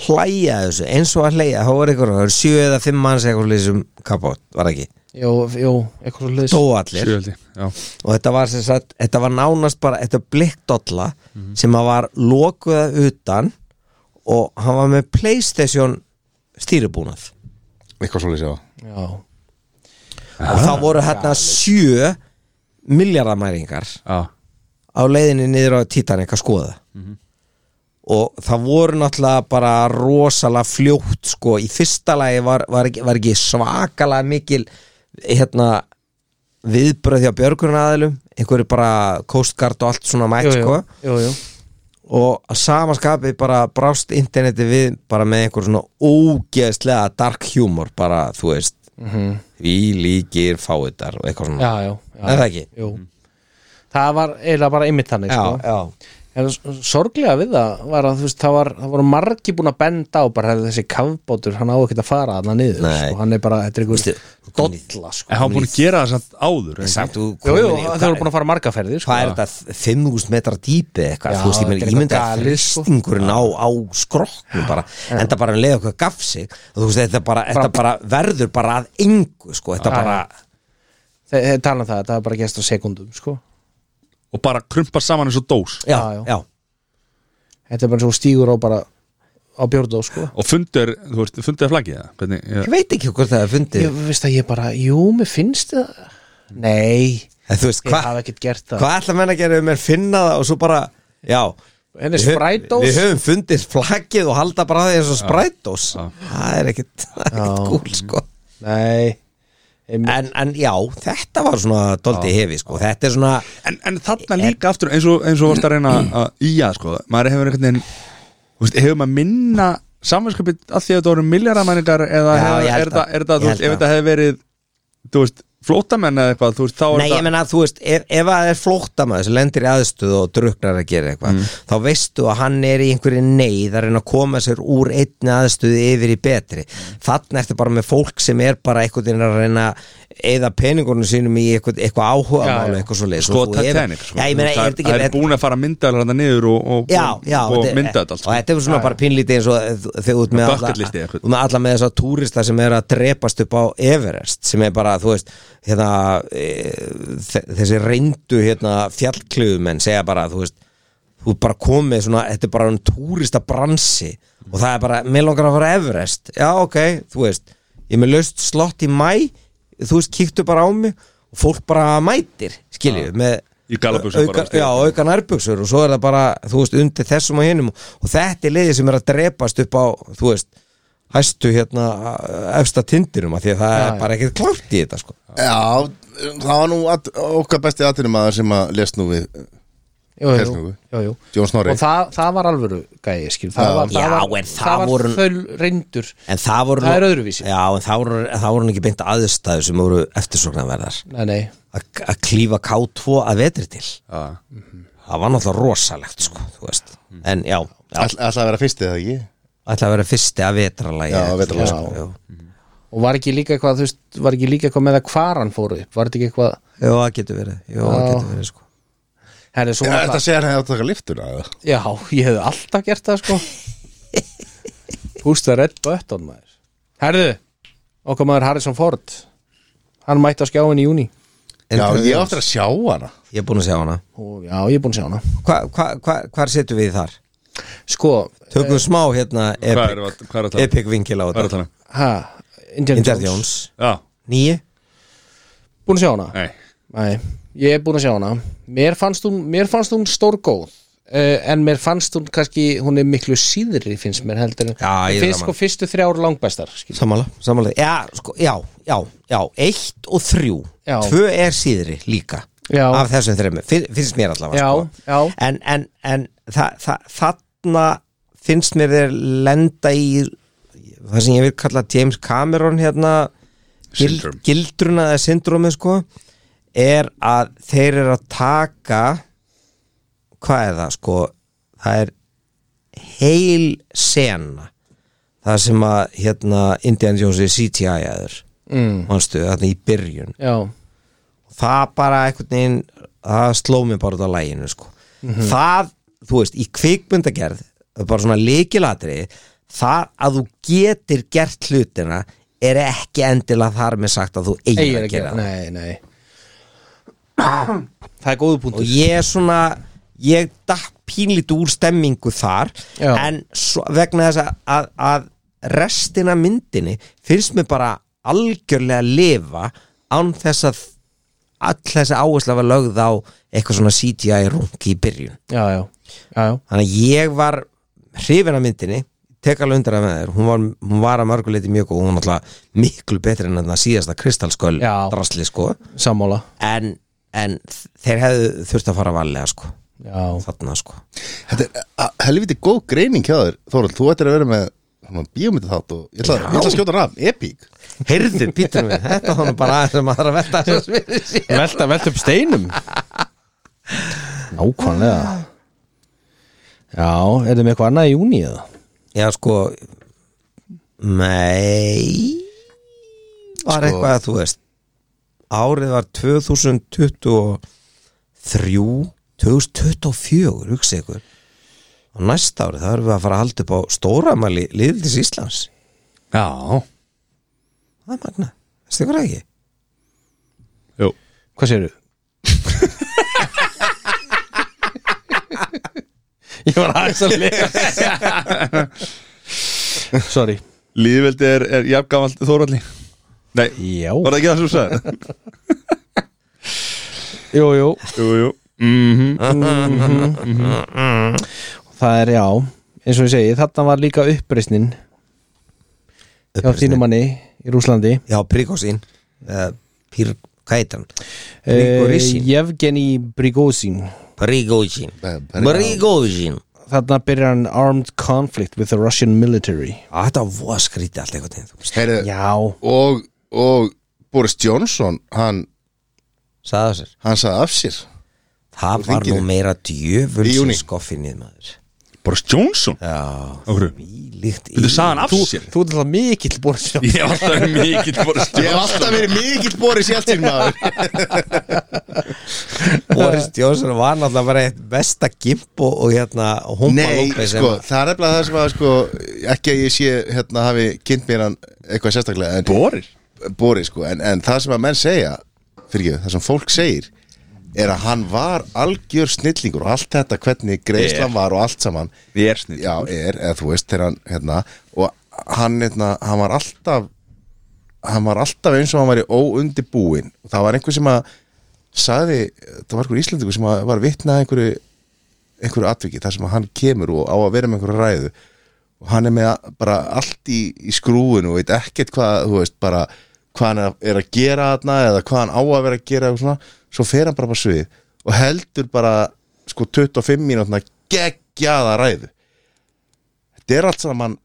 Speaker 4: hlæja að þessu eins og að hlæja, þá var ykkur það voru sjö eða fimm manns eitthvað leysum kapátt, var það ekki,
Speaker 2: Jú, jú, eitthvað svo hlutis
Speaker 4: dó allir
Speaker 1: Sjöfaldi, já
Speaker 4: og þetta var sem sagt, þetta var nánast bara þetta blikkdolla sem að var lokuða utan og hann var með Playstation stýribúnað
Speaker 3: Eitthvað svolítið sjá
Speaker 2: Já,
Speaker 4: og það voru hérna sjö miljardamæringar
Speaker 1: Já,
Speaker 4: á leiðinni niður á Titanic að skoða
Speaker 2: Mhm.
Speaker 4: og það voru náttúrulega bara rosalega fljótt sko, í fyrsta lagi var, var, ekki, var ekki svakalega mikil hérna viðbröð hjá björgunaræðilum einhverju bara Coast Guard og allt svona mætt
Speaker 2: jú,
Speaker 4: sko
Speaker 2: jú, jú, jú.
Speaker 4: og að sama skapi bara brást interneti við bara með einhver svona ógeðslega dark humor bara þú veist
Speaker 2: Mhm.
Speaker 4: því líkir fáiðar og eitthvað svona
Speaker 2: Já, já, já
Speaker 4: Er það ekki?
Speaker 2: Jú Það var eiginlega bara einmitt þannig
Speaker 4: já,
Speaker 2: sko.
Speaker 4: já.
Speaker 2: En s- sorglega við það var að þú veist, það, var, það voru margi búin að benda á bara hefði þessi kafbátur, hann á ekkert að fara hann niður,
Speaker 4: Nei.
Speaker 2: sko, hann er bara, þetta er einhver dolla,
Speaker 1: en
Speaker 2: sko
Speaker 1: hann var búin að gera það samt áður ekki?
Speaker 4: Samt, þú
Speaker 2: Jú,
Speaker 4: komin
Speaker 2: jú,
Speaker 4: í-
Speaker 2: það
Speaker 4: hvað-
Speaker 2: voru búin að fara margaferðir sko.
Speaker 4: hvað er þetta 5.000 metrar dýpi eitthvað,
Speaker 2: Já,
Speaker 4: þú veist, ég
Speaker 2: þetta
Speaker 4: meina
Speaker 2: er
Speaker 4: ímynda
Speaker 2: eitthvað galið, sko.
Speaker 4: þristingurinn á, á skrokknum bara, en það bara að leiða okkur gaf sig, þú veist, þetta bara, þetta bara verður bara að engu, sko, þetta
Speaker 2: Já,
Speaker 4: bara
Speaker 2: Þe- þeir tala um það, það er bara gæst á sekundum sko.
Speaker 1: Og bara krumpa saman eins og dós
Speaker 4: já,
Speaker 2: já.
Speaker 4: já,
Speaker 2: þetta er bara svo stígur á bara á björðu sko.
Speaker 1: Og fundur, þú veist, fundur að flaggið það Hvernig,
Speaker 4: ég
Speaker 1: ég,
Speaker 4: veit ekki hvort það er fundið
Speaker 2: ég veist að ég bara, jú, mér finnst það nei,
Speaker 4: en þú veist,
Speaker 2: ég hafa
Speaker 4: hvað
Speaker 2: ekkert gert það
Speaker 4: hva ætla menn að gera um er finna það og svo bara, já
Speaker 2: henni
Speaker 4: við höfum-
Speaker 2: sprætós
Speaker 4: við höfum fundið flaggið og halda bara að því eins og sprætós
Speaker 1: Já.
Speaker 4: það er ekkit, það er ekkit cool, sko
Speaker 2: nei, einmitt.
Speaker 4: en, en já, þetta var svona doldið hefi, sko, þetta er svona
Speaker 1: en, en þarna líka aftur eins og, eins og varst að reyna að íja sko. Maður hefur einhvern veginn þú veist, Hefur maður minna samanskapið að því að þetta voru miljardamæningar Eða
Speaker 4: Já,
Speaker 1: hefur,
Speaker 4: ég held
Speaker 1: er það,
Speaker 4: það.
Speaker 1: er það,
Speaker 4: Ég
Speaker 1: þú veist,
Speaker 4: held
Speaker 1: ef
Speaker 4: það.
Speaker 1: þetta hefur verið Þú veist, flótamenn eða eitthvað Þú veist, þá er
Speaker 4: Nei, ég
Speaker 1: þetta
Speaker 4: meina að þú veist, ef, ef að það er flóttamaður sem lendir í aðstöðu og druknar að gera
Speaker 1: Mm.
Speaker 4: eitthvað þá veistu að hann er í einhverju neyð að reyna að koma sér úr einni aðstöðu yfir í betri þannig ertu bara með fólk sem er bara einhvern veginn að reyna eða peningunum sínum í eitthvað, eitthvað áhuga
Speaker 2: Já, já.
Speaker 4: mála eitthvað svo leið
Speaker 1: Sko, Titanic sko.
Speaker 4: Já, ég meina,
Speaker 1: Það er,
Speaker 4: er þetta
Speaker 1: það er
Speaker 4: ekki
Speaker 1: búin að fara myndaðar hérna niður og, og,
Speaker 4: Já, já,
Speaker 1: og
Speaker 4: þetta er-
Speaker 1: mynda þetta allt
Speaker 4: og
Speaker 1: sko.
Speaker 4: þetta er svona bara pínlítið eins og þ- þegar út með
Speaker 1: Bucket listi
Speaker 4: alla,
Speaker 1: eitthvað.
Speaker 4: og með alla með þess að túrista sem er að drepast upp á Everest sem er bara, þú veist hérna, e, þe- þessi reyndu hérna, fjallkluðumenn segja bara, þú veist þú er bara komið svona, þetta er bara um túrista bransi og það er bara, mér langar að fara á Everest já, ok, þú veist ég er með laust slott í mæ þú veist, kíktu bara á mig og fólk bara mætir, skiljum með
Speaker 1: Í gallabuxum bara,
Speaker 4: auka,
Speaker 1: veist ég.
Speaker 4: já, auka nærbuxur og svo er það bara, þú veist, undir þessum og hinum og þetta er liðið sem er að drepast upp á, þú veist, hæstu hérna efsta tindinum að því að það
Speaker 2: Já,
Speaker 4: er
Speaker 2: já.
Speaker 4: bara ekkert klárt í þetta sko.
Speaker 3: Já, það var nú at, okkar besti aðtunumæður sem að lest nú við
Speaker 2: jú, jú,
Speaker 3: Tersnúgu.
Speaker 2: jú, jú.
Speaker 3: Jón Snorri
Speaker 2: og það, það var alvöru gæði skil, það
Speaker 3: Já.
Speaker 2: var, það
Speaker 4: Já,
Speaker 2: var,
Speaker 4: en það
Speaker 2: var
Speaker 4: voru-
Speaker 2: þau reyndur
Speaker 4: en það voru
Speaker 2: Það
Speaker 4: nú-
Speaker 2: er öðruvísi.
Speaker 4: já, en það voru, það voru nú ekki beint aðstæðu sem voru eftirsóknarverðar
Speaker 2: nei, nei,
Speaker 4: að að klífa K2 að vetri til
Speaker 1: Já. Mm.
Speaker 4: það var náttúrulega rosalegt sko, þú veist en já, já,
Speaker 3: Ætla ætla að vera fyrst eða ekki
Speaker 4: ætla að vera fyrsti að vetralægi
Speaker 3: Já, að vetrarlagi, sko.
Speaker 2: og var ekki líka eitthvað, þú veist, var ekki líka eitthvað með að hvar hann fóru upp, var þetta ekki eitthvað
Speaker 4: Jó, það getur verið Jó, það
Speaker 2: Já.
Speaker 4: getur verið sko
Speaker 2: herri, svo
Speaker 3: Já,
Speaker 2: var
Speaker 3: þetta
Speaker 2: það,
Speaker 3: segir hann að taka liftuna eða?
Speaker 2: já, ég hefði alltaf gert það sko pústa redd bötton maður herðu, okkar maður Harrison Ford hann mætti á skjáin í júni
Speaker 4: En
Speaker 3: Já,
Speaker 4: hvað-
Speaker 3: ég áttur að sjá hana
Speaker 4: Ég er búin að sjá hana
Speaker 2: og já, ég er búinn að sjá hana
Speaker 4: Hva, hva, hva, Hvar setjum við þar?
Speaker 2: sko,
Speaker 4: Tökum smá hérna
Speaker 1: Hvað er,
Speaker 4: epic,
Speaker 1: að- hvað er að tala?
Speaker 4: epic vinkil á
Speaker 1: Hvað er að
Speaker 4: þetta
Speaker 1: tala? um?
Speaker 2: ha, Indiana
Speaker 4: Indar
Speaker 2: Jones,
Speaker 4: Jóns
Speaker 1: Já,
Speaker 4: Nýju
Speaker 2: búinn að sjá hana
Speaker 1: nei
Speaker 2: Nei, ég er búin að sjá hana Mér fannst hún, mér fannst hún stórgóð uh, En mér fannst hún kannski Hún er miklu síðri finnst mér heldur en-
Speaker 4: Já, ég er
Speaker 2: Finnst
Speaker 4: saman.
Speaker 2: sko fyrstu þrjár langbæstar skilur.
Speaker 4: Samála, samála Já, sko, já, já, já Eitt og þrjú
Speaker 2: Já.
Speaker 4: Tvö er síðri líka
Speaker 2: Já.
Speaker 4: Af þessum þremmu Fin- Finnst mér allavega
Speaker 2: Já,
Speaker 4: sko.
Speaker 2: já.
Speaker 4: En, en, en þa, þa, þarna finnst mér þeir lenda í það sem ég vil kalla James Cameron hérna gild,
Speaker 1: Syndrome.
Speaker 4: gildruna eða syndromi sko er að þeir eru að taka hvað er það sko það er heil sena það sem að hérna Indiana Jones er CGI-aður mm. manstu þarna í byrjun
Speaker 2: Já,
Speaker 4: það bara einhvern veginn það sló mér bara út á læginu sko. það, þú veist, í kvikmyndagerð bara svona líkilatri það að þú getir gert hlutina er ekki endilega þar með sagt að þú eigir
Speaker 2: eigir
Speaker 4: að gera það
Speaker 2: Nei, nei Það er góðu
Speaker 4: og
Speaker 2: punktur
Speaker 4: ég er svona ég datt pínlítið úr stemmingu þar
Speaker 2: Já.
Speaker 4: en svo, vegna þess að, að, að restina af myndinni finnst mér bara algjörlega að lifa án þess að all þessi áhersla var lögð á eitthvað svona CGI rungi í byrjun
Speaker 2: Já, já, já, já.
Speaker 4: þannig að ég var hrifin af myndinni tek alveg undir að með þér, hún var, hún var að mörguleiti mjög góð, hún var náttúrulega miklu betri en þarna síðasta kristalsköl
Speaker 2: Já.
Speaker 4: drasli sko,
Speaker 2: sammála
Speaker 4: en, en þeir hefðu þurft að fara varlega sko
Speaker 2: Já,
Speaker 4: þarna sko
Speaker 3: Þetta er a- helviti góð greining hjá þér Þorvald, þú ættir að vera með bíómyndið þátt og ég ætla, ég ætla að skjóta rafn, epík
Speaker 4: heyrðu, býtum við, þetta var nú bara aðeins sem maður að velta þessu sviði sér
Speaker 2: velta, velta upp steinum Nákvæmlega Já, er þið með eitthvað annað í júni eða?
Speaker 4: já sko nei Sko, var eitthvað að þú veist árið var 2023 2024 hugsið ykkur og næsta árið það erum við að fara að halda upp á stóramæli liðlis Íslands
Speaker 1: Já
Speaker 4: það er magna, veistu ykkur ekki
Speaker 1: Jú,
Speaker 2: Hvað sérðu? ég var aðeins að lega Sorry
Speaker 1: líðveldi er, er jafngamalt Þóralli Nei,
Speaker 2: Já
Speaker 1: var það ekki það sem þú sagði?
Speaker 2: Jú, jú
Speaker 1: jú, jú mm
Speaker 2: Það er já eins og ég segi, þarna var líka uppreisnin hjá
Speaker 4: Uppreisnin.
Speaker 2: þínum manni í Rúslandi
Speaker 4: já, Prikosín uh, Pyr, hvað heitir hann?
Speaker 2: Eh,
Speaker 4: Prigozhin.
Speaker 2: Yevgeni Brigozin
Speaker 4: Prigozhin
Speaker 3: Bara-
Speaker 4: Prigozhin
Speaker 2: Þarna byrjar hann armed conflict with the Russian military
Speaker 4: Á, Þetta var skrítið allt einhvern veginn þú veist.
Speaker 3: Heyri,
Speaker 2: Já,
Speaker 3: og, og Boris Johnson hann,
Speaker 4: Sagði það sér
Speaker 3: hann sagði af sér
Speaker 4: Það var nú
Speaker 3: þinginu.
Speaker 4: meira djöfull
Speaker 3: Í
Speaker 4: sem
Speaker 3: júní.
Speaker 4: skoffinnið maður
Speaker 1: Boris Johnson?
Speaker 4: Já
Speaker 1: Okkur
Speaker 4: Ílíkt
Speaker 1: Þú sagði hann af sér
Speaker 2: þú ert alltaf mikill borðsjón
Speaker 1: Ég var alltaf mikill Boris
Speaker 3: Ég hef alltaf verið mikill Boris Jeltsin maður
Speaker 4: Boris Johnson var náttúrulega bara eitt besta gimp og, og hérna humpa
Speaker 3: Nei,
Speaker 4: lópa sem
Speaker 3: sko, það er nefnilega það sem að sko, ekki að ég sé, hérna, hafi kynnt mér hann eitthvað sérstaklega en,
Speaker 1: Boris?
Speaker 3: Boris, sko, en, en það sem að menn segja fyrir ekki, það sem fólk segir er að hann var algjör snillingur og allt þetta hvernig
Speaker 1: Er.
Speaker 3: greiðslan var og allt saman
Speaker 1: Ég er snið
Speaker 3: já, er, eða þú veist, þegar hann hérna, og hann, hérna, hann var alltaf hann var alltaf eins og hann var í óundibúin og það var einhver sem að sagði, það var einhver íslendingur sem að var vitnað einhverju einhverju atviki, þar sem að hann kemur og á að vera með einhverju ræðu og hann er með að- bara allt í, í skrúinu og veit ekkert hvað, þú veist, bara hvað hann er að gera þarna eða hvað hann á að vera að gera og svona, svo fer hann bara bara svið og heldur bara sko 25 mínútna geggjaða ræðu þetta er allt saman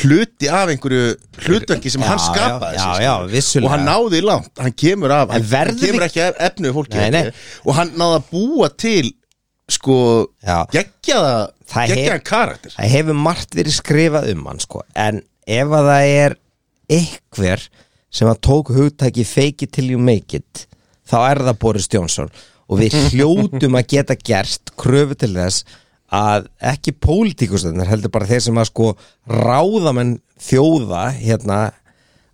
Speaker 3: hluti af einhverju hlutverki sem
Speaker 4: Já,
Speaker 3: hann
Speaker 4: já,
Speaker 3: skapaði
Speaker 4: já,
Speaker 3: sér,
Speaker 4: já,
Speaker 3: skilur.
Speaker 4: vissulega.
Speaker 3: og hann náði langt, hann kemur af
Speaker 4: En
Speaker 3: hann, hann
Speaker 4: verður
Speaker 3: kemur
Speaker 4: við-
Speaker 3: ekki af efnu fólki
Speaker 4: Nei, nei.
Speaker 3: og hann náði að búa til sko
Speaker 4: Já.
Speaker 3: geggjaða
Speaker 4: Það
Speaker 3: geggjaðan
Speaker 4: hef-
Speaker 3: karakter
Speaker 4: það hefur margt verið skrifað um hann sko. en ef að það er einhver sem að tók hugtæki fake it till you make it þá er það Boris Jónsson og við hljótum að geta gerst kröfu til þess að ekki pólitíkustöndar heldur bara þeir sem að sko ráðamenn þjóða hérna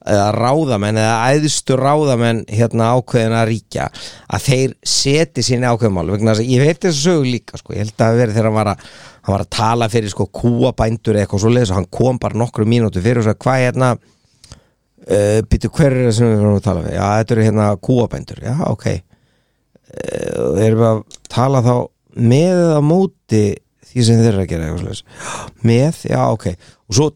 Speaker 4: eða ráðamenn eða æðstu ráðamenn hérna ákveðina ríkja að þeir seti sín ákveðmál vegna þess að ég veit þess að sögu líka sko. ég held að það verið þegar hann var að, hann var að tala fyrir sko kúabændur eða eitthvað svo leiðis og hann kom bara nokkru mínútu fyrir og sagði hvað hérna uh, býtu hver er það sem við erum að tala fyrir já þetta eru hérna kúabændur já ok uh, Eh, erum við að tala þá með eða á móti því sem þeir eru að gera eitthvað svo með, já ok og svo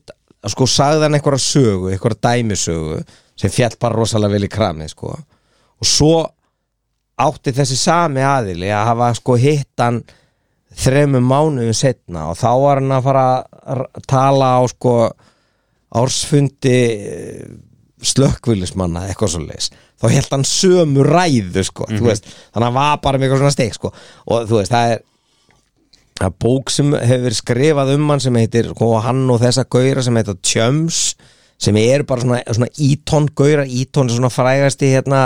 Speaker 4: sko sagði hann einhverja sögu einhverja dæmisögu sem fjall bara rosalega vel í kramið sko og svo átti þessi sami aðili að hafa sko hittan þremur mánuðum setna og þá var hann að fara að r- tala á sko ársfundi eh, slökkvilismanna eitthvað svo leis þá held hann sömu ræðu sko mm
Speaker 3: Mhm.
Speaker 4: veist, þannig að hann var bara með eitthvað svona steik sko og þú veist það er að bók sem hefur verið skrifað um hann sem heitir, sko, hann og þessa gauðra sem heitir Tjöms sem er bara svona, svona ítón gauðra ítón er svona frægasti hérna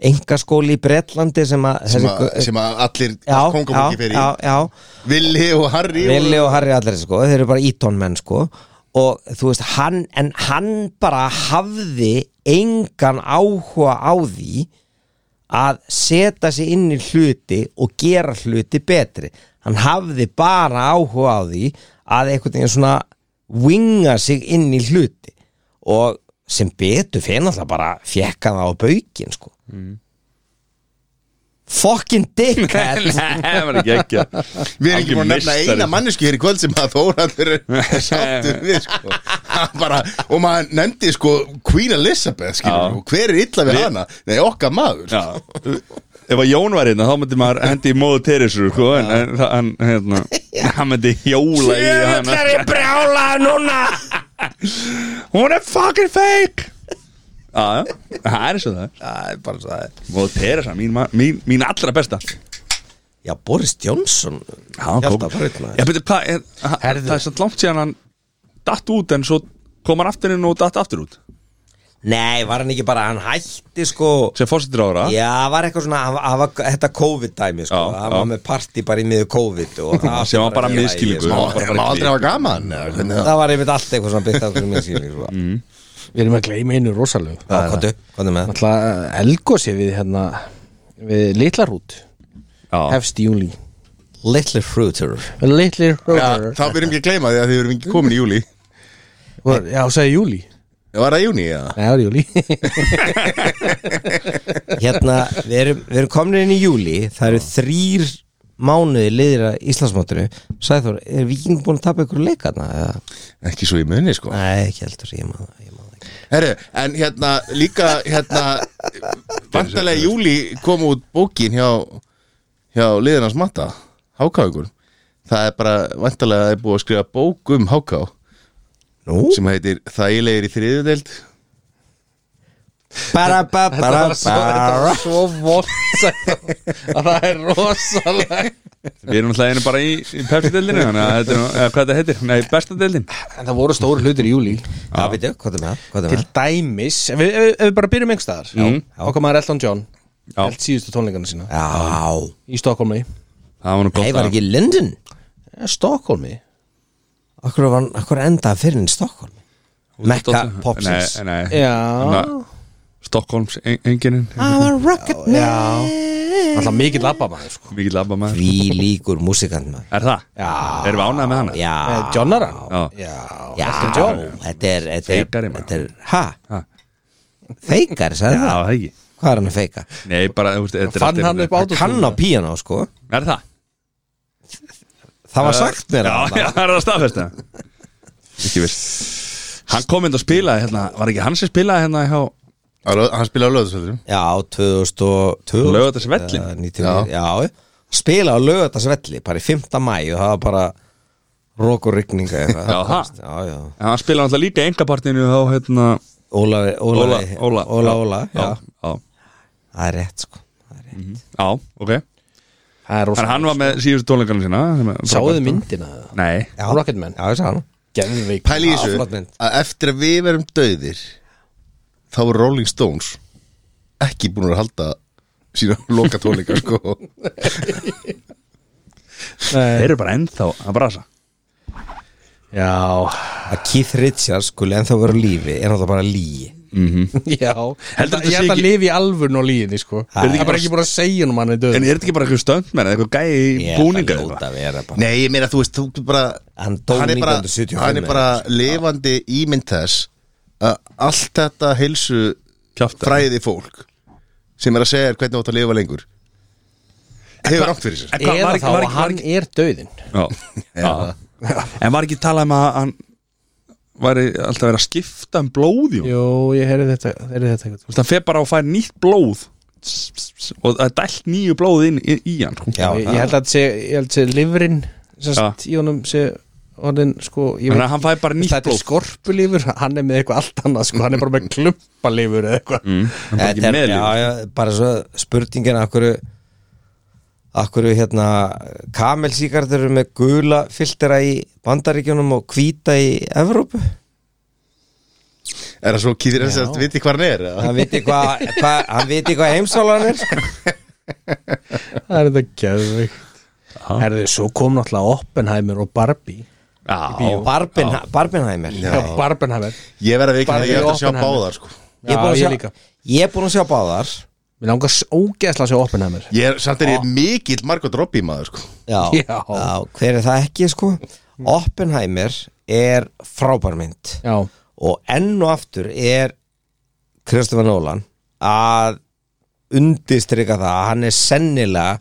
Speaker 4: engaskóli í Bretlandi sem að
Speaker 3: sem,
Speaker 4: þessi
Speaker 3: að,
Speaker 4: gau-
Speaker 3: sem að allir
Speaker 4: já,
Speaker 3: kongabóki
Speaker 4: já,
Speaker 3: fyrir
Speaker 4: já, já
Speaker 3: í Willi og Harry
Speaker 4: Willi
Speaker 3: og,
Speaker 4: og Harry allir sko, þeir eru bara ítón menn sko og þú veist, hann en hann bara hafði engan áhuga á því að setja sig inn í hluti og gera hluti betri hann hafði bara áhuga á því að einhvern veginn svona winga sig inn í hluti og sem betur fyrir náttúrulega bara fjekka það á baukin sko fucking dickhead
Speaker 1: það var ekki ekki
Speaker 3: Við erum ekki búin að nefna eina mannesku hér í kvöld sem að Þóraldur er sáttur við sko. Hann bara, og maður nefndi sko Queen Elizabeth skilur,
Speaker 1: Já.
Speaker 3: og hver er illa við hana? Nei, okkar maður
Speaker 1: Já, ef að Jón var hérna þá myndi maður hendi í móðu Teresu sko, en, en það- hann, hérna, hann myndi hjóla í hana
Speaker 4: Sjöfullar ég brjála núna
Speaker 1: Hún er fucking fake Já, já, það er svo það er.
Speaker 4: Það er bara svo það er
Speaker 1: Móðu Teresa, mín, ma- mín, mín allra besta
Speaker 4: Já, Boris Johnson
Speaker 1: Já,
Speaker 4: Hjarta
Speaker 1: kók.
Speaker 4: braut, maður.
Speaker 1: Já, betur, hvað, er, ha-
Speaker 2: Herðu.
Speaker 1: það er svo langt síðan hann datt út en svo kom hann aftur inn og datt aftur út
Speaker 4: Nei, var hann ekki bara, hann hætti sko
Speaker 1: sem fórsetur ára
Speaker 4: Já, var eitthvað svona, hann- hann var þetta COVID-dæmi sko
Speaker 1: Já,
Speaker 4: Hann var
Speaker 1: já.
Speaker 4: með party bara í miður COVID og það
Speaker 1: Sem var bara
Speaker 4: í lagi,
Speaker 1: misskilningur.
Speaker 4: sko.
Speaker 3: Má má aldrei hafa gaman eða hvernig það-
Speaker 4: Það var einmitt allt eitthvað svona byrta okkur miskilning sko. mm.
Speaker 2: Við erum að gleyma einu rosalegu
Speaker 4: Já, kontu, kontu með það
Speaker 2: Alltaf elgósi eh, við hérna Við Litlarút
Speaker 1: já.
Speaker 2: Hefst í júli
Speaker 4: Little Fruiter
Speaker 3: Já,
Speaker 2: Litlarút
Speaker 3: Þá verðum ekki að gleyma því að þið verðum ekki komin í júli
Speaker 2: Já, sagði júli
Speaker 3: Það var að júni, já
Speaker 2: Nei, það var júli
Speaker 4: Hérna, við erum, við erum komin inn í júli Það eru þrýr mánuði liðir að Íslandsmátinu Sæður, er Víking búin að tapa ykkur leikarna? eða?
Speaker 3: Ekki svo í munni sko
Speaker 4: Nei, ekki heldur, ég maður, ég maður ekki
Speaker 3: Herru, en hérna líka hérna vantarlega í júli kom út bókin hjá hjá liðinans matta Hákáingur það er bara vantarlega að er búið að skrifa bók um Háká
Speaker 4: Nú?
Speaker 3: sem heitir Þægilegir í þriðudeld
Speaker 4: bara, bara, bara, bara.
Speaker 2: svo voldsætt að það er rosalega
Speaker 1: Við erum alltaf einu bara í, í Pepsi-deldinu Þannig að þetta er nú, eða hvað þetta heitir, nei, besta-deldin
Speaker 2: En það voru stóru hlutir í júli
Speaker 4: Já, veitu, hvað er með það? Hvað er
Speaker 2: Til
Speaker 4: með það?
Speaker 2: dæmis, ef við, ef við- ef við bara byrjum einhvers staðar
Speaker 1: Mm.
Speaker 2: Okkar maður Elton John
Speaker 1: Já.
Speaker 2: Eld síðustu tónleikana sína
Speaker 4: Já,
Speaker 2: Í Stokkólmi
Speaker 1: Það var nú gott
Speaker 4: hei, var
Speaker 1: að-
Speaker 4: ekki London?
Speaker 2: Eh, Stokkólmi?
Speaker 4: Akkur, var, hann- akkur endaði fyrir henni Stockholm? Mekka popsins
Speaker 1: Nei, nei
Speaker 2: Já Ah.
Speaker 1: Þannig að Stockholms enginin
Speaker 4: I'm a rocket
Speaker 2: Já Alltaf mikill labba maður sko
Speaker 1: Mikið labba maður
Speaker 4: Því líkur músikant maður
Speaker 1: Er það? Já Erum við ánægð með hana?
Speaker 4: Já,
Speaker 2: Eh, John Aran?
Speaker 1: Já
Speaker 2: Já
Speaker 4: Ah. já,
Speaker 2: Elton John
Speaker 4: þetta er þetta er-
Speaker 1: Feikari, maður.
Speaker 4: Þetta er, ha?
Speaker 1: Ha.
Speaker 4: Feikar, sagði
Speaker 1: Já,
Speaker 4: það?
Speaker 1: það ekki
Speaker 4: Hvað er hann að feika?
Speaker 1: Nei, bara, þú veist, þetta er
Speaker 2: Fann
Speaker 1: allt-
Speaker 2: hann upp á
Speaker 4: Kann á píano, sko
Speaker 1: Er það?
Speaker 4: Það var sagt mér
Speaker 1: Já,
Speaker 4: að
Speaker 1: já, það er það staðfesta Ekki vilt Hann kom inn og spilaði hérna Var ekki hann sem spilaði hérna hjá
Speaker 3: hann spilaði á löðsvöldum
Speaker 4: Já, 2002
Speaker 1: Laugardalsvellin.
Speaker 4: Eða 99, eh, já. spila á lögatarsvelli bara í 5. mæ og það var bara rokur rigninga
Speaker 1: Já, ha?
Speaker 4: já, já.
Speaker 1: En Hann spilaði alltaf líka engapartinu á hérna
Speaker 4: Óla, Óla,
Speaker 1: Óla
Speaker 4: Óla, Óla, já.
Speaker 1: Já, já,
Speaker 2: Mhm.
Speaker 4: það er rétt sko Það er rétt.
Speaker 1: já, ok
Speaker 2: Það er
Speaker 1: Þannig að hann var með síðustu tónleikarnir sína sem að-
Speaker 2: Sáuðu myndina?
Speaker 1: Nei,
Speaker 4: Já.
Speaker 2: Rocketman
Speaker 4: Já, ég sagði hann
Speaker 2: Genvík
Speaker 3: Pæli í
Speaker 4: Já, flott
Speaker 3: þessu
Speaker 4: mynd.
Speaker 3: að eftir að við verum döðir þá voru Rolling Stones ekki búin að halda sína loka tónleika sko
Speaker 2: Eh,
Speaker 1: þeir eru bara ennþá að brasa
Speaker 2: Já
Speaker 4: Að Keith Richards skuli ennþá vera á lífi Er hann það bara líi
Speaker 2: Mhm. Já
Speaker 1: Heldur
Speaker 2: Heldur
Speaker 1: þetta
Speaker 2: Ég
Speaker 1: sé
Speaker 2: held
Speaker 1: ekki-
Speaker 2: að lifi í alvörn og líginni sko
Speaker 4: Er
Speaker 2: Það
Speaker 4: þetta
Speaker 2: er bara ekki búin að segja um hann er döð
Speaker 1: En er þetta ekki bara eitthvað stöndmenn eða eitthvað gæi í búninga eða
Speaker 4: Ég ætla
Speaker 1: eitthvað?
Speaker 4: að ljóta að vera bara
Speaker 3: Nei, ég meina þú veist, þú bara
Speaker 4: Hann dó
Speaker 3: er bara,
Speaker 4: 1975
Speaker 3: hann er bara lifandi ímynd þess að allt þetta heilsu
Speaker 1: Kjafta.
Speaker 3: fræði fólk sem er að segja þér hvernig þú átt að lifa lengur hefur rámt fyrir sér
Speaker 1: En hvað, var
Speaker 2: Eða
Speaker 1: ekki-
Speaker 2: þá
Speaker 1: var
Speaker 2: að
Speaker 1: ekki- var
Speaker 2: hann
Speaker 1: ekki-
Speaker 2: er döðin
Speaker 1: Já. Já. En var ekki talað um að hann væri alltaf verið að skipta um blóð í honum?
Speaker 2: Jú, ég heyrði þetta, heyrði þetta eitthvað
Speaker 1: Þú veist, hann fer bara og fær nýtt blóð Tss, tss, tss, og það er dælt nýju blóð inn í, í hann sko.
Speaker 4: Já,
Speaker 2: ég, ég held að þetta sé, ég held að sé livrin sem sagt í honum sé orðin sko ég
Speaker 1: Þannig að hann fær bara nýtt
Speaker 2: þetta er sko-
Speaker 1: blóð sko.
Speaker 2: skorpulífur, hann er með eitthvað allt annað sko, hann er bara með klumpalífur eða eitthvað
Speaker 1: Mm, hann er bara
Speaker 4: Þetta
Speaker 1: ekki
Speaker 4: er,
Speaker 1: meðlíf
Speaker 4: já, já, bara svo spurningin af hverju af hverju hérna kamelsíkardur eru með gula filtera í bandaríkjunum og hvíta í Evrópu
Speaker 3: er það svo kýðir þess að viti hvað hann er eða?
Speaker 4: hann viti hvað hva, hann viti hvað heimsálan er sko.
Speaker 2: það er þetta geðvikt herðu, svo kom náttúrulega Oppenheimer og Barbie
Speaker 1: Já,
Speaker 4: Barben, Barbenheimer
Speaker 3: Já.
Speaker 4: ég
Speaker 2: já, Barbenheimer
Speaker 3: ég verð að veikna
Speaker 2: Bara
Speaker 3: að ég ætla að sjá
Speaker 2: Oppenheimer.
Speaker 3: báðar sko.
Speaker 4: er búin
Speaker 2: já,
Speaker 4: að
Speaker 2: ég
Speaker 4: sjá-
Speaker 2: líka
Speaker 4: ég er búin að sjá báðar
Speaker 2: mér langar s- ógeðslega að sjá Oppenheimer
Speaker 3: ég er, samt er ég mikill margot Robbie maður sko.
Speaker 4: já,
Speaker 2: Já.
Speaker 4: hver er það ekki sko Oppenheimer er frábærmynd
Speaker 2: já,
Speaker 4: og enn og aftur er Kristoffer Nólan að undistrykka það að hann er sennilega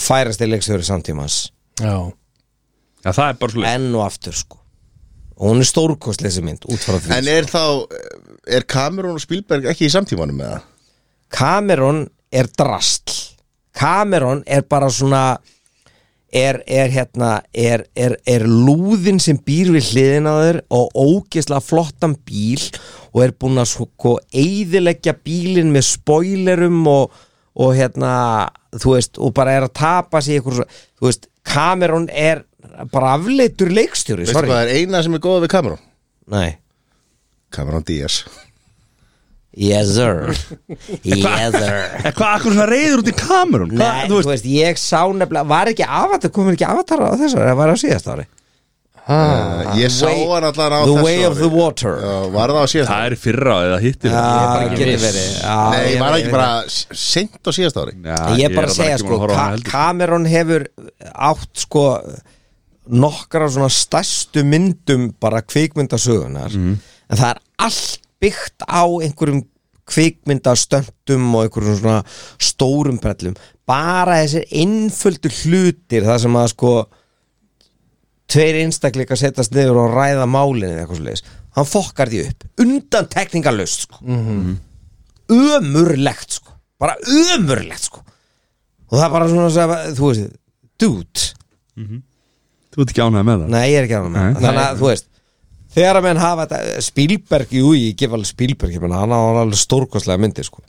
Speaker 4: færasti leikstjóri samtímans
Speaker 2: já
Speaker 1: já, það er bara svo leið
Speaker 4: enn og aftur sko og hún er stórkost þessi mynd út frá því
Speaker 3: en er þá er Cameron og Spielberg ekki í samtímanum með það?
Speaker 4: Cameron er drastl Cameron er bara svona er, er hérna er, er, er lúðin sem býr við hliðin á þér og ógeðslega flottan bíl og er búin að sko eiðileggja bílinn með spoilerum og, og hérna þú veist, og bara er að tapa sig í ykkur, svo- þú veist, Cameron er bara afleitur leikstjóri
Speaker 3: veistu
Speaker 4: sorry,
Speaker 3: hvað er eina sem er góða við Cameron?
Speaker 4: nei
Speaker 3: Cameron Diaz
Speaker 4: yes sir yes sir
Speaker 1: En hvað, akkur svona reyður út í kamerun?
Speaker 4: Nei, þú veist, ég sá nefnilega, var ekki avatar, komur ekki avatar á þessari, það var á síðast ári
Speaker 3: uh, ég sá
Speaker 4: Ah, way-
Speaker 3: hann allan á
Speaker 4: The
Speaker 3: þessu
Speaker 4: way of
Speaker 3: ári.
Speaker 4: the water
Speaker 3: Já, var það á síðast
Speaker 1: Það er í fyrra eða hittir
Speaker 4: Já,
Speaker 2: ekki
Speaker 4: geti
Speaker 2: viss.
Speaker 4: verið Já,
Speaker 3: Nei,
Speaker 4: ég-
Speaker 3: var það
Speaker 4: ég-
Speaker 3: ekki bara seint á síðast ári?
Speaker 4: Ég er bara að segja, sko, Ka Cameron hefur átt, sko nokkra svona stærstu myndum bara kvikmyndasögunar en það er allt byggt á einhverjum kvikmyndastöndum og einhverjum svona stórum brellum bara þessir einföldu hlutir það sem að sko tveir einstakleika setjast niður og ræða málinu eða eitthvað svoleiðis hann fokkar því upp undan tekningalust sko. mm ömurlegt sko. bara ömurlegt sko. og það er bara svona sem, þú veist, dude
Speaker 1: Þú ert ekki ánægð með það
Speaker 4: nei ég er ekki ánum með
Speaker 1: Nei.
Speaker 4: það. þannig að þú veist þegar að menn hafa þetta Spielberg, jú ég gef alveg Spielberg ég menna, hann á alveg stórkostlega myndi sko.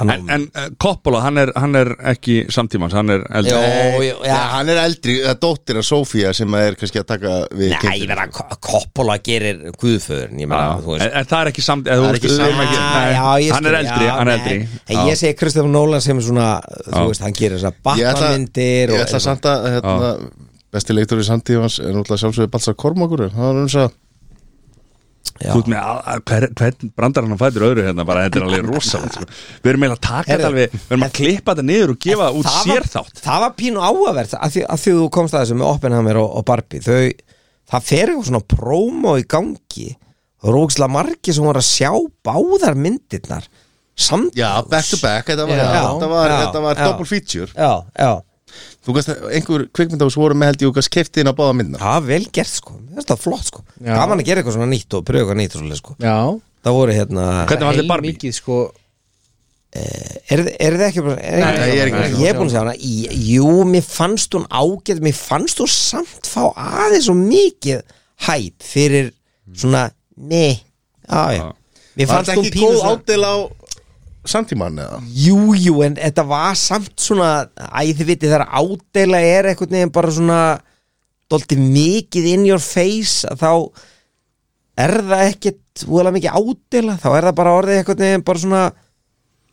Speaker 4: hann á
Speaker 1: En, en eh, Coppola, hann er, hann er ekki samtímans, hann er eldri Eh,
Speaker 4: Jó,
Speaker 3: Nei,
Speaker 4: jó, já.
Speaker 3: ja, hann er eldri, það er dóttir að Sofía sem er kannski að taka við
Speaker 4: Nei, ég verða að Coppola gerir guðföðurinn,
Speaker 1: Já,
Speaker 4: ég menna, þú veist
Speaker 1: en, en það er ekki samt eða,
Speaker 3: Það
Speaker 1: þú
Speaker 3: er ekki
Speaker 1: veist, við erum
Speaker 3: samt.
Speaker 1: ekki-
Speaker 4: Ah,
Speaker 1: nei,
Speaker 4: já, ég
Speaker 1: Hann er
Speaker 4: skil,
Speaker 1: eldri,
Speaker 4: já,
Speaker 1: hann er
Speaker 4: nei.
Speaker 1: eldri
Speaker 4: En ég segi Kristján Nólan sem er svona Þú veist, hann gerir þessar
Speaker 3: Ég ætla,
Speaker 4: batmanmyndir
Speaker 3: ég ætla samt að hérna, besti leiktur í samtífans er náttúrulega sjálfsögur Balsa Kormakur það var eins að
Speaker 1: Þú ert með, að- að- hver, hvern brandar hann á fætur öðru hérna bara, þetta er alveg rosalegt sko. Við erum eiginlega að taka
Speaker 4: Heyrðu,
Speaker 1: þetta alveg, við erum að klippa þetta niður og gefa út sér þátt
Speaker 4: Það var pínu áavert að því, að því þú komst að þessu með Oppenheimer og, og Barbie Þau, það fer eitthvað svona prómo í gangi og rókslega margir sem voru að sjá báðar myndirnar samt
Speaker 3: Já, back to back, þetta var,
Speaker 2: Já,
Speaker 3: þetta var,
Speaker 4: já,
Speaker 3: þetta var
Speaker 4: já.
Speaker 3: double feature
Speaker 4: Já, já,
Speaker 3: Þú gast, einhver kvikmyndafis voru með held ég og gast kefti inn á báða myndina
Speaker 4: það var vel gert sko Mér finnst Það er flott sko
Speaker 2: Já.
Speaker 4: Gaman að gera eitthvað svona nýtt og pröfa eitthvað nýtt og svoleið sko
Speaker 2: já
Speaker 4: Það voru hérna
Speaker 1: Hvernig var þetta
Speaker 2: Heil
Speaker 1: Barbie?
Speaker 2: mikið sko
Speaker 4: Er, er þið ekki bara er
Speaker 3: Nei, ég er ekki búin að sjá
Speaker 4: Ég er búin að segja hana í- Jú, mér fannst hún ágæð Mér fannst hún samt fá aðeins og mikið hæp fyrir svona Nei, já, já
Speaker 3: Var
Speaker 4: Mér fannst
Speaker 3: þetta
Speaker 4: hún
Speaker 3: ekki
Speaker 4: pínu
Speaker 3: góð
Speaker 4: svona
Speaker 3: ádel á samtímann eða
Speaker 4: Jú, jú, en þetta var samt svona Æ, þið vitið þegar ádela er einhvern veginn bara svona Dóltið mikið in your face að Þá er það ekkit Úðalega mikið ádela Þá er það bara orðið einhvern veginn bara svona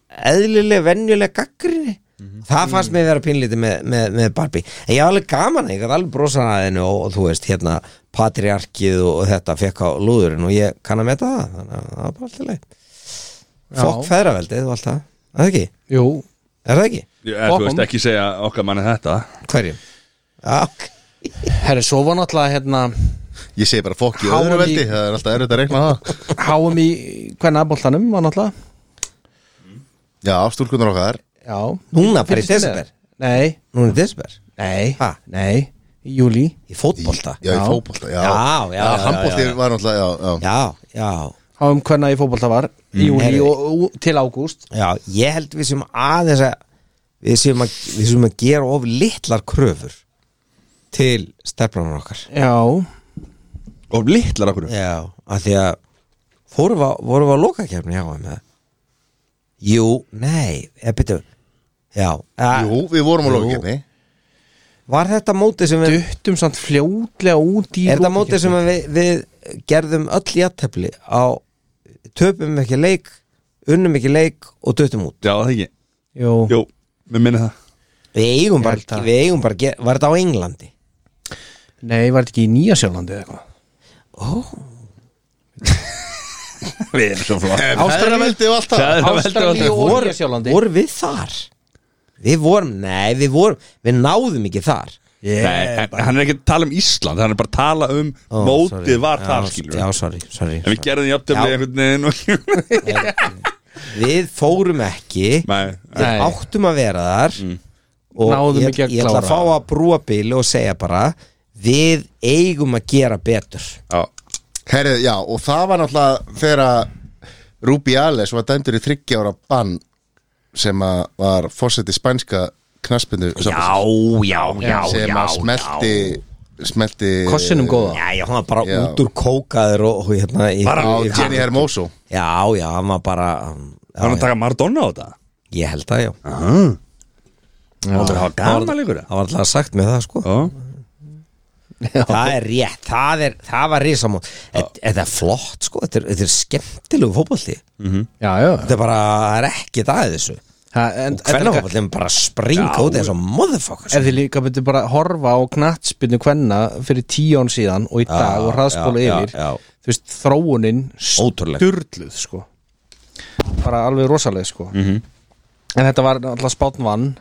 Speaker 4: Eðlileg, venjuleg gaggrinni Það fannst mér vera pínlítið með, með, með Barbie En ég var alveg gaman, ég gæti alveg brosan að hennu og, og þú veist, hérna Patriarkið og, og þetta fekk á lúðurinn Og ég kann að meta það Þannig að það var bara alltaf leið
Speaker 2: Já.
Speaker 4: Fokk feðraveldið og allt það Er það ekki?
Speaker 2: Jú,
Speaker 4: Er það ekki?
Speaker 1: Ég, Eh, þú veist
Speaker 2: Bokkum.
Speaker 1: ekki segja okkar manni þetta
Speaker 4: Hverjum? Ok
Speaker 2: herri, svo var náttúrulega hérna
Speaker 3: Ég segi bara fokk í
Speaker 2: Háum
Speaker 3: öðru
Speaker 2: í-
Speaker 3: veldi, það er alltaf erfitt að reikna það
Speaker 2: háum í hvernig aðbóltanum var náttúrulega
Speaker 3: Já, stúlkunar okkar
Speaker 2: Já
Speaker 4: Núna bara í
Speaker 2: Fylgist þú með?
Speaker 4: desember?
Speaker 2: Nei,
Speaker 4: Núna er desber
Speaker 2: nei,
Speaker 4: Ha?
Speaker 2: nei, í júli
Speaker 4: Í fótbolta
Speaker 3: Já, í
Speaker 2: Já.
Speaker 3: fótbolta, já
Speaker 4: Já, já, já, já,
Speaker 3: handbolti
Speaker 4: já, já.
Speaker 3: var náttúrulega, já, já.
Speaker 4: Já, já
Speaker 2: Háum hvernig um í fótbolta var í júli
Speaker 4: Heyrðu.
Speaker 2: og, og til ágúst
Speaker 4: Já, ég held við sem aðeins að við sem að, við sem að gera of litlar kröfur til stefnarnar okkar
Speaker 2: Já,
Speaker 1: Og litlar okkur
Speaker 4: Já, af því að fórum við, á- vorum við að loka kefni hjá hann eða? Jú, nei, eða byrju Já, að,
Speaker 3: Jú, við vorum á
Speaker 4: Jú.
Speaker 3: lókikefni
Speaker 4: var þetta mótið sem við
Speaker 2: duttum samt fljótlega út í
Speaker 4: Er þetta
Speaker 2: lokakeppni.
Speaker 4: mótið sem að við, við gerðum öll í aðtefli á töpum ekki leik, unnum ekki leik og döttum út
Speaker 1: Já, það ekki
Speaker 2: Jú,
Speaker 1: Jú, við minni það
Speaker 4: Við eigum
Speaker 2: Ég
Speaker 4: bara,
Speaker 2: held að-
Speaker 4: við eigum bara, að ge- var þetta á Englandi?
Speaker 2: nei, var þetta ekki í Nýja Sjálandi eða eitthvað
Speaker 4: Ó,
Speaker 1: Við erum svo flott
Speaker 3: Ástæðan veldi var alltaf
Speaker 1: Það er að velta
Speaker 2: Ástralíu
Speaker 1: alltaf
Speaker 2: og
Speaker 4: voru,
Speaker 2: Nýja Sjálandi
Speaker 4: voru við þar? Við vorum, nei, við vorum, við náðum ekki þar
Speaker 1: Nei,
Speaker 2: yeah.
Speaker 1: en- hann er ekki að tala um Ísland Hann er bara að tala um
Speaker 4: Ó,
Speaker 1: mótið
Speaker 4: sorry.
Speaker 1: var
Speaker 4: Já,
Speaker 1: þar skilur
Speaker 4: Já,
Speaker 1: við.
Speaker 4: sorry, sorry,
Speaker 1: En við
Speaker 4: sorry.
Speaker 1: gerðum jafntöfli
Speaker 4: Já.
Speaker 1: einhvern veginn og
Speaker 4: Við fórum ekki
Speaker 1: Nei, Mm.
Speaker 4: Við
Speaker 2: Nei.
Speaker 4: áttum að vera þar og
Speaker 2: Náðum
Speaker 4: ég,
Speaker 2: ekki að
Speaker 4: ég ætla að
Speaker 2: klára.
Speaker 4: fá að brúa bíl og segja bara við eigum að gera betur
Speaker 1: já
Speaker 3: Herrið, já, og það var náttúrulega þegar að Rubi Ales var dæmdur í 30 ára bann sem að var fórseti spænska knaspindu
Speaker 4: já,
Speaker 3: sem að smelti smelti
Speaker 2: Kossinum góða
Speaker 4: Já, já, hann var bara
Speaker 3: Já.
Speaker 4: út úr kókaður og, og hérna í,
Speaker 3: á
Speaker 4: í,
Speaker 3: Jenny Hermoso
Speaker 4: Já, já, hann var bara um,
Speaker 1: Hann er
Speaker 4: já,
Speaker 1: að taka Maradona á þetta
Speaker 4: Ég held að, já
Speaker 2: Ah.
Speaker 1: Það var gaman líkur
Speaker 4: Það var alltaf sagt með það, sko Það er rétt, það, er, það var risamót Þetta er flott, sko, þetta er, þetta er skemmtilegu fótbolti
Speaker 2: Já, já
Speaker 4: Þetta er bara, það er ekkert að þessu
Speaker 2: ha, en,
Speaker 4: Hvernig fótbolti er bara að springa út eins og sko. motherfuckers
Speaker 2: Ef þið líka byrjuðu bara að horfa á knattspinnu hvenna fyrir tíu án síðan og í dag og hraðspóla
Speaker 4: já,
Speaker 2: yfir
Speaker 4: já, já.
Speaker 2: þú veist, þróunin
Speaker 4: Ótrúleg.
Speaker 2: sturluð sko. bara alveg rosaleg sko.
Speaker 4: Mhm.
Speaker 2: -hmm. en þetta var alltaf spátn vann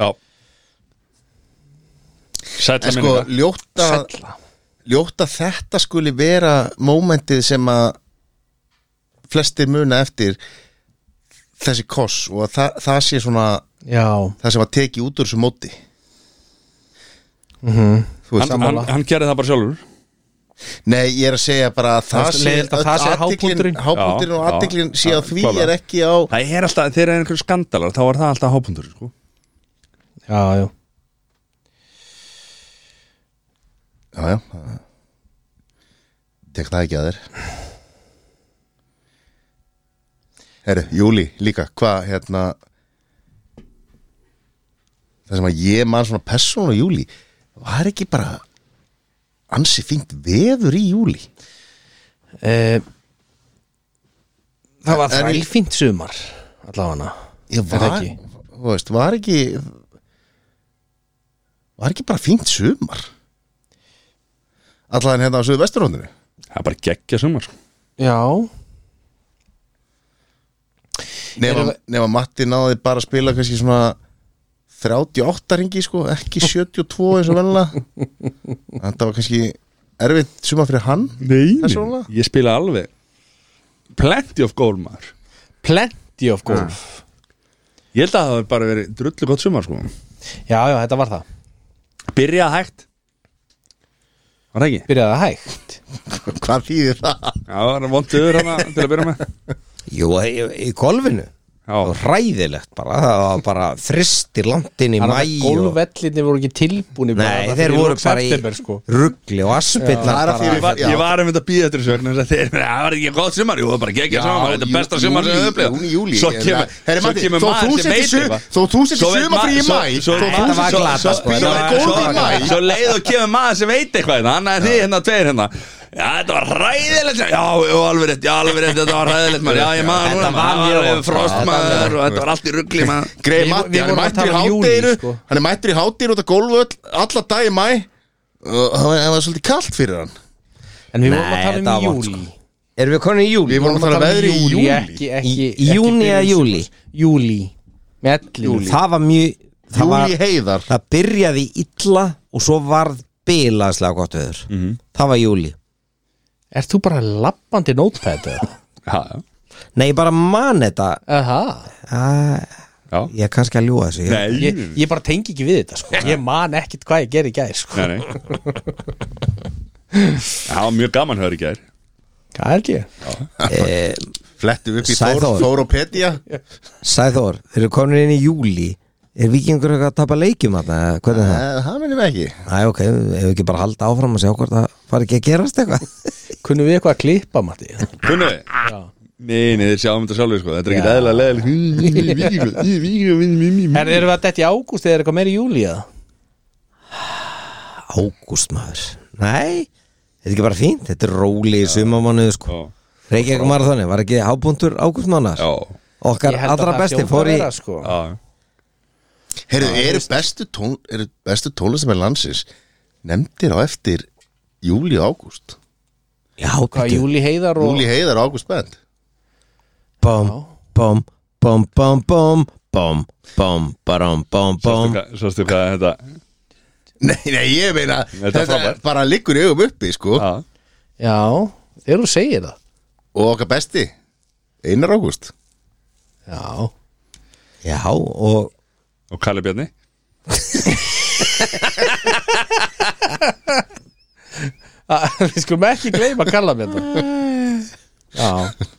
Speaker 1: Já Sætla
Speaker 3: en sko,
Speaker 1: minninga
Speaker 3: ljótt að
Speaker 2: Sælla.
Speaker 3: ljótt að þetta skuli vera mómentið sem að flestir muna eftir þessi koss og að það, það sé svona
Speaker 2: já,
Speaker 3: það sem að teki út úr þessu móti Þú veist,
Speaker 1: hann, hann, hann gerði það bara sjálfur
Speaker 3: Nei, ég er að segja bara að það
Speaker 2: Það er leiðilegt að það sé hápunkturinn.
Speaker 3: hábúndurinn
Speaker 1: Já,
Speaker 3: og
Speaker 1: já,
Speaker 3: aðdeklin sé
Speaker 1: já,
Speaker 3: að því
Speaker 1: klálega.
Speaker 3: er ekki á
Speaker 1: Það er alltaf, þeir eru einhverjum skandalar Þá var það alltaf hápundur sko.
Speaker 2: já, já
Speaker 3: Já, já það- Tek það ekki að þér Herru, Júli, líka, hvað, hérna Það sem að ég man svona persónu Júli Var ekki bara ansi fínt veður í Júli
Speaker 2: e, það var
Speaker 3: En- en-
Speaker 2: þrælfínt sumar allavega
Speaker 3: Ég
Speaker 2: Er það
Speaker 3: var,
Speaker 2: ekki?
Speaker 3: þú veist, var ekki Var ekki bara fínt sumar Allan hérna á söðu vesturhóndinu
Speaker 1: Það er bara geggja sumar sko.
Speaker 2: já,
Speaker 3: Nefna,
Speaker 2: Erum
Speaker 3: nefna Matti náði bara að spila kannski svona 38 ringi sko, ekki 72 eins og venlega Þetta var kannski erfitt sumar fyrir hann
Speaker 1: Nei,
Speaker 3: Persónulega?
Speaker 1: ég spila alveg Plenty of goal maður
Speaker 2: plenty of golf
Speaker 1: Ég held að það hafi bara verið drullu gott sumar sko.
Speaker 2: já, já, þetta var það
Speaker 1: Byrjað hægt Var það ekki?
Speaker 2: byrjaði að hægt
Speaker 3: Hvað þýðir það?
Speaker 1: Já, það var vonduður hana til að byrja með
Speaker 4: Jú, í, í golfinu og
Speaker 1: já,
Speaker 4: ræðilegt bara, það var bara þristir langt inn í mæ og...
Speaker 2: Gólvellinni voru ekki tilbúni bara,
Speaker 4: Nei,
Speaker 2: það
Speaker 4: þeir
Speaker 2: fyrir
Speaker 4: voru
Speaker 2: lok
Speaker 4: bara í
Speaker 2: september, sko.
Speaker 4: ruggli og aspillar
Speaker 3: Það er að því
Speaker 1: Ég var,
Speaker 3: Já.
Speaker 1: ég var einmitt að býða eftir þessu vegna þess að þeir, það var ekki gott sumar, jú, það var bara gekkja
Speaker 3: Já,
Speaker 1: sumar, þetta er
Speaker 3: jú-
Speaker 1: besta sumar sem
Speaker 3: júlí,
Speaker 1: við höfum bleið.
Speaker 3: júní, júlí,
Speaker 1: svo
Speaker 3: ég meina,
Speaker 1: kemur,
Speaker 3: herri,
Speaker 1: svo
Speaker 3: Matti,
Speaker 1: kemur
Speaker 3: þó
Speaker 1: maður
Speaker 3: þú
Speaker 1: sem
Speaker 3: setir
Speaker 1: veit
Speaker 3: su-
Speaker 1: eitthvað.
Speaker 3: þó þú setir
Speaker 1: Svo veit
Speaker 3: sumarfrí í
Speaker 1: ma- svo-
Speaker 3: maí,
Speaker 1: svo-
Speaker 3: þó þú
Speaker 1: Þetta
Speaker 4: setir-
Speaker 1: var
Speaker 4: svo-
Speaker 1: glatað,
Speaker 4: svo-
Speaker 1: sko.
Speaker 4: svo-
Speaker 1: Þetta var
Speaker 4: svo-
Speaker 1: góð í
Speaker 4: svo-
Speaker 1: maí. Svo leið og kemur maður sem veit eitthvað hérna, hann er því hérna tveir hérna Já, þetta var ræðilegt Já, já, alveg rétt, já, alveg rétt, þetta var ræðilegt maður Já, ég maður núna,
Speaker 4: Þetta var
Speaker 1: maður,
Speaker 4: mjög
Speaker 1: það var
Speaker 4: vont. Já, þetta var
Speaker 1: frostmaður
Speaker 4: mjög
Speaker 1: og þetta var allt í ruggli maður
Speaker 3: Greið
Speaker 2: Við-
Speaker 3: Matti,
Speaker 2: við
Speaker 3: hann er
Speaker 2: vorum að
Speaker 3: mættur í
Speaker 2: tala um júlí,
Speaker 3: hátteginu
Speaker 2: sko.
Speaker 3: Hann er mættur í hátteginu út af gólfu alla dag í mæ og það var- það var svolítið kallt fyrir hann
Speaker 2: En við vorum
Speaker 4: Nei,
Speaker 2: að tala um
Speaker 4: þetta var vont, sko.
Speaker 2: júli
Speaker 4: Erum við konin í júli?
Speaker 3: Við vorum að tala veðri í
Speaker 2: um júlí,
Speaker 3: júli
Speaker 2: ekki, ekki,
Speaker 4: Í- í júní eða
Speaker 2: byrjun
Speaker 4: júlí?
Speaker 2: sumars. Júlí Með ellu
Speaker 4: Það var mjög það, var,
Speaker 3: Júli heiðar
Speaker 4: það byrjaði illa og svo varð bilaðslega gott veður Það var júli
Speaker 2: Ert þú bara lappandi notepad eða?
Speaker 1: Já, já,
Speaker 4: Nei, ég bara man þetta
Speaker 2: Aha
Speaker 4: Æ,
Speaker 1: já
Speaker 4: Ég er kannski að ljúga þessu ég-
Speaker 1: Nei,
Speaker 2: ég, ég bara tengi ekki við þetta sko Ég man ekkit hvað ég ger í gær sko
Speaker 1: nei, nei Það var mjög gaman höfður í gær
Speaker 2: Hvað er ekki?
Speaker 4: Eh,
Speaker 3: Flettum upp í
Speaker 4: Sæþór.
Speaker 3: Þór- Þóropedia
Speaker 4: Sæþór, erum við konin inn í júli Er vikingur eitthvað að tapa leikjum þarna? eða Hvernig er það?
Speaker 3: Eh, Það minnum ekki
Speaker 4: Æ, ok, ef við ekki bara halda áfram að sjá hvort það fari ekki að gerast eitthvað
Speaker 2: Kunnum við eitthvað að klippa, Matti?
Speaker 1: Kunnu við? Nei, nei, þeir sjáum þetta sjálfur sko Þetta er ekkert eðla leðilegt
Speaker 2: En erum við að detti í ágúst eða er eitthvað meira í júli eða?
Speaker 4: Ágúst maður Nei, þetta er ekki bara fínt Þetta er róli í sumamánuðu sko
Speaker 1: Já.
Speaker 4: Reykjavík marathoni, var ekki hábúndur ágústmánar
Speaker 1: Já,
Speaker 4: Okkar
Speaker 2: Ég held að
Speaker 4: allra
Speaker 2: það
Speaker 4: besti
Speaker 2: hljóti
Speaker 4: fór í
Speaker 2: að vera, sko.
Speaker 1: já
Speaker 3: Heyrðu, eru bestu, tón, eru bestu tónlistar með landsins nefndir á eftir júli og ágúst
Speaker 4: Já,
Speaker 2: Hvað,
Speaker 4: býttu
Speaker 2: júli heiðar og
Speaker 3: Júli heiðar og ágúst band
Speaker 4: Bóm, bóm, bóm, bóm, bóm Bóm, bóm, baróm, bóm, bóm
Speaker 1: Sástu hvað þetta
Speaker 3: Nei, nei, ég meina
Speaker 1: Þetta er
Speaker 3: Þetta
Speaker 1: frábært.
Speaker 3: bara liggur í augum uppi, sko
Speaker 1: Já,
Speaker 2: Já, þegar þú segir það
Speaker 3: Og okkar besti Einar ágúst
Speaker 2: Já,
Speaker 4: Já, og
Speaker 1: og Kalli Bjarni
Speaker 2: Ah, við skulum ekki gleyma að kalla mér þetta Já,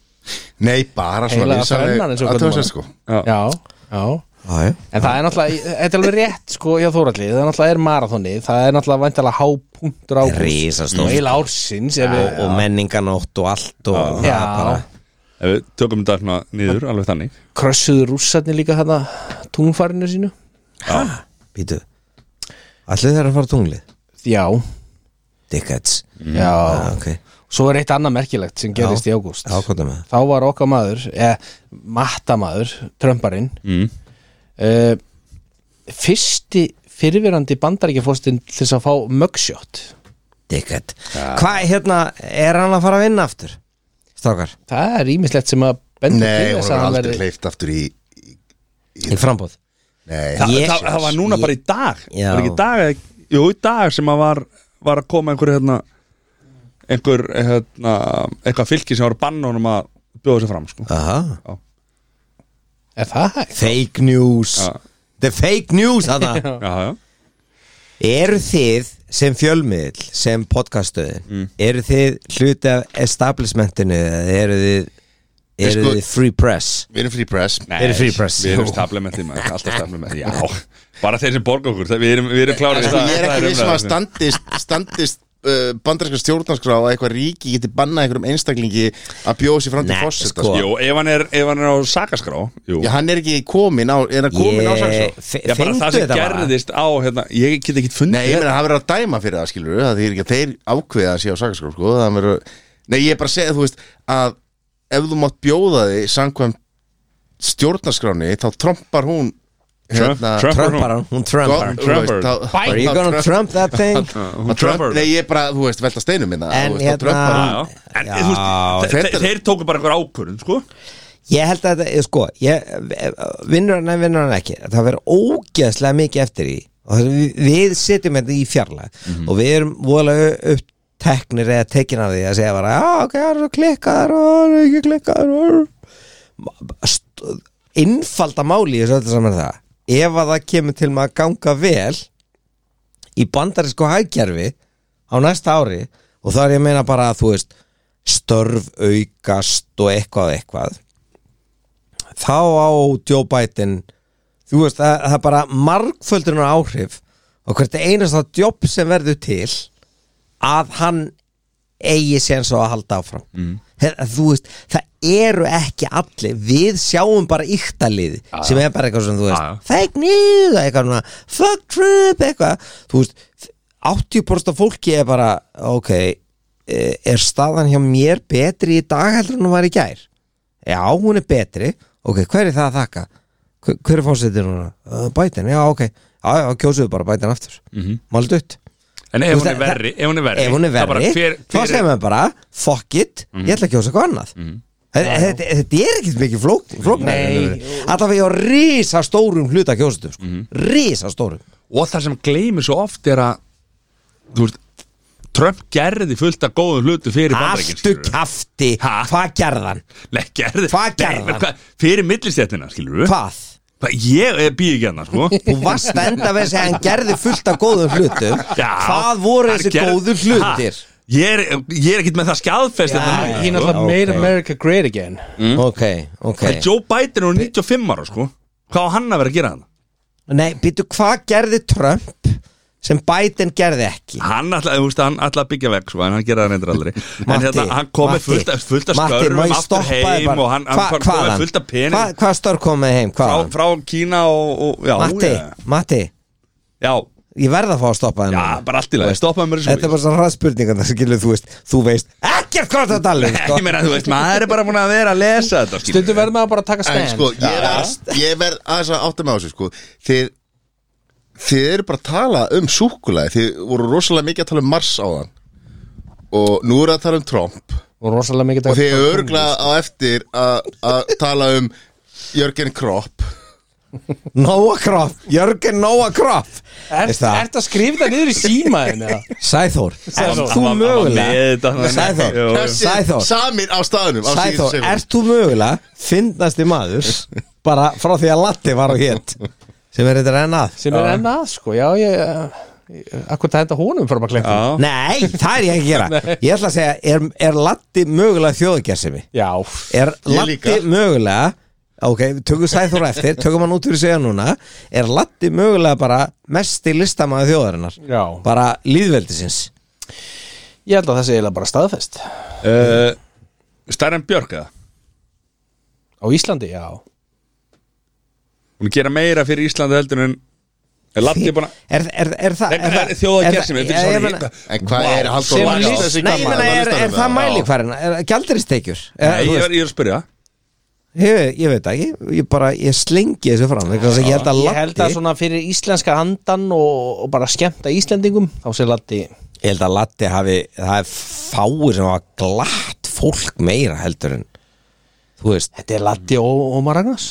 Speaker 3: Nei, bara svona
Speaker 2: Heilaga
Speaker 3: vinsamleg
Speaker 2: þrennan eins og hvernig
Speaker 3: athugasemd,
Speaker 2: maður-
Speaker 3: sko.
Speaker 1: Já,
Speaker 2: já, já
Speaker 4: Já, já
Speaker 2: En það er náttúrulega, þetta er alveg rétt sko hjá Þóralli, það er náttúrulega er marathoni það er náttúrulega væntalega hápunktur á
Speaker 4: Risastórt.
Speaker 2: og heila ársins ef
Speaker 4: Og,
Speaker 2: við,
Speaker 4: og menninganótt og allt og það
Speaker 2: Já,
Speaker 4: bara
Speaker 1: Ef við tökum þetta svona niður, alveg þannig
Speaker 2: krössuðu rússarnir líka þarna tungfarinu sínu
Speaker 4: Mm. Býtu Allir þeirra að fara á tunglið
Speaker 2: Já,
Speaker 4: Dickheads
Speaker 2: já
Speaker 4: Já, ok
Speaker 2: Svo er eitt annað merkilegt sem gerist í ágúst
Speaker 4: Já, hvað er með það?
Speaker 2: þá var okkar maður eða mattamaður, trömbarinn
Speaker 1: Mm.
Speaker 2: uh, fyrsti fyrirverandi bandaríkjafóstin til þess að fá mugshot
Speaker 4: Dickhead Hvað, hérna, er hann að fara að vinna aftur? Stákar,
Speaker 2: það er ímislegt sem að bendur
Speaker 3: Nei,
Speaker 2: til
Speaker 3: hún
Speaker 2: þess að
Speaker 3: var
Speaker 2: hann
Speaker 3: aldrei
Speaker 2: verði
Speaker 3: hleyft aftur í
Speaker 4: í frambóð
Speaker 3: Nei,
Speaker 1: Þa,
Speaker 4: Jesus.
Speaker 1: það, það var núna bara í dag
Speaker 4: Já.
Speaker 1: Var ekki í dag, eða- jú, í dag sem að var, var að koma einhver hérna einhver, hérna, eitthvað fylki sem var að banna honum að bjóða sér fram sko.
Speaker 4: Aha
Speaker 2: er það hægt?
Speaker 4: Fake news
Speaker 1: Já.
Speaker 4: The fake news þarna
Speaker 1: Já, já,
Speaker 4: Eru þið sem fjölmiðl, sem podcaststöðin Eru þið hluti af establishmentinu eða eru þið
Speaker 3: Ég
Speaker 4: Eru
Speaker 3: sko-
Speaker 4: þið free press
Speaker 3: við erum free press
Speaker 1: Nei,
Speaker 4: Þeir eru free press.
Speaker 1: Við erum
Speaker 4: Jú.
Speaker 1: staplementið maður, alltaf staplementið Já, bara þeir sem borga okkur það- Við erum, við erum klárið
Speaker 3: Sko, Ég er ekki
Speaker 4: um
Speaker 3: vissum að standist, standist uh, bandarska stjórnarskrá að eitthvað ríki geti bannað einhverjum einstaklingi að bjóða sér fram til
Speaker 4: Nei,
Speaker 3: fórseta
Speaker 4: sko.
Speaker 3: sko.
Speaker 1: Jú, ef hann er, ef hann er á sakaskrá Jú,
Speaker 3: Já, hann er ekki komin á, er hann komin á
Speaker 4: Ég-
Speaker 3: saksó
Speaker 4: Eh, fe-
Speaker 1: Já, bara það
Speaker 4: Fengdu
Speaker 1: sem
Speaker 4: þetta bara
Speaker 1: gerðist á hérna, Ég get ekki fundið
Speaker 3: Nei, ég meina, hann verður að dæma fyrir það, skilur við, það er ekki að þeir ákveða að sé á saksó, sko, það verður Nei, ég er bara að segja, þú veist, að ef þú mátt bjóða þig samkvæm stjórnarskráni, þá trompar hún hérna,
Speaker 1: Trump- Trump-
Speaker 4: Trumpar hann, hún trumpar
Speaker 3: Gott,
Speaker 4: hann
Speaker 3: þú veist,
Speaker 1: Trumpar.
Speaker 3: þá-
Speaker 4: Are you
Speaker 3: þá Sko-
Speaker 4: gonna
Speaker 3: Trump-
Speaker 4: trump that thing?
Speaker 1: Hún
Speaker 3: Trump,
Speaker 1: Trump
Speaker 3: nei ég er bara, þú veist, velta steinum minna
Speaker 4: En
Speaker 3: þú veist,
Speaker 4: hérna-
Speaker 1: Já, já. En
Speaker 4: Já.
Speaker 1: þú veist, þe-
Speaker 3: Þetta
Speaker 1: þe-
Speaker 3: er-
Speaker 1: þeir tóku bara einhver ákvörðun sko?
Speaker 4: Ég held að þetta, sko ég, Vinnur hann, en vinnur hann ekki Það verður ógeðslega mikið eftir í Og það- við, við setjum þetta í fjarlag Og við erum voðalega upp teknir eða tekin af því að segja bara Já, ok, það eru klikkaðar og það eru ekki klikkaðar og Innfalda máli í þessu öllu saman er það Ef að það kemur til með að ganga vel í bandarísku hagkerfi á næsta ári og það er ég að meina bara að þú veist störf aukast og eitthvað eitthvað þá á Joe Biden þú veist, það, það er bara margföldunar áhrif og hvert einasta jobb sem verður til að hann eigi séns á að halda áfram mm. þú veist, það eru ekki allir, við sjáum bara yktalið sem er bara eitthvað sem þú veist
Speaker 1: Já, já.
Speaker 4: fake news, eitthvað svona, fuck Trump, eitthvað þú veist, 80% af fólki er bara ok, eh, er staðan hjá mér betri í dag heldur en hún var í gær já, hún er betri ok, hver er það að þakka hver, hver er fórsetið núna, uh, Biden, já ok já, já, kjósuðu bara Biden aftur mm
Speaker 1: Mhm.
Speaker 4: -hmm. maldutt
Speaker 1: En ef
Speaker 4: Þú veist,
Speaker 1: hún er
Speaker 4: það-
Speaker 1: verri, ef hún er verri
Speaker 4: ef hún er
Speaker 1: það bara
Speaker 4: verri,
Speaker 1: hver-
Speaker 4: þá
Speaker 1: hver er- Mhm.
Speaker 4: segir maður bara fuck it, ég ætla að kjósa eitthvað annað þetta, þetta, þetta er ekkert mikið flók, flóknar allavega ég á risa stórum hluta kjósatum sko.
Speaker 1: Mhm.
Speaker 4: risa stórum
Speaker 1: og það sem gleymir svo oft er að þú veist Trump gerði fullt af góðum hlutu fyrir
Speaker 4: alltu
Speaker 1: bandaríkinn
Speaker 4: kafti,
Speaker 1: Ha?
Speaker 4: hvað gerðan
Speaker 1: Nei, gerði
Speaker 4: Hvað gerði
Speaker 1: Nei, menn,
Speaker 4: hann?
Speaker 1: hvað- Fyrir millistjættina, skilur við
Speaker 4: hvað?
Speaker 1: Ég er býð ekki hérna, sko
Speaker 4: Þú varst að enda við að segja að hann gerði fullt af góðum hlutum
Speaker 1: Já,
Speaker 4: Hvað voru
Speaker 1: hann
Speaker 4: þessi
Speaker 1: gerði-
Speaker 4: góðu hlutir?
Speaker 1: Ha, Ég er, ég er ekkert með það hérna. skjáðfest
Speaker 4: Já, já,
Speaker 2: He náttúrulega
Speaker 4: ok.
Speaker 2: made America great again
Speaker 1: Mm.
Speaker 4: Ok, ok
Speaker 1: En Joe Biden er 95 ára, sko Hvað á hann að vera að gera hann?
Speaker 4: Nei, býtu, hvað gerði Trump sem Biden gerði ekki?
Speaker 1: Hann ætlaði, þú veist, hann ætlaði að byggja veg svo En hann gera það reyndir aldrei En
Speaker 4: Matti,
Speaker 1: hérna, hann kom með
Speaker 4: Matti,
Speaker 1: fullt af fullt af
Speaker 4: Matti, má
Speaker 1: skörfum
Speaker 4: ég
Speaker 1: aftur
Speaker 4: stoppa þig bara?
Speaker 1: heim Og hann,
Speaker 4: Hva-
Speaker 1: hann kom
Speaker 4: hvaðan?
Speaker 1: með fullt af pening
Speaker 4: Hva- Hvaða störf komið heim?
Speaker 1: frá,
Speaker 4: Hvaðan?
Speaker 1: frá Kína og, og já,
Speaker 4: Matti,
Speaker 1: já.
Speaker 4: Matti
Speaker 1: já,
Speaker 4: Ég verð að fá að stoppa þennan
Speaker 1: já, bara allt í lagi Stoppaði mér
Speaker 4: Þetta er
Speaker 1: þessu
Speaker 4: bara svona hraðspurningar það skilur þú veist Þú veist ekkert hvað þetta talir sko.
Speaker 1: Ég meina, þú veist, maður er bara búin að vera að lesa þetta skilur
Speaker 2: Stundum
Speaker 1: við.
Speaker 2: verður maður bara að taka
Speaker 3: En
Speaker 2: stand
Speaker 3: sko, ég verð, ég verð aðeins að átta með á þessu sko Þið, þið eru bara að tala um súkulæði Þið voru rosalega mikið að tala um Mars á þann Og nú eru að tala um Trump
Speaker 2: Og rosalega mikið taka-
Speaker 3: Og þið eru örglega á eftir að að tala um Jörgen Kropp
Speaker 4: Nóa Kropp, Jörgen Nóa Kropp
Speaker 2: Ert
Speaker 4: Veist það?
Speaker 2: ert að skrifa það niður í símaðin eða?
Speaker 4: Sæþór,
Speaker 2: Sæþór.
Speaker 4: ert
Speaker 1: Hann var- hann
Speaker 4: þú
Speaker 1: var með þetta,
Speaker 4: mögulega
Speaker 1: hann-
Speaker 4: Sæþór,
Speaker 1: Jú, jú.
Speaker 4: Sæþór
Speaker 3: Samir á staðunum á
Speaker 4: Sæþór,
Speaker 3: síðustu sekúndu.
Speaker 4: ert þú mögulega Fyndnasti maður Bara frá því að Latti var á hétt Sem er þetta rennað
Speaker 2: Sem er enn að sko, já ég eh, Akkur það henda honum fyrir maður klemma
Speaker 1: Já,
Speaker 4: Nei, það er ég ekki að gera Ég ætla að segja, er, er Latti mögulega þjóðgjarsimi?
Speaker 2: Já,
Speaker 4: Er
Speaker 3: Ég
Speaker 4: Latti
Speaker 3: líka.
Speaker 4: mögulega Ok, tökum Sæþór á eftir, tökum hann út fyrir segja núna Er Latti mögulega bara mesti listamaði þjóðarinnar
Speaker 2: Já.
Speaker 4: Bara líðveldisins
Speaker 2: Ég held að það sé eiginlega bara staðfest
Speaker 1: uh, Stærri en Björk, eða?
Speaker 2: Á Íslandi, já
Speaker 1: Hún er að gera meira fyrir Íslandi heldur en Er Latti búin að
Speaker 4: Er, er, er það
Speaker 1: En hvað er þjóða gerðsum?
Speaker 4: er það- ég meina-
Speaker 3: En hvað
Speaker 1: Vá,
Speaker 3: er Halldór
Speaker 2: sem
Speaker 3: Laxness
Speaker 2: list-
Speaker 3: í
Speaker 4: Nei, ég
Speaker 3: gamla-
Speaker 4: meina, er, er
Speaker 3: listanum,
Speaker 4: það
Speaker 3: eða?
Speaker 4: mæli hverjana? Er gjaldiristekjur?
Speaker 1: Nei, ég er, ég er að spyrja
Speaker 4: Ég, ég veit það ekki, ég bara, ég slengi þessu fram vegna þess að Ég held að
Speaker 2: Ég held að
Speaker 4: Latti
Speaker 2: svona fyrir íslenska andan og, og bara skemmta Íslendingum þá sé Latti
Speaker 4: Ég held að Latti hafi, það er fáir sem hafa glatt fólk meira heldur en Þú veist,
Speaker 2: Þetta er Latti og og Ómar Ragnars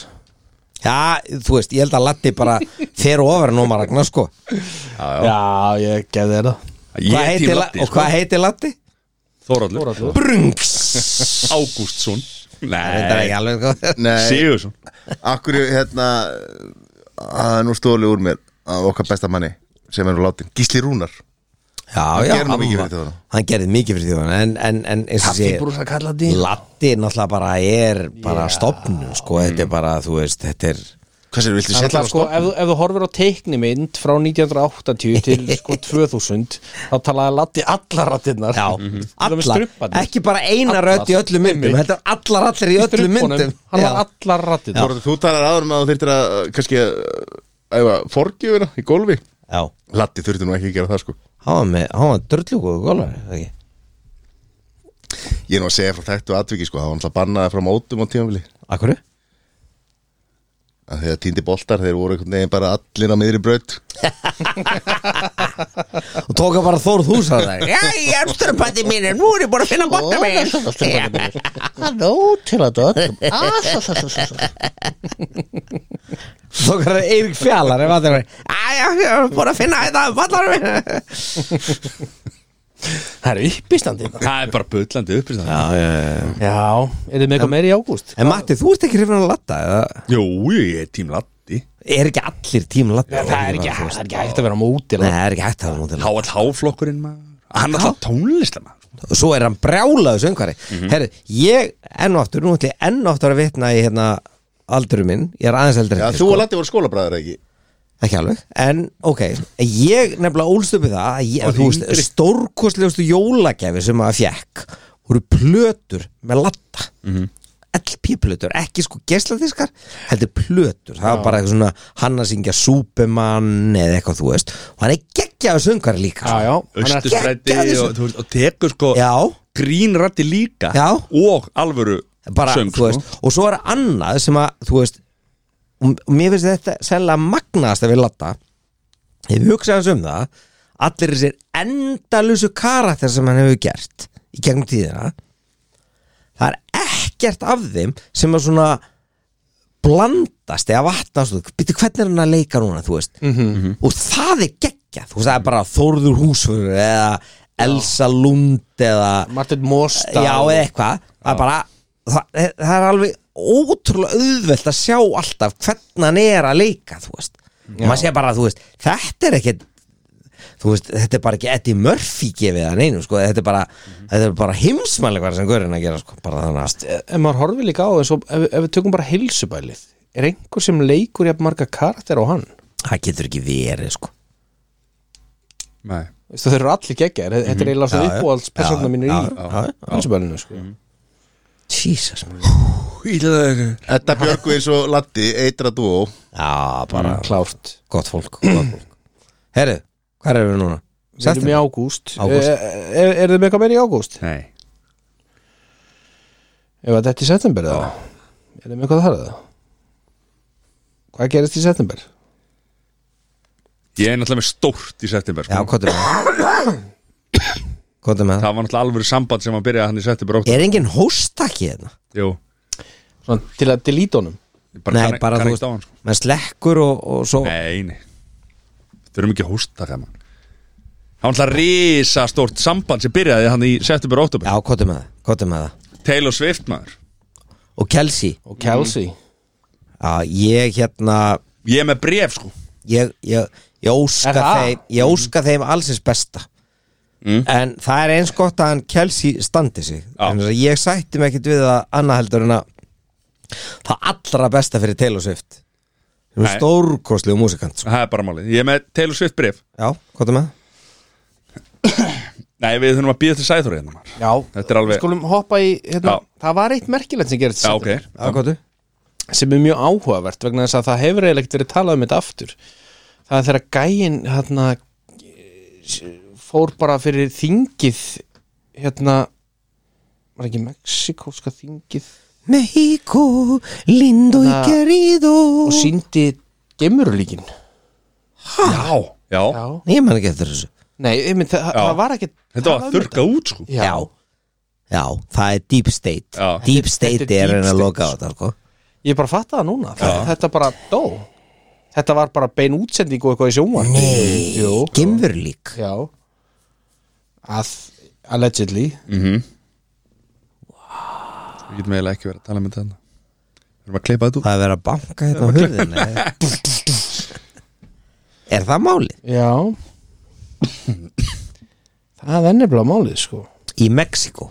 Speaker 4: já, þú veist, ég held að Latti bara fer ofar en Ómar Ragnar sko
Speaker 2: Já, ég gefði þér það
Speaker 1: Ég
Speaker 4: Hvað
Speaker 1: er tím
Speaker 4: heitir La-
Speaker 1: Latti
Speaker 3: sko.
Speaker 4: Og hvað heitir Latti?
Speaker 1: Þóraldur
Speaker 2: Þórhallur.
Speaker 4: Brungs
Speaker 1: Ágústsson
Speaker 4: Þetta er
Speaker 1: Nei
Speaker 4: ekki alveg góð
Speaker 3: Nei,
Speaker 1: Sigursson
Speaker 3: akkur hérna Það er nú stóli úr mér Af okkar besta manni sem er nú látin Gísli Rúnar
Speaker 4: Já, já,
Speaker 3: gerði nú mikið
Speaker 4: var-
Speaker 3: fyrir þjóðina.
Speaker 4: hann gerði mikið fyrir þjóðan En, en, en eins og sé
Speaker 2: Kaffibrúsa kallandi
Speaker 4: Latti náttúrulega bara er bara yeah. stopnum sko, þetta er bara, þú veist, þetta er
Speaker 3: Hvað sér, viltu
Speaker 2: Það er
Speaker 3: setja
Speaker 2: alltaf sko, ef, þú- ef þú horfir á teiknimynd frá 1980 til sko 2000 þá talaði Latti allar rattirnar
Speaker 4: Já, allar, ekki bara eina
Speaker 2: Allar.
Speaker 4: rödd í öllum myndum
Speaker 2: Einmitt.
Speaker 4: Þetta er allar allir í öllum myndum
Speaker 2: Hann
Speaker 4: Já.
Speaker 2: var allar rattirnar
Speaker 3: Þú talar aðurum að þú þyrtir að uh, kannski að forgjöfina í gólfi
Speaker 4: Já,
Speaker 3: Latti þurfti nú ekki að gera það sko
Speaker 4: hann var með, hann var dörrlugóðu gólfari
Speaker 3: Ég er nú að segja frá þekktu atviki sko Það var náttúrulega bannaði frá mótum á tímafili
Speaker 4: Akkurru?
Speaker 3: Þegar týndi boltar þeir voru einhvern veginn bara allir á miðri braut
Speaker 4: Og tóka bara Þórð hús að það Já, ég er störbætti mínir, nú er ég búin að finna gott að mig
Speaker 2: Ah,
Speaker 4: Tóka bara Eirik Fjallar ef að það er Já, ég er búin að finna þetta Vallar mig
Speaker 2: Það er uppistandi
Speaker 1: Það er bara bullandi uppistandi
Speaker 4: Já, já, já
Speaker 2: Já, er þið með eitthvað meiri í ágúst?
Speaker 4: En Matti, þú ert ekki hrifin að latta eða?
Speaker 1: Jú, ég er tím Latti
Speaker 4: Er ekki allir tím latta?
Speaker 2: Það er ekki, það er ekki hægt að vera á móti
Speaker 4: Nei,
Speaker 2: Latti.
Speaker 4: það er ekki hægt að það nútilega
Speaker 1: HLH-flokkurinn maður Hann er alltaf tónlistamaður
Speaker 4: og svo er hann
Speaker 2: Mhm.
Speaker 4: brjálaðu söngvari mm Herri, ég enn og aftur, nú ætla ég enn og aftur að vitna í hérna aldurum minn Ég er aðeins eldri
Speaker 3: Já,
Speaker 4: en þið,
Speaker 3: þú
Speaker 4: sko.
Speaker 3: og Latti voru skólabræður ekki
Speaker 4: Ekki alveg, en ok Ég nefnilega ólst upp við það að ég,
Speaker 3: Og
Speaker 4: þú veist,
Speaker 3: yngri.
Speaker 4: Stórkostlegustu jólagjafi sem maður fjekk voru plötur með latta LP-plötur, ekki sko gesladiskar heldur plötur, það var bara eitthvað svona hann að syngja Superman eða eitthvað þú veist, og hann er geggjaðu söngari líka
Speaker 2: Já, já, hann er-
Speaker 1: Östurbretti
Speaker 4: Geggjaður
Speaker 1: og, þú veist, og tekur sko
Speaker 4: já
Speaker 1: grínrætti líka
Speaker 4: Já.
Speaker 1: og alvöru
Speaker 4: bara,
Speaker 1: söng sko.
Speaker 4: þú veist, og svo er annað sem að, þú veist og og mér finnst þetta sérlega magnaðast að við latta ef við hugsaðum um það allir þessir endalusu karakter sem hann hefur gert í gegnum tíðina það er ekkert af þeim sem að svona blandast eða vatnast og býttu hvernig er hann að leika núna þú veist -hmm. og það er geggjað þú veist það er bara Þórður Húsfur eða Elsa Lund eða
Speaker 2: Martin eh, Mosta
Speaker 4: Já, eða eitthvað það, er bara, það, eh, það er alveg ótrúlega auðvelt að sjá alltaf hvernig hann er að leika þú veist og maður sé bara, þú veist, þetta er ekkert þú veist, þetta er bara ekki Eddie Murphy gefið hann einum, sko, þetta er bara þetta er bara heimsmæli hvað sem Guðurinn að gera, sko, bara þannig að
Speaker 2: En maður horfir líka á þess og ef, ef við tökum bara hilsubælið Er einhver sem leikur jafn marga karakter á hann?
Speaker 4: það getur ekki verið, sko
Speaker 1: Nei.
Speaker 2: Veistu, Þeir eru allir geggjar, þetta er eiginlega svo
Speaker 4: Mhm. Já, já.
Speaker 2: uppáhaldspersona
Speaker 4: Já,
Speaker 2: mínir í
Speaker 4: já, já, Mhm. já.
Speaker 2: hilsubælinu sko.
Speaker 4: Jesus, man.
Speaker 3: Edda Björgu eins og Latti, eitra dúo
Speaker 4: já, bara
Speaker 2: Mm. Klárt
Speaker 4: gott fólk, gott fólk Herru, hvað erum við núna?
Speaker 2: Við erum í ágúst Eh,
Speaker 4: Ágúst.
Speaker 2: Er, er þið með eitthvað meira í ágúst?
Speaker 1: Nei.
Speaker 2: Ef að þetta er í september eða? Er þið með eitthvað þar eða? Hvað gerist í september?
Speaker 1: Ég er náttúrulega með stórt í september
Speaker 4: Já,
Speaker 1: sko.
Speaker 4: hvað er með það? Hvað er með það?
Speaker 1: Það var náttúrulega alvöru samband sem að byrja hann í september ótt
Speaker 4: Er engin hóstakki hérna?
Speaker 1: Jú,
Speaker 2: Svona til að delete honum
Speaker 1: ég bara kann, bara kann ekki á hann sko.
Speaker 4: maður slekkur og, og svo
Speaker 1: Nei, nei Þurfum ekki að hósta það mann Það var náttúrulega risa stórt samband sem byrjaði hann í september ótt
Speaker 4: Já, hvað er með það? Hvað er með það?
Speaker 1: Taylor Swift maður
Speaker 4: Og Kelsey,
Speaker 2: Og
Speaker 4: Mhm.
Speaker 2: Kelsey
Speaker 4: já, ég hérna
Speaker 1: Ég er með bref sko
Speaker 4: ég, ég, ég óska
Speaker 2: Er það?
Speaker 4: þeim ég óska þeim allsins besta
Speaker 1: Mm.
Speaker 4: en það er eins gott að hann Kelsey standi sig
Speaker 1: Já.
Speaker 4: Þannig að ég sætti mig ekkit við að annað heldur en að það allra besta fyrir Taylor Swift sem er
Speaker 1: Nei.
Speaker 4: stórkostlegu músikant sko.
Speaker 1: Það er bara málið Ég er með Taylor Swift bref
Speaker 4: Já, hvað er með það?
Speaker 1: Nei, við þurfum að býða til sæður hérna maður
Speaker 2: Já,
Speaker 1: Þetta er alveg-
Speaker 2: skulum hoppa í hérna,
Speaker 1: Já.
Speaker 2: Það var eitt merkilegt sem gerist í
Speaker 1: Já, ok
Speaker 2: september.
Speaker 4: Já, hvað er
Speaker 2: sem er mjög áhugavert vegna þess að það hefur eiginlega ekkert verið talað um þetta aftur það er þegar gæin hérna fór bara fyrir þingið hérna var ekki mexikóska þingið
Speaker 4: Mexico, lindo y
Speaker 2: Það-
Speaker 4: querido
Speaker 2: og síndi gemurulíkin
Speaker 1: Já, já
Speaker 4: Ég man ekki eftir þessu
Speaker 2: nei, einmitt, það,
Speaker 1: Já.
Speaker 2: það var ekki
Speaker 1: Þetta var að þurrka út sko
Speaker 2: já.
Speaker 4: Já. Já, það er deep state
Speaker 1: Já.
Speaker 4: Deep
Speaker 2: þetta
Speaker 4: state
Speaker 2: er
Speaker 4: er
Speaker 2: deep
Speaker 4: henni að
Speaker 2: state,
Speaker 4: loka á þetta sko.
Speaker 2: ég bara fatta það núna þetta, þetta bara dó þetta var bara bein útsending og eitthvað í sjónvarp Jú.
Speaker 4: Gimfur lík
Speaker 2: já að allegedly
Speaker 1: Við getum eiginlega ekki verið að tala með þetta hérna. Við erum að kleipa þetta út
Speaker 4: Það er verið að banka hérna á hurðinu Er það málið?
Speaker 2: Já Það er nefnilega málið sko
Speaker 4: Í Mexiko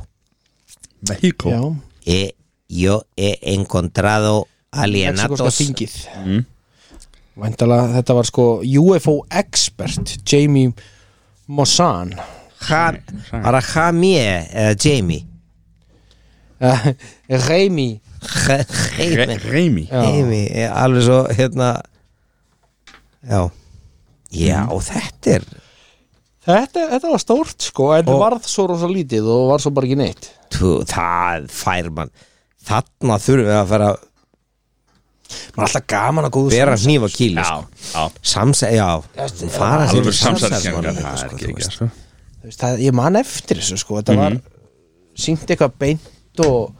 Speaker 1: Mexico
Speaker 2: Já,
Speaker 4: e, Yo he encontrado
Speaker 2: Mexikoska
Speaker 4: alienados
Speaker 2: þingið mm. Væntalega þetta var sko UFO expert Jamie Mossan
Speaker 4: Ja- Bara Jamie eða Jamie
Speaker 2: Eh, Reimi
Speaker 4: Ja- Jamie
Speaker 1: Re- Reimi
Speaker 4: Jamie er Alveg svo hérna Já Já,
Speaker 2: Mm.
Speaker 4: þetta er
Speaker 2: þetta, þetta var stórt sko en
Speaker 4: Og-
Speaker 2: varð svo rosa lítið og var svo bara ekki neitt
Speaker 4: tú, Það fær mann Þarna þurfum við að fara að
Speaker 2: Man er alltaf gaman að góðu
Speaker 4: bera
Speaker 2: samsæ-
Speaker 4: hníf og kýli
Speaker 1: Já, já
Speaker 4: Samsæð, já fara sér í
Speaker 1: Alveg samsæðiskenningar
Speaker 4: samsæðismálin,
Speaker 1: Það er
Speaker 4: sko,
Speaker 1: ekki
Speaker 4: þú
Speaker 1: ekki
Speaker 4: veist.
Speaker 1: sko
Speaker 2: Þú veist, það, Ég man eftir þessu sko Þetta var sýnt eitthvað beint og,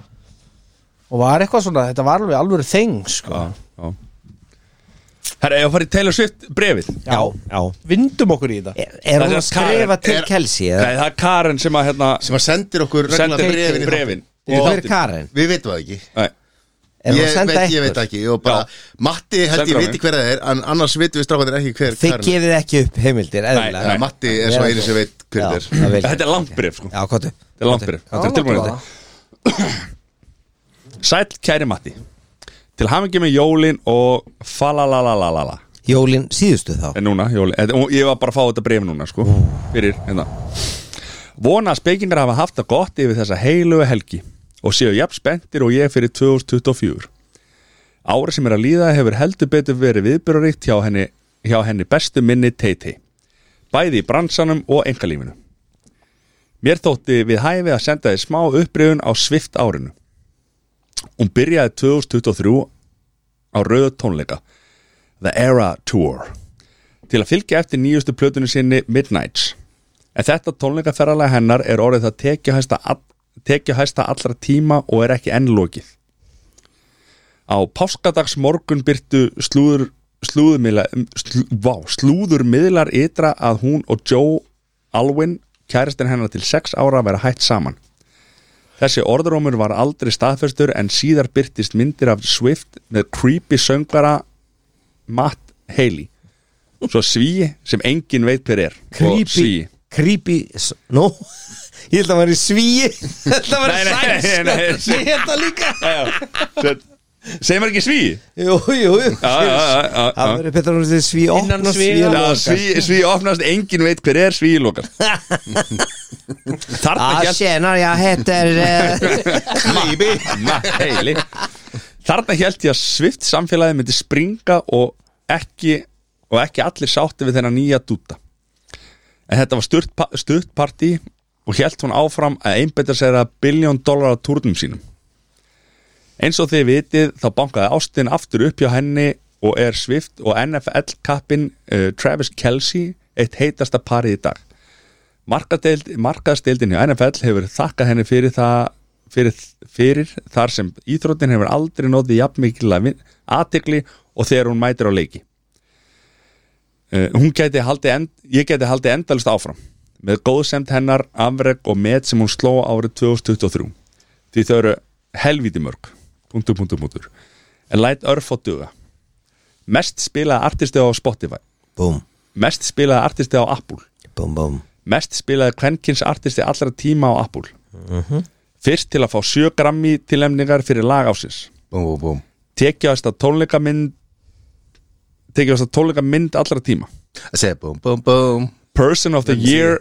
Speaker 2: og var eitthvað svona Þetta var alveg alveg þeng sko
Speaker 1: Herra, ég að fara í Taylor Swift brefið
Speaker 4: Já, já E,
Speaker 2: Vindum okkur í þetta
Speaker 4: Er,
Speaker 1: Það
Speaker 4: er hún
Speaker 1: er hérna
Speaker 4: að skrifa
Speaker 1: Karen-
Speaker 4: til
Speaker 3: er-
Speaker 4: Kelsey? eða?
Speaker 1: Nei, það er Karen sem að hérna
Speaker 3: sem að sendir okkur regla
Speaker 1: sendir
Speaker 3: brefin, í
Speaker 1: brefin
Speaker 4: Og Hver er Karen?
Speaker 3: þáttinn. Við veitum það ekki
Speaker 1: Nei,
Speaker 4: Er hún að
Speaker 3: ég,
Speaker 4: senda
Speaker 3: veit, ég
Speaker 4: ykkur?
Speaker 3: veit það ekki og bara, Matti held
Speaker 1: Sendir á
Speaker 3: ég viti
Speaker 1: mig.
Speaker 3: hver það er en annars vitum við strákandir ekki hver
Speaker 4: Þið
Speaker 3: Karen er.
Speaker 4: gefið ekki upp heimildir, eðlilega
Speaker 1: Nei.
Speaker 3: Já, Matti er svo einu sem veit hver
Speaker 4: Já,
Speaker 3: það er
Speaker 4: það vil ég.
Speaker 1: Þetta er langt bref sko
Speaker 4: Já, kottu
Speaker 1: Þetta er langt bref Þetta er tilbúin þetta Sæll kæri Matti Til hamingi með jólin og falalalalala
Speaker 4: Jólin síðustu þá
Speaker 1: En núna, jólin, eh, og ég var bara að fá þetta bref núna sko Fyrir, hérna Vona að spekingar hafa haft það gott yfir þessa heilugu helgi Og séu jafn spenntir og ég fyrir 2024 Árið sem er að líða hefur heldur betur verið viðbyrðuríkt hjá henni, hjá henni bestu minni Teiti Bæði í bransanum og engalífinu Mér þótti við hæfi að senda þið smá upprifun á Svift árinu Hún byrjaði 2023 á rauðu tónleika The Era Tour til að fylgja eftir nýjustu plötunni sinni Midnights en þetta tónleikaferralega hennar er orðið það tekjuhæsta, all- tekjuhæsta allra tíma og er ekki enn lokið á páskadags morgun byrtu slúður slúðurmiðla um, slú, vá, slúðurmiðlar ytra að hún og Joe Alwyn kæristinn hennar til 6 ára vera hætt saman Þessi orðrómur var aldrei staðfestur en síðar byrtist myndir af Swift með creepy söngvara Matt Haley svo svíi sem engin veit hver er og svíi
Speaker 4: Creepy Creepy s- Nó Ég held að maður í svíi Þetta var
Speaker 1: Nei, nei, nei, nei,
Speaker 4: sænsk
Speaker 1: nei.
Speaker 4: Ég held að líka
Speaker 1: segir maður ekki svíi
Speaker 4: Jú, jú,
Speaker 1: Já,
Speaker 4: jú
Speaker 1: já, já, já, já.
Speaker 4: Það verður betra hún til svíi
Speaker 2: Innan
Speaker 4: opna
Speaker 2: svíi-
Speaker 4: svíi
Speaker 2: Já,
Speaker 1: Já, svíi, svíi opnast, engin veit hver er svíi lokar Þarna
Speaker 4: Ah,
Speaker 1: hélt
Speaker 4: tjenar, ég heitir uh,
Speaker 1: Svíbi Heili Þarna hélt ég að svift samfélagið myndi springa og ekki, og ekki allir sátti við þennan nýja dúta En þetta var stutt, pa- stutt partí og hélt hún áfram að einbetta sér að biljón dólar á túrnum sínum Eins og þið vitið þá bankaði Ástin aftur upp hjá henni og er Swift og NFL kappin uh, Travis Kelsey eitt heitasta parið í dag Markadeild- Markaðsdeildin hjá NFL hefur þakkað henni fyrir það fyrir, fyrir þar sem íþróttin hefur aldrei nóðið jafnmikil aðtegli og þegar hún mætir á leiki uh, hún gæti haldið end, ég gæti haldið endalist áfram með góðsemd hennar, afreg og met sem hún sló árið 2023 því þau eru helvíti mörg punktur, punktur, punktur en læt örf á duga mest spilaði artisti á Spotify
Speaker 4: Búm,
Speaker 1: mest spilaði artisti á Apple
Speaker 4: búm, búm
Speaker 1: mest spilaði kvenkins artisti allra tíma á Apple fyrst til að fá 7 grammi tilemningar fyrir lagásins
Speaker 3: Búm, búm, búm
Speaker 1: tekjaðast að tónleikamynd tekjaðast að tónleikamynd allra tíma
Speaker 3: Það segir búm, búm, búm
Speaker 1: Person of the Year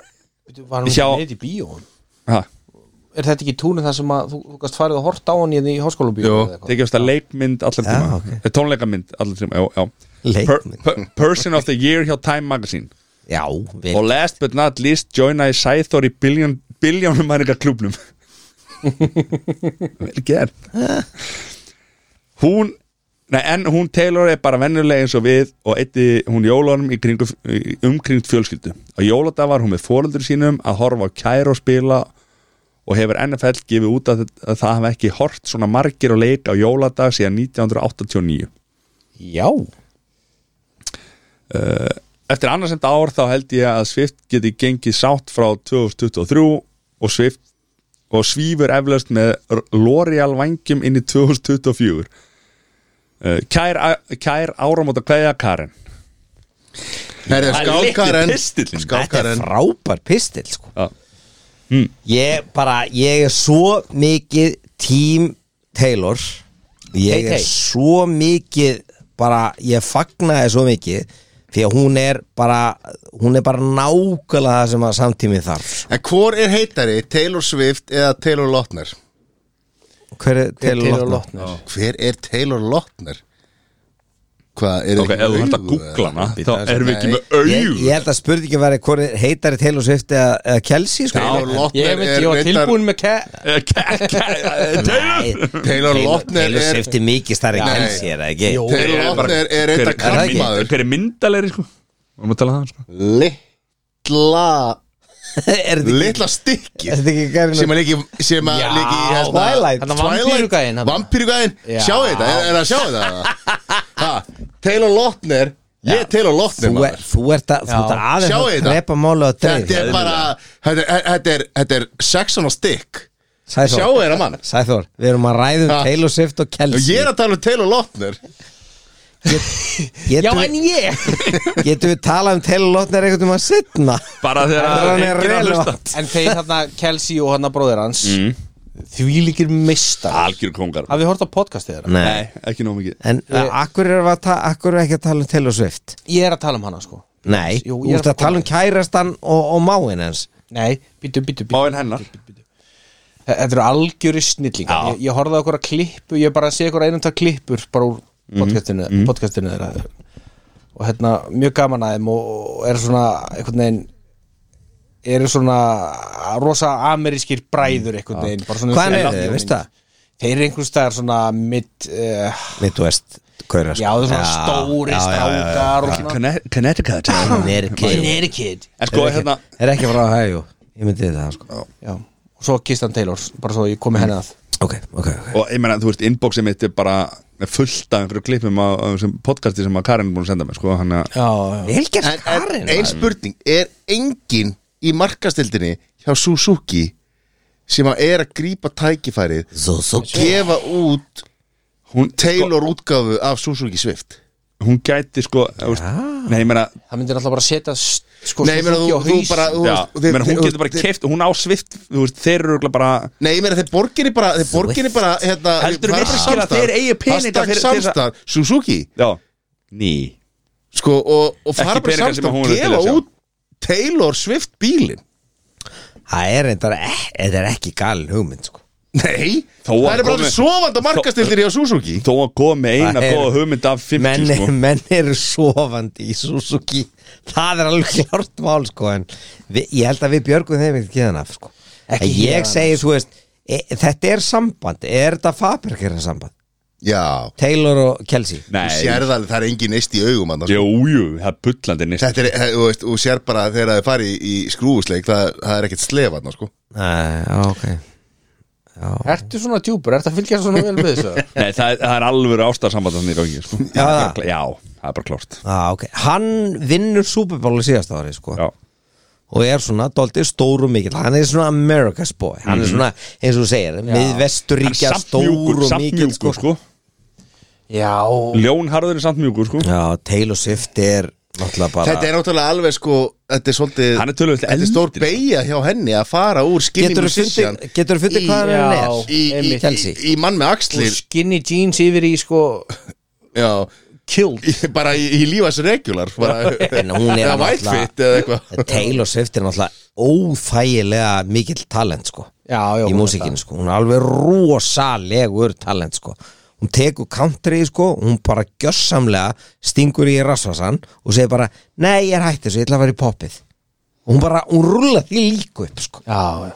Speaker 2: Var hún
Speaker 1: Hjá-
Speaker 2: ekki neitt í bíóin?
Speaker 1: ha,
Speaker 2: Er þetta ekki túnið þar sem að þú, þú gast farið og hort á hann í, í háskóla bíó?
Speaker 3: Jú.
Speaker 1: tekjaðast að leikmynd allra
Speaker 4: Já,
Speaker 1: tíma
Speaker 4: ok.
Speaker 1: Eh, tónleikamynd allra tíma já, já.
Speaker 4: Leikmynd.
Speaker 1: per, Person of the Year hjá Time Magazine
Speaker 4: Já, vel
Speaker 1: og last but not least joinaði Sæþór í billion, billionum mæringa klubnum vel gert hún nei, en hún Taylor er bara vennuleg eins og við og eitti hún jólunum í kringu, í- umkringt fjölskyldu á jóladag var hún með fóreldur sínum að horfa á kæra og spila og hefur NFL gefið út að, að það hafa ekki hort svona margir og leik á jóladag síðan 1989
Speaker 2: Já
Speaker 1: Eftir annarsend ár þá held ég að Swift geti gengið sátt frá 2023 og Swift og svífur eflaust með L'Oreal vangjum inn í 2024 Eh, Kær, kær áramóta kveðja Karen
Speaker 3: Herri,
Speaker 1: Það er
Speaker 3: skákaren
Speaker 1: litli pistillinn.
Speaker 4: Þetta er
Speaker 3: Skákaren
Speaker 4: frábær pistil sko.
Speaker 1: Já.
Speaker 4: Hmm. Ég bara, ég er svo mikið Team Taylor Ég
Speaker 2: Tay-Tay.
Speaker 4: er svo mikið bara, ég fagnaði svo mikið því að hún er bara hún er bara nákvæmlega það sem að samtími þarf sko.
Speaker 3: En hvor er heitari, Taylor Swift eða Taylor Lautner?
Speaker 4: Hver er Taylor Lautner?
Speaker 2: Lotner
Speaker 3: Hver er Taylor Lautner? Hvað, er
Speaker 1: Ok, ef þú hægt að googla hana þá erum við ekki með
Speaker 4: Ég,
Speaker 1: auð
Speaker 4: ég held að spurði ekki að vera hvort heitari Taylor Swift eða, eða Kelsey sko.
Speaker 3: Taylor
Speaker 2: Ég
Speaker 3: Lautner
Speaker 2: veit,
Speaker 3: er
Speaker 2: ég var
Speaker 3: reyndar-
Speaker 2: tilbúin með ke-
Speaker 1: Eh,
Speaker 4: Nei,
Speaker 3: Taylor Lautner
Speaker 4: Taylor
Speaker 3: er-
Speaker 4: Swift er mikið starri
Speaker 3: Nei.
Speaker 4: Kelsey er það ekki?
Speaker 2: Jó.
Speaker 3: Taylor Lautner er reyndar kallmaður
Speaker 1: Hver er myndalegri sko? Varum að tala það sko?
Speaker 3: Litla
Speaker 4: er þetta ekki-
Speaker 3: Litla stikki
Speaker 4: er þetta ekki gæfin
Speaker 3: sem að líki sem að
Speaker 2: Já,
Speaker 3: líki í hérna-
Speaker 4: Twilight.
Speaker 2: Þarna vampírugæinn, þarna.
Speaker 3: vampírugæðin
Speaker 2: Já.
Speaker 3: sjáu þetta er, er það sjáu þetta ha, Taylor Lautner ég er Taylor Lautner
Speaker 4: þú, er,
Speaker 3: maður.
Speaker 4: þú ert að, þú ert að
Speaker 2: Já.
Speaker 4: aðeins
Speaker 3: Sjáu
Speaker 4: að
Speaker 3: þetta?
Speaker 4: drepa málu á
Speaker 3: þetta
Speaker 4: dreif
Speaker 3: er bara þetta er, þetta er, þetta er sexan á stikk sjáu
Speaker 4: Sæþór,
Speaker 3: þetta mann
Speaker 4: Sæþór, við erum að ræðum
Speaker 3: Ha.
Speaker 4: Taylor Swift og Kelsey
Speaker 3: ég er að tala um Taylor Lautner
Speaker 2: Já,
Speaker 4: getum,
Speaker 2: en ég
Speaker 4: getum við talað um Taylor Lautner einhvern veginn að setna
Speaker 1: Bara
Speaker 4: Þetta er
Speaker 1: þegar
Speaker 4: hann er
Speaker 1: enginn er að hlusta
Speaker 4: relevant. Mm.
Speaker 2: En þeir þarna Kelsey og hann að bróðir hans því líkir meistar
Speaker 1: Algjör kongar
Speaker 2: hafið hort á podcastið þeirra?
Speaker 4: Nei
Speaker 1: Nei, ekki nóg mikið
Speaker 4: En eh, ég... akkur er að ta- akkur er ekki að tala um Taylor Swift
Speaker 2: ég er að tala um hana sko
Speaker 4: Nei,
Speaker 2: Jú,
Speaker 4: þú
Speaker 2: ég er
Speaker 4: ert
Speaker 2: að
Speaker 4: að tala um kærastan og, og máin hans
Speaker 2: nei, býtu, býtu, býtu
Speaker 1: Máinn hennar
Speaker 2: Þe- Þetta eru algjöri snillingar
Speaker 1: Já.
Speaker 2: ég, ég horfði á okkur að klippu, ég bara sé okkur einum tvað klippur bara úr podcastinu, podcastinu þeirra og hérna, mjög gaman að þeim og, og er svona, einhvern veginn eru svona rosa amerískir bræður einhvern veginn bara svona-
Speaker 4: Hvaðan eru þeir, veistu það?
Speaker 2: Þeir eru einhvers staðar svona mitt uh,
Speaker 4: Midwest Kaurar
Speaker 2: já, það er svona stóri strákar og svona
Speaker 1: Conne- Connecticut
Speaker 4: Connecticut
Speaker 2: Connecticut
Speaker 1: En sko, hérna
Speaker 4: Er ekki frá að hægjú Ég myndi það sko
Speaker 2: Já, og svo Kistan Taylor bara svo ég komi henni að
Speaker 4: Ok, ok, ok
Speaker 1: Og ég meina, þú veist, inboxið mitt er bara með fullt af einhverju klippum á, á þessum podcasti sem að Karin er búin að senda mér, sko hann að
Speaker 2: Já, já
Speaker 4: Vilgerst
Speaker 3: en, en
Speaker 4: Karin
Speaker 3: ein spurning, er engin í markastildinni hjá Suzuki sem að er að grípa tækifærið og
Speaker 4: Suzuki.
Speaker 3: gefa út
Speaker 1: hún,
Speaker 3: Taylor
Speaker 4: Sko-
Speaker 3: útgáfu af Suzuki Swift
Speaker 1: hún gæti, sko þú veist, Nei, ég meina,
Speaker 2: Það myndir alltaf bara setja s- sko,
Speaker 3: Nei, ég meina,
Speaker 2: Suzuki á
Speaker 3: þú, þú
Speaker 2: haus.
Speaker 3: bara þú
Speaker 1: já,
Speaker 3: veist,
Speaker 1: ég meina, hún
Speaker 3: þú-
Speaker 1: getur bara keft Hún á svift, þú veist, þeir eru örugglega bara
Speaker 3: Nei, ég meina, þeir borginni bara, þeir borginni bara hérna,
Speaker 1: Heldurðu
Speaker 3: hvað er
Speaker 1: virkilega
Speaker 3: það
Speaker 1: að
Speaker 3: samstarf?
Speaker 1: þeir eigi peninga
Speaker 3: Hashtag
Speaker 1: fyrir- til þess að-
Speaker 3: samstarf, Suzuki
Speaker 1: Já, ný
Speaker 3: sko, og, og fara
Speaker 1: Ekki
Speaker 3: bara í
Speaker 1: peninga sem
Speaker 3: samstarf
Speaker 1: hún er
Speaker 3: og
Speaker 1: til að sjá.
Speaker 3: gefa út Taylor Swift bílin
Speaker 4: Það er reyndar eh, Þetta er ekki gal hugmynd sko
Speaker 3: Nei,
Speaker 1: Þó að
Speaker 3: það er bara
Speaker 1: komi-
Speaker 3: alveg sofandi markastildir hjá Suzuki
Speaker 1: Þó að koma með eina
Speaker 4: Það er-
Speaker 1: góða hugmynd af 50,
Speaker 4: menn,
Speaker 1: sko
Speaker 4: menn eru sofandi í Suzuki Það er alveg klart mál sko En vi, ég held að við björgum þeim ekki hérna sko.
Speaker 2: Ekki
Speaker 4: En
Speaker 2: héðan af,
Speaker 4: Ég segi, þú veist e, Þetta er samband Er þetta Fabergera samband?
Speaker 3: Já,
Speaker 4: Taylor og Kelsey
Speaker 3: þú
Speaker 1: Nei,
Speaker 3: sér það alveg, það er engin neist í augum annars.
Speaker 1: jú, jú, það er bullandi nýst
Speaker 3: Þetta er, eh, þú veist, og sér bara þegar það er farið í, í skrúfusleik það, það er ekkert slefað, sko
Speaker 4: Nei, ok
Speaker 2: Ertu svona djúpur, ertu að fylgja svona vel við þessu?
Speaker 1: Nei, það, er- það er alveg ástarsamband þannig í gangi, sko
Speaker 4: Já,
Speaker 1: það er
Speaker 4: það.
Speaker 1: bara- Já, það er bara klárt
Speaker 4: Ah, okay. Hann vinnur Super Bowl í síðasta ári sko.
Speaker 1: Já,
Speaker 4: og er svona dóltið stór og mikill hann er svona America's boy hann er svona, eins og þú segir, miðvesturíkja
Speaker 1: Hann er samt
Speaker 4: stór
Speaker 1: mjúkur,
Speaker 4: og
Speaker 1: samt
Speaker 4: mikill
Speaker 1: mjúkur,
Speaker 4: sko.
Speaker 2: Já,
Speaker 1: Ljónharður er samt mjúkur, sko
Speaker 4: Já, Taylor Swift er náttúrulega bara
Speaker 3: Þetta er náttúrulega alveg, sko, þetta er svolítið
Speaker 1: Hann er sko. tölvöld
Speaker 3: Þetta er stór beigja hjá henni að fara úr skinny
Speaker 4: Getur
Speaker 3: musician
Speaker 4: þú getur fundið
Speaker 2: Í-
Speaker 4: hvað hann
Speaker 2: já.
Speaker 4: er
Speaker 3: í, í,
Speaker 2: Einmitt.
Speaker 3: í, í mann með
Speaker 2: og
Speaker 3: axlir
Speaker 2: skinny jeans yfir í sko
Speaker 3: Já,
Speaker 2: kilt
Speaker 3: í- bara í, í lífas regular bara,
Speaker 4: En hún er
Speaker 3: eða
Speaker 4: náttúrulega-
Speaker 3: whitefit eða eitthvað
Speaker 4: Taylor Swift er náttúrulega óþægilega mikill talent sko
Speaker 2: Já, já,
Speaker 4: í
Speaker 2: hún er
Speaker 4: músikinu sko, hún er alveg rosalegur talent sko hún tekur country sko, hún bara gjössamlega stingur í rassvasan og segir bara, nei ég er hætti þessu, ég ætla að vera í popið og hún bara, hún rullar því líku upp sko,
Speaker 2: Já, já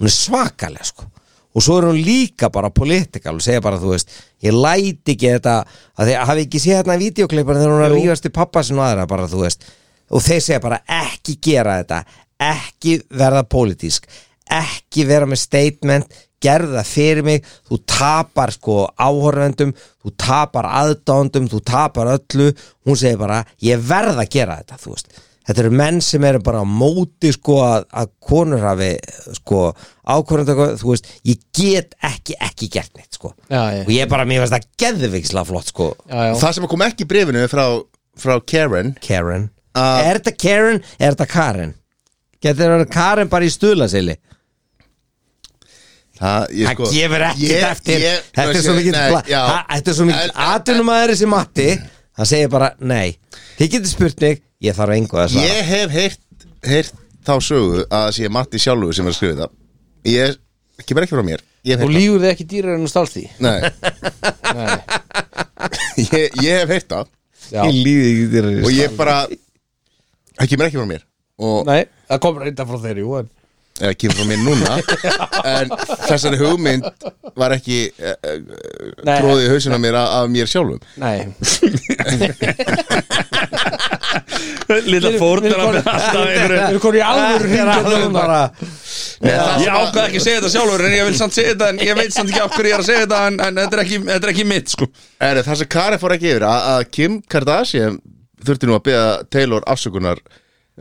Speaker 4: hún er svakalega sko og svo er hún líka bara politikal og segir bara, þú veist, ég læti ekki þetta, að þið hafi ekki séð þarna videoklipan þegar hún er að rífast í pappa sinn og aðra bara, þú veist, og þeir segja bara ekki gera þetta, ekki verða pólitísk, ekki vera með statement, gerða fyrir mig þú tapar sko áhorfendum þú tapar aðdándum þú tapar öllu, hún segir bara ég verð að gera þetta, þú veist þetta eru menn sem eru bara á móti sko að, að konur hafi sko ákvörðandi, þú veist ég get ekki, ekki gert neitt sko
Speaker 2: Já, já.
Speaker 4: og ég bara, mér finnst það geðviksla flott sko,
Speaker 2: Já, já.
Speaker 3: Það sem kom ekki í brefinu frá, frá Karen
Speaker 4: Karen
Speaker 3: Uh,
Speaker 4: er þetta Karen, er þetta Karen getur þetta verið Karen bara í stuðlasili
Speaker 3: Það, ég,
Speaker 4: Það
Speaker 3: sko,
Speaker 4: gefur ekkert
Speaker 3: ég-
Speaker 4: eftir
Speaker 3: ég-
Speaker 4: Þetta er svo
Speaker 3: nei,
Speaker 4: mikill
Speaker 3: nei,
Speaker 4: bla-
Speaker 3: já.
Speaker 4: Það- Þetta er svo mikill
Speaker 3: En- en-
Speaker 4: atvinnumæður sem Matti Það segir bara nei Þið getur spurt mig, ég þarf engu að svara
Speaker 3: Ég hef heyrt, heyrt þá sögu að það sé Matti sjálfur sem er að skrifa það Ég kemur ekki frá mér Ég hef
Speaker 2: Og
Speaker 3: heyrt það
Speaker 2: lígur þið ekki dýrar en þú stálst því
Speaker 3: Nei, ég, ég hef heyrt það
Speaker 2: Já,
Speaker 4: líði ekki þér
Speaker 3: Og ég bara Það kemur ekki frá mér Og
Speaker 2: nei, það kom reynda frá þeir, jú en
Speaker 3: eða kemur frá mér núna En þessari hugmynd var ekki eh, eh,
Speaker 2: Nei.
Speaker 3: tróðið í hausina mér af, af mér sjálfum
Speaker 2: Nei,
Speaker 1: Lilla fórnir að
Speaker 2: Við
Speaker 1: með alltaf
Speaker 2: við
Speaker 1: einhverju
Speaker 2: erum konið í alvöru
Speaker 4: Þetta er alveg
Speaker 2: hringjum
Speaker 4: bara
Speaker 1: Ég ákvað ekki að segja þetta sjálfur en ég vil samt segja þetta en ég veit samt ekki af hverju ég er að segja þetta en, en þetta, er ekki, þetta er ekki mitt sko
Speaker 3: Er það sem Karen fór ekki yfir að, að Kim Kardashian þurfti nú að beða Taylor afsökunar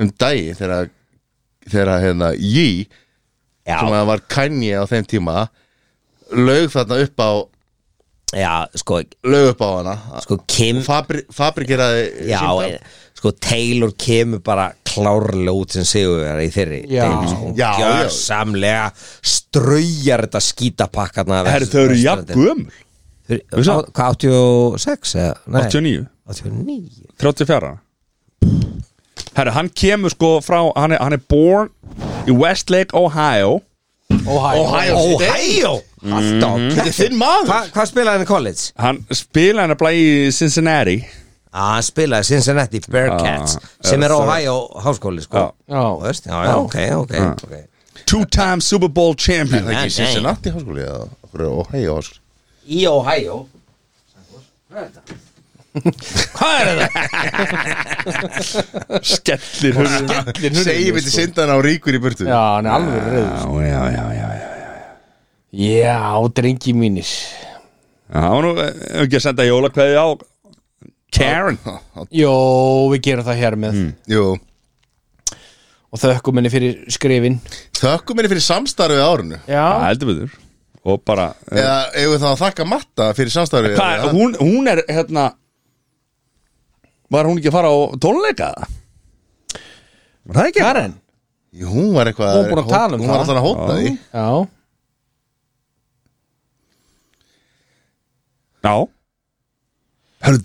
Speaker 3: um dagi þegar þegar hérna Yee sem
Speaker 4: Já,
Speaker 3: að var Kanye á þeim tíma lög þarna upp á
Speaker 4: já, sko,
Speaker 3: lög upp á hana
Speaker 4: sko Kim
Speaker 3: Fabri, fabrikeraði
Speaker 4: Já, eh,
Speaker 3: símtal.
Speaker 4: e- sko Taylor kemur bara klárlega út sem sigurvera í þeirri
Speaker 2: Já.
Speaker 4: deild, sko.
Speaker 3: Já, já.
Speaker 4: Gjörsamlega straujar þetta skítapakkarna af
Speaker 1: Herri, þau eru jafn gömul
Speaker 4: Þeir-
Speaker 1: Vissu
Speaker 4: á- Hvað, 86? eða? Nei,
Speaker 1: 89,
Speaker 4: 89
Speaker 1: 34 Herri, hann kemur sko frá hann er, hann er born í Westlake, Ohio
Speaker 2: Ohio,
Speaker 4: Ohio Alltaf
Speaker 3: Þetta er þinn maður
Speaker 4: Hva- Hvað spilaði hann í college?
Speaker 1: Hann spilaði hann að blæði í Cincinnati
Speaker 4: Að hann spilaði Cincinnati Bearcats
Speaker 1: Ah,
Speaker 4: sem er
Speaker 1: eh,
Speaker 4: Ohio háskóli sko
Speaker 1: Já.
Speaker 2: Já.
Speaker 4: Þú veist, já, já, ok, ok, ok
Speaker 1: Two time Super Bowl champion
Speaker 3: Það er
Speaker 4: Nei,
Speaker 3: ekki
Speaker 4: nei.
Speaker 3: Cincinnati háskóli eða okkur er Ohio háskóli
Speaker 4: Í Ohio Hvað er þetta?
Speaker 1: Skellir hurðin
Speaker 3: Segjum við til syndan á ríkur í burtu
Speaker 2: Já, hann er alveg rauð
Speaker 1: Já, já, já, já, já
Speaker 2: Já, drengi mínir
Speaker 1: Já, Það var nú eh, ekki að senda jólakveði á Karen
Speaker 2: Jó, við gerum það hér með
Speaker 3: Jú
Speaker 2: Og þökkum henni fyrir skrifin
Speaker 3: Þökkum henni fyrir samstarfið á árinu
Speaker 1: Það heldur betur Og bara eh,
Speaker 3: Eða eigum við þá að þakka Matta fyrir samstarfið
Speaker 1: Hvað,
Speaker 3: Eða-
Speaker 1: hún, hún er hérna Var hún ekki að fara á tónleika? Var það ekki?
Speaker 2: Karen
Speaker 3: Jú, Hún var eitthvað
Speaker 2: Hún var búin að tala um
Speaker 3: Hún var
Speaker 2: það.
Speaker 3: alltaf að hóta því
Speaker 2: Já,
Speaker 1: Já Hörð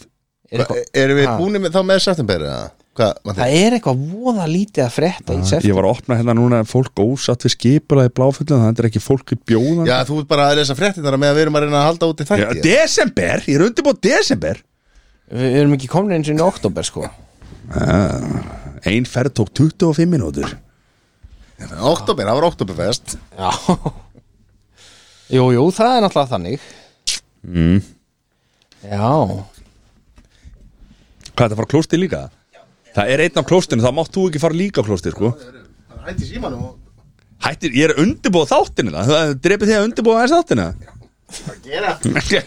Speaker 2: er eitthvað,
Speaker 3: Hva- Erum við
Speaker 2: Ha.
Speaker 3: búin með, þá með september eða? Hvað, Matti?
Speaker 2: það er eitthvað voða lítið að frétta í sef
Speaker 1: Ég var að opna hérna núna fólk ósatt við skipulaði bláfullum það er ekki fólk í bjóðan
Speaker 3: Já, þú ert bara að lesa fréttinnar með að við erum að reyna að halda út í
Speaker 1: Já,
Speaker 3: þætti
Speaker 1: desember, ég er undirbúið desember
Speaker 2: Við erum ekki komin eins og inn í oktober sko
Speaker 1: Ein ferð tók 25 minútur
Speaker 3: Oktober, það var oktoberfest
Speaker 2: Já Jú, jú, það er náttúrulega þannig mm. Já
Speaker 1: Hvað, það fara klósti líka? Það er einn af klóstinu, það mátt þú ekki fara líka á klósti, sko
Speaker 3: Það hætti símanum og
Speaker 1: Hættir, ég er undirbúið þáttinu það Það drepið þið að undirbúið aðeins þáttina
Speaker 3: það gera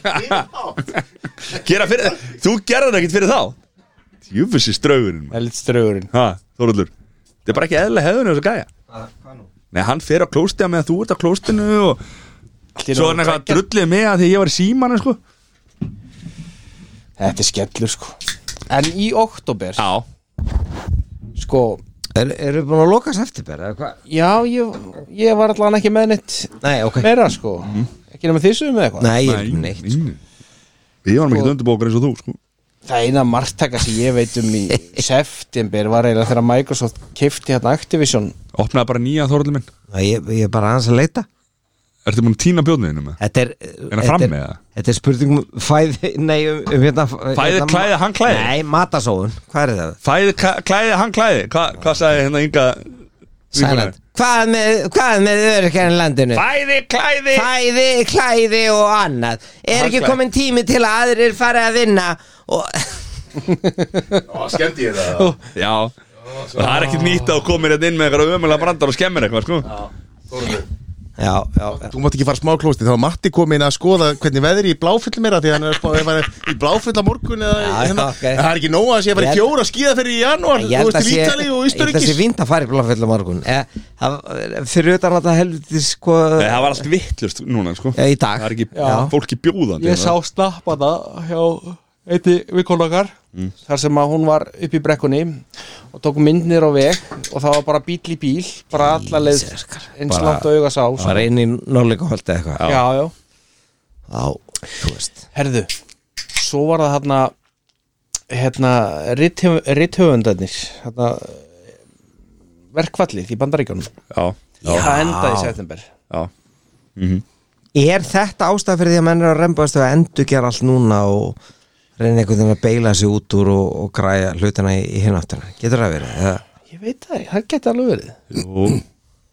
Speaker 1: Gera fyrir, þú gerðar ekkert fyrir þá Júfussi straugurinn
Speaker 2: Elit strögurinn
Speaker 1: Ha, Þorallur Það er bara ekki eðla hefðinu þessu gæja
Speaker 4: Hvað nú?
Speaker 1: Nei, hann fer á klósti að með að þú ert á klóstinu og svo er hann eitthvað að
Speaker 2: Þetta
Speaker 1: drullið mig að því ég var í símanu, sko
Speaker 2: er skellur sko En í oktober
Speaker 1: Já,
Speaker 2: Sko,
Speaker 4: Er, erum við búin að loka september? eða hvað?
Speaker 2: já, ég, ég var allan ekki með neitt
Speaker 4: Nei, ok Mm.
Speaker 2: meira sko Ekki nema þessu með eitthvað
Speaker 4: Nei, ég er ekki neitt sko.
Speaker 1: nei. Við varum ekkert
Speaker 2: Sko-
Speaker 1: undirbókar eins og þú, sko
Speaker 2: Það eina margtaka sem ég veit um í september var eiginlega þegar Microsoft kifti hérna Activision
Speaker 1: Opnaði bara nýja Þorallur minn
Speaker 4: Nei, Ég, ég er bara aðeins að leita
Speaker 1: Ertu múin að tína bjóðniðinu með?
Speaker 4: Þetta er
Speaker 1: hann
Speaker 4: þetta
Speaker 1: fram
Speaker 4: er-
Speaker 1: með það?
Speaker 4: Þetta er spurning um fæði Nei, um, um hérna
Speaker 1: Fæði, klæði, hann klæði?
Speaker 4: Nei, matasóðun Hvað er það?
Speaker 1: Fæði, ka- klæði, hann klæði Hva, Hvað sagði hérna Inga?
Speaker 4: Sæland Hvað með, hvað með örkjarn landinu?
Speaker 1: Fæði, klæði
Speaker 4: Fæði, klæði og annað Er ekki
Speaker 1: Handklæði.
Speaker 4: komin tími til að aðrir fari að vinna og
Speaker 3: Skemdi ég það
Speaker 1: Já, það er ekkert nýtt að koma hérna inn með eitthvað ömulega brandar og skemmir eitthvað sko
Speaker 4: Já, já, já.
Speaker 3: Þú mátt ekki fara smá klósti, þá var Matti komin að skoða hvernig veðri í bláfull meira því að hann er að spá- ef hann er í bláfulla morgun eða
Speaker 4: Já,
Speaker 3: hérna,
Speaker 4: ok.
Speaker 3: en það er ekki nóg að sé að vera
Speaker 4: Ég-
Speaker 3: í fjóra skíða fyrir í janúar,
Speaker 4: Ég
Speaker 3: þú
Speaker 4: held
Speaker 3: veist til
Speaker 4: að sé,
Speaker 3: Ítali og
Speaker 4: ég held að sé
Speaker 3: Ísturikis
Speaker 4: vint að fara í bláfell á morgun e, það, Fyrir utan að það helviti sko
Speaker 1: Nei, það var allt vittlust núna sko
Speaker 4: Já, í dag.
Speaker 1: Það er ekki
Speaker 4: Já.
Speaker 1: fólki bjóðandi
Speaker 2: Ég sá snappa það hjá einni vikonlokkar
Speaker 4: Mm.
Speaker 2: þar sem að hún var upp í brekkunni og tók myndnir á veg og það var bara bíl í bíl bara alla leið
Speaker 4: Jesus, kar.
Speaker 2: eins
Speaker 4: Bara-
Speaker 2: langt og auga sá sko.
Speaker 4: Var einn í norleika holdi eitthvað
Speaker 2: Já, já
Speaker 4: Já, þú veist
Speaker 2: Herðu, svo var það hérna hérna rithöf- rithöfundarnir hérna verkvallið í bandaríkjónum
Speaker 1: Já,
Speaker 2: það endaði í september
Speaker 1: já
Speaker 4: Er þetta ástæð fyrir því að menn er að rembaðast og endur gera allt núna og reyna einhvern veginn að beila sig út úr og, og græja hlutina í, í hináttina Getur það verið? Eða,
Speaker 2: Ég veit það, ekki, það geti alveg verið
Speaker 1: Jú.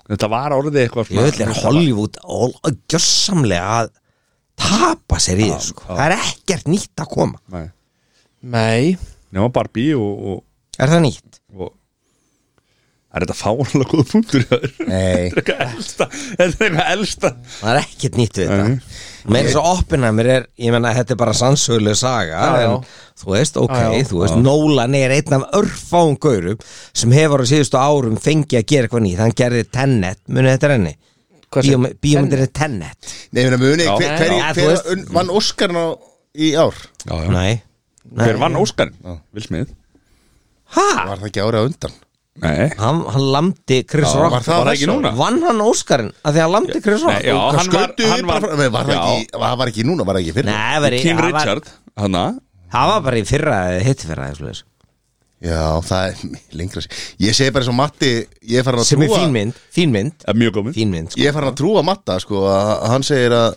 Speaker 1: Þetta var orðið eitthvað sko.
Speaker 4: ég vil er Hollywood all, gjörsamlega að tapa sér í þessu sko.
Speaker 1: já.
Speaker 4: Það er ekkert nýtt að koma
Speaker 1: Nei,
Speaker 2: Nei,
Speaker 1: nema Barbie og, og,
Speaker 4: Er það nýtt?
Speaker 1: og Það er þetta fáanlega góða punktur hjá þér.
Speaker 3: Nei.
Speaker 1: Þetta er eitthvað elsta Þetta er eitthvað elsta
Speaker 4: Það er ekkert nýtt við þetta Meira svo Oppenheimer er, ég menna þetta er bara sannsöguleg saga
Speaker 2: Já, já.
Speaker 4: En þú veist, ok,
Speaker 2: Já, já.
Speaker 4: þú veist Nolan er einn af örfáum gaurum sem hefur á síðustu árum fengið að gera eitthvað nýtt Hann gerði Tenet, munið þetta renni
Speaker 2: Hvað segir-
Speaker 4: Bíómyndir er Tenet
Speaker 3: Nei, ég meina muni,
Speaker 1: Já.
Speaker 3: hver,
Speaker 2: Nei,
Speaker 3: hver,
Speaker 4: já, þú
Speaker 3: hver,
Speaker 4: veist.
Speaker 3: un- vann Óskarn á í ár?
Speaker 1: já,
Speaker 4: Nei, Nei.
Speaker 1: Hver vann Óskarinn? Vil smið
Speaker 4: Hæ?
Speaker 1: Ah.
Speaker 3: Var það ekki árið á undan?
Speaker 1: Nei,
Speaker 4: hann, hann lamdi Chris
Speaker 3: Já,
Speaker 4: Rock
Speaker 3: var það
Speaker 1: ekki núna?
Speaker 4: vann hann Óskarinn að því að hann lamdi Chris Rock
Speaker 1: Nei, já,
Speaker 4: Og-
Speaker 1: hann var,
Speaker 3: Skautu
Speaker 1: hann
Speaker 3: bara
Speaker 1: var,
Speaker 3: fram- Nei, var, það ekki, það var ekki núna, var það ekki fyrir
Speaker 4: Nei, var í-
Speaker 1: King
Speaker 4: hann var-
Speaker 1: Richard Hanna,
Speaker 4: það var bara í fyrra eða hitti fyrra eða svoleiðis.
Speaker 3: Já, það er lengra sér Ég segi bara eins og Matti, ég er farin að
Speaker 4: sem er
Speaker 3: trúa
Speaker 4: fín mynd fín mynd,
Speaker 1: er mjög góð mynd
Speaker 4: fín mynd sko.
Speaker 3: Ég er farin að trúa Matta, sko að hann segir að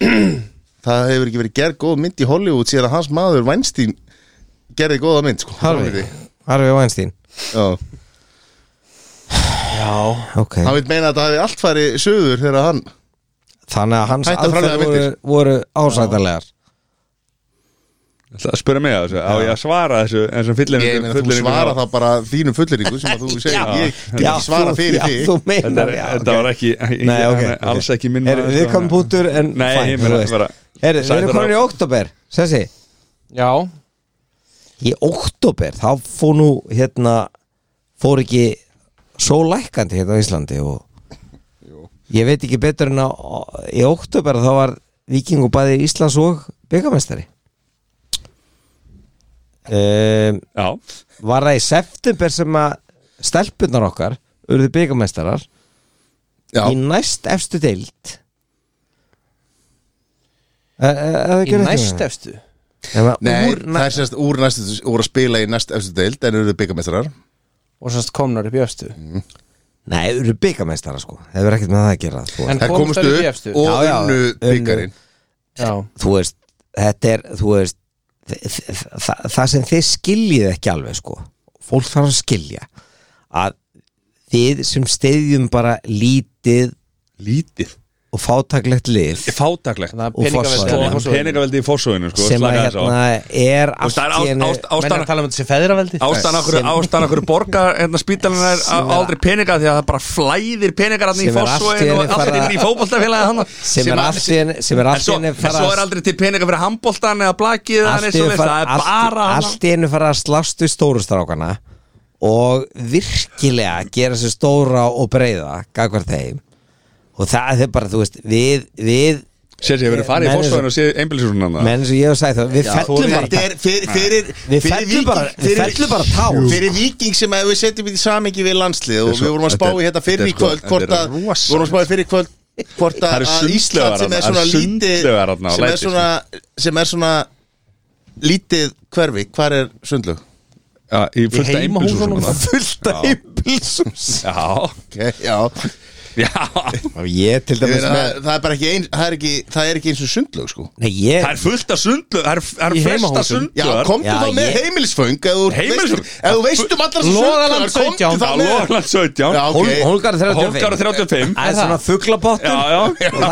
Speaker 3: það hefur ekki verið gerð góð mynd í Hollywood síðan að hans maður Weinstein gerði góða mynd, sko
Speaker 4: Harfi, Harfi Weinstein
Speaker 3: Já,
Speaker 2: Já,
Speaker 4: okay.
Speaker 3: hann vil meina að það hefði allt farið söður þegar hann
Speaker 4: þannig að hans
Speaker 3: Hætta að framleiða
Speaker 4: aðferð voru,
Speaker 3: myndir.
Speaker 4: voru ásættarlegar
Speaker 1: Það spurði mig að þessu, á ég að svara þessu En sem fyllir
Speaker 3: Ég meina, þú svara þá bara þínum fulliringu sem að þú segir, ég get
Speaker 4: Já,
Speaker 3: ekki svara
Speaker 4: þú-
Speaker 3: fyrir
Speaker 4: já, þú
Speaker 3: þig
Speaker 1: Þetta,
Speaker 4: meinar
Speaker 1: er- þetta var ekki, ég,
Speaker 4: Nei, ok,
Speaker 1: hann er
Speaker 4: ok.
Speaker 1: alls ekki minn
Speaker 4: Er,
Speaker 1: maður,
Speaker 4: við
Speaker 1: sko,
Speaker 4: komum bútur en
Speaker 1: Nei,
Speaker 4: fine,
Speaker 1: ég meina,
Speaker 4: þú veist.
Speaker 1: bara-
Speaker 4: Herru, Við erum
Speaker 1: Sætar
Speaker 4: komin í
Speaker 1: á-
Speaker 4: oktober Sessi,
Speaker 2: já
Speaker 4: í oktober þá fór nú hérna fór ekki svo lækandi hérna á Íslandi og ég veit ekki betur en að í oktober þá var vikingu bæði Íslands og byggamestari um,
Speaker 1: Já,
Speaker 4: var það í september sem að stelpunar okkar urðu byggamestarar
Speaker 3: Já,
Speaker 4: í næst efstu deild E- e- eða
Speaker 2: Í
Speaker 4: gerðu ekki
Speaker 2: næst
Speaker 4: það?
Speaker 2: efstu
Speaker 4: Ef að
Speaker 3: nei,
Speaker 4: úr
Speaker 3: það er sérst úr næstu úr að spila í næst efstu deild en eru byggamestrar
Speaker 2: Og sannst komnar upp í efstu
Speaker 4: Nei, þau eru byggamestara sko Það er ekkert með það að gera sko.
Speaker 2: En
Speaker 3: Það
Speaker 2: komust
Speaker 3: komust
Speaker 2: þær upp í
Speaker 3: upp
Speaker 2: efstu?
Speaker 3: og
Speaker 4: Já, já,
Speaker 3: unnu
Speaker 4: unnu.
Speaker 3: byggarinn
Speaker 2: Já,
Speaker 4: Þú veist, þetta er þú veist, þ- þ- þ- Það sem þið skiljið ekki alveg sko Fólk þarf að skilja Að þið sem steyðjum bara lítið
Speaker 1: lítið
Speaker 4: og fátaklegt lið
Speaker 1: Fátaklegt
Speaker 2: þannig að
Speaker 4: Og
Speaker 2: peningaveldi
Speaker 4: Fossvogi.
Speaker 1: Og peningaveldi í fórsóðinu sko,
Speaker 4: sem að
Speaker 1: slakaðu þessu á.
Speaker 4: hérna er
Speaker 1: Þú veist,
Speaker 4: allt
Speaker 1: það er
Speaker 4: í
Speaker 1: ást-
Speaker 4: einu
Speaker 1: ást-
Speaker 2: Menna
Speaker 1: ástæðan-
Speaker 2: að tala um þessi feðraveldi
Speaker 1: Ástæðan okkur,
Speaker 4: Sem-
Speaker 1: ástæðan okkur borga hérna spítalinn er á aldrei peninga því að það bara flæðir peningar hann í
Speaker 4: Sem er allt í
Speaker 1: fósvögin
Speaker 4: einu
Speaker 1: og allir
Speaker 4: fara-
Speaker 1: inn í fótboltafélagi hann
Speaker 4: sem er allt í einu- sem er allt í einu fara-
Speaker 1: Svo er aldrei til peninga fyrir handboltan eða blakið eða
Speaker 4: allt
Speaker 1: neitt
Speaker 4: í einu
Speaker 1: svoleiðis,
Speaker 4: fara-
Speaker 1: það er
Speaker 4: allt-
Speaker 1: bara hann
Speaker 4: allt í einu fara að slást við stóru strákana og virkilega gera sér stóra og breiða gagvart þeim og það er bara, þú veist, við, við
Speaker 1: Sér sér, ég verið farið í
Speaker 4: Menn-
Speaker 1: fósvögin og séð einbilsjóðun hann
Speaker 4: menn sem ég hef sagt það, við fellum bara
Speaker 3: er fyrir, fyrir,
Speaker 4: Við fellum bara- við fellum bara tá.
Speaker 3: Fyrir viking sem að við setjum í samengi við landslið og
Speaker 1: Þetta er
Speaker 3: við vorum að
Speaker 1: svo-
Speaker 3: spá
Speaker 1: þetta
Speaker 3: í
Speaker 1: er-
Speaker 3: þetta fyrir
Speaker 1: þetta
Speaker 3: í
Speaker 1: er
Speaker 3: kvöld
Speaker 1: sko-
Speaker 3: hvort
Speaker 1: þetta er
Speaker 3: að, við
Speaker 1: rosalegt.
Speaker 3: vorum að spá í fyrir í kvöld hvort
Speaker 1: Það
Speaker 3: að
Speaker 1: eru
Speaker 3: að
Speaker 1: sundlaugar
Speaker 3: Ísland sem
Speaker 1: þarna,
Speaker 3: er svona
Speaker 1: það eru
Speaker 3: lítið
Speaker 1: sundlaugar þarna á sko.
Speaker 3: sem er
Speaker 1: Lækir.
Speaker 3: svona sem er svona lítið hverfi, hvar er sundlug?
Speaker 1: Í fullt
Speaker 2: Í heimahúsunum.
Speaker 1: einbilsjóðun
Speaker 4: fullt af ymbilsums
Speaker 1: Já,
Speaker 3: Okay, já,
Speaker 1: já
Speaker 4: ég til
Speaker 3: Ég
Speaker 4: dæmis
Speaker 3: meina,
Speaker 4: með
Speaker 3: það, það er bara ekki, ein, það er ekki það er ekki eins og sundlög sko
Speaker 4: Nei, ég,
Speaker 1: Það er fullt af sundlu Það er- það
Speaker 2: Í
Speaker 1: er flesta
Speaker 2: heimahúsum.
Speaker 3: Já,
Speaker 1: sundluðar
Speaker 3: komdu
Speaker 4: Já,
Speaker 3: þá með
Speaker 4: ég-
Speaker 3: heimilisföng Ef þú
Speaker 1: Heimilisföng?
Speaker 3: veist- ef þú veist um allar
Speaker 2: Logaland
Speaker 3: sundlögar Komdu
Speaker 2: 17.
Speaker 3: þá
Speaker 1: Já,
Speaker 3: með
Speaker 1: Lóðland 17
Speaker 3: Já,
Speaker 4: hól,
Speaker 3: ok.
Speaker 4: hólgar 35
Speaker 1: Hólkar og 35
Speaker 4: Það er svona fuglabottur
Speaker 1: Já, já.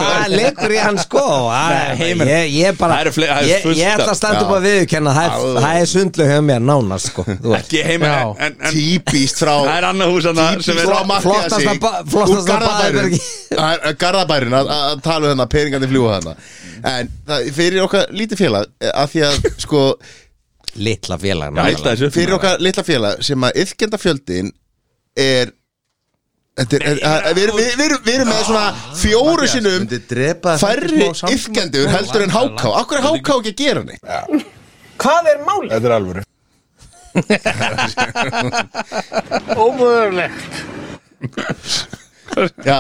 Speaker 4: Það leikur í hann sko Það-
Speaker 1: Nei, heimur.
Speaker 4: Ég, ég bara
Speaker 1: Það eru fle- það eru
Speaker 4: Ég,
Speaker 1: fullt
Speaker 4: ég ætla að
Speaker 1: af-
Speaker 4: standa upp
Speaker 3: Já.
Speaker 4: að viðurkenna það er-
Speaker 3: Já.
Speaker 4: Það er sundlu hjá mér nánast sko Þú veist.
Speaker 1: Ekki heima
Speaker 2: Já.
Speaker 1: en, en, en
Speaker 3: Típist frá
Speaker 1: það er annað hús annað sem er
Speaker 3: Típist frá
Speaker 4: Flottasta
Speaker 3: Mattiasi
Speaker 4: ba- flottasta baðherbergi.
Speaker 3: Garðabærin eh, að að tala um þarna peningandi fljúa þarna En það, fyrir okkar lítið félag eh, Af því að sko
Speaker 4: Litla félag
Speaker 1: Já, eitt af þessu
Speaker 3: Fyrir okkar litla félag Sem að yfkenda fjöldin Er Þetta er, að- við, erum- við, við, erum- við erum með svona fjóru sinnum færri yfkendur heldur en háká Akkur er háká ekki að gera neitt
Speaker 5: Hvað er málið? Þetta er alvöru Ómöðurlegt
Speaker 3: Já,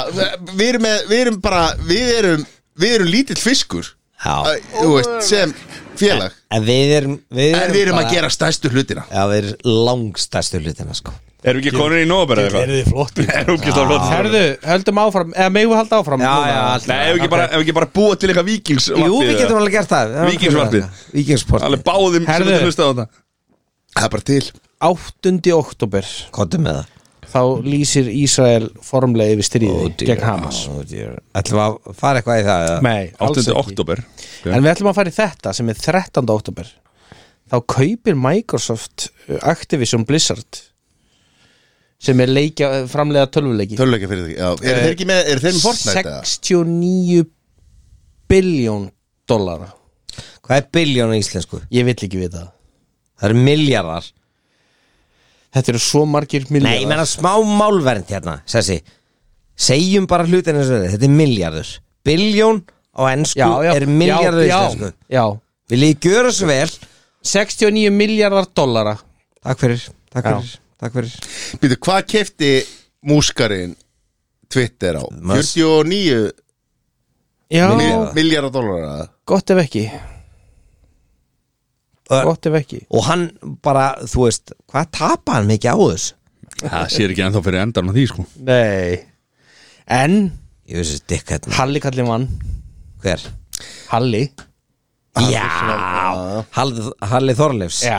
Speaker 3: við erum, með, við erum bara við erum, við erum lítill fiskur
Speaker 4: Já.
Speaker 3: Æ, þú veist, sem félag
Speaker 4: En við erum við
Speaker 3: en við erum að
Speaker 4: bara-
Speaker 3: gera stærstu hlutina
Speaker 4: Já, við erum langstæstu hlutina sko
Speaker 1: Erum við ekki konur í nóber eða eitthvað?
Speaker 2: þið flott
Speaker 1: Erum við ekki stáð flott
Speaker 2: Herðu, höldum áfram Eða megum við halda áfram
Speaker 4: Já,
Speaker 2: núna?
Speaker 4: já, allt
Speaker 1: Nei, ef við ekki bara, ef við ekki bara búa til eitthvað vikingsvarpið
Speaker 4: Jú, við getum
Speaker 1: eða?
Speaker 4: alveg gert það
Speaker 1: Víkingsvarpið. Alveg
Speaker 4: Víkingsportið
Speaker 1: báðum sem
Speaker 2: Herðu.
Speaker 1: við hlusta á þetta
Speaker 3: það er bara til
Speaker 2: 8. oktober
Speaker 4: Kottum með það
Speaker 2: Þá lýsir Ísrael formlega yfir stríði gegn Hamas
Speaker 4: Ætlum við að fara eitthvað í það eða?
Speaker 2: Nei, alls
Speaker 1: 8.
Speaker 2: ekki
Speaker 1: oktober
Speaker 2: En við ætlum að fara í þetta sem er 13. oktober Þá kaupir Microsoft uh, Activision Blizzard sem er leikja, framlega tölvuleiki
Speaker 3: töluleika fyrir því já, er þeir ekki með, er þeir með Fortnite eða?
Speaker 2: 69 biljón dollara
Speaker 4: Hvað er biljón í íslensku?
Speaker 2: Ég vill ekki við það
Speaker 4: Það eru miljardar
Speaker 2: Þetta eru svo margir
Speaker 4: Nei, ég sko, menna
Speaker 2: miljardar
Speaker 4: smá málvernd hérna Sessi, segjum bara hlutin eins og þetta Þetta er miljardur Biljón á ennsku er miljardur í
Speaker 2: já,
Speaker 4: íslensku
Speaker 2: já,
Speaker 4: Vil ég gjöra svo vel
Speaker 2: 69 miljardar dollara
Speaker 4: Takk fyrir, takk
Speaker 2: Já.
Speaker 4: fyrir Takk fyrir
Speaker 3: Býtu, hvað kefti múskarinn Twitter á?
Speaker 4: Mas-
Speaker 3: 49
Speaker 2: Já,
Speaker 4: Milljarða.
Speaker 3: miljardar dólarar
Speaker 2: gott ef ekki Gott ef ekki
Speaker 4: Og hann bara, þú veist, hvað tapa hann mikið á þess?
Speaker 1: Það sér ekki ennþá fyrir endan á því sko
Speaker 2: Nei En
Speaker 4: Ég veist þessi dikk hérna
Speaker 2: Halli kallið mann
Speaker 4: Hver?
Speaker 2: Halli
Speaker 4: Já, Halli, Halli Þorleifs
Speaker 2: Já.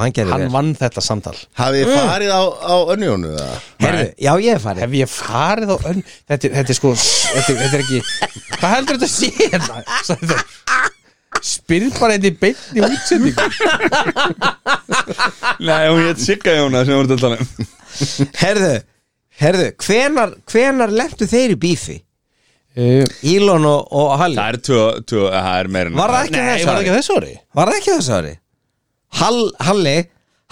Speaker 4: hann gerði
Speaker 2: Hann
Speaker 4: vel
Speaker 2: vann þetta samtal
Speaker 3: Hafið þið farið á, á önjónu eða?
Speaker 4: Herðu, já ég er farið
Speaker 2: Hef ég farið á önn þetta, er- þetta er sko þetta, er- þetta er ekki Hvað heldur þetta sé hérna? Sagði Þór. Spyrð bara þetta í beinni útsendingu
Speaker 1: Nei, hún hétt Sigga Jóna sem voru þetta um
Speaker 4: Herðu, herðu, hvenar, hvenar lentu þeir í bífi? Eh,
Speaker 2: Uh,
Speaker 4: Ílon og, og Halli
Speaker 1: Það er tvö, tvö, það er meira en
Speaker 4: Var það ekki á
Speaker 2: Nei,
Speaker 4: þessu
Speaker 2: var það
Speaker 4: ári?
Speaker 2: ekki þessu ári?
Speaker 4: Var það ekki á þessu ári? Hall, Halli,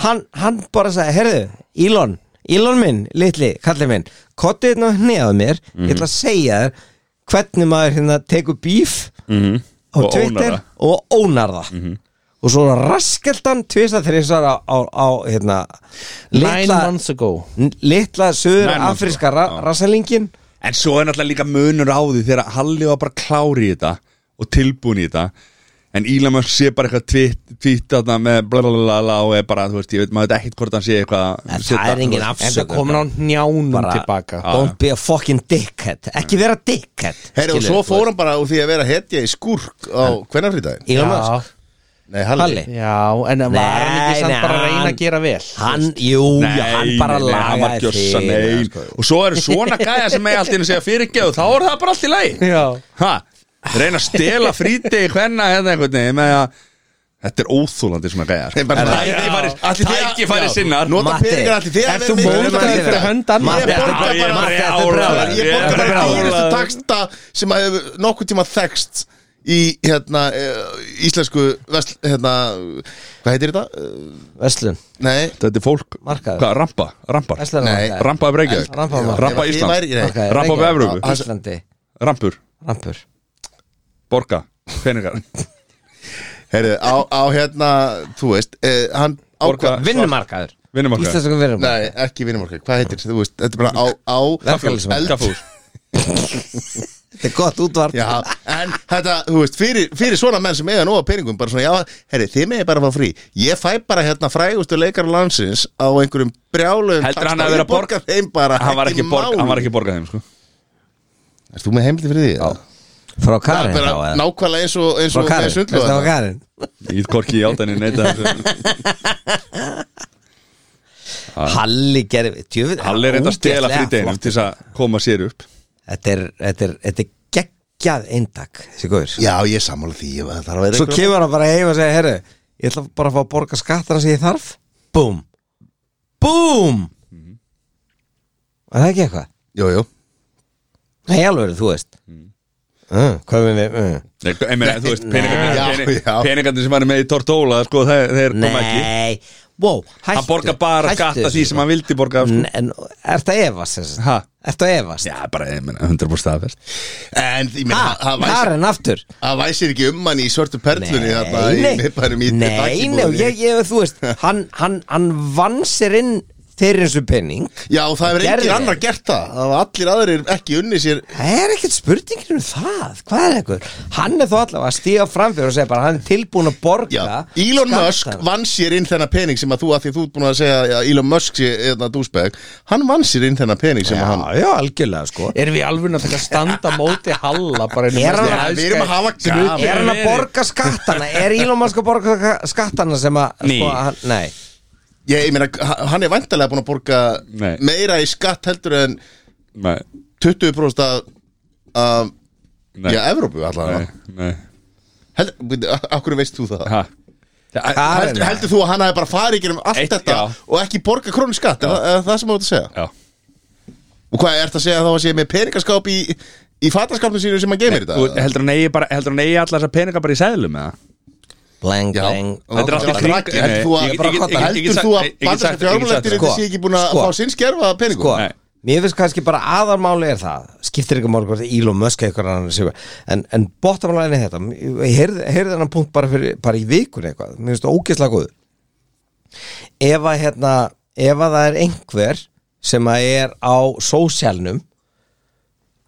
Speaker 4: hann, hann bara sagði, herðu, Ílon, Ílon minn, litli, kallið minn Kottið hérna hnið á mér, ég ætla að segja þér hvernig maður hérna tekur bíf
Speaker 1: Mhm.
Speaker 4: á
Speaker 1: Og
Speaker 4: Twitter
Speaker 1: ónar það.
Speaker 4: og ónar það og svo raskelt hann tvisa þrísar á, á, á hérna
Speaker 2: Nine
Speaker 4: litla,
Speaker 2: months ago
Speaker 4: n- litla söður
Speaker 1: Nine months
Speaker 4: afríska ra
Speaker 1: ago, já.
Speaker 4: rassalingin
Speaker 1: En svo er náttúrulega líka munur á því þegar Halli var bara klári í þetta og tilbúin í þetta en Elon Musk sé bara eitthvað tvitt þarna með blalalala og er bara, þú veist, ég veit, maður veit ekkert hvort hann sé eitthvað að
Speaker 4: En
Speaker 1: setja-
Speaker 4: það er engin
Speaker 2: En það
Speaker 4: afsökun
Speaker 2: komin á njánum
Speaker 4: Bara-
Speaker 2: tilbaka
Speaker 1: Já.
Speaker 4: Don't be a fucking dickhead Ekki vera dickhead
Speaker 3: Herra, og
Speaker 4: skilur,
Speaker 3: svo
Speaker 4: þú
Speaker 3: fór
Speaker 4: veist.
Speaker 3: hann bara úr því að vera hetja í skúrk á hvernafrítaginn
Speaker 4: Elon
Speaker 2: Já.
Speaker 4: Musk
Speaker 3: Nei, Halli,
Speaker 4: Halli.
Speaker 2: Já, en var hann ekki
Speaker 4: Nei,
Speaker 2: samt
Speaker 4: nei,
Speaker 2: bara að reyna
Speaker 4: hann-
Speaker 2: að gera vel
Speaker 4: Hann, jú,
Speaker 1: Nei,
Speaker 4: jú, hann bara
Speaker 1: nei, nei, hann var
Speaker 4: lagaði sko.
Speaker 1: gjössan
Speaker 4: þig
Speaker 1: ein. Og svo eru svona gæja sem með allt inn að segja fyrirgeðu þá er það bara allt í lagi
Speaker 2: Já
Speaker 1: ha, Reyna að stela frítegi hvenna hérna einhvern veginn með að Þetta er óþúlandi svona sko. gæja
Speaker 3: Nei, bara-
Speaker 1: Tækifæri sinnar
Speaker 3: Nota
Speaker 4: Matti,
Speaker 3: peningar allir því að
Speaker 2: ert
Speaker 3: vera
Speaker 2: þú
Speaker 3: með-
Speaker 2: móður
Speaker 3: Matti,
Speaker 2: fyrir
Speaker 3: þetta-
Speaker 2: hönd annarra?
Speaker 3: Ég borga
Speaker 1: Matti,
Speaker 3: bara-
Speaker 1: Matti,
Speaker 4: þetta er brjálæði.
Speaker 3: Ég borga
Speaker 4: Þetta er
Speaker 3: bara
Speaker 4: brjálæði.
Speaker 3: dýrastu taksta sem að hefur nokkuð tíma þekst í hérna eh, íslensku vest, hérna, hvað heitir þetta? Eh,
Speaker 4: Veslun,
Speaker 3: Nei,
Speaker 1: Þetta er fólk,
Speaker 4: Markaður.
Speaker 1: hvað, rampa, rampar
Speaker 4: Veslun
Speaker 3: Nei.
Speaker 1: Rampa af Reykjavík
Speaker 4: Rampa af-
Speaker 1: Rampa
Speaker 3: Ef- ef
Speaker 1: Ísland
Speaker 3: væri- nei.
Speaker 4: Markaður.
Speaker 1: Rampa af
Speaker 4: Reykjavík.
Speaker 1: Evrópu
Speaker 4: Íslandi,
Speaker 1: Rampur,
Speaker 4: rampur
Speaker 1: borga, peningar
Speaker 3: Heyrðu, á, á hérna, þú veist eh, Hann
Speaker 1: Borga-
Speaker 3: ákvað
Speaker 4: Vinnumarkaður
Speaker 1: Vinnumarkaður.
Speaker 4: Íslandskum vinnumarkaður
Speaker 3: Nei, ekki vinnumarkað, hvað heitir þú veist Þetta er bara á, á eld-
Speaker 4: Verkalýðsmarkaður.
Speaker 1: Kaffús
Speaker 4: Þetta er gott útvart
Speaker 3: Já, en þetta, þú veist, fyrir, fyrir svona menn sem eiga nóga peningum, bara svona, já, herri, þið megið bara að fá frí. Ég fæ bara hérna frægustu leikar landsins á einhverjum brjáluðum
Speaker 1: Heldur hann
Speaker 3: taxta.
Speaker 1: að vera
Speaker 3: Ég borga
Speaker 1: borga
Speaker 3: þeim bara,
Speaker 1: Hann var ekki borga, hann var ekki borga þeim sko
Speaker 3: Erst þú með heimildi fyrir því? Já. Það
Speaker 4: Frá
Speaker 3: er
Speaker 4: Karin
Speaker 3: bara
Speaker 4: þá eða?
Speaker 3: nákvæmlega eins og, eins
Speaker 4: Frá
Speaker 3: og
Speaker 4: Karin, veist það var
Speaker 3: sundlóðan.
Speaker 4: Karin
Speaker 1: Ég get korki í áldaninni neita þessu
Speaker 4: Halli gerði djöfull-
Speaker 1: Halli er þetta að stela
Speaker 4: ógeðslega
Speaker 1: frídeginum
Speaker 4: flott.
Speaker 1: til þess að koma sér upp
Speaker 4: Þetta er, þetta er, þetta er geggjað eintak Þessi góður
Speaker 3: Já, ég er sammála því, ég, það þarf að vera
Speaker 4: Svo
Speaker 3: einhver-
Speaker 4: kemur hann bara heim og segir Herru, ég ætla bara að fá að borga skattara sem ég þarf Búm Búm
Speaker 1: Mhm.
Speaker 4: Var það ekki eitthvað?
Speaker 3: Jú, jú.
Speaker 4: Nei, alveg, þú veist
Speaker 1: Mm.
Speaker 4: uh, Hvað við við uh.
Speaker 1: Nei, en meina, þú veist,
Speaker 3: Já,
Speaker 1: peningarnir
Speaker 3: já.
Speaker 1: peningarnir sem var með í Tortóla sko, þeir, þeir kom ekki
Speaker 4: Nei, wow, hættu
Speaker 1: Hann borga bara
Speaker 4: hættu
Speaker 1: skatta
Speaker 4: þessu,
Speaker 1: því sem hann vildi borga af,
Speaker 4: sko.
Speaker 1: sko.
Speaker 4: N- En ertu að efast þess
Speaker 1: Ha?
Speaker 4: Ertu að efast
Speaker 1: Já, bara ég meina, 100% staðfest
Speaker 3: En, ég meina,
Speaker 4: Ha,
Speaker 3: það væsir-
Speaker 4: Karin aftur
Speaker 3: það væsir ekki um hann í svörtu perlunni þarna í
Speaker 4: nei,
Speaker 3: miðbænum í
Speaker 4: nei, nei, og
Speaker 3: taxibúðinni.
Speaker 4: ég, ég, þú veist Hann, hann, hann vann sér inn Þeir eins og penning
Speaker 3: Já, það hefur
Speaker 4: Gerði.
Speaker 3: engin annar gert það Það hafa allir aðrir ekki unni sér
Speaker 4: Það er ekkert spurningin um það Hvað er ekkur? Hann er þó allavega að stíga fram fyrir og segja bara Hann er tilbúin að borga
Speaker 3: Já, Elon Musk
Speaker 4: skattann.
Speaker 3: vann sér inn þennan pening sem að þú, að því að þú ert búin að segja já, Elon Musk sé eðna dúsbeg hann vann sér inn þennan pening sem að hann
Speaker 4: Já, já, algjörlega sko
Speaker 2: Erum við alveg að taka standa móti Halla bara einu
Speaker 4: Er hann-
Speaker 2: mesti
Speaker 3: Við erum að hafa
Speaker 2: sem
Speaker 3: gaman.
Speaker 2: utan-
Speaker 4: Er hann að borga skattana? Er Elon Musk að borga ka- skattana sem að
Speaker 1: Nei.
Speaker 4: sko, hann, Nei
Speaker 3: ég, ég meina, h- hann er vantarlega búin að borga
Speaker 1: Nei.
Speaker 3: meira í skatt heldur en
Speaker 1: Nei,
Speaker 3: 20% af, af
Speaker 1: nei,
Speaker 3: já, Evrópu
Speaker 1: nei,
Speaker 3: allavega
Speaker 1: nei
Speaker 3: heldur, Akkur veist þú það?
Speaker 1: Ha?
Speaker 4: Karen,
Speaker 3: Heldur, heldur þú að hann hafi bara farið í gerum allt
Speaker 1: Eitt,
Speaker 3: þetta
Speaker 1: já.
Speaker 3: og ekki borga krónu skatt er það, er það sem þú ert að segja?
Speaker 1: Já
Speaker 3: Og hvað ert að segja þá að sé með peningaskáp í, í fattaskapnum sínu sem hann geymir
Speaker 1: Þú
Speaker 3: þetta?
Speaker 1: heldur hann eigi bara, heldur hann eigi allar þessar peninga bara í seðlum eða?
Speaker 4: Blang,
Speaker 3: Já.
Speaker 4: blang
Speaker 1: Þetta er allt í
Speaker 3: Já,
Speaker 1: kring-
Speaker 3: Raggi,
Speaker 1: Nei,
Speaker 3: heldur þú að-
Speaker 1: ég get- ég get- ég get- ég get
Speaker 3: heldur
Speaker 1: sagt-
Speaker 3: þú að
Speaker 1: ég get sagt-
Speaker 3: bandarska
Speaker 1: ég get sagt-
Speaker 3: fjármálættir þetta
Speaker 4: sko,
Speaker 3: sé ekki búin að
Speaker 4: sko.
Speaker 3: fá sinn skerfa peningum?
Speaker 4: sko,
Speaker 1: Nei.
Speaker 4: mér finnst kannski bara aðarmáli er það skiptir ekki málkvært Elon Musk eða eitthvað annar sigur en, en bottomlæðin er þetta ég heyrði, heyrði hennan punkt bara, fyrir, bara í vikun eitthvað mér finnst það ógeðslega góð ef að hérna ef að það er einhver sem að er á sósjalnum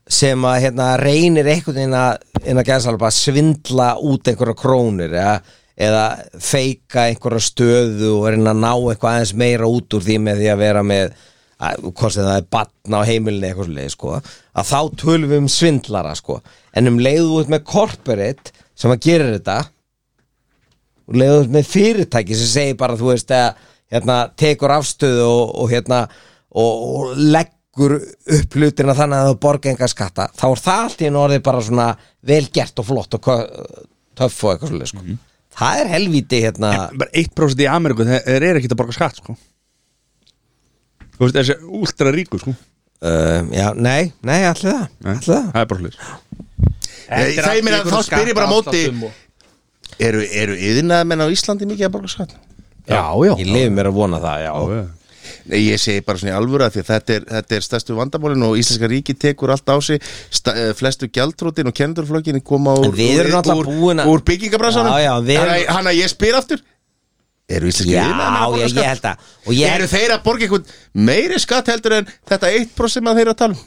Speaker 4: sem að hérna, reynir einhvern veginn að inn að geðsalpa að svindla út einhverja krónur eða, eða feika einhverja stöðu og reyna að ná eitthvað aðeins meira út úr því með því að vera með að, hvort sem það er batn á heimilni eitthvað leið, sko, að þá tölum við um svindlara sko. en um leiðu út með corporate sem að gerir þetta og leiður með fyrirtæki sem segir bara þú veist að hérna, tekur afstöðu og, og, hérna, og, og leggur upp hlutina þannig að það borga enga skatta þá er það allt í enn orðið bara svona vel gert og flott og kö- töff og eitthvað svolítið sko.
Speaker 1: Mhm.
Speaker 4: það er helvíti hérna
Speaker 1: bara 1% í Ameríku, þeir, þeir eru ekkert að borga skatt sko. þú veist, þessi últra ríku sko.
Speaker 4: um, já, nei, nei, allir það,
Speaker 1: Nei,
Speaker 4: allir það.
Speaker 1: það er bara hlut
Speaker 3: Ég segi mér að þá spyr ég bara á móti
Speaker 4: um
Speaker 3: Eru, eru yðnaði menn á Íslandi mikið að borga skatt?
Speaker 2: Já, já
Speaker 4: ég lifi mér að vona það, já,
Speaker 3: Nei, ég segi bara svona í alvöru að því að þetta er, þetta er stærstu vandamálin og Íslenska ríki tekur allt á sig sta, eh, flestu gjaldrótin og kennendurflokkin koma úr,
Speaker 4: En við erum náttúrulega
Speaker 3: úr,
Speaker 4: búin að-
Speaker 3: úr byggingabransanum
Speaker 4: Já, já, við erum-
Speaker 3: Þannig- Þannig að ég spyr aftur Eru Íslenska
Speaker 4: Já,
Speaker 3: iðnaðarmenn að borga
Speaker 4: ég- ég
Speaker 3: skatt?
Speaker 4: held að- og ég-
Speaker 3: Eru þeir að borga einhvern meiri skatt heldur en þetta 1% sem að þeir eru að tala um?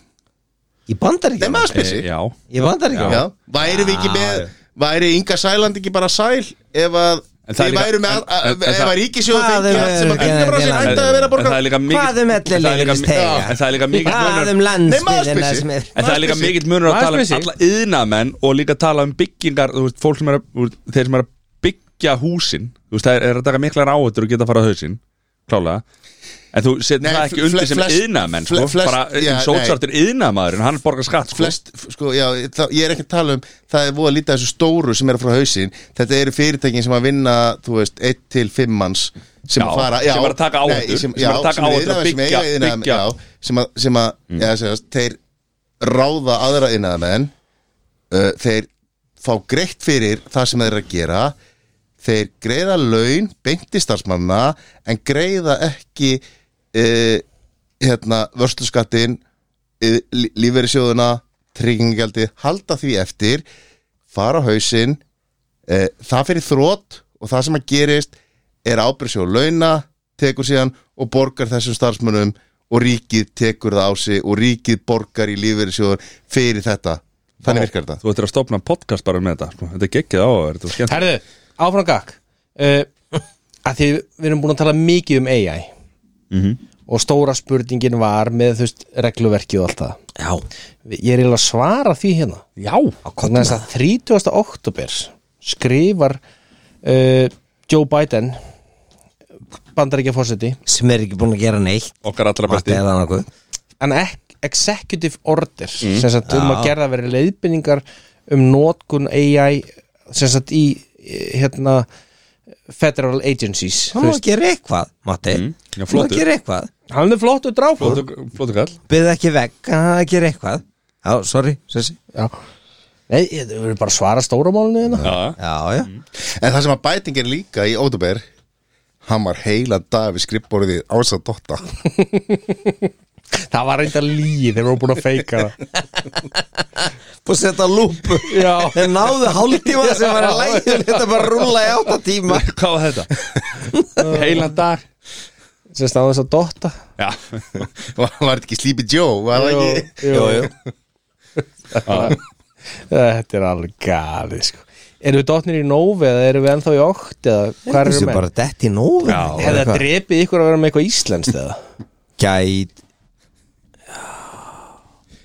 Speaker 4: ég bandar
Speaker 3: Nei,
Speaker 4: ekki
Speaker 3: maður spyr sig
Speaker 1: já,
Speaker 4: ég bandar ekki
Speaker 3: Já, væri við ekki með væri Inga Sæland ekki bara sæl ef að
Speaker 1: En það er
Speaker 3: þið
Speaker 1: líka-
Speaker 3: væru með
Speaker 1: en-
Speaker 3: að-
Speaker 1: en- en
Speaker 3: ef
Speaker 1: það-
Speaker 3: að ríkisjóðu
Speaker 4: Hvað
Speaker 3: fengi
Speaker 4: er-
Speaker 3: allt sem að kynningabrásið
Speaker 4: en-
Speaker 3: ætti að vera að
Speaker 1: en það
Speaker 3: borga
Speaker 1: er líka
Speaker 4: hvað
Speaker 1: mikill
Speaker 4: um
Speaker 1: en það er líka mi-
Speaker 4: ellilífristega
Speaker 1: en það er líka mikill
Speaker 4: hvað
Speaker 1: munur-
Speaker 4: um
Speaker 3: Nei,
Speaker 4: landsbyðina
Speaker 3: maður spyr sig.
Speaker 4: sem er
Speaker 1: En það er líka
Speaker 3: Maður spyr
Speaker 1: mikill munur að
Speaker 2: Maður
Speaker 1: tala um
Speaker 2: spyr sig.
Speaker 1: alla yðnamenn og líka tala um byggingar þú veist, fólk sem er að, þú veist, þeir sem er að byggja húsin þú veist, það er, er að taka miklar áhættur og geta að fara á hausinn, klálega en þú setur
Speaker 3: Nei,
Speaker 1: það ekki undir
Speaker 3: fle-
Speaker 1: sem
Speaker 3: flest-
Speaker 1: yðnamenn sko,
Speaker 3: fle- flest-
Speaker 1: bara
Speaker 3: já,
Speaker 1: ja, sótsartir yðnamaðurinn, hann borgar skatt sko.
Speaker 3: flest, sko, já, það, ég er ekki að tala um það er voða lítið af þessu stóru sem eru frá hausinn þetta eru fyrirtækin sem að vinna þú veist, 1 til 5 manns sem
Speaker 1: Já,
Speaker 3: að fara, já,
Speaker 1: sem eru að taka
Speaker 3: nei,
Speaker 1: áhættur,
Speaker 3: sem,
Speaker 1: sem
Speaker 3: já,
Speaker 1: eru að taka
Speaker 3: sem eru
Speaker 1: áhættur að
Speaker 3: iðnaðarmenn, sem
Speaker 1: byggja-
Speaker 3: eiga iðnaðarmenn,
Speaker 1: byggja. Mm.
Speaker 3: já, sem að, sem að já, segjast, þeir ráða aðra innadamenn uh, þeir fá greitt fyrir það sem þeir eru að gera þeir greiða laun beinti starfsmanna en greiða ekki uh, hérna vörsluskattin lífverðisjóðuna tryggingaldi, halda því eftir fara á hausinn e, það fyrir þrótt og það sem að gerist er ábyrðsjóð launa tekur síðan og borgar þessum starfsmönnum og ríkið tekur það á sig og ríkið borgar í lífverðisjóður fyrir þetta, þannig virkar þetta
Speaker 1: þú ættir að stopna podcast bara með þetta sko. þetta er geggið áhættur og skemmt
Speaker 2: Herðu, áfram gakk uh, að því við erum búin að tala mikið um AI og stóra spurningin var með þú veist regluverki og allt það
Speaker 4: já,
Speaker 2: ég er eiginlega að svara því hérna
Speaker 1: já,
Speaker 2: Þannig að það 30. oktober skrifar uh, Joe Biden bandaríkja fórseti
Speaker 4: sem er ekki búin að gera neitt
Speaker 1: okkar allra besti
Speaker 4: eða nokkuð
Speaker 2: en ek- executive order sem sagt um að gerða verið leiðbynningar um notkun AI sem sagt í eh, hérna federal agencies
Speaker 4: Það
Speaker 2: Þú
Speaker 4: má
Speaker 2: veist,
Speaker 4: að gera eitthvað, Matti
Speaker 1: Mm, já,
Speaker 4: Það má að
Speaker 1: flottur.
Speaker 4: gera eitthvað
Speaker 2: hann er flottu dráfur
Speaker 1: Flottur- flottur kall
Speaker 4: Byrði ekki vekk, hann að gera eitthvað Já, sorry, sessi
Speaker 2: Já. Nei, ég- við erum bara að svara stóra málunni hérna
Speaker 1: já,
Speaker 4: Já, já
Speaker 1: Mm.
Speaker 3: en það sem að bætingin líka í ódubér hann var heila dag við skrippborðið ása dotta
Speaker 2: Það var reyndar líi þegar við erum búin að feika það
Speaker 4: Búið að setja lúpu
Speaker 2: Já.
Speaker 4: Þeir náðu hálftíma sem var að lægja Þetta bara rúla í átta tíma
Speaker 1: hvað var þetta? heilan dag
Speaker 2: sem stáði þess að dotta
Speaker 1: já,
Speaker 3: var var þetta ekki Sleepy Joe, var það ekki
Speaker 2: jú, jú. Þetta er alveg galið sko. Erum við dottnir í nóvi eða erum við ennþá í ótt eða hvað erum
Speaker 4: Þessi
Speaker 2: við
Speaker 4: bara dett í nóvin
Speaker 1: Já,
Speaker 2: Hefði það drepið ykkur að vera með eitthvað íslenskt eða?
Speaker 4: Gæt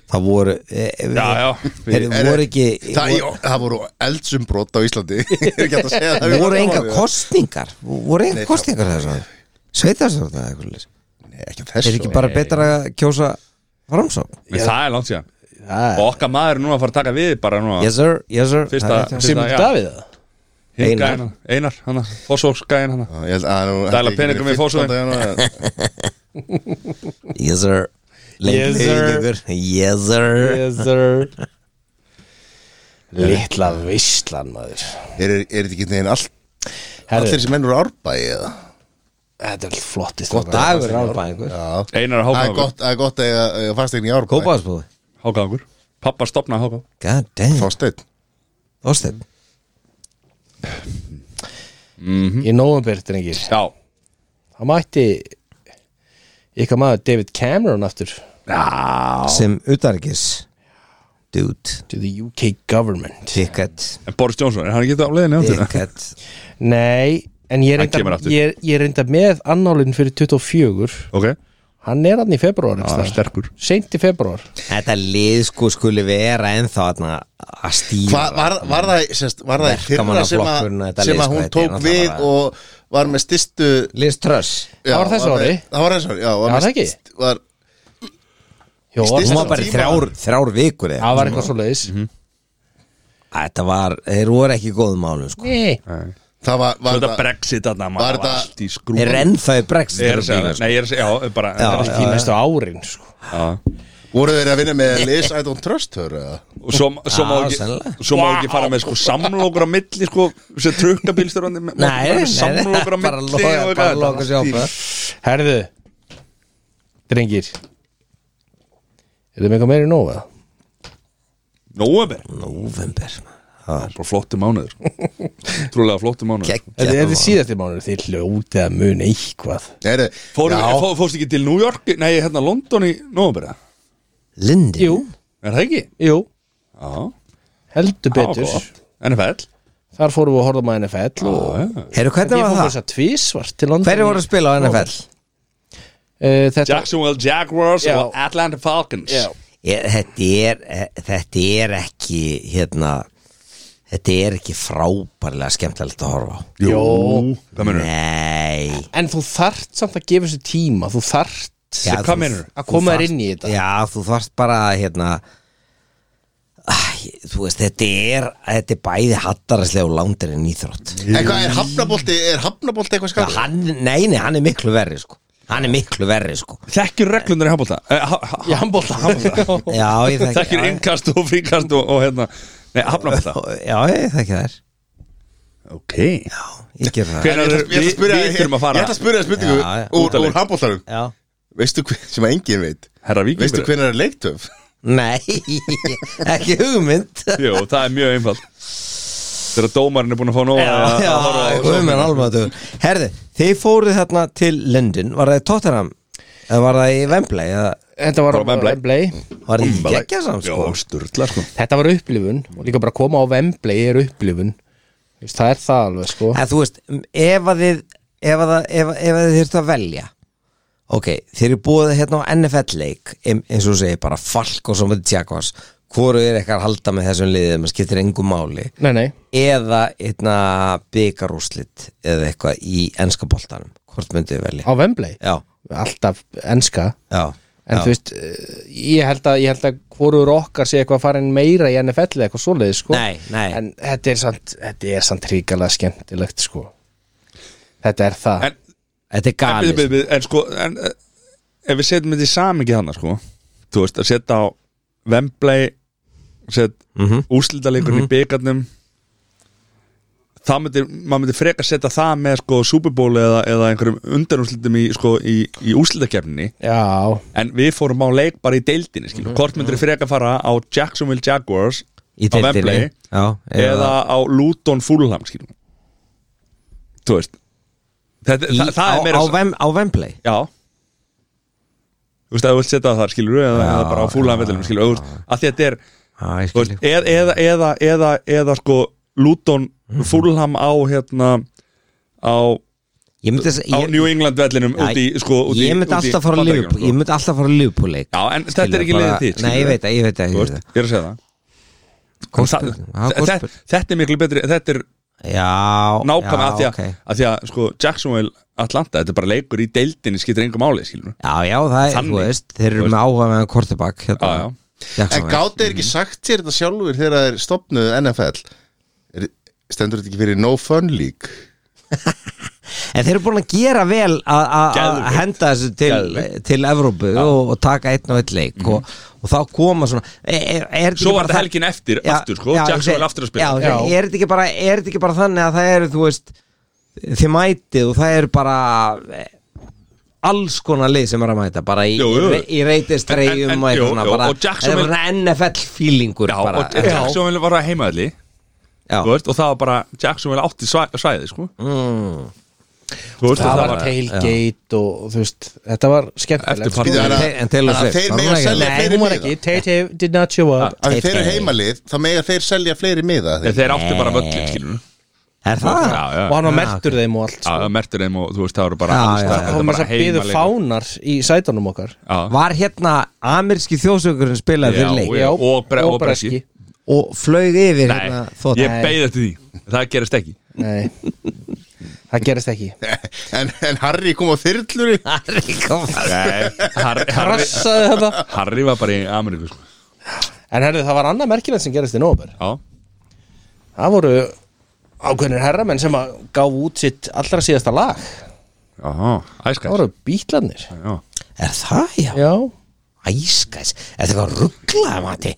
Speaker 4: Það voru Já,
Speaker 1: já, já
Speaker 4: Þeir voru ekki
Speaker 3: það, já, það voru eldsumbrot á Íslandi Ég er ekki hægt að segja það.
Speaker 4: voru enga kostningar Voru enga kostningar þess að Sveitastjórn eða eitthvað leys.
Speaker 3: Nei, ekki að
Speaker 4: Er
Speaker 3: þessu
Speaker 4: ekki Ah. bara betra að kjósa framsókn?
Speaker 1: en það er langt síðan
Speaker 2: Það
Speaker 1: og okkar maður er núna að fara að taka við bara núna
Speaker 4: Yes sir, yes sir
Speaker 1: Fyrsta-
Speaker 4: Það er rétt.
Speaker 1: fyrsta-
Speaker 2: Simon
Speaker 1: já.
Speaker 2: Davíð eða?
Speaker 1: Hinn
Speaker 4: Einar.
Speaker 1: gæinn, hérna. Einar, hann að Fossvóksgæin hann
Speaker 3: Já, ég held að nú-
Speaker 1: Dæla
Speaker 3: þetta er ekki
Speaker 1: peningum í
Speaker 3: verið
Speaker 1: fósóin.
Speaker 3: 15. janúar.
Speaker 4: Yes sir
Speaker 2: Yes, sir.
Speaker 4: Lengur. Yes sir
Speaker 2: Yes sir Litla veistlan maður
Speaker 3: Er er þetta ekki neginn all, allir
Speaker 2: Herru,
Speaker 3: þessi menn úr árbæi eða?
Speaker 2: þetta er allt flottist
Speaker 4: Gott dagur árbæðingur
Speaker 3: Já,
Speaker 1: Einar er
Speaker 3: það er
Speaker 1: hákáðangur
Speaker 3: gott, það er gott að eiga- eiga fastegn í árbæi
Speaker 4: Kópaðsbúði
Speaker 1: Hákáðangur Pappa stopnaði hákáð
Speaker 4: God damn
Speaker 3: Þorsteinn
Speaker 4: Þorsteinn
Speaker 2: Í nóvambir, drengir
Speaker 1: Já,
Speaker 2: Það mætti ykkar maður David Cameron aftur
Speaker 4: sem utanrikis dude,
Speaker 2: to the UK government
Speaker 4: ticket
Speaker 1: En Boris Johnson, er hann ekki þetta á leiðinni áttu það?
Speaker 4: ticket
Speaker 2: Nei, en ég er
Speaker 1: Hann kemur
Speaker 2: reynda,
Speaker 1: aftur.
Speaker 2: ég, er- ég er reynda með annálinn fyrir 24
Speaker 1: Ok,
Speaker 2: Hann er hann í februar
Speaker 1: það er sterkur
Speaker 2: Seint í februar
Speaker 4: þetta lið sko skuli vera ennþá þarna að stýra
Speaker 3: Hva, var, var það, sérst, var það í fyrra sem, að,
Speaker 4: Verkamannaflokkurinn, þetta
Speaker 3: sem að
Speaker 4: lið,
Speaker 3: hún
Speaker 4: sko,
Speaker 3: tók
Speaker 4: þetta er
Speaker 3: við
Speaker 4: náttúrulega-
Speaker 3: og var með styrstu
Speaker 4: Liz Truss
Speaker 3: já,
Speaker 2: var þessu
Speaker 3: með-
Speaker 2: ári.
Speaker 3: Það var þessu ári, já
Speaker 2: Já,
Speaker 3: var
Speaker 2: það ekki?
Speaker 3: st- var,
Speaker 2: Jó,
Speaker 3: Í
Speaker 4: hún
Speaker 3: stysta-
Speaker 2: það
Speaker 4: var bara í
Speaker 3: Tíma.
Speaker 4: þrjár, þrjár vikur eða.
Speaker 2: var eitthvað svo leiðis
Speaker 4: þetta var, þeir voru ekki í góðum málum sko.
Speaker 2: Nei,
Speaker 3: Það var,
Speaker 1: Svo
Speaker 3: var
Speaker 1: þetta
Speaker 3: það
Speaker 1: brexit þarna,
Speaker 3: var
Speaker 1: maður var
Speaker 3: þetta-
Speaker 1: allt í
Speaker 4: þeir
Speaker 1: skrúð
Speaker 4: eru ennþá í brexit
Speaker 1: Ég er að segja það, nei ég er að segja, já, bara
Speaker 4: sko. Já,
Speaker 1: það er
Speaker 2: í næstu árin sko.
Speaker 1: Já.
Speaker 3: Voru þeir að vinna með Liz I don't trust her eða?
Speaker 1: Og svo, svo, má
Speaker 4: Já,
Speaker 1: ekki,
Speaker 4: sennilega.
Speaker 1: svo má ekki fara með sko samlokur á milli sko, sem trukkabílstjórandi má ekki
Speaker 4: Nei,
Speaker 1: fara með
Speaker 4: nei, nei,
Speaker 1: samlokur á
Speaker 4: bara
Speaker 1: milli
Speaker 4: loka-
Speaker 1: og
Speaker 4: bara
Speaker 1: eitthvað.
Speaker 4: loka sér áfram
Speaker 2: Herðu Drengir Er það með eitthvað meira í nóg eða?
Speaker 1: Nóvember,
Speaker 4: november
Speaker 1: bara flottu mánuður Trúlega flottu mánuður
Speaker 2: Þetta er
Speaker 4: geggjað
Speaker 2: síðast í mánuður Þið hljótið að mun eitthvað
Speaker 3: Nei, nei,
Speaker 1: Fóru,
Speaker 3: já,
Speaker 1: fó, Fórstu ekki til New York, nei hérna London í nóvember eða?
Speaker 4: mál. Lindin
Speaker 2: Jú,
Speaker 1: Er það ekki?
Speaker 2: jú,
Speaker 1: Já,
Speaker 2: heldur
Speaker 1: það var
Speaker 2: betur
Speaker 1: gott. NFL
Speaker 2: Þar fórum við að horfum að NFL og
Speaker 1: Já, já.
Speaker 4: Heru, hvernig
Speaker 2: Ég fór
Speaker 4: var
Speaker 2: þess
Speaker 4: það?
Speaker 2: að tvísvart til London
Speaker 4: Hverju voru að spila á NFL?
Speaker 2: Uh, þetta,
Speaker 1: Jacksonville Jaguars
Speaker 2: Já.
Speaker 1: og Atlanta Falcons
Speaker 2: Já.
Speaker 4: Ég, þetta, er, eh, þetta er ekki hérna Þetta er ekki frábærlega skemmtilegt að horfa á
Speaker 1: Jó, hvað mennur?
Speaker 4: Nei
Speaker 2: En þú þart samt að gefa þessu tíma Þú þart
Speaker 4: Já,
Speaker 1: hvað
Speaker 4: þú-
Speaker 1: meinarðu?
Speaker 2: Að koma
Speaker 4: þú
Speaker 2: þér
Speaker 4: þarft-
Speaker 2: inn í þetta.
Speaker 4: Já, þú þarft bara að, hérna Æ, Þú veist, þetta er Þetta er bæði hattararslega og landir en íþrótt
Speaker 3: En hvað er hafnabolti, er hafnabolti eitthvað
Speaker 4: Já,
Speaker 3: skapur?
Speaker 4: hann, Nei, nei, hann er miklu verri sko Hann er miklu verri sko
Speaker 1: Þekkir reglundar í Eh, handbólta
Speaker 2: Í handbolta Já.
Speaker 4: Já, ég þekki
Speaker 1: Þekkir
Speaker 4: já,
Speaker 1: innkast og fríkast og, og hérna Nei, hafnabólta
Speaker 4: Já, ég þekki þær
Speaker 1: Ok
Speaker 4: Já, ég ger það
Speaker 1: Hvenær er
Speaker 3: Ég ætla að
Speaker 1: við,
Speaker 3: spyrja
Speaker 1: við
Speaker 3: ég
Speaker 1: þurfum að
Speaker 3: ég
Speaker 1: fara
Speaker 3: ætla að spyrja spurningu
Speaker 4: Já, já.
Speaker 3: úr,
Speaker 1: Útaleik.
Speaker 3: úr handbóltarum
Speaker 4: Já
Speaker 3: Veistu hver, sem að enginn veit
Speaker 1: Herra Víkingur
Speaker 3: Veistu hvernig er leiktöf?
Speaker 4: Nei, ekki hugmynd
Speaker 1: Jú, það er mjög einfalt Þegar dómarinn er búin að fá nóg að-
Speaker 4: Já,
Speaker 1: að horfa á- sko.
Speaker 4: hugmynd alveg Herði, þið fóruð þarna til London Var það í Tottenham? Eða var það í Wembley? Eða
Speaker 2: Þetta var
Speaker 1: Bara Wembley.
Speaker 2: Wembley.
Speaker 4: var það í
Speaker 1: Bumbalæk.
Speaker 4: geggjasam sko?
Speaker 1: Já, sturla sko
Speaker 2: Þetta var upplifun og líka bara að koma á Wembley er upplifun Þú veist, Það er það alveg sko
Speaker 4: En þú veist, ef að þið ef að, það- ef, ef að þið þurftu að velja Ok, þið eru búið hérna á NFL-leik eins og þú segir bara Falk og svo með Jaguars Hvoru er eitthvað að halda með þessum liðum að skiptir engu máli
Speaker 2: Nei, nei,
Speaker 4: eða hérna byggarúslit eða eitthvað í enska boltanum hvort myndið þið velja
Speaker 2: á Wembley
Speaker 4: Já,
Speaker 2: Alltaf enska
Speaker 4: já,
Speaker 2: En
Speaker 4: já.
Speaker 2: þú veist, eh, ég held að, ég held að hvorur okkar sé eitthvað farin meira í NFL eða eitthvað svoleiðis sko
Speaker 4: Nei, nei.
Speaker 2: En þetta er samt, þetta er samt ríkalega skemmtilegt sko Þetta er það
Speaker 1: En,
Speaker 4: Þetta er
Speaker 1: en,
Speaker 4: galið
Speaker 1: en, en, en sko en, eh, Ef við setjum þetta í samingi hana sko Þú veist, að setja á Wembley set,
Speaker 4: mm
Speaker 1: úrslitaleikurinn í byggarnum það myndi, maður myndi frekar setja það með sko Super Bowl eða, eða einhverjum undanúrslitum í, sko, í, í úrslitakeppninni
Speaker 2: Já,
Speaker 1: en við fórum á leik bara í deildinni skilur. hvort myndir frekar fara á Jacksonville Jaguars
Speaker 4: Í
Speaker 1: á
Speaker 4: deildinni
Speaker 1: Wembley
Speaker 4: Já,
Speaker 1: eða á Luton Fulham skilur. þú veist Þetta,
Speaker 4: í,
Speaker 1: það, það
Speaker 4: á,
Speaker 1: er meira
Speaker 4: á, vem, á Wembley
Speaker 1: Já Þú veist að þú vilt setja það þar skilur eða, eða bara á Fulham vellum skilur þú veist, að því að þetta er
Speaker 4: Já,
Speaker 1: Þú
Speaker 4: ég
Speaker 1: veist,
Speaker 4: skil
Speaker 1: e- eða, eða, eða, eða, eða sko Luton
Speaker 4: Mhm.
Speaker 1: Fulham á hérna á,
Speaker 4: Ég myndi, að-
Speaker 1: á
Speaker 4: ég,
Speaker 1: New England vellinum
Speaker 4: Já,
Speaker 1: út í sko út í,
Speaker 4: ég myndi
Speaker 1: út í
Speaker 4: alltaf fara
Speaker 1: Bandaríkjunum,
Speaker 4: að
Speaker 1: sko.
Speaker 4: Liverpool Ég myndi alltaf fara að Liverpool leik
Speaker 1: Já, en þetta er ekki leiðið þitt
Speaker 4: Nei, ég veit að, ég veit að,
Speaker 1: Þú
Speaker 4: ég
Speaker 1: veist,
Speaker 4: veit að.
Speaker 1: ég er að segja það
Speaker 4: Góð
Speaker 1: Það-
Speaker 4: spurning. Já, góð
Speaker 1: þetta-
Speaker 4: spurning.
Speaker 1: Þetta er miklu betri Þetta er
Speaker 4: Já,
Speaker 1: nákvæmlega
Speaker 4: já,
Speaker 1: að því að,
Speaker 4: ok.
Speaker 1: að því að sko Jacksonville Atlanta, þetta er bara leikur í deildinni skiptir engum máli, skilur
Speaker 4: Já, já, það er,
Speaker 1: Þannig.
Speaker 4: þú veist, þeir
Speaker 1: Þú
Speaker 4: eru
Speaker 1: veist.
Speaker 4: með áhuga með kortibak hérna,
Speaker 1: Já, já.
Speaker 3: En
Speaker 4: Jacksonville.
Speaker 3: gátt er ekki sagt sér þetta sjálfur þegar þeir stopnuðu NFL er, Stendur þetta ekki fyrir No Fun League?
Speaker 4: En þeir eru búin að gera vel að- að að
Speaker 1: Geðveikt.
Speaker 4: henda þessu til,
Speaker 1: Geðveikt. Mhm.
Speaker 4: til Evrópu og, og taka einn og einn leik og, og þá koma svona er, er- er
Speaker 1: Svo var þetta helgin eftir, aftur sko Jacksonville aftur að spila
Speaker 4: já,
Speaker 2: Já.
Speaker 4: Er, þetta ekki bara, er þetta ekki bara þannig að það eru þú veist þið mætið og það eru bara eh, alls konar lið sem er að mæta bara í,
Speaker 1: Jú, jú.
Speaker 4: í, í reytist
Speaker 1: En- en-
Speaker 4: reyjum
Speaker 1: jú,
Speaker 4: og eitthvað svona
Speaker 1: jú,
Speaker 4: bara,
Speaker 1: og Jacksonville-
Speaker 4: þetta er bara NFL feelingur
Speaker 1: Já,
Speaker 4: bara,
Speaker 1: og Jacksonville var að heimaðli
Speaker 4: já.
Speaker 1: Þú veist, og það var bara Jacksonville átti svæ- svæði sko.
Speaker 4: Mm.
Speaker 1: Þú veist
Speaker 2: það
Speaker 1: að
Speaker 2: var tailgate og þú veist þetta var skemmtilegt
Speaker 1: Eftirpartí.
Speaker 3: Býtu,
Speaker 2: sko.
Speaker 3: en að-
Speaker 4: En Taylor
Speaker 3: en að
Speaker 4: Swift,
Speaker 3: þeir
Speaker 4: var hún
Speaker 3: mega
Speaker 4: ekki-
Speaker 3: selja
Speaker 2: Nei,
Speaker 3: fleiri
Speaker 2: hún var
Speaker 3: miða
Speaker 2: ekki Tay-Tay did not show up
Speaker 1: Ah,
Speaker 3: Af því þeir eru heimalið, þá mega þeir selja fleiri miða
Speaker 1: Nei, þeir áttu bara völlin, skilur
Speaker 4: Er það?
Speaker 1: Já, já,
Speaker 2: og hann var
Speaker 4: Já,
Speaker 2: mertur þeim og allt
Speaker 1: já,
Speaker 2: sko.
Speaker 1: það mertur þeim og þú veist, það eru bara
Speaker 4: Já,
Speaker 1: alls
Speaker 4: já,
Speaker 1: staðar,
Speaker 4: já.
Speaker 1: þetta
Speaker 2: og
Speaker 1: er
Speaker 2: maður
Speaker 1: bara
Speaker 2: svo byðu
Speaker 1: heimaleikur.
Speaker 2: fánar í sætunum okkar
Speaker 1: Já,
Speaker 4: Var hérna amirski þjóðsökurinn spilaði
Speaker 1: Já,
Speaker 4: fyrir leik
Speaker 1: já. og bre- og breski.
Speaker 4: og flög yfir
Speaker 1: nei,
Speaker 4: hérna þótt
Speaker 1: ég beigði eftir því Það gerist ekki
Speaker 2: Nei, það gerist ekki
Speaker 3: en, en Harry kom á þyrlur í
Speaker 1: Nei, Harry, Harry,
Speaker 2: Rassaði þetta
Speaker 1: Harry var bara í Ameríku sko.
Speaker 2: En herðu, það var annað merkilegt sem gerist í nóber
Speaker 1: Já,
Speaker 2: Það voru ákveðnir herramenn sem að gaf út sitt allra síðasta lag
Speaker 1: já,
Speaker 2: Það
Speaker 1: æskar
Speaker 2: voru bítlarnir
Speaker 1: Já,
Speaker 4: Er það, já?
Speaker 2: Já,
Speaker 4: Æskæs, er þetta eitthvað rugglaði mati?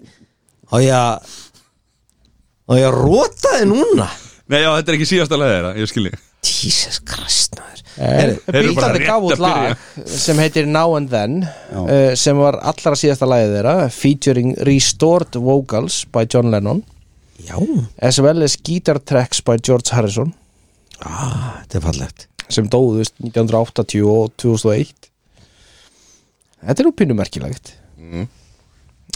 Speaker 4: Og ég að og ég að róta þið núna
Speaker 1: nei, já, þetta er ekki síðasta leið þeirra, ég skilji
Speaker 4: Jesus Christ maður. Heyrðu,
Speaker 1: eru bara
Speaker 2: bítlarnir
Speaker 1: rétt
Speaker 2: gaf
Speaker 1: að
Speaker 2: út
Speaker 1: byrja.
Speaker 2: lag sem heitir Now and Then uh, sem var allra síðasta lagið þeirra featuring Restored Vocals by John Lennon
Speaker 4: Já,
Speaker 2: as well as Guitar Tracks by George Harrison
Speaker 4: ah, þetta er fallegt
Speaker 2: sem dóðust 1980 og 2001 Þetta er nú pínu merkilegt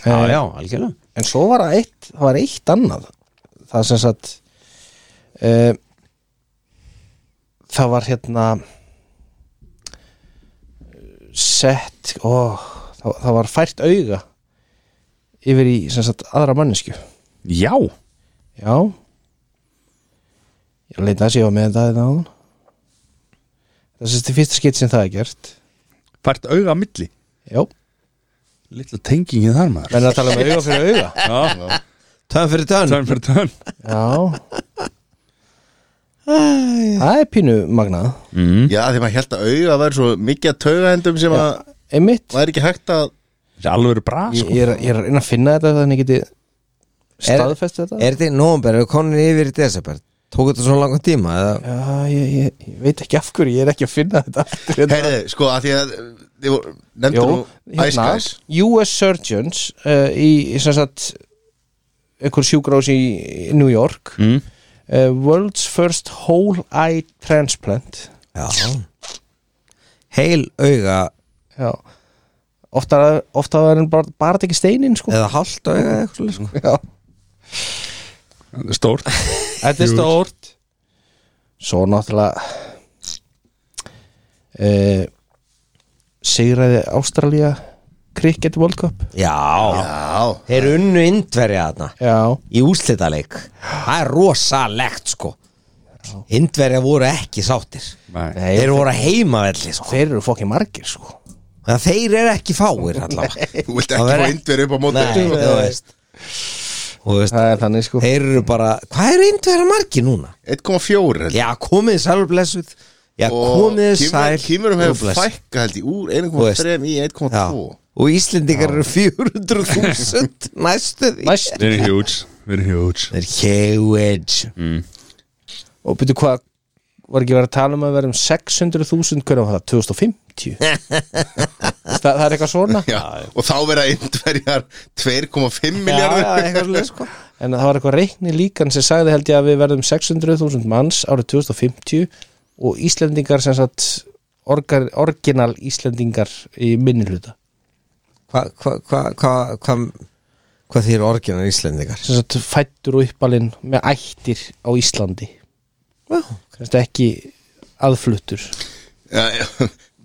Speaker 2: Eh,
Speaker 4: algjörlega
Speaker 2: En svo var það eitt, það var eitt annað Það sem sagt uh, Það var hérna Sett ó, það, það var fært auga Yfir í sem sagt aðra mannesku
Speaker 1: Já,
Speaker 2: Já Ég er að leita að séu með þetta þetta áðan Það sést þið fyrsta skitt sem það er gert
Speaker 1: fært auga að milli
Speaker 2: Já,
Speaker 1: Lilla tengingin þar maður
Speaker 2: menn eru að tala um auga fyrir auga
Speaker 1: Já,
Speaker 4: Tönn fyrir tönn
Speaker 1: tönn fyrir tönn
Speaker 2: Já Það er pínu magnað
Speaker 3: Já, því maður held að auga væri svo mikið að taugahendum sem að
Speaker 2: Einmitt
Speaker 3: væri ekki hægt að
Speaker 1: Þetta er alveg bra,
Speaker 2: Ég ég er, ég er að reyna að finna þetta þannig geti staðfest þetta
Speaker 4: Er þetta í nómber, er konin yfir í desember Tók þetta svona langan tíma eða?
Speaker 2: Já, ég, ég, ég veit ekki af hverju ég er ekki að finna þetta aftur hérna.
Speaker 3: Herðu, sko, að því að þið voru- nefndu
Speaker 2: Jú,
Speaker 3: nú Ice
Speaker 2: hérna
Speaker 3: Guys
Speaker 2: US Surgeons uh, í, í sem sagt einhver sjúkrás í í New York
Speaker 1: Mm.
Speaker 2: uh, World's First Whole Eye Transplant
Speaker 4: Já Heil auga
Speaker 2: Já Oftar, oftar er hann bara, bara tekið steinin sko.
Speaker 4: eða hálft auga eða eitthvað svoleiðis, sko.
Speaker 2: Já
Speaker 1: sko. stórt
Speaker 2: Þetta er stórt Svo náttúrulega uh, Sigraði Ástralía Cricket World Cup
Speaker 4: Já,
Speaker 3: Já,
Speaker 4: þeir unnu indverja þarna
Speaker 2: Já,
Speaker 4: í úslitaleik það er rosalegt sko Indverja voru ekki sáttir
Speaker 1: Nei,
Speaker 2: Nei,
Speaker 4: Þeir voru að heimavelli sko.
Speaker 2: þeir eru fokkin margir sko
Speaker 4: Það þeir eru ekki fáir allavega
Speaker 3: þú vilt ekki
Speaker 4: Það verður
Speaker 3: fá
Speaker 4: ekki-
Speaker 3: indverið upp á móti
Speaker 4: Nei, þú veist Þú veist,
Speaker 2: Það er þannig sko
Speaker 4: þeir eru bara Hvað er Indverja margi núna?
Speaker 3: 1,4 held ég.
Speaker 4: Já, komið sælblessuð Já,
Speaker 3: og
Speaker 4: komið
Speaker 3: Kýmur-
Speaker 4: sæl
Speaker 3: Kýmurum
Speaker 4: og
Speaker 3: hefur
Speaker 4: blessuð.
Speaker 3: fækka held ég úr
Speaker 4: Þú veist.
Speaker 3: 1,3 í 1,2
Speaker 4: Já, Og Íslendingar eru 400.000 Næstu því
Speaker 2: Næst
Speaker 1: við erum huge, við erum huge
Speaker 4: Þeir eru huge
Speaker 2: Og byrju hvað Var ekki verið að tala um að vera um 600.000 Hvernig var það? 2050 það, það er eitthvað svona
Speaker 3: Já, og þá verða indverjar 2,5
Speaker 4: Já, já, eitthvað
Speaker 3: miljardar
Speaker 4: svoleiðis, sko.
Speaker 2: En það var eitthvað reikni líkan sem sagði held ég að við verðum 600.000 manns árið 2050 og Íslendingar sem sagt orgar, orginal Íslendingar í minnihluta
Speaker 4: Hvað hva, hva, hva, hva, hva þýr orginar Íslendingar?
Speaker 2: sem sagt fættur og uppalinn með ættir á Íslandi
Speaker 4: Já,
Speaker 2: sem sagt ekki aðfluttur
Speaker 3: Já, já,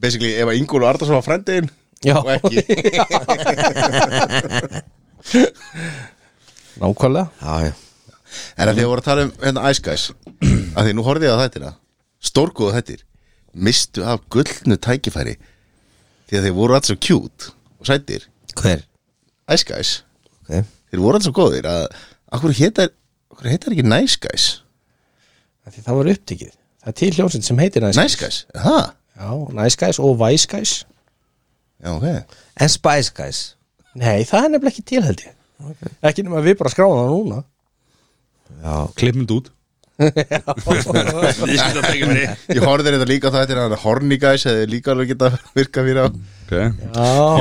Speaker 3: Basically, ef að Ingúl og Ardarsson var frendiðin
Speaker 2: Já.
Speaker 3: og ekki
Speaker 2: Nákvæmlega
Speaker 4: já, já.
Speaker 3: En að því að voru að tala um hérna Ice Guys að því nú horfði ég á þættina stórgóðu þættir mistu af gullnu tækifæri því að þeir voru alls svo cute og sættir
Speaker 4: Hver?
Speaker 3: Ice Guys,
Speaker 4: Okay.
Speaker 3: þeir voru alls svo góðir að akkur heitar, akkur heitar ekki Nice Guys
Speaker 2: Af Því það var upptikið Það er til hljómsinn sem heitir Nice
Speaker 3: Nice Guys, það
Speaker 2: Já, Nice Guys og Vice Guys
Speaker 3: Já, ok
Speaker 4: En Spice Guys
Speaker 2: Nei, það er nefnilega ekki til held ég Ekki nema við bara skráðum það núna
Speaker 4: Já,
Speaker 1: Klippum þetta út Ég skil að tengja mér í
Speaker 3: Ég horfði þetta líka á þættina að Horny Guys hefði líka alveg geta virkað fyrir á
Speaker 1: Ok,
Speaker 2: Já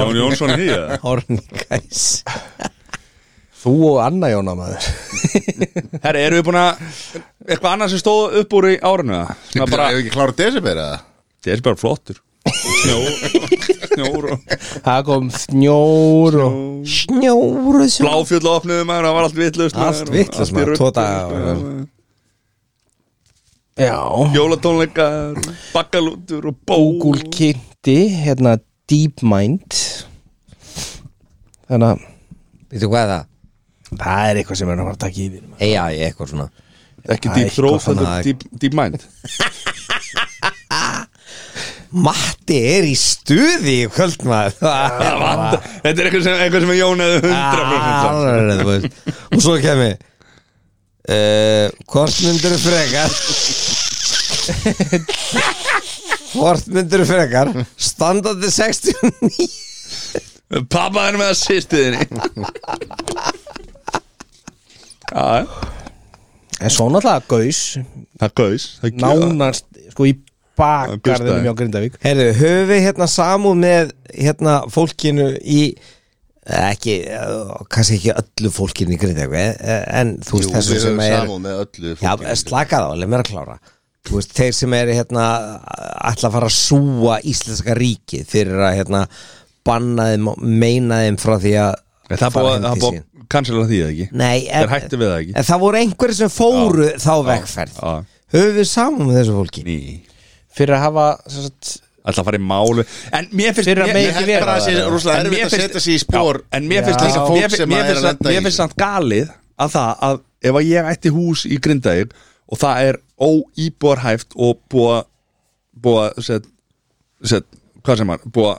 Speaker 1: Jón Jónsson í það
Speaker 4: Horny Guys
Speaker 2: Þú og Anna Jóna maður
Speaker 1: Herra, erum við búin að Eitthvað annað sem stóð upp úr í árinu eða? Svona
Speaker 3: Ég
Speaker 1: bara,
Speaker 3: hef ekki klárað desember eða?
Speaker 1: Það er bara flottur Snjór, snjór og
Speaker 2: Það kom snjór og
Speaker 4: Snjóru
Speaker 1: bláfjöld opniði maður, það var allt vitlaust maður,
Speaker 4: Allt
Speaker 1: og
Speaker 4: vitlaust,
Speaker 1: allt í
Speaker 4: maður,
Speaker 1: rugli,
Speaker 4: tvo daga,
Speaker 1: sko,
Speaker 4: maður.
Speaker 2: Já,
Speaker 1: Jólatónleika, bakkalútur og bó
Speaker 2: Google kynnti hérna DeepMind Þannig að
Speaker 4: Veitu hvað er það?
Speaker 2: það er eitthvað sem er að fara að taka yfir
Speaker 4: AI eitthvað svona
Speaker 1: Ekki
Speaker 2: Æ,
Speaker 1: Deep
Speaker 2: eitthvað
Speaker 1: Throat,
Speaker 2: svona,
Speaker 1: þetta er Deep- Deep Mind
Speaker 4: Matti er í stuði í kvöld maður Það
Speaker 1: Það vantar- Þetta er eitthvað sem, eitthvað sem er jónaði 100% samt.
Speaker 4: Alveg, þú veist. Og svo kemi uh, Hvort myndir frekar Hvort myndir frekar Standandi 69
Speaker 1: Ah. Pappaðin með að sýstiðinni Ah, Já,
Speaker 2: En svo náttúrulega gaus
Speaker 1: það gauðis
Speaker 2: Nánast, sko í
Speaker 1: Gustaði.
Speaker 2: bakgarðinu mjög Grindavík
Speaker 4: Herðu, höfum við hérna samúð með hérna fólkinu í ekki, eh, kannski ekki öllu fólkinu í Grindavík eh, en þú veist þessu
Speaker 3: við
Speaker 4: sem
Speaker 3: höfum
Speaker 4: er
Speaker 3: samúð með öllu
Speaker 4: Já,
Speaker 3: fólki.
Speaker 4: slaka þá, leið mér að klára Þú veist, þeir sem eru hérna ætla að fara að súa íslenska ríki fyrir að hérna banna þeim og meina þeim frá því að
Speaker 1: Það er
Speaker 4: fara
Speaker 1: búið
Speaker 4: heim
Speaker 1: það er
Speaker 4: til
Speaker 1: búið
Speaker 4: sín.
Speaker 1: að cancela því eða ekki
Speaker 4: Nei,
Speaker 1: Þeir hættu við það ekki.
Speaker 4: En það voru einhverjir sem fóru þá vegferð
Speaker 1: já.
Speaker 4: Höfum við samum með þessu fólki?
Speaker 1: Ah, Ný
Speaker 2: Fyrir að hafa sem sagt,
Speaker 1: Alltaf farið málu En mér finnst
Speaker 2: Fyrir að
Speaker 1: mér- mér-
Speaker 2: megi ekki
Speaker 3: Ég held
Speaker 2: vera
Speaker 3: bara að það sé
Speaker 2: það,
Speaker 3: rosalega
Speaker 1: En
Speaker 3: erfitt
Speaker 1: mér
Speaker 3: að
Speaker 1: finnst-
Speaker 3: setja sig í spór
Speaker 1: Já, En mér
Speaker 2: Já.
Speaker 1: finnst
Speaker 2: Þessa
Speaker 1: líka
Speaker 3: fólk
Speaker 1: mér finnst-
Speaker 3: sem
Speaker 1: mér
Speaker 3: er að
Speaker 1: finnst samt-
Speaker 3: lenda í
Speaker 1: Mér finnst samt galið að það að ef að ég ætti hús í Grindavík og það er óíbúarhæft og búa búa set, set, hvað sem var búa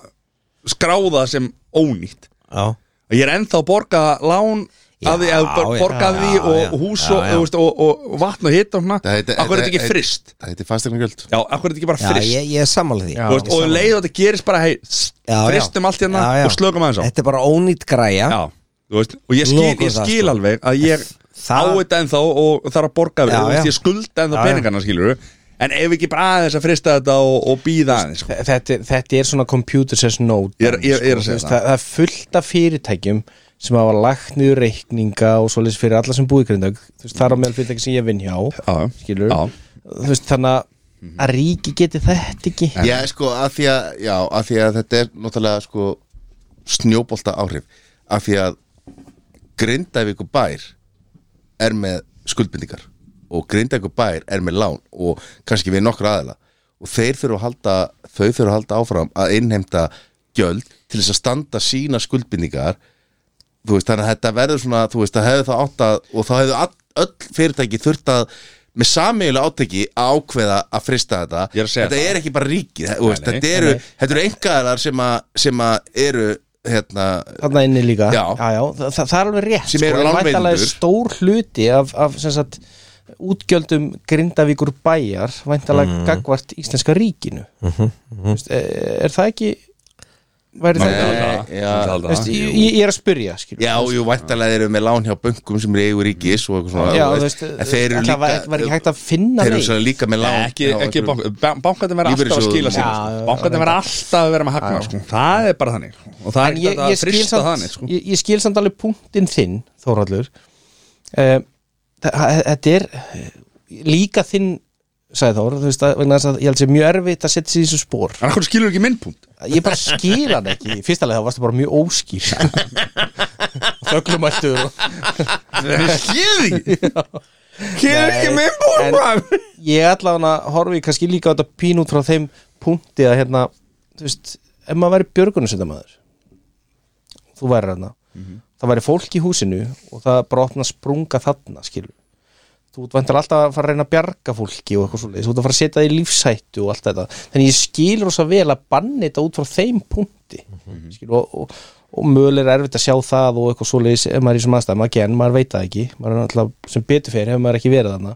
Speaker 1: skráða sem ónýtt
Speaker 4: Já
Speaker 1: að ég er ennþá að borga lán að því
Speaker 4: Já,
Speaker 1: að bara
Speaker 4: já,
Speaker 1: borga
Speaker 4: já,
Speaker 1: því
Speaker 4: já,
Speaker 1: og hús og,
Speaker 4: já, já.
Speaker 1: þú veist, og, og vatn og hitt og svona
Speaker 3: Það
Speaker 1: akkur er
Speaker 3: heitir-
Speaker 1: þetta
Speaker 3: þetta-
Speaker 1: ekki frist
Speaker 3: Það heitir fastegnargjöld
Speaker 1: já, akkur er þetta ekki bara
Speaker 4: Já,
Speaker 1: frist
Speaker 4: ég, ég er sammála því
Speaker 2: Já.
Speaker 1: Þú veist, og um leið og þetta gerist bara hei,
Speaker 4: Já, já.
Speaker 1: fristum allt hérna
Speaker 4: Já, já.
Speaker 1: og slökum aðeins á
Speaker 4: Þetta er bara ónýtt græja
Speaker 1: já, þú veist, og ég skil,
Speaker 4: Lokum
Speaker 1: ég
Speaker 4: það,
Speaker 1: skil
Speaker 4: sko.
Speaker 1: alveg að ég á
Speaker 4: Það-
Speaker 1: þetta ennþá og þarf að borga við,
Speaker 4: Já,
Speaker 1: þú veist,
Speaker 4: já.
Speaker 1: ég skulda
Speaker 4: Já,
Speaker 1: ennþá
Speaker 4: já.
Speaker 1: peningana skilur en ef ekki bara aðeins að frista þetta og, og býða aðeins sko.
Speaker 2: þetta, er- þetta er svona computer says no
Speaker 1: Ég er- ég er- ég er að
Speaker 2: sko,
Speaker 1: segja
Speaker 2: þú veist,
Speaker 1: það.
Speaker 2: það Það er fullt af fyrirtækjum sem hafa lagt niður reikninga og svoleiðis fyrir alla sem búi í Grindavík Þú veist, það er á meðal fyrirtæki sem ég vinn hjá
Speaker 1: Já, já.
Speaker 2: Skilur
Speaker 1: Já. Mhm.
Speaker 2: Þú veist, þannig að- að ríki geti þetta ekki
Speaker 3: Já, sko, að því að, já, að því að þetta er náttúrulega sko snjóbolta áhrif að því að Grindavík og bær er með skuldbindingar og Grindavík og bær er með lán og kannski við nokkur aðila og þeir þurfa að halda, þau þurfa að halda áfram að innheimta gjöld til þess að standa sína skuldbindingar þú veist, þannig að þetta verður svona þú veist, það hefði það átt að og þá hefðu all, öll fyrirtæki þurft að með sameigilega átæki að ákveða að frista þetta,
Speaker 1: Ég er að segja
Speaker 3: þetta
Speaker 1: það.
Speaker 3: er ekki bara ríkið þú veist,
Speaker 1: Nei, nei.
Speaker 3: þetta eru, þetta eru engaðarar sem að, sem að eru hérna,
Speaker 2: Þarna inni líka
Speaker 3: Já.
Speaker 2: Já, já, það, það það er alveg rétt
Speaker 3: Sem
Speaker 2: sko,
Speaker 3: eru
Speaker 2: en
Speaker 3: lánveitendur.
Speaker 2: væntanlega er stór hluti af, af sem sagt, útgjöldum Grindavíkur bæjar væntalega
Speaker 1: Mhm.
Speaker 2: mm. gagvart íslenska ríkinu mm er, er það ekki væri það
Speaker 1: Ég held
Speaker 3: Nei,
Speaker 1: að-
Speaker 3: já.
Speaker 1: ég held að-
Speaker 2: Veist, ég, ég ég er að spyrja skilur.
Speaker 3: já, jú, væntalega eru með lán hjá bönkum sem eru í eigu ríkis og eitthvað svona
Speaker 2: já
Speaker 3: þú
Speaker 2: þú veist,
Speaker 3: en þeir eru
Speaker 2: það
Speaker 3: líka
Speaker 2: var, var ekki hægt að finna
Speaker 3: þeir eru
Speaker 2: neitt.
Speaker 3: svona líka með lán
Speaker 1: ekki,
Speaker 3: hjá
Speaker 1: ekki
Speaker 3: einhverjum-
Speaker 1: bankandi verða alltaf að
Speaker 3: Lífeyrissjóðum.
Speaker 1: skila sér
Speaker 2: Já,
Speaker 1: sko.
Speaker 2: já,
Speaker 1: bankandi verða alltaf að vera með hagna sko. það er bara þannig og það er
Speaker 2: en ég,
Speaker 1: ekki
Speaker 2: ég,
Speaker 1: að
Speaker 2: skil
Speaker 1: frista
Speaker 2: samt,
Speaker 1: þannig sko.
Speaker 2: ég, ég skil samt alveg punktinn þinn Þóraldur uh, þetta er eh, líka þinn sagði Þór, þú veist að, vegna þess að ég held sér mjög erfitt að setja sér í þessu spór
Speaker 1: en hvernig skilur ekki minnpunkt
Speaker 2: ég bara skil hann ekki, í fyrsta lega þá varstu bara mjög óskýr þöglumæltur og
Speaker 4: Kynir ekki minn búin
Speaker 2: en- ég ætla hann að horfi kannski líka á þetta pín út frá þeim punkti að hérna, þú veist, ef maður væri björgunarsöndamæður þú væri hérna það væri fólk í húsinu og það bara opna sprunga þarna, skilur þú vantar alltaf að fara að reyna að bjarga fólki og eitthvað svoleiðis, þú ert að fara að setja það í lífsættu og allt þetta, þannig ég skil rosa vel að banni þetta út frá þeim punkti skilur, og, og, og mögulega er erfitt að sjá það og eitthvað svoleiðis ef maður er í sem aðstæðum, again, maður veit það ekki maður er alltaf sem betur fyrir hefur maður ekki verið þarna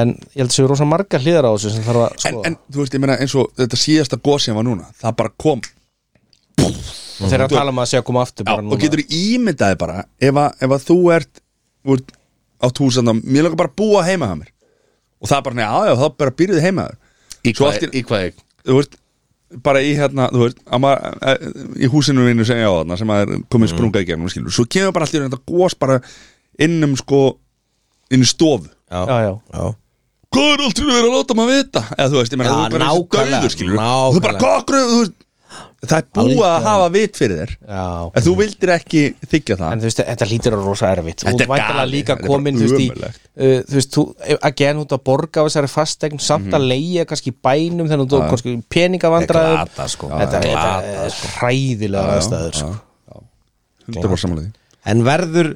Speaker 2: en ég held að séu rosa margar hliðar á þessu sem þarf að
Speaker 1: en,
Speaker 2: skoða
Speaker 1: en þú veist, ég meina eins og þetta síðasta góð sem var núna það bara kom
Speaker 2: og þeir eru að tala um að sé að koma
Speaker 1: Já,
Speaker 2: aftur
Speaker 1: og
Speaker 2: bara núna
Speaker 1: getur ímyndaði bara ef að, ef að þú ert, þú ert á túsanum, mér langar bara að búa heima hjá mér og það er bara, neða, já, þá bara býrðu heima hjá þér Svo
Speaker 3: í hvað,
Speaker 1: allt í-
Speaker 3: í hvað eign?
Speaker 1: þú veist, bara í hérna þú veist, að maður, eh, í húsinu mínu segja á þarna sem að er komin sprunga í gegnum skilur. svo kemur bara allir þetta gos bara innum sko um, inn í stofu
Speaker 2: já, já,
Speaker 4: já.
Speaker 1: Hvað er aldrei verið að láta maður vita? Eða þú veist, ég meina,
Speaker 4: Já,
Speaker 1: þú er bara eins og
Speaker 4: nákvæmlega,
Speaker 1: dauður, skilur
Speaker 4: nákvæmlega.
Speaker 1: Þú er bara kokru, þú veist Það er búið að
Speaker 4: Algjörlega.
Speaker 1: hafa vit fyrir þér
Speaker 2: já.
Speaker 1: En þú vildir ekki þykja
Speaker 2: En
Speaker 1: það
Speaker 2: þú veist, þetta lítur að rosa erfitt Þú
Speaker 1: Þetta
Speaker 2: ert
Speaker 1: er
Speaker 2: væntanlega
Speaker 1: galið,
Speaker 2: líka
Speaker 1: þetta er bara
Speaker 2: komin Þú veist, í,
Speaker 1: ömurlegt.
Speaker 2: uh, þú veist, þú again út að borga á þessari fastegn samt
Speaker 1: Mhm.
Speaker 2: að leigja kannski í bænum þannig að þú kannski peningavandræður
Speaker 4: Þetta er glatað, sko.
Speaker 2: Þetta
Speaker 4: Já,
Speaker 2: þetta er
Speaker 1: sko.
Speaker 2: hræðilega aðstæður sko.
Speaker 1: Hundra var samanlega
Speaker 4: En verður,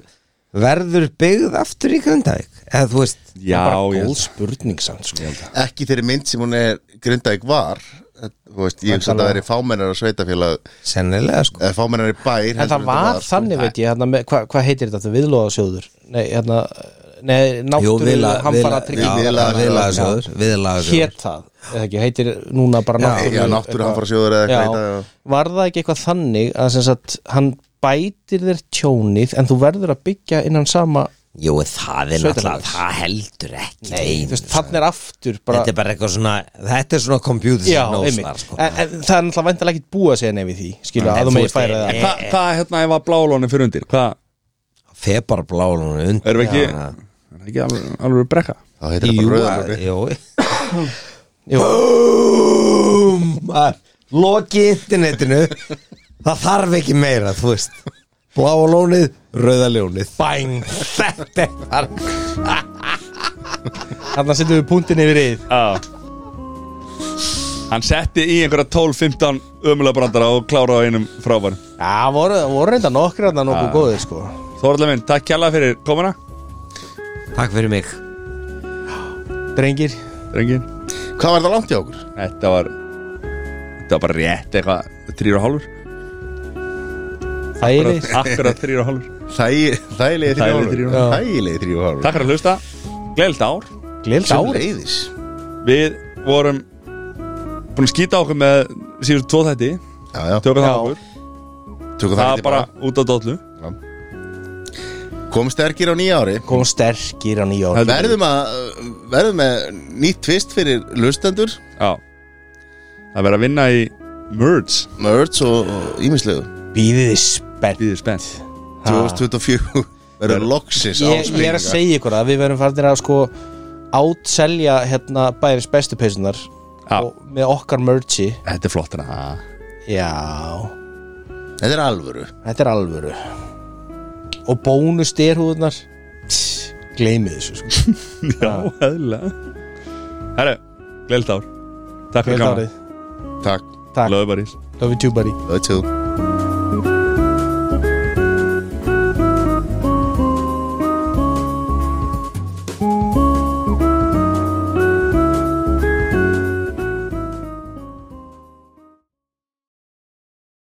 Speaker 4: verður byggð aftur í Grindavík eða þú veist
Speaker 1: því Já,
Speaker 2: Bara
Speaker 1: ég
Speaker 2: góð spurning samt sko.
Speaker 3: ekki þeirri mynd sem hún er Grindavík var þú veist, ég hugsa að það veri fámennar og sveitafélag
Speaker 4: sennilega sko
Speaker 3: eða fámennar í bær
Speaker 2: En það var
Speaker 1: sko.
Speaker 3: sko.
Speaker 2: þannig veit ég hérna, með- hvað hva heitir þetta, viðlóðasjóður Nei, hérna, nei, náttúru hamfara
Speaker 3: já,
Speaker 2: trygging
Speaker 4: viðlagasjóður viðlagasjóður
Speaker 2: Hét það, eða ekki, heitir núna bara náttúru
Speaker 3: já, náttúruhamfarasjóður eða eitthvað í
Speaker 2: já,
Speaker 3: dag, já.
Speaker 2: var það ekki eitthvað þannig að sem sagt, hann bætir þér tjónið en þú verður að byggja innan sama
Speaker 4: Jú, það er náttúrulega,
Speaker 2: Sveitarfélags.
Speaker 4: það heldur ekki
Speaker 2: þú
Speaker 4: neinu.
Speaker 2: veist, þannig er aftur bara,
Speaker 4: Þetta er bara eitthvað svona Þetta er svona computer sem
Speaker 2: já,
Speaker 4: knows
Speaker 2: einmitt
Speaker 4: þar, sko.
Speaker 2: en, en það er náttúrulega vantilega ekkit búið að segja nefn við því skilu,
Speaker 4: En
Speaker 2: að
Speaker 4: þú
Speaker 2: þú megir
Speaker 4: veist,
Speaker 2: færa
Speaker 4: en-
Speaker 2: það
Speaker 1: Hva- Hvað, hérna, ef að blálónin fyrir undir Hvað,
Speaker 4: Febar blálunum undir
Speaker 1: erum við ekki
Speaker 4: hana.
Speaker 1: Er það ekki alveg, alveg brekka?
Speaker 3: þá heitir þetta
Speaker 4: Jú,
Speaker 3: bara
Speaker 4: að-
Speaker 3: rauðar
Speaker 4: Jú
Speaker 2: Jú.
Speaker 4: Búm að Loki internetinu Það þarf ekki meira, þú veist Bláa lónið, rauða lónið Bæng, þetta er bara
Speaker 2: þannig að setjum við punktin yfir yð
Speaker 1: Já Hann setti í einhverja 12-15 ömulegabrandara og kláraði á einum frábærum
Speaker 2: já, voru, voru reynda nokkri að það nokkuð góðið sko.
Speaker 1: Þorlega minn, takk kjalla fyrir komuna
Speaker 4: Takk fyrir mig
Speaker 2: drengir,
Speaker 1: Drengin,
Speaker 3: hvað var það langt hjá okkur?
Speaker 1: þetta var Þetta var bara rétt eitthvað Þrýra hálfur
Speaker 2: það er yfir
Speaker 1: Akkurat þrýra hálfur
Speaker 3: Þægi- þægilegi
Speaker 1: Þægilegi
Speaker 3: þrjú
Speaker 1: þrír
Speaker 3: hálfur
Speaker 2: hálfur.
Speaker 3: þægilegi þrjú hálfur
Speaker 1: Takk fyrir að hlusta, gleyld ár
Speaker 2: glilt
Speaker 3: sem
Speaker 2: árið
Speaker 3: leiðis
Speaker 1: Við vorum búin að skýta okkur með síður tvo þætti
Speaker 3: já, já,
Speaker 1: Tökum
Speaker 2: Já.
Speaker 1: það okkur,
Speaker 3: tökum
Speaker 1: það
Speaker 3: það
Speaker 1: var
Speaker 3: ekki
Speaker 1: bara
Speaker 3: bara
Speaker 1: út á dollu
Speaker 3: komum sterkir á nýja ári
Speaker 2: kom sterkir á nýjón
Speaker 1: Heldur
Speaker 3: verðum að verðum með nýtt tvist fyrir lustendur
Speaker 1: Já Það verður að vinna í Merge
Speaker 3: merge og og ýmislegu
Speaker 2: býðið spennt
Speaker 1: Býðið spennt
Speaker 3: 2024 verður loksis
Speaker 2: ég, ég er að segja ykkur að við verðum farinir að sko átselja hérna bæðins bestu peysunar
Speaker 1: Já.
Speaker 2: og með okkar merchi
Speaker 1: Þetta er flott hérna
Speaker 2: já,
Speaker 3: þetta er alvöru
Speaker 2: þetta er alvöru og bónus derhúðunar gleymið þessu sko.
Speaker 1: Já, heðlega Herru, gleyld ár Takk fyrir
Speaker 2: Vel
Speaker 1: kamerað
Speaker 2: farið.
Speaker 3: takk,
Speaker 2: takk,
Speaker 1: Löðu bara ís
Speaker 2: love you too buddy
Speaker 3: öðtjóðum
Speaker 1: Bye.